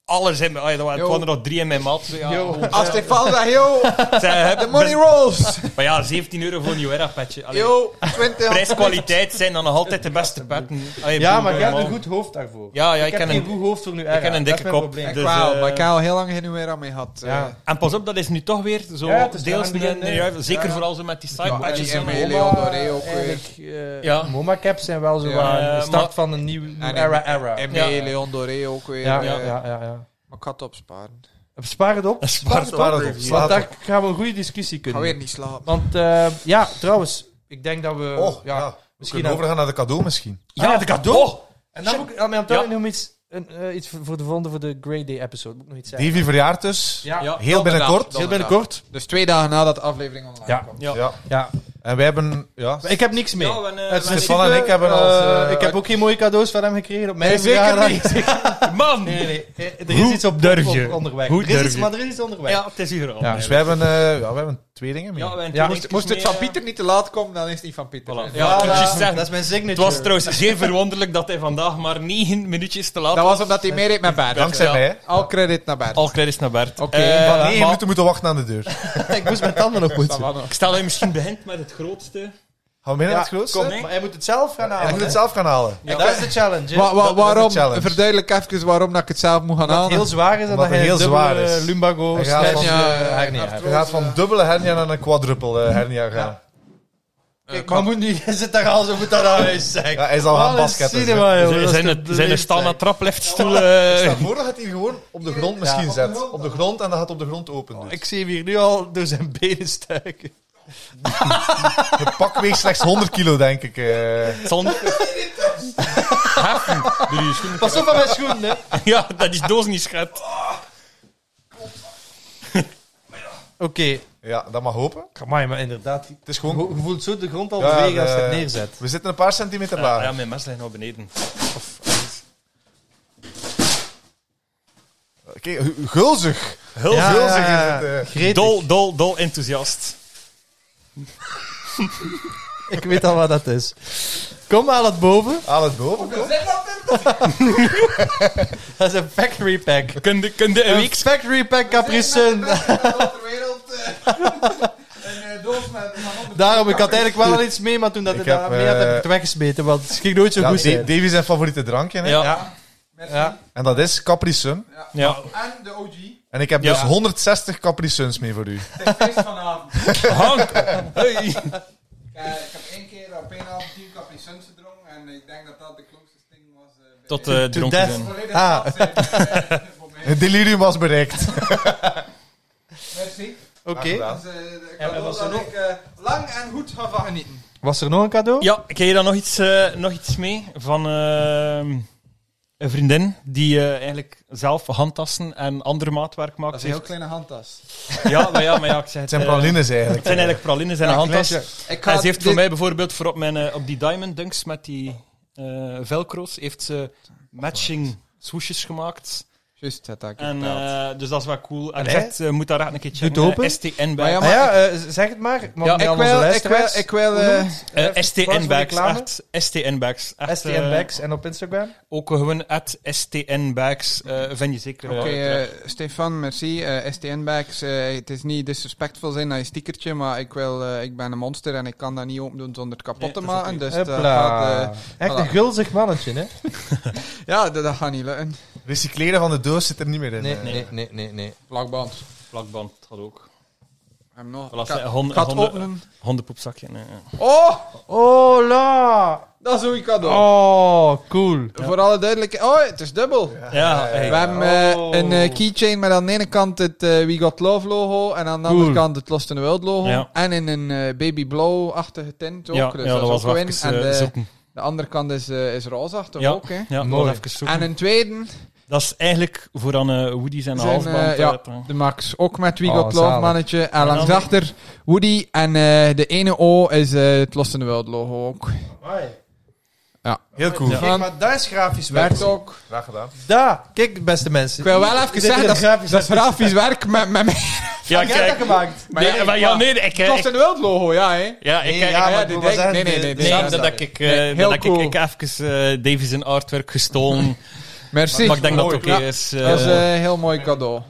D: alles in mijn... ah ja, er waren-
C: Yo.
D: het waren er nog drie in mijn maat. Ja, gewoon-
C: Als Stefan zegt, yo,
D: Ik zeg, heb-
C: the money rolls.
D: Maar ja, 17 euro voor een New Era patchje. Allee,
C: Yo, 20.
D: Prijs-kwaliteit zijn dan nog altijd de beste petten. Allee,
A: Ja,
D: bedoel,
A: maar ik heb
D: normaal.
A: een goed hoofd daarvoor.
D: Ja, ja, ik,
A: ik, heb
D: ken
A: een
D: een...
A: goed hoofd voor nu
D: ik ken een dikke kop.
C: Kijk,
D: Dus,
C: wauw,
D: eh,
C: maar ik heb al heel lang geen Uera mee gehad.
A: Ja.
C: Eh,
D: En pas op, dat is nu toch weer zo
A: Ja, het is
D: deels...
A: daar aan het
D: een-
A: begin,
D: ja,
A: hè.
D: zeker
A: Ja.
D: vooral zo met die
C: Ja,
D: side-patches.
C: en die E
D: en-
C: Leon Doré ook weer.
D: Ja.
A: ja. MoMA caps zijn wel zo
C: Ja.
A: aan de
D: Eh,
A: start
D: maar-
A: van een nieuw nieuw
C: en-
A: era era.
C: MB,
D: Ja.
C: E Leon Doré ook weer.
A: Ja,
C: eh,
A: ja, ja, ja, ja.
C: Maar ik ga het opsparen.
A: Spaar het op.
D: Spaar
B: Spaar het op.
A: Want
B: Slaat
A: daar
B: op.
A: gaan we een goede discussie
C: Ik ga
A: kunnen.
C: weer niet slapen.
A: Want eh, ja, trouwens, ik denk dat we.
B: Oh,
A: ja.
B: ja. We
A: misschien
B: kunnen overgaan naar de cadeau misschien.
A: Ja, de cadeau. En dan
D: Shit.
A: moet ik, Amel, tel
D: Ja.
A: ik nog iets, een, eh, iets voor voor de volgende, voor de Grey Day episode. Moet ik nog iets zeggen?
B: Davy verjaart dus.
A: Ja,
D: Ja.
B: Heel binnenkort.
C: Dan
A: heel
C: Heel
A: binnenkort.
C: Dus twee dagen nadat de aflevering online
A: Ja.
C: kwam.
D: Ja.
B: Ja.
A: Ja.
B: En wij hebben... Ja,
A: Maar ik heb niks mee.
D: Ja, en, eh,
A: Uit
D: we-
B: Stefan
A: principe,
B: en ik hebben
A: eh,
B: als, eh,
A: ik heb ook geen mooie cadeaus van hem gekregen op mijn
C: Nee, zeker
A: verjaardag.
D: Man!
A: Nee, nee, nee. Eh, Er is
D: Hoe
A: iets op,
D: durf
A: op-
D: je?
A: op onderweg.
D: Hoe
A: er is
D: durf
A: iets,
D: je?
A: maar er is iets onderweg.
D: Ja, het is hier al.
A: Ja.
B: dus wij hebben, eh, ja, wij hebben twee dingen mee.
D: Ja, wij-
A: Ja.
C: Moest, moest het van Pieter niet te laat komen, dan is het niet van Pieter.
D: Voilà.
C: Ja.
D: Ja,
A: Voilà.
D: ik wou zeggen,
A: dat is mijn
D: Het
A: signature.
D: was trouwens zeer verwonderlijk dat hij vandaag maar 9 minuutjes te laat
C: Dat was omdat hij meer heeft met Bert.
B: Dankzij
D: Ja.
B: mij.
C: Al credit naar Bert.
D: Al credits naar Bert.
C: Oké,
D: Eh,
B: Van
D: maar
B: één minuut moeten wachten aan de deur. Gaan
A: ik moest mijn tanden nog poetsen.
C: Savannah.
D: Ik stel dat je misschien begint met het grootste.
B: we mee naar
A: Ja,
B: het grootste?
A: Kom, maar hij moet het zelf gaan
B: Hij
A: halen.
B: moet het
A: hè?
B: zelf gaan halen.
D: Ja.
A: Dat is de challenge. hè.
C: Wa- wa-
B: dat is
C: waarom,
B: een challenge.
C: verduidelijk even waarom dat ik het zelf moet gaan
A: dat het
C: halen.
A: heel zwaar is en dat
B: Omdat
A: hij
B: het heel
A: dubbele
B: zwaar is.
A: lumbago
B: Hij gaat
A: slash,
B: van,
A: eh,
C: ja,
A: hernia.
C: arthrose.
B: Je gaat van dubbele hernia naar een quadruple eh, hernia gaan.
A: Kijk, maar moet nu, je zit daar al zo goed aan huis, zeg.
B: Ja, hij zal gaan basketten. dus, zeg.
D: zijn het, eh, zijn de standaard trapliftstoelen?
B: Stel voor dat hij het gewoon op de grond misschien
A: op de
B: zet.
A: grond.
B: Op de grond en dat gaat op de grond open. Dus.
A: Ik zie hem hier nu al door zijn benen stuiken.
B: De pak weegt slechts 100 kilo, denk ik. eh.
D: Zonder... Heffen. Doe je schoenen.
A: Pas op aan mijn schoenen, hè. Oké,
D: Ja, dat is doos niet schat.
B: Ja, dat mag hopen.
A: Amai, maar inderdaad.
B: Het is
A: Je
B: gewoon...
A: je voelt zo de grond al
B: Ja,
A: bewegen als je
B: de-
A: het neerzet.
B: We zitten een paar centimeter
D: Ja, ja,
B: lager.
D: mijn mes ligt nou beneden.
B: Oké, hu- gulzig.
D: Heel
B: Ja,
D: veel.
B: gulzig is het. eh.
A: Gretig.
D: Dol, dol, dol enthousiast.
A: Ik weet al wat dat is. Kom maar het boven.
B: Aan het boven. kom.
A: Dat is een factory pack.
D: Kunde, kunde een
A: Een
D: week
A: factory pack Capri Sun.
C: eh.
A: Daarom, ik had eigenlijk wel al iets mee, maar toen dat
B: Ik
A: ik
B: heb,
A: daar mee had, heb ik
B: eh,
A: het weggesmeten, want het ging nooit zo
B: Ja,
A: goed
B: Da-
A: zijn.
B: Davy zijn favoriete drankje. Hè?
D: Ja.
A: Ja. Ja.
B: En dat is Capri Sun.
D: Ja.
C: En de OG.
B: En ik heb
D: Ja.
B: dus 160 Capri Suns mee voor u.
C: Het is vanavond.
D: Hank. Hey.
C: Eh, ik heb één keer op één avond 10 Capri Suns gedronken en ik denk dat dat de closest thing was. eh, bij-
D: Tot eh
A: To
D: dronken
A: death.
D: zijn.
C: Volledig
A: Ah.
C: afzetten, eh, voor mij.
B: Het delirium was bereikt.
C: Merci.
A: Oké.
B: Aangedaan.
C: Dus, eh, de
A: En
C: cadeau
A: was er
C: dat
A: nog?
C: ik eh, lang en goed ga van genieten.
A: Was er nog een cadeau?
D: Ja, ik heb hier dan nog iets, eh, nog iets mee van ehm, een vriendin die eh, eigenlijk zelf handtassen en ander maatwerk maakt.
C: Dat is een heel kleine handtas.
D: Ja, maar ja, maar ja, ik zeg
B: Het zijn
D: eh,
B: pralines
D: Het
B: eigenlijk.
D: zijn eigenlijk pralines en een handtas.
C: Ik
D: En ze heeft voor
C: dit-
D: mij bijvoorbeeld voor op, mijn, eh, op die Diamond Dunks met die eh velcro's, heeft ze matching swoesjes gemaakt.
C: Juist, dat ik
D: En,
C: verteld.
D: eh, dus dat is wel cool. En
A: En
D: zegt, eh, moet daar echt een keer checken.
A: Doet open.
D: Eh, STN
C: Maar ja,
D: bij.
A: Ah ja, eh, zeg het maar. want
D: Ja,
A: niet
C: ik
A: aan onze
C: wil, ik wil,
A: luisteraars.
C: ik wil,
A: Hoe
C: eh,
A: noemt het?
D: Eh,
A: Even plaats
D: STN
A: voor
D: bags,
A: reclame.
D: echt. STN bags. Echt,
A: STN
D: eh,
A: Bags en op Instagram.
D: Ook gewoon at STN bags eh, vind je zeker. eh,
C: Oké,
D: terug.
C: eh, Stefan, merci. Eh, STN Bags, eh, het is niet disrespectvol zijn naar je stickertje, maar ik, wil, eh, ik ben een monster en ik kan dat niet open doen zonder het kapot
D: Nee,
C: te
D: dat is
C: maken.
D: oké.
C: Dus dat gaat,
A: Hopla.
C: eh,
A: Echt een
C: voilà.
A: gulzig mannetje, hè?
C: ja, dat, dat gaat niet lukken.
B: Recycleren van de doos zit er niet meer in. eh.
A: nee, nee. nee.
C: Vlakband.
D: Plakband had ook.
C: Hem nog.
D: Voilà,
C: Ka-
D: eh, honden-
C: gaat
D: honden-
C: openen.
D: Hondenpoepzakje. Nee, ja.
C: Oh,
A: Oh, la!
C: dat is hoe ik cadeau.
A: Oh, cool.
C: Voor alle duidelijkheid. Oh, het is dubbel.
D: Ja, hey.
C: We hebben eh,
A: Oh.
C: een eh, keychain met aan de ene kant het eh, We Got Love logo en aan de
A: Cool.
C: andere kant het Lost in the World logo.
D: Ja.
C: En in een eh, baby blauw-achtige tint ook.
D: ja,
C: dus
D: ja,
C: dat,
D: dat was
C: is ook
D: wel
C: win.
D: even
C: en
D: eh,
C: de,
D: zoeken.
C: de andere kant is, eh, is roze-achtig
D: Ja.
C: ook. Hè.
D: Ja, dat
A: Mooi.
D: was even zoeken.
C: En eh, een tweede
D: Dat is eigenlijk voor aan eh, Woody's
C: zijn,
D: en een halsband.
C: eh, ja,
D: eh, tra-
C: de Max. Ook met We
A: Oh,
C: Got Love
A: zalig.
C: mannetje. En langs
D: dan-
C: achter Woody. En eh, de ene O is eh, het Lost in the World logo ook.
B: Heel cool.
C: Ja.
A: Kijk, maar daar is grafisch werk.
C: Werkt ook.
B: Graag gedaan.
A: Daar, kijk beste mensen.
C: Ik wil wel even zeggen, dat is, dat is grafisch werk met, met mij.
D: Ja,
A: Jij hebt dat gemaakt.
C: Maar ja,
D: Nee, maar ja, nee, ik... eh,
C: Lost
D: ik-
C: in the World logo, ja hè.
D: Ja, ik...
B: Nee,
D: ik-
B: ja,
C: ja,
B: maar
C: die
B: wat was
C: denk-
B: dat?
C: nee, nee,
B: De-
C: nee,
D: Nee,
C: Ja,
D: dat,
C: sorry.
D: dat ik, eh,
C: Nee, heel
D: dat
C: cool.
D: ik, ik even eh Davies in artwork gestolen.
C: Merci.
D: maar ik denk dat het oké
C: Ja.
D: is. eh.
C: Dat is eh, een heel mooi cadeau.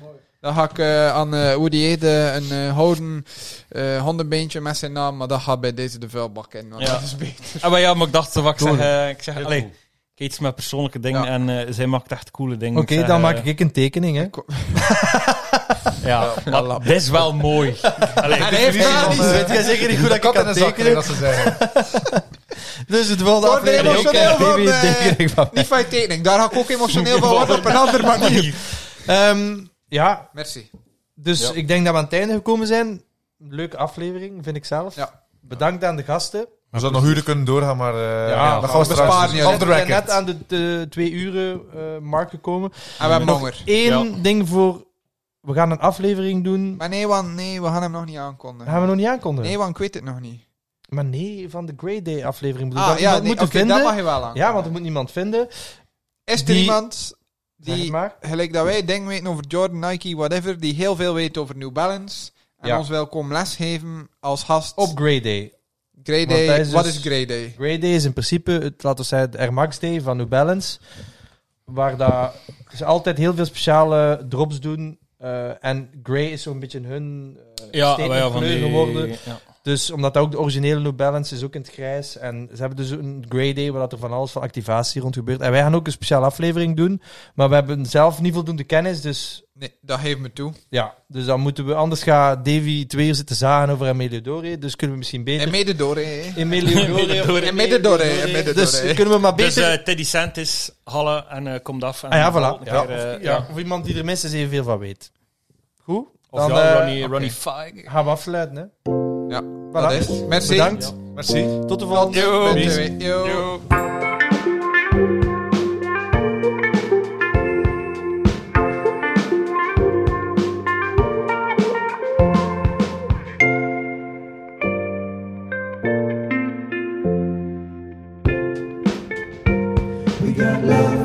C: Dan ga ik eh, aan eh Woody Ede een eh, houden eh hondenbeentje met zijn naam, maar dat gaat bij deze de vuilbak in. want
D: Ja.
C: dat is beter.
D: Ah, maar ja, maar ik dacht, wat ik zeg,
A: Cool.
D: eh, ik zeg,
B: Heel
D: allee,
B: cool.
D: ik eet iets met persoonlijke dingen
C: Ja.
D: en eh, zij maakt echt coole dingen.
A: Oké,
D: zeg,
A: dan
D: eh,
A: maak ik een tekening, hè.
D: Ja, maar
C: lap.
D: dit is wel mooi. Allee,
C: En hij heeft
B: niet
C: daar
B: van,
C: iets.
B: eh,
A: Ah, Weet jij zeker niet goed dat ik
B: Kat in
A: kan
B: de zak,
A: tekenen?
B: dat ze zeggen.
A: Dus het wilde
C: Wordt er
A: aflevering ook
C: emotioneel
A: een
C: van,
A: baby
C: eh,
A: tekening van mij.
C: Niet van je tekening, daar ga ik ook emotioneel van worden op een andere manier.
A: Ehm, Ja,
C: Merci.
A: dus
B: Ja.
A: ik denk dat we aan het einde gekomen zijn. Leuke aflevering, vind ik zelf.
C: Ja.
A: Bedankt aan de gasten.
B: We zouden nog uren kunnen doorgaan, maar... eh ja, dan gaan we
C: we
B: straks
C: besparen je.
B: off the
A: We zijn net
B: record.
A: aan de eh, twee uren eh, mark gekomen.
C: En Ah, we hebben
A: Nog
C: honger.
A: Eén ding voor... We gaan een aflevering doen.
C: Maar nee, want nee, we gaan hem nog niet
A: Dat gaan
C: aankondigen.
A: we nog niet aankondigen.
C: Nee, want ik weet het nog niet.
A: Maar nee, van de Grey Day aflevering. Bedoel,
C: Ah,
A: dat
C: ja,
A: iemand
C: nee,
A: moeten
C: oké,
A: vinden.
C: dat mag je wel aan.
A: Ja, want er moet niemand vinden.
C: Is er
A: die-
C: iemand
A: Zeg het
C: die,
A: maar.
C: gelijk dat wij dingen weten over Jordan, Nike, whatever, die heel veel weet over New Balance, en
A: Ja.
C: ons wil komen lesgeven als gast
A: Op Grey Day.
C: Grey
A: Want
C: Day.
A: hij is
C: Wat
A: dus-
C: is Grey Day?
A: Grey Day is in principe, het, laten we zeggen, de Air Max Day van New Balance. Waar dat, ze altijd heel veel speciale drops doen. eh, en Grey is zo'n beetje hun eh
D: Ja, maar ja,
A: statement
D: van
A: kleur
D: die...
A: geworden.
D: ja.
A: Dus omdat dat ook de originele New Balance is, ook in het grijs. En ze hebben dus een Grey Day waar dat er van alles van activatie rond gebeurt. En wij gaan ook een speciale aflevering doen. Maar we hebben zelf niet voldoende kennis, dus
C: Nee, dat geef me toe.
A: Ja, dus dan moeten we... Anders gaat Davy twee uur zitten zagen over Emilio Dore. Dus kunnen we misschien beter...
C: En mede door, hè.
A: Emilio Dore.
D: Dore.
C: En mede door, hè. En mede door,
A: Dus
C: hè.
A: kunnen we maar
D: Dus
A: beter...
D: eh, Teddy Sant is Halle en eh komt af. En
A: ah ja, voilà.
D: Weer,
A: Ja,
D: eh,
A: of, ja,
D: ja.
A: of iemand die er minstens evenveel van weet. Goed?
D: Of
A: dan
D: ja,
A: eh,
D: Ronnie, Ronnie
C: oké.
D: Fike.
A: gaan we afsluiten, hè.
C: Ja,
A: Voilà.
C: dat is. Merci.
A: Bedankt.
B: Merci.
A: Tot de volgende.
C: Yo.
A: Peace.
C: Yo.
E: We got love